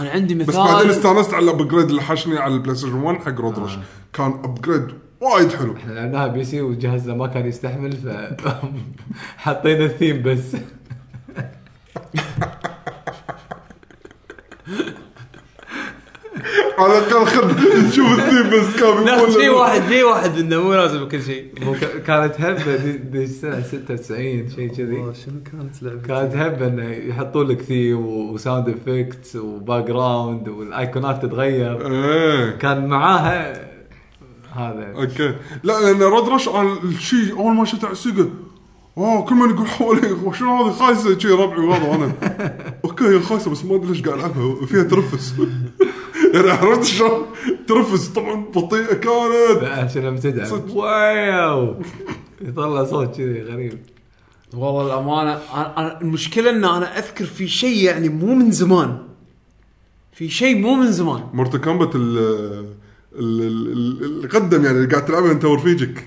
[SPEAKER 1] انا عندي
[SPEAKER 3] بس بعدين
[SPEAKER 1] مثال
[SPEAKER 3] استانست على الابجريد اللي حشني على البلاي ستيشن 1 حق رود
[SPEAKER 1] آه.
[SPEAKER 3] رش كان ابجريد وايد حلو
[SPEAKER 2] لعبناها بي سي وجهازنا ما كان يستحمل ف حطينا الثيم بس
[SPEAKER 3] على الاقل خل نشوف الثيم بس كامل
[SPEAKER 1] لا
[SPEAKER 3] ولا
[SPEAKER 1] في
[SPEAKER 3] لا.
[SPEAKER 1] واحد في واحد انه مو لازم كل شيء
[SPEAKER 2] مو ك- كانت هبه دي, دي السنه 96 شيء كذي
[SPEAKER 8] شنو كانت لعبه؟
[SPEAKER 2] كانت هبه انه يحطون لك ثيم و- وساوند افكتس وباك جراوند والايقونات تتغير
[SPEAKER 3] ايه
[SPEAKER 2] كان معاها هذا
[SPEAKER 3] اوكي لا لان رود رش على الشيء اول ما شفته على السيجا اوه كل من يقول حولي شنو هذه خايسه شي ربعي وهذا وانا اوكي هي خايسه بس ما ادري ليش قاعد العبها فيها ترفس يعني عرفت شلون ترفس طبعا بطيئه كانت
[SPEAKER 2] عشان لما تدعم
[SPEAKER 3] صدق.
[SPEAKER 2] واو يطلع صوت كذي غريب
[SPEAKER 1] والله الامانه أنا- انا المشكله ان انا اذكر في شيء يعني مو من زمان في شيء مو من زمان
[SPEAKER 3] مورتا كومبات ال- ال- ال- ال- القدم يعني اللي قاعد تلعبها انت ورفيجك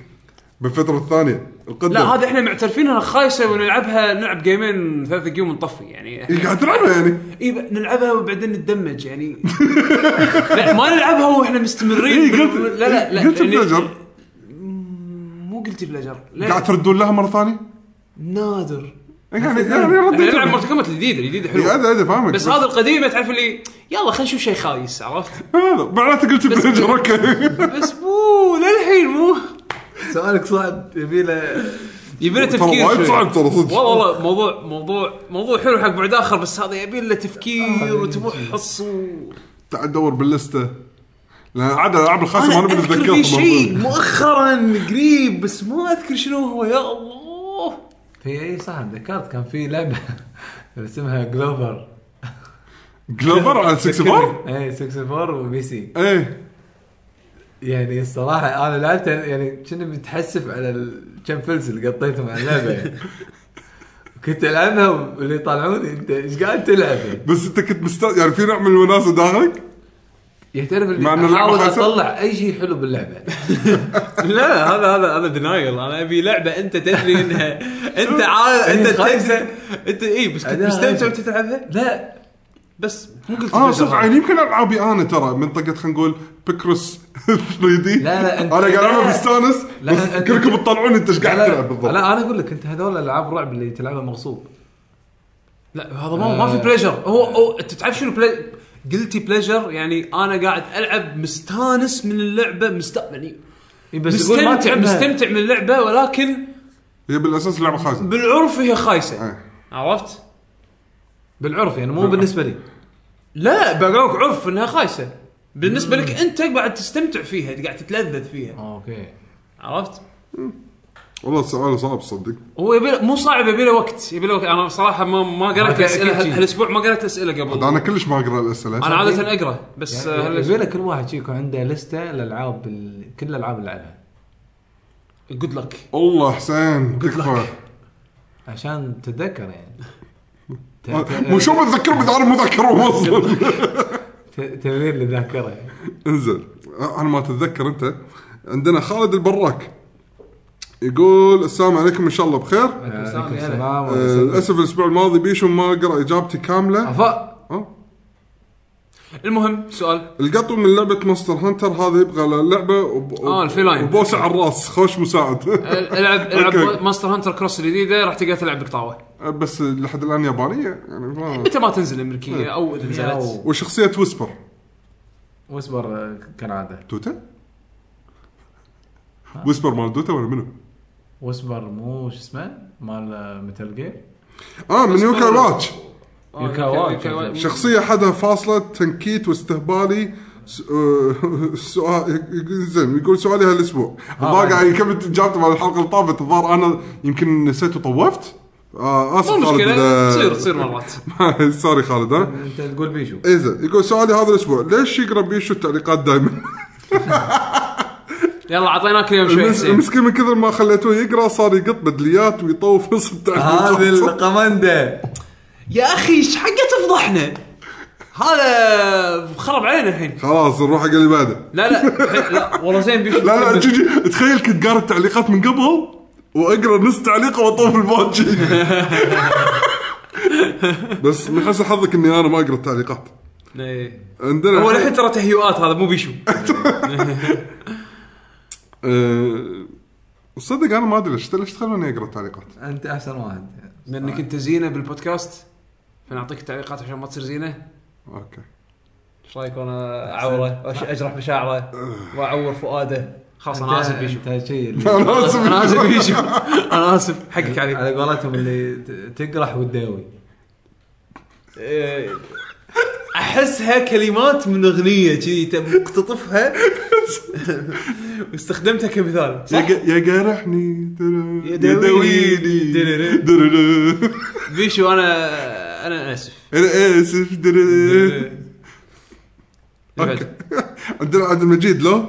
[SPEAKER 3] بالفتره الثانيه القدم
[SPEAKER 1] لا هذا احنا معترفين انها خايسه ونلعبها نلعب جيمين ثلاث جيم ونطفي يعني
[SPEAKER 3] إيه قاعد تلعبها يعني
[SPEAKER 1] اي ب- نلعبها وبعدين نتدمج يعني لا ما نلعبها واحنا مستمرين
[SPEAKER 3] إيه، قلت-
[SPEAKER 1] بال- لا لا لا
[SPEAKER 3] قلت
[SPEAKER 1] لأن-
[SPEAKER 3] بلجر.
[SPEAKER 1] مو قلت بلجر
[SPEAKER 3] قاعد
[SPEAKER 1] لا
[SPEAKER 3] تردون لها مره ثانيه
[SPEAKER 1] نادر
[SPEAKER 3] يعني يعني رديت
[SPEAKER 1] احنا نلعب مرتكبات الجديده الجديده
[SPEAKER 3] إيه،
[SPEAKER 1] حلوه
[SPEAKER 3] هذا هذا فاهمك
[SPEAKER 1] بس هذا القديم تعرف اللي يلا خلينا نشوف شيء خايس عرفت
[SPEAKER 3] إيه، هذا معناته قلت
[SPEAKER 1] بس-
[SPEAKER 3] بلجر اوكي
[SPEAKER 1] بس مو للحين مو
[SPEAKER 2] سؤالك صعب يبي له
[SPEAKER 1] يبي له
[SPEAKER 3] ترى
[SPEAKER 1] تفكير
[SPEAKER 3] وايد
[SPEAKER 1] شوي.
[SPEAKER 3] صعب ترى
[SPEAKER 1] والله
[SPEAKER 3] صدق
[SPEAKER 1] والله موضوع موضوع موضوع حلو حق بعد اخر بس هذا يبي له
[SPEAKER 3] آه،
[SPEAKER 1] تفكير وتمحص و...
[SPEAKER 3] تعال دور باللستة لان عاد الالعاب الخاصه ما
[SPEAKER 1] انا
[SPEAKER 3] نبي
[SPEAKER 1] اذكر في
[SPEAKER 3] نتذكرها
[SPEAKER 1] شيء مؤخرا قريب بس ما اذكر شنو هو يا الله
[SPEAKER 2] في اي صح ذكرت كان في لعبه اسمها جلوفر
[SPEAKER 3] جلوفر على 64
[SPEAKER 2] اي 64 وبي سي
[SPEAKER 3] ايه
[SPEAKER 2] يعني الصراحه انا لعبتها يعني كنا متحسف على ال- كم فلس اللي قطيتهم على اللعبه يعني. كنت العبها واللي يطالعوني انت ايش قاعد تلعب يعني؟"
[SPEAKER 3] بس انت كنت مست يعني في نوع من الوناسه داخلك
[SPEAKER 2] يعني تعرف اللي
[SPEAKER 3] مع إن اللعبة
[SPEAKER 2] احاول
[SPEAKER 3] خايسة؟
[SPEAKER 2] اطلع اي شيء حلو باللعبه
[SPEAKER 1] لا هذا هذا هذا دنايل انا ابي لعبه انت تدري انها انت عارف انت
[SPEAKER 2] هي خايسة.
[SPEAKER 1] تنسى انت اي بس كنت
[SPEAKER 2] أداها
[SPEAKER 1] مستمتع
[SPEAKER 2] خايسة.
[SPEAKER 1] وانت تلعبها
[SPEAKER 2] لا
[SPEAKER 1] بس مو قلت
[SPEAKER 3] اه
[SPEAKER 1] بلجر
[SPEAKER 3] صدق
[SPEAKER 1] هذا.
[SPEAKER 3] يعني يمكن العابي انا ترى منطقه خلينا نقول بكرس 3 دي
[SPEAKER 2] لا، لا،
[SPEAKER 3] انا
[SPEAKER 2] أنت-
[SPEAKER 3] قاعد العبها
[SPEAKER 2] لا.
[SPEAKER 3] مستانس
[SPEAKER 2] لا،
[SPEAKER 3] بس
[SPEAKER 2] أنت-
[SPEAKER 3] كلكم تطلعون انت ايش قاعد
[SPEAKER 2] لا-
[SPEAKER 3] تلعب بالضبط
[SPEAKER 2] لا انا اقول لك انت هذول العاب رعب اللي تلعبها مغصوب
[SPEAKER 1] لا هذا ما ما في بليجر هو هو انت تعرف شنو بلاي قلتي بليجر يعني انا قاعد العب مستانس من اللعبه مست يعني
[SPEAKER 2] إي إيه، بس يقول ما
[SPEAKER 1] مستمتع
[SPEAKER 2] تلعبها.
[SPEAKER 1] مستمتع من اللعبه ولكن
[SPEAKER 3] هي بالاساس لعبه خايسه
[SPEAKER 1] بالعرف هي خايسه
[SPEAKER 3] إيه.
[SPEAKER 1] عرفت؟
[SPEAKER 2] بالعرف يعني مو بالنسبه لي
[SPEAKER 1] لا بقولك عرف انها خايسه بالنسبه لك انت قاعد تستمتع فيها قاعد تتلذذ فيها
[SPEAKER 2] اوكي
[SPEAKER 1] عرفت؟
[SPEAKER 3] والله السؤال صعب صدق
[SPEAKER 1] هو يبي مو صعب يبي له وقت يبي له وقت انا بصراحه ما ما قريت
[SPEAKER 2] أكيد
[SPEAKER 1] اسئله
[SPEAKER 2] شي.
[SPEAKER 1] هالاسبوع ما قريت اسئله
[SPEAKER 3] عاد
[SPEAKER 1] قبل
[SPEAKER 3] انا كلش ما اقرا الاسئله
[SPEAKER 1] انا عاده اقرا بس آه،
[SPEAKER 2] يعني
[SPEAKER 1] هالأسبوع-
[SPEAKER 2] يبي لك كل واحد شي يكون عنده لسته الالعاب ال- كل الالعاب اللي لعبها
[SPEAKER 1] جود لك
[SPEAKER 3] الله حسين تكفى
[SPEAKER 2] عشان تتذكر يعني ت-
[SPEAKER 3] آه، مو شو بتذكرهم اذا انا مو ذاكرهم اصلا
[SPEAKER 2] ت- تمرين للذاكره يعني.
[SPEAKER 3] انزل انا آه، ما تتذكر انت عندنا خالد البراك يقول السلام عليكم ان شاء الله بخير
[SPEAKER 2] عليكم
[SPEAKER 1] هلا.
[SPEAKER 2] السلام
[SPEAKER 3] آه، للاسف الاسبوع الماضي بيشو ما قرا اجابتي كامله
[SPEAKER 2] عفا
[SPEAKER 3] أه؟
[SPEAKER 1] المهم سؤال
[SPEAKER 3] القطو من لعبه مونستر هانتر هذا يبغى له لعبه وب...
[SPEAKER 1] آه، الفيلاين.
[SPEAKER 3] وبوسه على الراس خوش مساعد
[SPEAKER 1] العب العب
[SPEAKER 3] أوكي.
[SPEAKER 1] ماستر هانتر كروس الجديده راح تقدر تلعب بقطاوه
[SPEAKER 3] بس لحد الان يابانيه يعني ما
[SPEAKER 1] متى ما تنزل امريكيه او اذا نزلت
[SPEAKER 3] وشخصيه ويسبر
[SPEAKER 2] واصبر آه، كالعاده
[SPEAKER 3] توتا ويسبر مال دوتا ولا منو؟
[SPEAKER 2] واصبر مو شو اسمه مال آه، متل جير
[SPEAKER 3] اه من يوكا واتش
[SPEAKER 1] آه،
[SPEAKER 2] يوكا
[SPEAKER 1] يوكا-
[SPEAKER 2] وايد.
[SPEAKER 1] يوكا وايد.
[SPEAKER 3] شخصيه حدها فاصله تنكيت واستهبالي س- آه، سؤال يق- زين يقول سؤالي يعني هالاسبوع
[SPEAKER 1] آه،
[SPEAKER 3] الظاهر قاعد يكمل اجابته على الحلقه اللي طافت الظاهر انا يمكن نسيت وطوفت آه اسف
[SPEAKER 1] مو
[SPEAKER 3] خالد
[SPEAKER 1] مشكله
[SPEAKER 3] إذا-
[SPEAKER 1] تصير تصير مرات
[SPEAKER 3] سوري خالد آه. ها
[SPEAKER 2] انت تقول بيشو
[SPEAKER 3] اذا يقول سؤالي هذا الاسبوع ليش يقرا بيشو التعليقات دائما؟
[SPEAKER 1] يلا اعطيناك اليوم شوي حسين
[SPEAKER 3] المسكين من كثر ما خليته يقرا صار يقط بدليات ويطوف نص التعليقات
[SPEAKER 2] هذه القمنده
[SPEAKER 8] يا اخي ايش حقه تفضحنا هذا خرب علينا الحين
[SPEAKER 3] خلاص نروح حق اللي بعده
[SPEAKER 1] لا لا الحين- لا والله زين بيشوف
[SPEAKER 3] لا لا جيجي تخيل كنت قاري التعليقات من قبل واقرا نص تعليقه واطوف الباجي بس من حسن حظك اني انا ما اقرا التعليقات
[SPEAKER 1] إيه.
[SPEAKER 3] عندنا
[SPEAKER 1] هو الحين ترى تهيؤات هذا مو بيشو
[SPEAKER 3] أه، صدق انا ما ادري ليش ليش تخلوني اقرا التعليقات
[SPEAKER 2] انت احسن واحد
[SPEAKER 1] لانك انت زينه بالبودكاست فنعطيك التعليقات عشان ما تصير زينه
[SPEAKER 3] اوكي
[SPEAKER 1] ايش رايك وانا اعوره وأش- اجرح مشاعره واعور فؤاده خلاص انا اسف بيشو
[SPEAKER 2] انت شيء اللي- يعني
[SPEAKER 3] انا اسف
[SPEAKER 1] انا اسف بيشو انا اسف حقك علي
[SPEAKER 2] على قولتهم اللي ت- تقرح وتداوي
[SPEAKER 8] إيه. احسها كلمات من اغنيه كذي تم- مقتطفها واستخدمتها كمثال
[SPEAKER 3] يا
[SPEAKER 8] صح؟
[SPEAKER 3] ج- يا جارحني درا-
[SPEAKER 8] يداويني.
[SPEAKER 3] يداويني.
[SPEAKER 8] درا-
[SPEAKER 3] درا-
[SPEAKER 1] بيشو انا انا اسف
[SPEAKER 3] انا اسف درا-
[SPEAKER 1] اللي
[SPEAKER 3] أوكي.
[SPEAKER 1] بعد.
[SPEAKER 3] عندنا عبد المجيد لو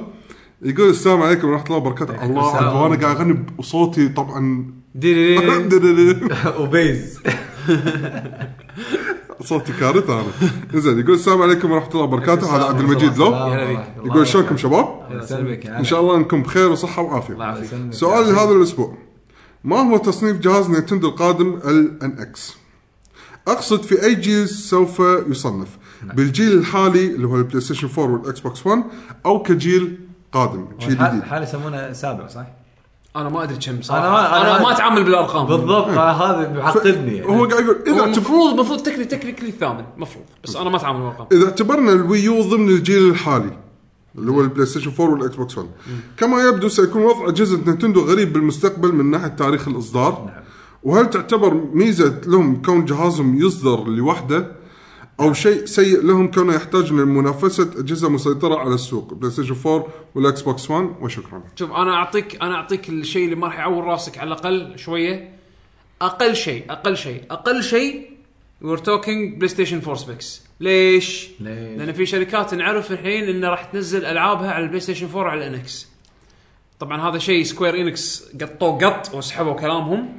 [SPEAKER 3] يقول السلام عليكم ورحمه الله وبركاته الله
[SPEAKER 2] السلام.
[SPEAKER 3] أكبر، وانا قاعد اغني بصوتي طبعا
[SPEAKER 1] ديري ديري.
[SPEAKER 3] درا-
[SPEAKER 2] وبيز
[SPEAKER 3] صوتي كارثه انا زين يقول السلام عليكم ورحمه الله وبركاته هذا عبد المجيد لو
[SPEAKER 1] هلا بيك.
[SPEAKER 3] يقول شلونكم شباب؟
[SPEAKER 2] الله يسلمك
[SPEAKER 3] ان شاء الله انكم بخير وصحه وعافيه
[SPEAKER 1] الله يعافيك
[SPEAKER 3] سؤالي هذا الاسبوع ما هو تصنيف جهاز نينتندو القادم ال ان اكس؟ اقصد في اي جيل سوف يصنف بالجيل الحالي اللي هو البلاي ستيشن 4 والاكس بوكس 1 او كجيل قادم جيل جديد
[SPEAKER 2] حالي يسمونه سابع صح؟
[SPEAKER 1] انا ما ادري كم صراحه
[SPEAKER 2] أنا ما-
[SPEAKER 1] انا,
[SPEAKER 2] أنا-
[SPEAKER 1] ما اتعامل بالارقام
[SPEAKER 2] بالضبط أنا هذا بيعقدني يعني.
[SPEAKER 3] هو قاعد يقول
[SPEAKER 1] هو
[SPEAKER 3] اذا اعتب-
[SPEAKER 1] المفروض المفروض تكني تكنيكلي الثامن المفروض بس انا ما اتعامل بالارقام
[SPEAKER 3] اذا اعتبرنا الويو ضمن الجيل الحالي اللي هو البلاي ستيشن 4 والاكس بوكس 1 كما يبدو سيكون وضع اجهزه نينتندو غريب بالمستقبل من ناحيه تاريخ الاصدار
[SPEAKER 1] نعم.
[SPEAKER 3] وهل تعتبر ميزه لهم كون جهازهم يصدر لوحده او شيء سيء لهم كونه يحتاج لمنافسه اجهزه مسيطره على السوق بلاي ستيشن 4 والاكس بوكس 1 وشكرا
[SPEAKER 1] شوف انا اعطيك انا اعطيك الشيء اللي ما راح يعور راسك على الاقل شويه اقل شيء اقل شيء اقل شيء وير توكينج بلاي ستيشن 4 سبيكس ليش؟
[SPEAKER 2] ليش؟
[SPEAKER 1] لان في شركات نعرف الحين انها راح تنزل العابها على البلاي ستيشن 4 على الانكس طبعا هذا شيء سكوير انكس قطوا قط وسحبوا كلامهم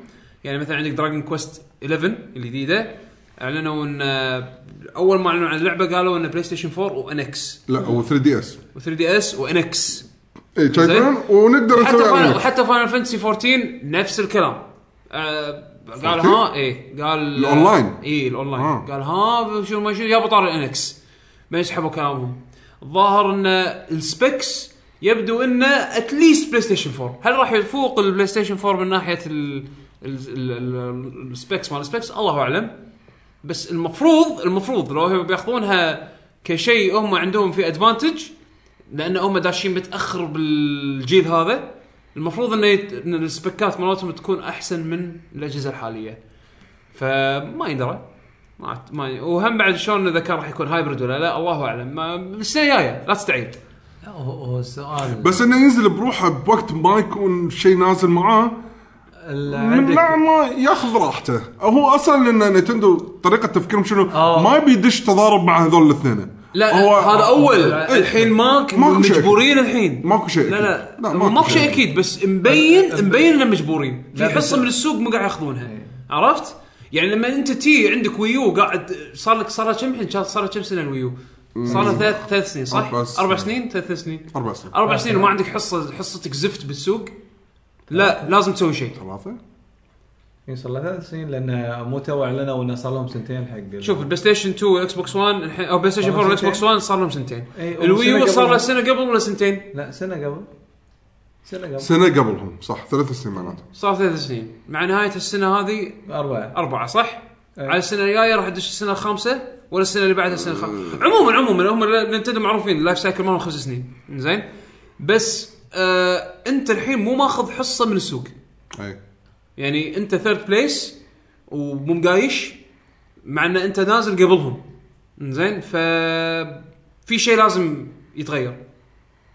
[SPEAKER 1] يعني مثلا عندك دراجون كويست 11 الجديده اعلنوا ان آه، اول ما اعلنوا عن اللعبه قالوا ان بلاي ستيشن 4 وانكس
[SPEAKER 3] لا او 3 دي اس
[SPEAKER 1] و3 دي اس وانكس
[SPEAKER 3] اي كان يقولون إيه، ونقدر
[SPEAKER 1] حتى
[SPEAKER 3] نسوي
[SPEAKER 1] فاينل
[SPEAKER 3] عليه.
[SPEAKER 1] حتى فاينل فانتسي 14 نفس الكلام آه قال
[SPEAKER 3] 14?
[SPEAKER 1] ها ايه قال
[SPEAKER 3] الأونلاين؟
[SPEAKER 1] اي الاونلاين
[SPEAKER 3] آه.
[SPEAKER 1] إيه، قال ها شنو ما شنو يا بطار الانكس ما يسحبوا كلامهم الظاهر ان السبكس يبدو انه اتليست بلاي ستيشن 4 هل راح يفوق البلاي ستيشن 4 من ناحيه ال ال- ال- ال- السبكس مال السبكس الله اعلم بس المفروض المفروض لو هم بياخذونها كشيء هم عندهم في ادفانتج لان هم داشين متاخر بالجيل هذا المفروض انه يت... ان السبكات مالتهم تكون احسن من الاجهزه الحاليه فما يندرى ما أعت- ما ي... وهم بعد شلون اذا كان راح يكون هايبرد ولا لا الله اعلم ما السنه الجايه لا تستعيد
[SPEAKER 2] لا، هو هو السؤال
[SPEAKER 3] بس انه ينزل بروحه بوقت ما يكون شيء نازل معاه
[SPEAKER 2] ال-
[SPEAKER 3] من
[SPEAKER 2] عندك
[SPEAKER 3] نوع ما ياخذ راحته هو اصلا لان نتندو طريقه تفكيرهم شنو
[SPEAKER 2] آه.
[SPEAKER 3] ما بيدش تضارب مع هذول الاثنين
[SPEAKER 1] لا
[SPEAKER 3] هو-
[SPEAKER 1] هذا اول
[SPEAKER 2] إيه.
[SPEAKER 1] الحين ماك
[SPEAKER 3] ماكو شيء.
[SPEAKER 1] مجبورين الحين
[SPEAKER 3] ماكو شيء
[SPEAKER 1] لا
[SPEAKER 3] أكيد.
[SPEAKER 1] لا,
[SPEAKER 3] لا،
[SPEAKER 1] ماكو, شيء اكيد بس مبين مبين انه مجبورين في
[SPEAKER 2] لا، بس-
[SPEAKER 1] حصه من السوق مو قاعد ياخذونها
[SPEAKER 3] إيه.
[SPEAKER 1] عرفت؟ يعني لما انت تي عندك ويو قاعد صار لك صار لها كم الحين شا- صار لها كم سنه الويو؟ صار لها ثلاث ثلاث سنين صح؟
[SPEAKER 3] أربع سنين.
[SPEAKER 1] اربع سنين ثلاث سنين
[SPEAKER 3] اربع سنين
[SPEAKER 1] اربع سنين وما عندك حصه حصتك زفت بالسوق لا لازم تسوي شيء
[SPEAKER 3] ثلاثه
[SPEAKER 2] إي، صار له ثلاث سنين لان مو تو اعلنوا انه صار لهم سنتين حق ال-
[SPEAKER 1] شوف البلاي ستيشن 2 والاكس بوكس 1 الحين او بلاي ستيشن 4 والاكس بوكس 1 صار لهم سنتين
[SPEAKER 2] إي،
[SPEAKER 1] الويو
[SPEAKER 2] والسنة
[SPEAKER 1] صار له
[SPEAKER 2] قبل-
[SPEAKER 1] سنه قبل ولا سنتين
[SPEAKER 2] لا سنه قبل سنه قبل
[SPEAKER 3] سنه قبلهم صح ثلاث سنين معناته
[SPEAKER 1] صار ثلاث سنين مع نهايه السنه هذه
[SPEAKER 2] اربعه
[SPEAKER 1] أربعة صح؟
[SPEAKER 2] أي.
[SPEAKER 1] على السنة الجاية راح تدش السنة الخامسة ولا السنة اللي بعدها السنة الخامسة عموما عموما هم نينتندو معروفين اللايف سايكل مالهم خمس سنين زين بس آه انت الحين مو ماخذ حصة من السوق
[SPEAKER 3] اي
[SPEAKER 1] يعني انت ثيرد بليس ومو مقايش مع ان انت نازل قبلهم زين ف في شيء لازم يتغير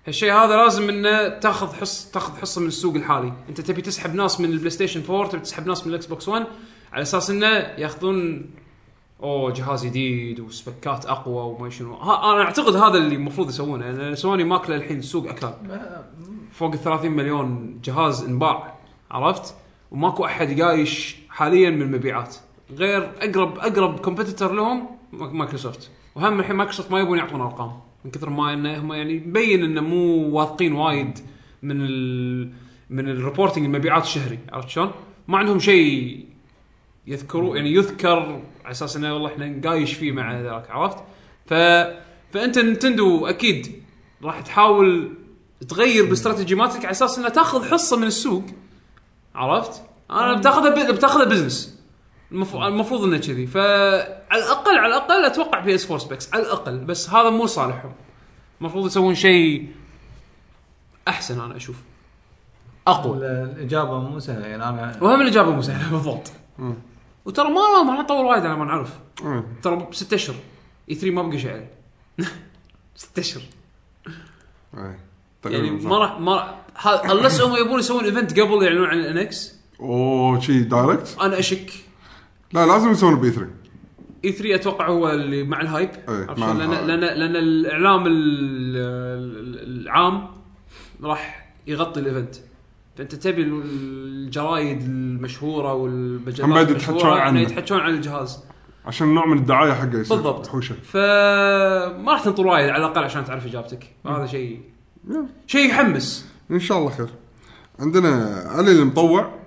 [SPEAKER 1] هالشيء هذا لازم انه تاخذ حص تاخذ حصه من السوق الحالي انت تبي تسحب ناس من البلاي ستيشن 4 تبي تسحب ناس من الاكس بوكس 1 على اساس انه ياخذون اوه جهاز جديد وسبكات اقوى وما شنو ها انا اعتقد هذا اللي المفروض يسوونه لان سوني ماكله الحين السوق اكثر فوق ال 30 مليون جهاز انباع عرفت وماكو احد قايش حاليا من المبيعات غير اقرب اقرب كومبيتيتور لهم ماك- مايكروسوفت وهم الحين مايكروسوفت ما يبون يعطون ارقام من كثر ما انه هم يعني مبين انه مو واثقين وايد من ال من الريبورتنج المبيعات الشهري عرفت شلون؟ ما عندهم شيء يذكروا يعني يذكر على اساس انه والله احنا نقايش فيه مع ذاك عرفت؟ ف فانت نتندو اكيد راح تحاول تغير باستراتيجي مالتك على اساس انها تاخذ حصه من السوق عرفت؟ انا بتاخذها ب... بتاخذها بزنس المف... المفروض انه كذي فعلى الاقل على الاقل اتوقع بي اس 4 سبيكس على الاقل بس هذا مو صالحهم المفروض يسوون شيء احسن انا اشوف اقوى
[SPEAKER 2] ال- الاجابه مو سهله يعني انا
[SPEAKER 1] وهم الاجابه مو سهله بالضبط وترى ما ما راح نطول وايد على ما نعرف
[SPEAKER 3] إيه.
[SPEAKER 1] ترى ست اشهر اي 3 ما بقى شيء عليه ست اشهر
[SPEAKER 3] اي
[SPEAKER 1] يعني
[SPEAKER 3] إيه. تقريباً صح.
[SPEAKER 1] ما راح ما راح unless هم يبون يسوون ايفنت قبل يعلنون عن الانكس
[SPEAKER 3] اوه شي دايركت
[SPEAKER 1] انا اشك
[SPEAKER 3] لا لازم يسوون E البي 3
[SPEAKER 1] اي 3 اتوقع E هو اللي مع الهايب
[SPEAKER 3] إيه،
[SPEAKER 1] عرفت
[SPEAKER 3] مع
[SPEAKER 1] شلون؟ لان
[SPEAKER 3] الهايب.
[SPEAKER 1] لان لان الاعلام ال- ال- العام راح يغطي الايفنت فانت تبي ال- الجرايد المشهوره والمجلات
[SPEAKER 3] هم بعد
[SPEAKER 1] المشهورة
[SPEAKER 3] يتحجون عنه.
[SPEAKER 1] إنه يتحجون عن الجهاز
[SPEAKER 3] عشان نوع من الدعايه حقه يصير
[SPEAKER 1] بالضبط.
[SPEAKER 3] حوشه
[SPEAKER 1] فما راح تنطر وايد على الاقل عشان تعرف اجابتك هذا شيء شيء يحمس
[SPEAKER 3] ان شاء الله خير عندنا علي المطوع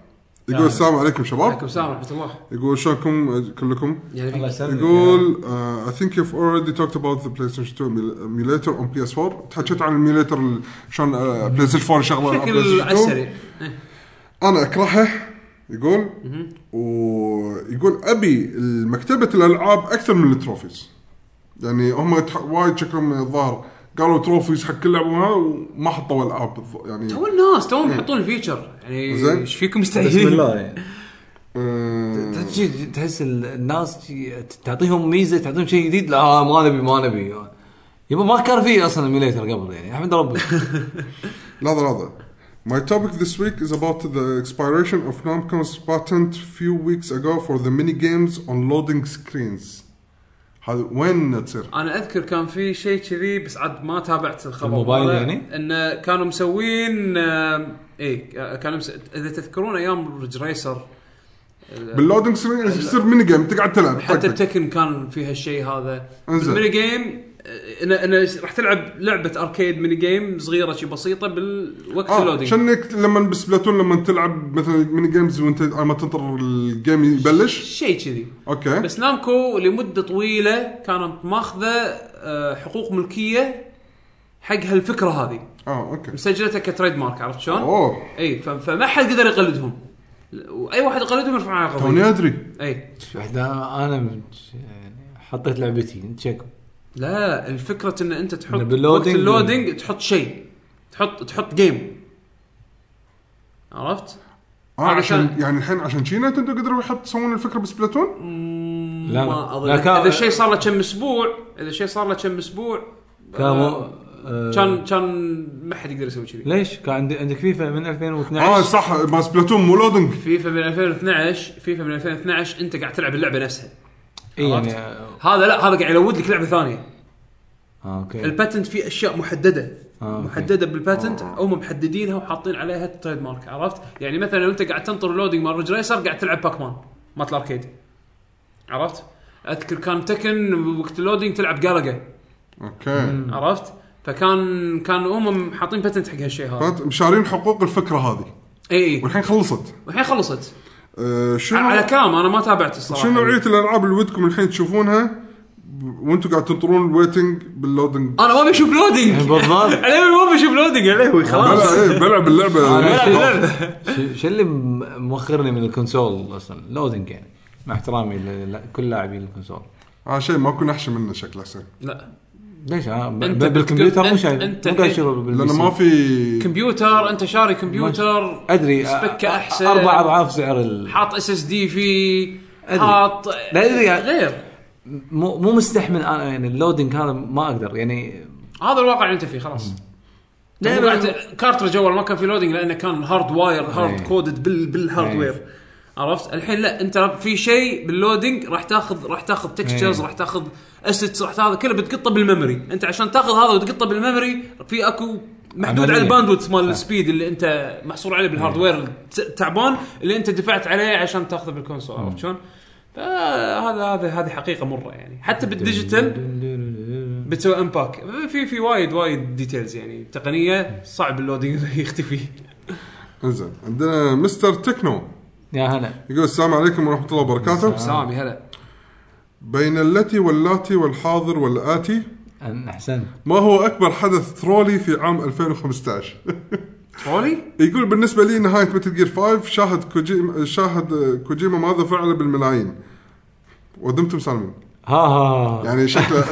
[SPEAKER 3] يقول السلام عليكم
[SPEAKER 1] نعم. عليكم
[SPEAKER 3] شباب
[SPEAKER 1] السلام ورحمه الله
[SPEAKER 3] يقول شلونكم كلكم
[SPEAKER 1] يعني
[SPEAKER 2] الله
[SPEAKER 1] فيك.
[SPEAKER 2] يسلمك
[SPEAKER 3] يقول uh, I think you've already talked about the PlayStation 2 emul- emulator on PS4 تحكيت عن الاميوليتر ال- شلون uh, PlayStation 4 شغله على
[SPEAKER 1] بشكل على
[SPEAKER 3] PlayStation 2.
[SPEAKER 1] السريع
[SPEAKER 3] انا اكرهه يقول ويقول ابي مكتبه الالعاب اكثر من التروفيز يعني هم تح- وايد شكلهم الظاهر قالوا تروفيز حق كل لعبه وها وما حطوا العاب بالض-
[SPEAKER 1] تو
[SPEAKER 3] يعني
[SPEAKER 1] الناس توهم يحطون الفيتشر يعني
[SPEAKER 3] زين.
[SPEAKER 1] ايش فيكم
[SPEAKER 2] بسم
[SPEAKER 1] مستعجلين؟
[SPEAKER 2] الله يعني.
[SPEAKER 3] آه،
[SPEAKER 5] تجي تحس ال- الناس شي- تعطيهم ميزه تعطيهم شيء جديد لا آه، ما نبي ما نبي يبا ما كان في اصلا ايميليتر قبل يعني احمد ربي
[SPEAKER 3] لحظه لحظه My topic this week is about the expiration of Namco's patent few weeks ago for the mini games on loading screens. هذا وين تصير؟
[SPEAKER 1] انا اذكر كان في شيء كذي بس عاد ما تابعت الخبر
[SPEAKER 5] الموبايل
[SPEAKER 1] هذا.
[SPEAKER 5] يعني؟
[SPEAKER 1] انه كانوا مسوين آم، اي آه، كانوا مس... اذا تذكرون ايام ريج ريسر
[SPEAKER 3] باللودنج سكرين يصير ميني جيم تقعد تلعب طيب،
[SPEAKER 1] حتى
[SPEAKER 3] طق طق.
[SPEAKER 1] بتكن كان في هالشيء هذا
[SPEAKER 3] انزين.
[SPEAKER 1] الميني جيم آه، انا انا راح تلعب لعبه اركيد ميني جيم صغيره شي بسيطه بالوقت آه
[SPEAKER 3] اه
[SPEAKER 1] اللودينج
[SPEAKER 3] شنك لما بسبلاتون لما تلعب مثلا ميني جيمز وانت على ما تنطر الجيم يبلش
[SPEAKER 1] شيء كذي
[SPEAKER 3] اوكي
[SPEAKER 1] بس نامكو لمده طويله كانت ماخذه آه، حقوق ملكيه حق هالفكره هذه
[SPEAKER 3] اه اوكي
[SPEAKER 1] مسجلتها كتريد مارك عرفت شلون؟
[SPEAKER 3] اوه
[SPEAKER 1] اي ف- فما حد قدر يقلدهم واي واحد يقلدهم يرفع عليه
[SPEAKER 3] توني
[SPEAKER 1] قضيه
[SPEAKER 3] ادري
[SPEAKER 1] اي
[SPEAKER 5] واحد انا أنا من- يعني حطيت لعبتي تشيك
[SPEAKER 1] لا الفكره ان انت تحط
[SPEAKER 5] إنه
[SPEAKER 1] وقت
[SPEAKER 5] باللودينج- يعني.
[SPEAKER 1] اللودينج تحط شيء تحط تحط جيم عرفت؟
[SPEAKER 3] اه
[SPEAKER 1] هذا
[SPEAKER 3] عشان
[SPEAKER 1] كان-
[SPEAKER 3] يعني الحين عشان شي نتندو قدروا يحط يسوون الفكره بسبلاتون؟
[SPEAKER 5] لا،
[SPEAKER 1] ما اظن
[SPEAKER 5] لا، كان-
[SPEAKER 1] اذا الشيء صار له كم اسبوع اذا الشيء صار له كم اسبوع
[SPEAKER 5] كان
[SPEAKER 1] آه،
[SPEAKER 5] مو- آه،
[SPEAKER 1] كان كان ما حد يقدر يسوي كذي
[SPEAKER 5] ليش؟ كان عندي عندك فيفا من
[SPEAKER 1] نعم.
[SPEAKER 3] اه
[SPEAKER 5] 2012
[SPEAKER 3] صح ما سبلاتون مو لودنج
[SPEAKER 1] فيفا من 2012 فيفا من 2012 انت قاعد تلعب اللعبه نفسها
[SPEAKER 5] اي يعني
[SPEAKER 1] عرفت.
[SPEAKER 5] آه،
[SPEAKER 1] هذا لا هذا قاعد يلود لك لعبه ثانيه
[SPEAKER 5] آه، اوكي
[SPEAKER 1] الباتنت فيه اشياء محدده
[SPEAKER 5] آه، أوكي.
[SPEAKER 1] محدده بالباتنت هم محددينها وحاطين عليها التريد مارك عرفت؟ يعني مثلا لو انت قاعد تنطر اللودينج مال ريج ريسر قاعد تلعب باكمان مالت الاركيد عرفت؟ اذكر كان تكن وقت اللودينج تلعب جالجا
[SPEAKER 3] اوكي
[SPEAKER 1] عرفت؟ فكان كان هم حاطين باتنت حق هالشيء هذا
[SPEAKER 3] فهمت؟ مشارين حقوق الفكره هذه
[SPEAKER 1] اي اي
[SPEAKER 3] والحين خلصت
[SPEAKER 1] والحين خلصت
[SPEAKER 3] آه، شنو
[SPEAKER 1] على كلام انا ما تابعت الصراحه
[SPEAKER 3] شنو نوعيه الالعاب اللي ودكم الحين تشوفونها وانتم قاعد تنطرون الويتنج باللودنج
[SPEAKER 1] انا ما ابي اشوف لودنج
[SPEAKER 2] بالضبط
[SPEAKER 1] عليوي ما ابي اشوف لودنج عليوي آه، خلاص آه،
[SPEAKER 3] بلعب إيه، بلعب اللعبه
[SPEAKER 1] بلعب اللعبة.
[SPEAKER 2] شو- شو اللي م- موخرني من الكونسول اصلا لودنج يعني مع احترامي لكل لاعبين الكونسول
[SPEAKER 3] هذا آه، شيء ما كنا احشى منه شكله حسين
[SPEAKER 1] لا
[SPEAKER 2] ليش انا ب-
[SPEAKER 1] أنت
[SPEAKER 2] ب- بالكمبيوتر مو
[SPEAKER 1] بتقول-
[SPEAKER 2] شايف
[SPEAKER 1] أنت-
[SPEAKER 2] مو قاعد اشتغل
[SPEAKER 3] لانه
[SPEAKER 2] بالبي
[SPEAKER 3] ما
[SPEAKER 2] سي.
[SPEAKER 3] في
[SPEAKER 1] كمبيوتر انت شاري كمبيوتر
[SPEAKER 2] ادري أ-
[SPEAKER 1] سبكه احسن
[SPEAKER 2] اربع اضعاف سعر ال...
[SPEAKER 1] حاط اس اس دي فيه حاط
[SPEAKER 2] لا أدري يعني-
[SPEAKER 1] غير
[SPEAKER 2] مو مو مستحمل انا يعني اللودنج هذا ما اقدر يعني
[SPEAKER 1] هذا الواقع اللي انت فيه خلاص
[SPEAKER 2] لا،
[SPEAKER 1] لا
[SPEAKER 2] لا،
[SPEAKER 1] قاعد كارترج اول ما كان في لودنج لانه كان هارد واير هارد
[SPEAKER 2] إيه.
[SPEAKER 1] كودد بال بالهاردوير عرفت الحين لا انت في شيء باللودنج راح تاخذ راح تاخذ تكستشرز
[SPEAKER 2] إيه.
[SPEAKER 1] راح تاخذ اسيتس راح تاخذ كله بتقطه بالميموري انت عشان تاخذ هذا وتقطه بالميموري في اكو محدود
[SPEAKER 2] عملية. إيه.
[SPEAKER 1] على الباندوث مال السبيد اللي انت محصور عليه بالهاردوير الت- تعبان اللي انت دفعت عليه عشان تاخذه بالكونسول عرفت شلون؟ فهذا هذا هذه حقيقه مره يعني حتى بالديجيتال بتسوي امباك في في وايد وايد ديتيلز يعني تقنيه صعب اللودينج يختفي
[SPEAKER 3] انزين عندنا مستر تكنو
[SPEAKER 2] يا هلا
[SPEAKER 3] يقول السلام عليكم ورحمه الله وبركاته
[SPEAKER 1] سامي هلا
[SPEAKER 3] بين اللتي واللاتي والحاضر والآتي
[SPEAKER 2] أن- احسنت
[SPEAKER 3] ما هو أكبر حدث ترولي في عام 2015
[SPEAKER 1] ترولي
[SPEAKER 3] يقول بالنسبة لي نهاية متل جير 5 شاهد كوجيما شاهد آه، كوجيما ماذا فعل بالملايين ودمتم سالمين
[SPEAKER 2] ها ها
[SPEAKER 3] يعني شكله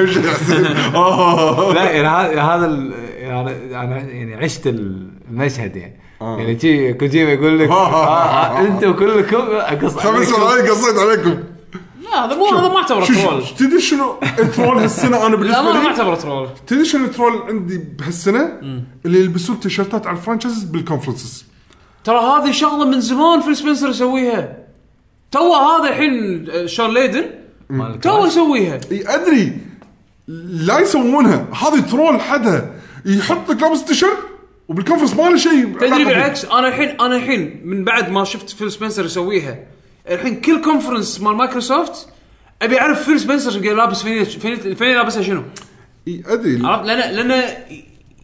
[SPEAKER 3] إيش يحسين؟ آه.
[SPEAKER 2] لا يعني هذا هذا ال- يعني انا يعني عشت المشهد يعني
[SPEAKER 3] آه.
[SPEAKER 2] يعني شي كوجيما يقول لك
[SPEAKER 3] آه.
[SPEAKER 2] آه، انتم كلكم اقص
[SPEAKER 3] خمس
[SPEAKER 2] عليكم.
[SPEAKER 3] دقائق قصيت عليكم
[SPEAKER 1] لا هذا مو هذا ما اعتبره
[SPEAKER 3] شو-
[SPEAKER 1] ترول
[SPEAKER 3] شو- تدري شنو ترول هالسنة أنا
[SPEAKER 1] لا
[SPEAKER 3] بالنسبة
[SPEAKER 1] ما ما
[SPEAKER 3] لي
[SPEAKER 1] اعتبره ترول
[SPEAKER 3] تدري شنو ترول عندي بهالسنة اللي يلبسون تيشيرتات على الفرانشايز بالكونفرنسز
[SPEAKER 1] ترى هذه شغله من زمان في سبنسر يسويها تو هذا الحين آه، شون ليدن
[SPEAKER 2] مال
[SPEAKER 1] تو
[SPEAKER 2] الكراش.
[SPEAKER 1] يسويها
[SPEAKER 3] اي ادري لا يسوونها هذه ترول حدها يحط لك لابس تيشيرت وبالكونفرنس ما له شيء
[SPEAKER 1] تدري بالعكس انا الحين انا الحين من بعد ما شفت فيل سبنسر يسويها الحين كل كونفرنس مال مايكروسوفت ابي اعرف فيل سبنسر قاعد لابس فيني فيني فيني لابسها شنو
[SPEAKER 3] اي ادري
[SPEAKER 1] عرفت لان لان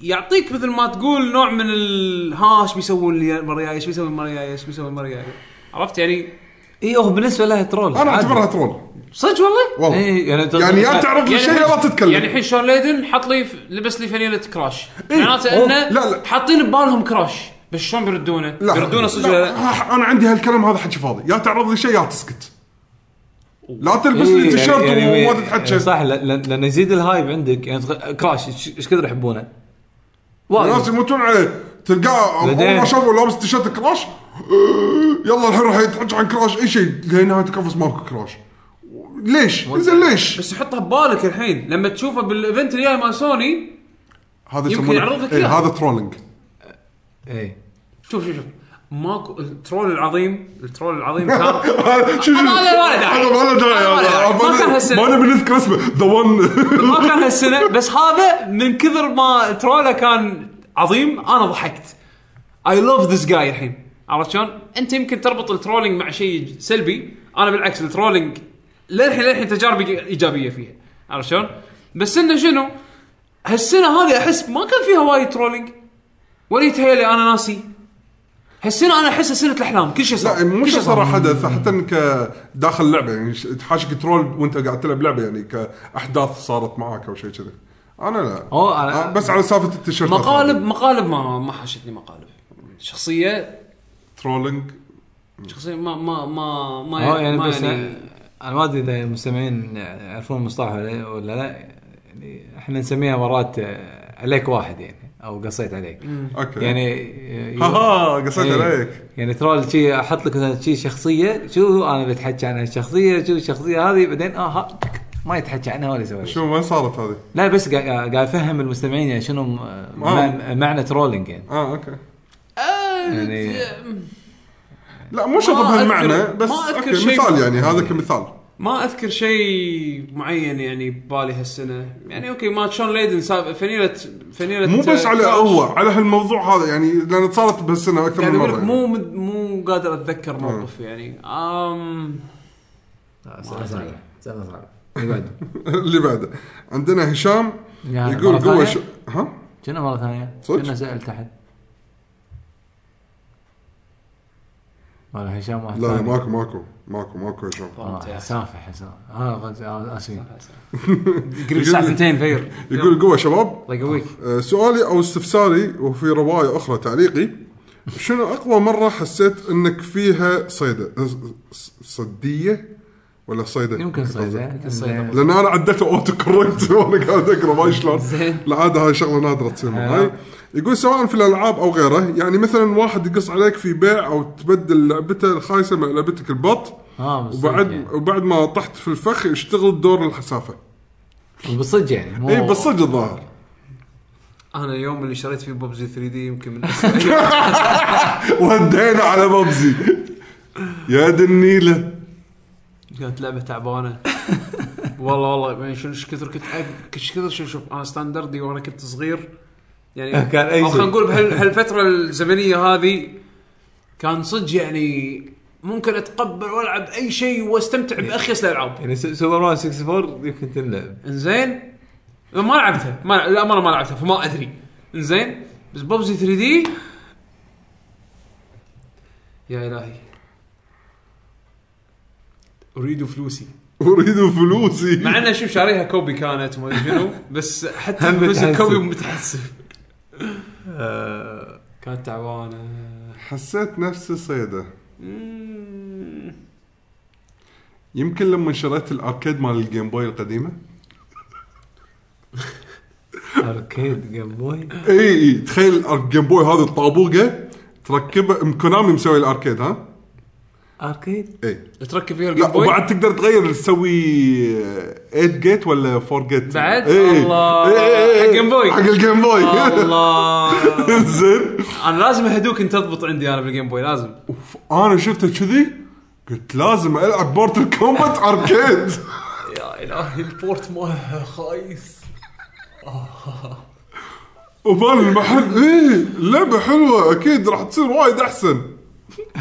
[SPEAKER 1] يعطيك مثل ما تقول نوع من ال ها ايش بيسوون لي المره الجايه ايش بيسوون المره الجايه ايش بيسوون المره الجايه عرفت يعني
[SPEAKER 2] اي هو بالنسبه لها ترول
[SPEAKER 3] انا
[SPEAKER 2] عادي.
[SPEAKER 3] اعتبرها ترول
[SPEAKER 1] صدق والله
[SPEAKER 3] والله
[SPEAKER 2] اي يعني
[SPEAKER 3] يعني يا تعرض لشيء يا لا تتكلم
[SPEAKER 1] يعني الحين شون ليدن حط لي لبس لي فانيله كراش معناته
[SPEAKER 3] إيه، أوه.
[SPEAKER 1] انه
[SPEAKER 3] لا، لا.
[SPEAKER 1] حاطين ببالهم كراش بس شلون بيردونه؟
[SPEAKER 3] لا
[SPEAKER 1] بيردونه صدق
[SPEAKER 3] لا،
[SPEAKER 1] ولا لا؟
[SPEAKER 3] ها- انا عندي هالكلام هذا حكي فاضي يا تعرض لي شيء يا تسكت لا تلبس
[SPEAKER 2] إيه،
[SPEAKER 3] لي تيشيرت
[SPEAKER 2] يعني-
[SPEAKER 3] وما تتحكى
[SPEAKER 2] صح لأن- لأن- لان يزيد الهايب عندك يعني تخ- كراش إيش- ايش كثر يحبونه؟
[SPEAKER 3] الناس
[SPEAKER 2] وايد
[SPEAKER 3] يموتون عليه تلقاه اول
[SPEAKER 2] بعدين.
[SPEAKER 3] ما شافوا لابس تيشيرت كراش يلا الحين راح يتحكى عن كراش اي شيء لين نهايه الكونفرنس ماكو كراش ليش؟ زين ليش؟
[SPEAKER 1] بس حطها ببالك الحين لما تشوفه بالايفنت الجاي مال سوني
[SPEAKER 3] هذا
[SPEAKER 1] يمكن
[SPEAKER 3] يسمونه-
[SPEAKER 1] يعرض لك
[SPEAKER 3] إيه،
[SPEAKER 1] إياه.
[SPEAKER 3] هذا ترولينج
[SPEAKER 2] اي
[SPEAKER 1] شوف شوف شوف ماكو الترول العظيم الترول العظيم كان
[SPEAKER 3] شو شو
[SPEAKER 1] أنا ما له- ما له داعي.
[SPEAKER 3] أنا ما له داعي
[SPEAKER 1] أنا ما له داعي.
[SPEAKER 3] أنا-
[SPEAKER 1] ما كان هالسنة.
[SPEAKER 3] ما نبي نذكر اسمه ذا ون
[SPEAKER 1] ما كان هالسنه بس هذا من كثر ما تروله كان عظيم انا ضحكت اي لاف ذيس جاي الحين عرفت شلون؟ انت يمكن تربط الترولينج مع شيء سلبي انا بالعكس الترولينج للحين للحين تجاربي ايجابيه فيها عرفت شلون؟ بس انه شنو؟ هالسنه هذه احس ما كان فيها وايد ترولينج ولا يتهيألي انا ناسي هالسنه انا احسها سنه الاحلام كل شيء صار
[SPEAKER 3] لا يعني مو
[SPEAKER 1] كل شيء
[SPEAKER 3] شيء
[SPEAKER 1] صار
[SPEAKER 3] صار حدث حتى انك داخل لعبه يعني ش- تحاشك ترول وانت قاعد تلعب لعبه يعني كاحداث صارت معاك او شيء كذا انا لا
[SPEAKER 2] أوه، أنا-
[SPEAKER 3] آه، بس على سالفه التيشيرت
[SPEAKER 1] مقالب مقالب ما ما حاشتني مقالب شخصيه
[SPEAKER 3] ترولينج
[SPEAKER 1] شخصيه ما ما ما ما
[SPEAKER 2] هو يعني
[SPEAKER 1] ما
[SPEAKER 2] بس انا ما ادري اذا المستمعين يعرفون المصطلح ولا إيه، ولا لا يعني احنا نسميها مرات آه، عليك واحد يعني او قصيت عليك
[SPEAKER 3] اوكي يعني
[SPEAKER 2] يعني
[SPEAKER 3] ها ها قصيت عليك
[SPEAKER 2] يعني ترول شي احط لك مثلا شي شخصيه شو انا بتحكي عن هالشخصيه شو الشخصيه هذه بعدين اه ها، ما يتحكى عنها ولا يسوي شيء.
[SPEAKER 3] شو وين صارت هذه؟
[SPEAKER 2] لا بس قاعد قاعد افهم المستمعين يعني شنو م- مع- معنى ترولينج يعني
[SPEAKER 3] اه اوكي
[SPEAKER 1] أه،
[SPEAKER 2] يعني
[SPEAKER 3] لا مو شرط
[SPEAKER 1] ما أذكر-
[SPEAKER 3] بهالمعنى بس
[SPEAKER 1] ما أذكر
[SPEAKER 3] اوكي
[SPEAKER 1] شيء-
[SPEAKER 3] مثال يعني هذا كمثال
[SPEAKER 1] ما اذكر شيء معين يعني ببالي هالسنه يعني اوكي ما شون ليدن ساب فنيله فنيله
[SPEAKER 3] مو بس على
[SPEAKER 1] كراش.
[SPEAKER 3] هو على هالموضوع هذا يعني لان صارت بهالسنه اكثر
[SPEAKER 1] قاعد
[SPEAKER 3] من
[SPEAKER 1] اقول
[SPEAKER 3] مره
[SPEAKER 1] لك
[SPEAKER 3] يعني.
[SPEAKER 1] مو مد- مو قادر اتذكر موقف يعني امم
[SPEAKER 2] آه،
[SPEAKER 3] يعني. اللي بعده عندنا هشام
[SPEAKER 2] يعني
[SPEAKER 3] يقول
[SPEAKER 2] مرة
[SPEAKER 3] قوه
[SPEAKER 2] ثانية؟
[SPEAKER 3] ش... ها
[SPEAKER 2] شنو مره ثانيه؟
[SPEAKER 3] صدق؟
[SPEAKER 2] شنو سالت احد؟ ولا هشام واحد
[SPEAKER 3] لا لا
[SPEAKER 2] ثاني.
[SPEAKER 3] ماكو ماكو ماكو ماكو يا شباب
[SPEAKER 2] آه، سافح حسام اه غز- آه، اسف
[SPEAKER 1] قريب الساعه 2 فير
[SPEAKER 3] يقول قوه شباب
[SPEAKER 1] الله يقويك
[SPEAKER 3] آه، سؤالي او استفساري وفي روايه اخرى تعليقي شنو اقوى مره حسيت انك فيها صيده ص- صديه ولا صيده
[SPEAKER 2] يمكن يعني. صيده
[SPEAKER 1] الصيدة.
[SPEAKER 3] لان انا عديته اوتو كوركت وانا قاعد اقرا ما أدري شلون
[SPEAKER 1] زين.
[SPEAKER 3] العاده هاي شغله نادره تصير
[SPEAKER 2] آه.
[SPEAKER 3] معي يقول سواء في الالعاب او غيره يعني مثلا واحد يقص عليك في بيع او تبدل لعبته الخايسه مع لعبتك البط
[SPEAKER 2] اه بالصدق
[SPEAKER 3] وبعد
[SPEAKER 2] يعني.
[SPEAKER 3] وبعد ما طحت في الفخ اشتغل دور الحسافه
[SPEAKER 2] بالصدق يعني مو
[SPEAKER 3] اي بس صدق الظاهر
[SPEAKER 1] انا اليوم اللي شريت فيه ببجي 3 دي يمكن من
[SPEAKER 3] ودينا على ببزي يا دي النيله
[SPEAKER 1] كانت لعبه تعبانه والله والله يعني شنو ايش كثر كنت أب- ايش كثر شوف شوف انا ستاندردي وانا كنت صغير يعني
[SPEAKER 2] كان أي
[SPEAKER 1] او
[SPEAKER 2] شيء.
[SPEAKER 1] خلينا نقول بهال- بهالفتره الزمنيه هذه كان صدق يعني ممكن اتقبل والعب اي شيء واستمتع باخيس الالعاب
[SPEAKER 2] يعني س- سوبر مان 64 يمكن تنلعب
[SPEAKER 1] انزين ما لعبتها ما للامانه ما لعبتها فما ادري انزين بس ببجي 3 دي يا الهي اريد فلوسي
[SPEAKER 3] اريد فلوسي
[SPEAKER 1] مع انه شوف شاريها كوبي كانت وما أدري شنو بس حتى
[SPEAKER 2] هم
[SPEAKER 1] فلوس
[SPEAKER 2] متحسف.
[SPEAKER 1] كوبي متحسف
[SPEAKER 2] آه.
[SPEAKER 1] كانت تعبانه
[SPEAKER 3] حسيت نفسي صيده
[SPEAKER 1] مم.
[SPEAKER 3] يمكن لما شريت الاركيد مال الجيم بوي القديمه
[SPEAKER 2] اركيد جيم بوي
[SPEAKER 3] اي اي إيه، تخيل الجيم بوي هذا الطابوقه تركبه ام كونامي مسوي الاركيد ها؟
[SPEAKER 2] اركيد
[SPEAKER 3] اي
[SPEAKER 1] تركب فيها
[SPEAKER 3] لا
[SPEAKER 1] الجيم بوي
[SPEAKER 3] وبعد تقدر تغير تسوي 8 جيت ولا إيه. 4 جيت
[SPEAKER 1] بعد؟ الله. حق جيم بوي.
[SPEAKER 3] إيه. حق الجيم بوي
[SPEAKER 1] الله
[SPEAKER 3] زين
[SPEAKER 1] انا لازم هدوك انت تضبط عندي انا بالجيم بوي لازم
[SPEAKER 3] انا شفته كذي قلت لازم العب بورتل كومبات اركيد
[SPEAKER 1] يا الهي البورت مالها خايس
[SPEAKER 3] وبال المحل ايه لعبه حلوه اكيد راح تصير وايد احسن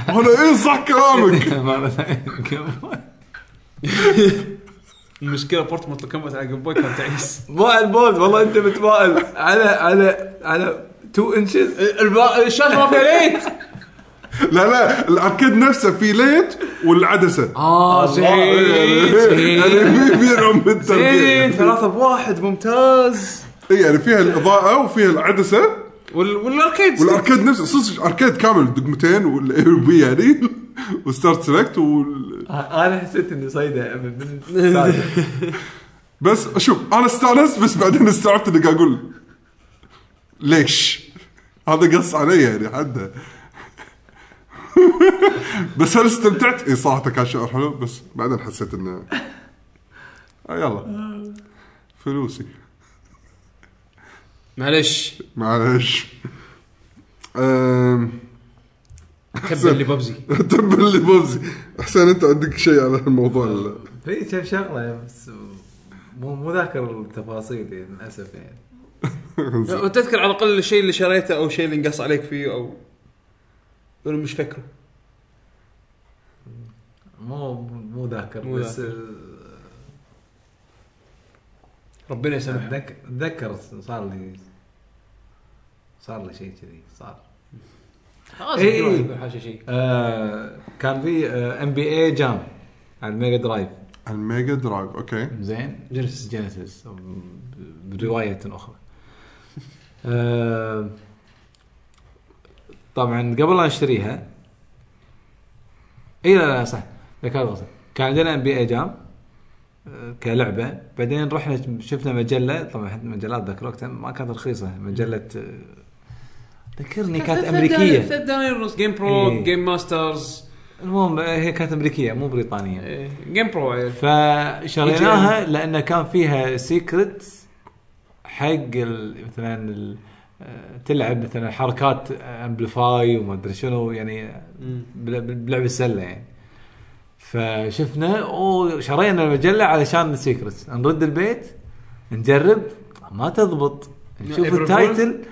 [SPEAKER 3] انا ايه صح كلامك
[SPEAKER 2] مره ثانيه جيم بوي
[SPEAKER 1] المشكله بورت مالت كومبات على الجيم بوي كان تعيس
[SPEAKER 2] مائل بولد والله انت متمائل على على على 2 انشز
[SPEAKER 1] الشاشه ما فيها ليت
[SPEAKER 3] لا لا الاركيد نفسه في ليت والعدسه
[SPEAKER 2] آه،
[SPEAKER 1] اه زين
[SPEAKER 3] يعني في في نوع من
[SPEAKER 1] إيه، زين
[SPEAKER 3] التركيز
[SPEAKER 1] إيه، ثلاثة بواحد ممتاز
[SPEAKER 3] اي يعني فيها الاضاءه وفيها العدسه
[SPEAKER 1] وال... والاركيد
[SPEAKER 3] والاركيد نفسه صدق اركيد كامل دقمتين والاي وبي يعني وستارت سلكت وال...
[SPEAKER 2] انا حسيت اني صيده من- من السادس.
[SPEAKER 3] بس شوف انا استانست بس بعدين استوعبت اني قاعد اقول ليش؟ هذا قص علي يعني حده بس هل استمتعت؟ اي صراحه كان شعور حلو بس بعدين حسيت انه آه، يلا فلوسي
[SPEAKER 1] معلش
[SPEAKER 3] معلش أم،
[SPEAKER 1] تبا اللي ببزي
[SPEAKER 3] تبا اللي بوزي احسن انت عندك شيء على الموضوع ولا لا؟
[SPEAKER 4] في كم شغله بس مو مو ذاكر التفاصيل يعني للاسف يعني
[SPEAKER 1] تذكر على الاقل الشيء اللي شريته او الشيء اللي انقص عليك فيه او ولا مش فاكره
[SPEAKER 4] مو مو ذاكر
[SPEAKER 1] مو
[SPEAKER 4] بس
[SPEAKER 1] ذاكر.
[SPEAKER 4] آه،
[SPEAKER 1] ربنا يسامحك
[SPEAKER 4] أتذك- اتذكر صار لي صار لي شيء كذي صار
[SPEAKER 1] لازم
[SPEAKER 4] إي.
[SPEAKER 1] يروح يقول حاشا شيء
[SPEAKER 4] آه كان في ام بي اي جام على الميجا درايف
[SPEAKER 3] الميجا درايف اوكي
[SPEAKER 4] زين
[SPEAKER 2] جينيسيس
[SPEAKER 4] جينيسيس بروايه اخرى آه
[SPEAKER 2] طبعا قبل لا اشتريها اي لا لا صح ذكرت غلط كان عندنا ام بي اي جام آه، كلعبه بعدين رحنا شفنا مجله طبعا إحنا مجلات ذاك الوقت ما كانت رخيصه مجله آه، ذكرني كانت إيه. امريكيه
[SPEAKER 1] ثلاث دنانير ونص جيم برو
[SPEAKER 2] إي.
[SPEAKER 1] جيم ماسترز
[SPEAKER 2] المهم آه، هي كانت امريكيه مو بريطانيه
[SPEAKER 1] إي. جيم برو إيه، عيل
[SPEAKER 2] فشريناها لان كان فيها سيكرت حق ال- مثلا ال- آه، تلعب مثلا حركات امبليفاي وما ادري شنو يعني بل- بل- بلعب السله يعني فشفنا وشرينا المجله علشان السيكرت نرد البيت نجرب ما تضبط نشوف
[SPEAKER 1] April
[SPEAKER 2] التايتل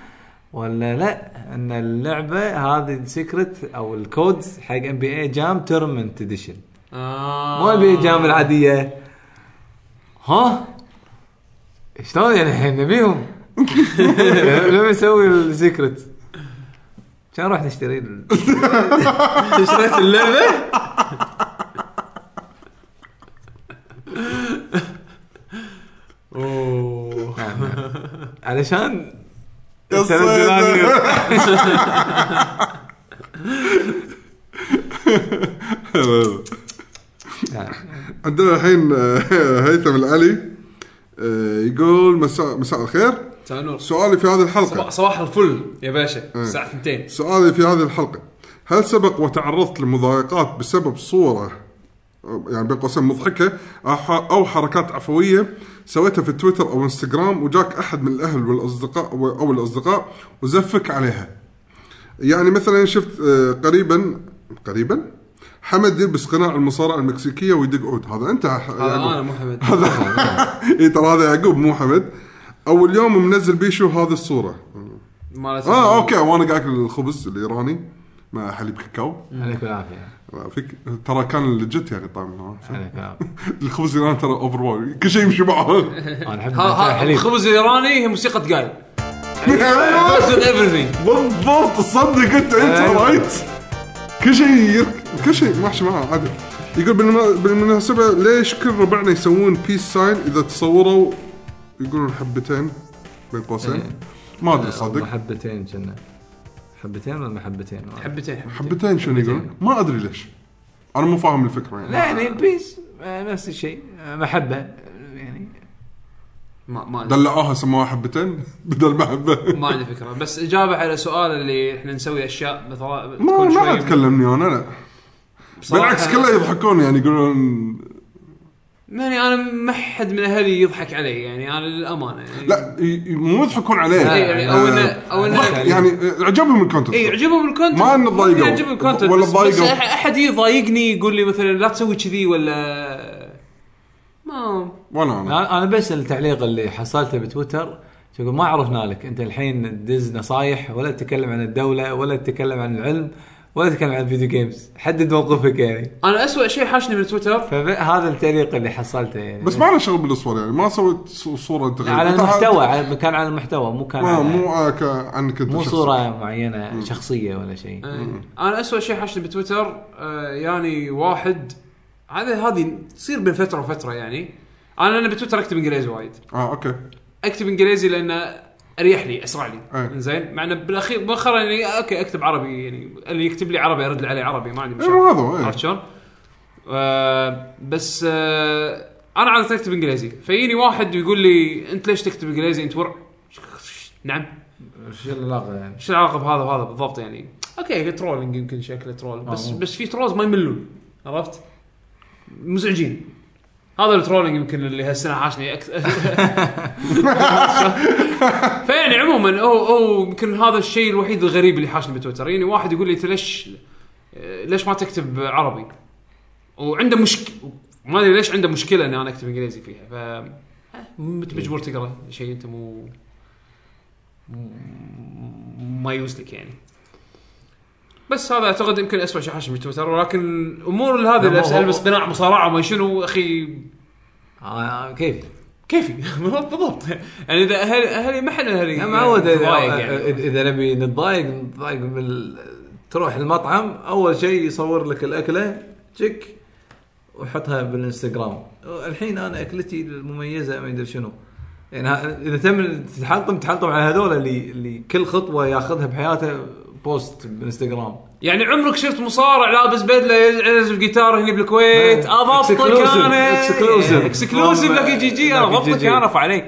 [SPEAKER 2] ولا لا ان اللعبه هذه السيكرت او الكودز حق ام بي اي جام تورمنت اديشن
[SPEAKER 1] آه.
[SPEAKER 2] مو ابي جام العاديه ها شلون يعني الحين نبيهم لما يسوي السيكرت كان رحت اشتري ال- اشتريت اللعبه
[SPEAKER 1] اوه
[SPEAKER 2] نعم، نعم. علشان
[SPEAKER 3] يا
[SPEAKER 2] تنزلان- نعم.
[SPEAKER 3] عندنا الحين آه، هيثم العلي آه، يقول مساء مساء الخير
[SPEAKER 1] مساء النور
[SPEAKER 3] سؤالي في هذه الحلقه
[SPEAKER 1] صباح الفل يا باشا
[SPEAKER 2] إيه.
[SPEAKER 1] الساعه
[SPEAKER 2] يعني.
[SPEAKER 1] 2
[SPEAKER 3] سؤالي في هذه الحلقه هل سبق وتعرضت لمضايقات بسبب صوره آه، يعني بين قوسين مضحكه أو ح- او حركات عفويه سويتها في تويتر او انستغرام وجاك احد من الاهل والاصدقاء او الاصدقاء وزفك عليها يعني مثلا شفت آه، قريبا قريبا حمد يلبس قناع المصارعه المكسيكيه ويدق عود هذا انت
[SPEAKER 1] هذا انا محمد
[SPEAKER 3] اي ترى هذا يعقوب مو حمد اول يوم منزل بيشو هذه الصوره
[SPEAKER 2] آه،
[SPEAKER 1] مالت
[SPEAKER 3] اه اوكي وانا قاعد اكل الخبز الايراني مع حليب كاكاو
[SPEAKER 2] عليك بالعافيه
[SPEAKER 3] ما فيك ترى كان لجت يعني طعمه
[SPEAKER 2] عليك بالعافيه
[SPEAKER 3] الخبز الايراني ترى اوفر واو كل شيء يمشي معه
[SPEAKER 2] انا احب
[SPEAKER 1] ها ها
[SPEAKER 2] حليب
[SPEAKER 1] الخبز الايراني هي موسيقى جاي
[SPEAKER 3] أيوة،
[SPEAKER 1] everything
[SPEAKER 3] بالضبط تصدق انت انت رايت كل شيء يرك- كل شيء ماشي معه عدل يقول بالم- بالمناسبه ليش كل ربعنا يسوون بيس ساين اذا تصوروا يقولون حبتين بين قوسين ما ادري
[SPEAKER 2] أيوه،
[SPEAKER 3] صدق
[SPEAKER 2] محبتين كنا حبتين ولا محبتين؟
[SPEAKER 1] حبتين
[SPEAKER 3] حبتين شنو يقولون؟ ما ادري ليش انا مو فاهم الفكره يعني
[SPEAKER 2] لا يعني بيس آه، نفس الشيء آه، محبه آه، يعني
[SPEAKER 1] ما ما عندي-
[SPEAKER 3] دلعوها سموها آه حبتين بدل محبه
[SPEAKER 1] ما عندي فكره بس اجابه على سؤال اللي احنا نسوي اشياء مثلا
[SPEAKER 3] ما
[SPEAKER 1] كل
[SPEAKER 3] ما
[SPEAKER 1] شوي-
[SPEAKER 3] حد كلمني انا لا
[SPEAKER 1] بصراحة-
[SPEAKER 3] بالعكس كله يضحكون يعني يقولون
[SPEAKER 1] يعني انا ما حد من اهلي يضحك علي يعني انا للامانه يعني
[SPEAKER 3] لا ي- ي- مو يضحكون عليه
[SPEAKER 1] إي، يعني او انه او انه
[SPEAKER 3] يعني عجبهم الكونتنت
[SPEAKER 1] اي إيه، يعجبهم الكونتنت
[SPEAKER 3] ما إنه تضايقوا.
[SPEAKER 1] يعجبهم الكونتنت
[SPEAKER 3] ولا
[SPEAKER 1] ولا بس, بس
[SPEAKER 3] تضايقوا.
[SPEAKER 1] أح- احد يضايقني يقول لي مثلا لا تسوي كذي ولا ما
[SPEAKER 3] ولا انا
[SPEAKER 2] انا أنا بس التعليق اللي حصلته بتويتر يقول ما عرفنا لك انت الحين تدز نصايح ولا تتكلم عن الدوله ولا تتكلم عن العلم ولا تتكلم عن الفيديو جيمز حدد موقفك يعني
[SPEAKER 1] انا اسوء شيء حاشني من تويتر
[SPEAKER 2] فهذا التعليق اللي حصلته يعني
[SPEAKER 3] بس ما له شغل بالصور يعني ما سويت ص- صوره انت غير-
[SPEAKER 2] على
[SPEAKER 3] أنت
[SPEAKER 2] المحتوى على كان على المحتوى مو كان
[SPEAKER 3] ما-
[SPEAKER 2] على
[SPEAKER 3] مو آه، ك- عنك انت
[SPEAKER 2] مو
[SPEAKER 3] شخصياً.
[SPEAKER 2] صوره معينه شخصيه ولا شيء
[SPEAKER 3] إيه.
[SPEAKER 1] انا اسوء إيه. شيء حاشني بتويتر آه، يعني واحد هذا هذه تصير بين فتره وفتره يعني انا انا بتويتر اكتب انجليزي وايد
[SPEAKER 3] اه اوكي
[SPEAKER 1] اكتب انجليزي لانه اريح لي اسرع
[SPEAKER 3] أي.
[SPEAKER 1] لي زين مع انه بالاخير مؤخرا يعني اوكي اكتب عربي يعني اللي يكتب لي عربي ارد له عليه عربي ما عندي
[SPEAKER 3] إيه، مو
[SPEAKER 1] مشكله
[SPEAKER 3] هذا هو، إيه.
[SPEAKER 1] عرفت شلون؟ آه، بس آه، انا عاده اكتب انجليزي فيجيني واحد يقول لي انت ليش تكتب انجليزي انت ورع نعم
[SPEAKER 2] شو العلاقه يعني؟
[SPEAKER 1] شو العلاقه بهذا وهذا بالضبط يعني اوكي ترولينج يمكن شكله ترول بس بس في ترولز ما يملون عرفت؟ مزعجين هذا الترولينج يمكن اللي هالسنه حاشني اكثر فيعني عموما او او يمكن هذا الشيء الوحيد الغريب اللي حاشني بتويتر يعني واحد يقول لي انت ليش آه، ليش ما تكتب عربي؟ وعنده مشك ما ادري ليش عنده مشكله اني انا اكتب انجليزي فيها ف آه، انت مجبور تقرا شيء انت مو ما يوز لك يعني بس هذا اعتقد يمكن اسوء شيء حاشم بتويتر ولكن امور هذه اللي
[SPEAKER 2] هو-
[SPEAKER 1] البس قناع مصارعه ما شنو اخي
[SPEAKER 2] آه كيف؟
[SPEAKER 1] كيفي بالضبط يعني اذا اهلي اهلي ما حد اهلي
[SPEAKER 2] انا معود إذا-
[SPEAKER 1] ضايق يعني
[SPEAKER 2] إذا- اذا نبي نتضايق نتضايق من ال- تروح المطعم اول شيء يصور لك الاكله تشيك وحطها بالانستغرام الحين انا اكلتي المميزه ما يدري شنو يعني ها- اذا تم تتحطم تتحطم على هذول اللي اللي كل خطوه ياخذها بحياته بوست بالانستغرام
[SPEAKER 1] يعني عمرك شفت مصارع لابس بدله يعزف جيتار هني بالكويت آه، اضبطك
[SPEAKER 2] Exclusive.
[SPEAKER 1] انا
[SPEAKER 2] Exclusive.
[SPEAKER 1] اكسكلوسيف لك جي آه، جي
[SPEAKER 2] Lucky
[SPEAKER 1] اضبطك
[SPEAKER 2] GG.
[SPEAKER 1] انا رفع عليك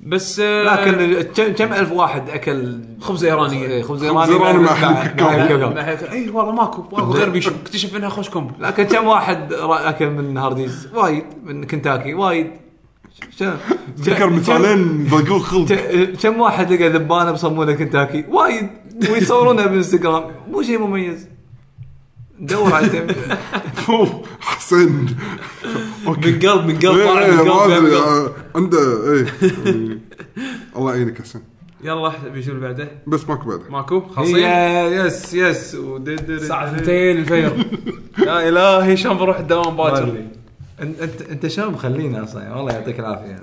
[SPEAKER 1] بس آه،
[SPEAKER 2] لكن ال- كم كم الف واحد اكل
[SPEAKER 1] خبز إيراني.
[SPEAKER 2] إيه، خبز
[SPEAKER 3] خبز
[SPEAKER 2] ايراني
[SPEAKER 3] إيراني مع
[SPEAKER 2] مع-
[SPEAKER 3] حليب
[SPEAKER 2] مع
[SPEAKER 3] كاكاو.
[SPEAKER 2] حليب كاكاو.
[SPEAKER 1] ما- اي والله ماكو ماكو غير بيشو اكتشف انها خوش كومبو
[SPEAKER 2] لكن كم واحد را- اكل من هارديز؟ وايد من كنتاكي وايد ش- ش-
[SPEAKER 3] ذكر
[SPEAKER 2] كم-
[SPEAKER 3] مثالين ضاقوه خلق
[SPEAKER 2] ك- كم واحد لقى ذبانه بصمونه كنتاكي؟ وايد ويصورونها بالانستغرام مو شيء مميز دور على التم-
[SPEAKER 3] أوه، حسين اوكي
[SPEAKER 10] قلب من قلب طالع
[SPEAKER 3] إيه،
[SPEAKER 10] من
[SPEAKER 3] ما ادري
[SPEAKER 10] قلب
[SPEAKER 3] آه، عنده ايه الله يعينك حسين
[SPEAKER 1] يلا بيشو اللي بعده
[SPEAKER 3] بس ماكو بعد
[SPEAKER 1] ماكو خلصين
[SPEAKER 2] هي- يس يس
[SPEAKER 1] الساعه 2 الفجر يا الهي شلون بروح الدوام باكر
[SPEAKER 2] انت انت انت شاب خلينا اصلا والله يعطيك العافيه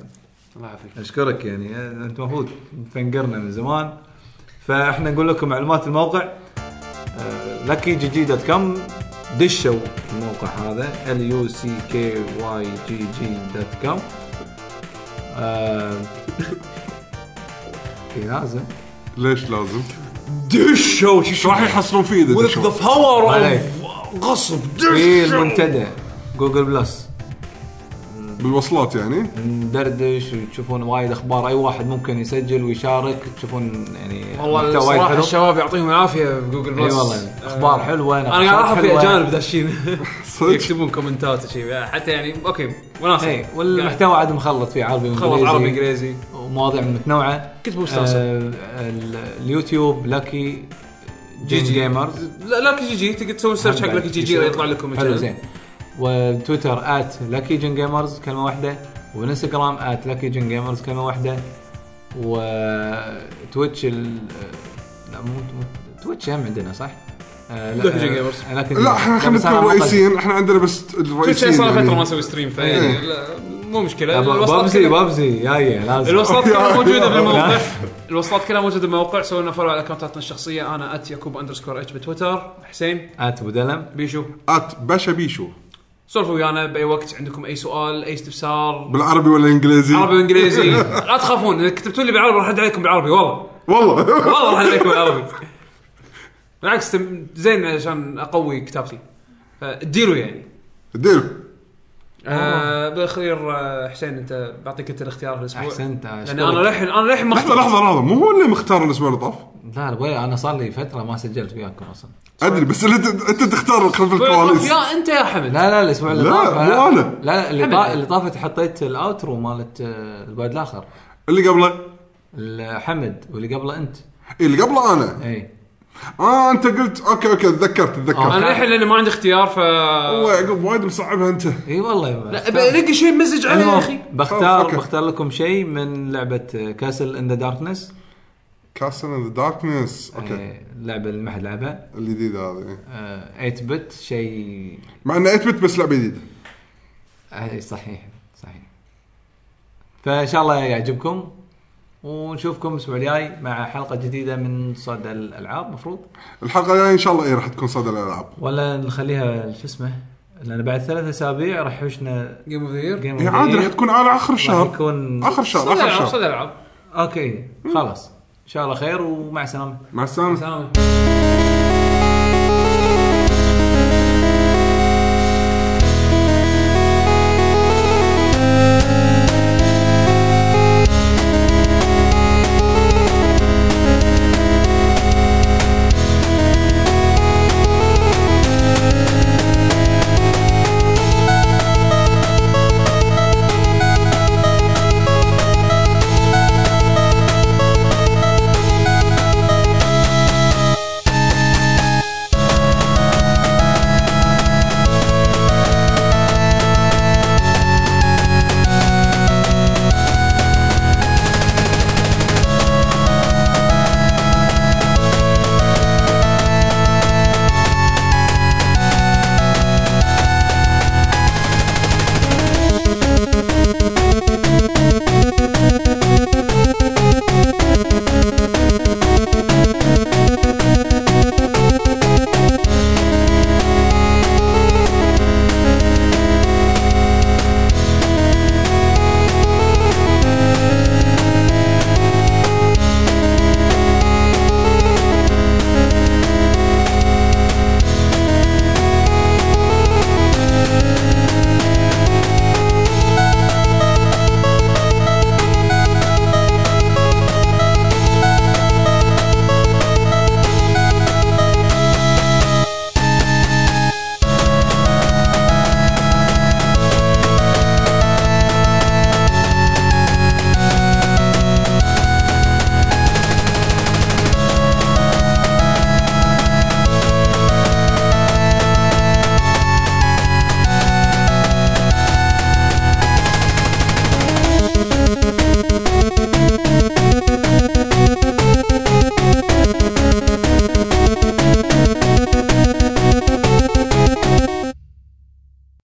[SPEAKER 1] الله يعافيك
[SPEAKER 2] اشكرك يعني انت المفروض تنقرنا من زمان فاحنا نقول لكم معلومات الموقع لكي جي جي دوت كوم دشوا الموقع هذا ال يو سي كي واي جي جي دوت آه، كوم في لازم
[SPEAKER 3] ليش لازم؟
[SPEAKER 11] دشوا شو شو
[SPEAKER 3] راح يحصلون فيه اذا
[SPEAKER 11] وذ ذا
[SPEAKER 3] دشوا.
[SPEAKER 11] باور
[SPEAKER 2] عليك.
[SPEAKER 11] غصب
[SPEAKER 2] في المنتدى جوجل بلس
[SPEAKER 3] بالوصلات يعني
[SPEAKER 2] ندردش وتشوفون وايد اخبار اي واحد ممكن يسجل ويشارك تشوفون يعني
[SPEAKER 1] والله
[SPEAKER 2] محتوى وايد
[SPEAKER 1] الصراحه
[SPEAKER 2] حلو.
[SPEAKER 1] الشباب يعطيهم العافيه بجوجل
[SPEAKER 2] اي
[SPEAKER 1] بلس
[SPEAKER 2] والله اخبار حلوه
[SPEAKER 1] انا آه. قاعد اعرف في اجانب داشين
[SPEAKER 3] صدق
[SPEAKER 1] يكتبون كومنتات وشي حتى يعني اوكي وناسه
[SPEAKER 2] اي إيه، والمحتوى عاد مخلط فيه عربي
[SPEAKER 1] خلص عربي انجليزي
[SPEAKER 2] ومواضيع متنوعه
[SPEAKER 1] كتبوا استانسه
[SPEAKER 2] آه، ال- اليوتيوب لاكي جي جي جيمرز
[SPEAKER 1] لا لاكي جي جي تقدر تسوي سيرش حق لاكي جي جي راح يطلع لكم
[SPEAKER 2] حلو
[SPEAKER 1] الجنة.
[SPEAKER 2] زين وتويتر ات لاكي جن جيمرز كلمه واحده والانستغرام ات لاكي جن جيمرز كلمه واحده وتويتش ال لا مو مو- تويتش هم عندنا صح؟ آه، لا،
[SPEAKER 1] لاكي جن جيمرز.
[SPEAKER 2] آه، لاكي جن
[SPEAKER 3] لا
[SPEAKER 1] يعني
[SPEAKER 3] احنا خلينا
[SPEAKER 2] بس أنا
[SPEAKER 3] نذكر
[SPEAKER 2] ما قصدي.
[SPEAKER 3] الرئيسيين احنا عندنا بس
[SPEAKER 1] تويتش
[SPEAKER 3] الرئيسيين
[SPEAKER 1] صار فتره ما
[SPEAKER 3] يعني.
[SPEAKER 1] اسوي ستريم
[SPEAKER 2] إيه.
[SPEAKER 1] فيعني لا، مو مشكله
[SPEAKER 2] لا، ب-
[SPEAKER 1] الوصلات
[SPEAKER 2] بابزي
[SPEAKER 1] كلها-
[SPEAKER 2] بابزي جايه لازم
[SPEAKER 1] الوصلات كلها
[SPEAKER 3] يا-
[SPEAKER 1] موجوده بالموقع
[SPEAKER 2] لا.
[SPEAKER 1] الوصلات كلها موجوده بالموقع سوينا فولو على اكونتاتنا الشخصيه انا ات يعقوب اندرسكور اتش بتويتر حسين
[SPEAKER 2] ات ابو دلم
[SPEAKER 1] بيشو
[SPEAKER 3] ات باشا بيشو
[SPEAKER 1] سولفوا ويانا باي وقت عندكم اي سؤال اي استفسار
[SPEAKER 3] بالعربي ولا انجليزي؟
[SPEAKER 1] عربي وانجليزي لا تخافون اذا كتبتوا لي بالعربي راح ارد عليكم بالعربي والله
[SPEAKER 3] والله
[SPEAKER 1] والله راح ارد عليكم بالعربي بالعكس تم- زين عشان اقوي كتابتي فديروا يعني
[SPEAKER 3] دير
[SPEAKER 1] آه بالاخير آه، حسين انت بعطيك انت الاختيار الاسبوع
[SPEAKER 2] احسنت آه،
[SPEAKER 1] لان انا للحين انا للحين ما
[SPEAKER 3] لحظه
[SPEAKER 1] اخترت
[SPEAKER 3] لحظه لحظه مو هو اللي مختار الاسبوع اللي طاف؟
[SPEAKER 2] لا ولا انا صار لي فتره ما سجلت وياكم اصلا
[SPEAKER 3] ادري بس اللي انت انت تختار خلف الكواليس
[SPEAKER 1] يا انت يا حمد
[SPEAKER 2] لا لا الاسبوع اللي
[SPEAKER 3] لا،
[SPEAKER 2] طاف
[SPEAKER 3] مو أنا.
[SPEAKER 2] لا لا اللي,
[SPEAKER 1] حمد.
[SPEAKER 2] طا... اللي طافت حطيت الاوترو مالت آه، البعد الاخر
[SPEAKER 3] اللي قبله
[SPEAKER 2] الحمد واللي قبله انت
[SPEAKER 3] إيه، اللي قبله انا
[SPEAKER 2] اي
[SPEAKER 3] اه انت قلت اوكي اوكي تذكرت
[SPEAKER 2] آه.
[SPEAKER 3] تذكرت
[SPEAKER 1] انا للحين لاني ما عندي اختيار ف
[SPEAKER 3] والله يعقوب وايد مصعبها انت
[SPEAKER 2] اي والله يا
[SPEAKER 1] لا
[SPEAKER 2] أستاذ.
[SPEAKER 1] بلاقي شيء مزج عليه يا اخي
[SPEAKER 2] المهم، بختار
[SPEAKER 3] أوكي.
[SPEAKER 2] بختار لكم شيء من لعبه كاسل ان ذا داركنس
[SPEAKER 3] كاسل ذا داركنس
[SPEAKER 1] إيه.
[SPEAKER 3] اوكي
[SPEAKER 2] اللعبه اللي ما حد لعبها
[SPEAKER 3] الجديده هذه إيه.
[SPEAKER 2] آه، 8 بت شيء
[SPEAKER 3] مع انه اثبت بس لعبه جديده
[SPEAKER 2] آه، صحيح صحيح فان شاء الله يعجبكم ونشوفكم الاسبوع الجاي مع حلقه جديده من صدى الالعاب مفروض
[SPEAKER 3] الحلقه الجايه ان شاء الله اي راح تكون صدى الالعاب
[SPEAKER 2] ولا نخليها شو اسمه لان بعد ثلاث اسابيع راح يحوشنا
[SPEAKER 1] جيم اوف ذا يير
[SPEAKER 2] جيم
[SPEAKER 3] هي إيه، عادي راح تكون على اخر
[SPEAKER 2] راح
[SPEAKER 3] الشهر
[SPEAKER 2] يكون
[SPEAKER 3] اخر شهر اخر
[SPEAKER 1] صدى العاب
[SPEAKER 3] شهر
[SPEAKER 1] صدى العاب
[SPEAKER 2] اوكي خلاص ان شاء الله خير ومع السلامه
[SPEAKER 3] مع السلامه
[SPEAKER 1] سلام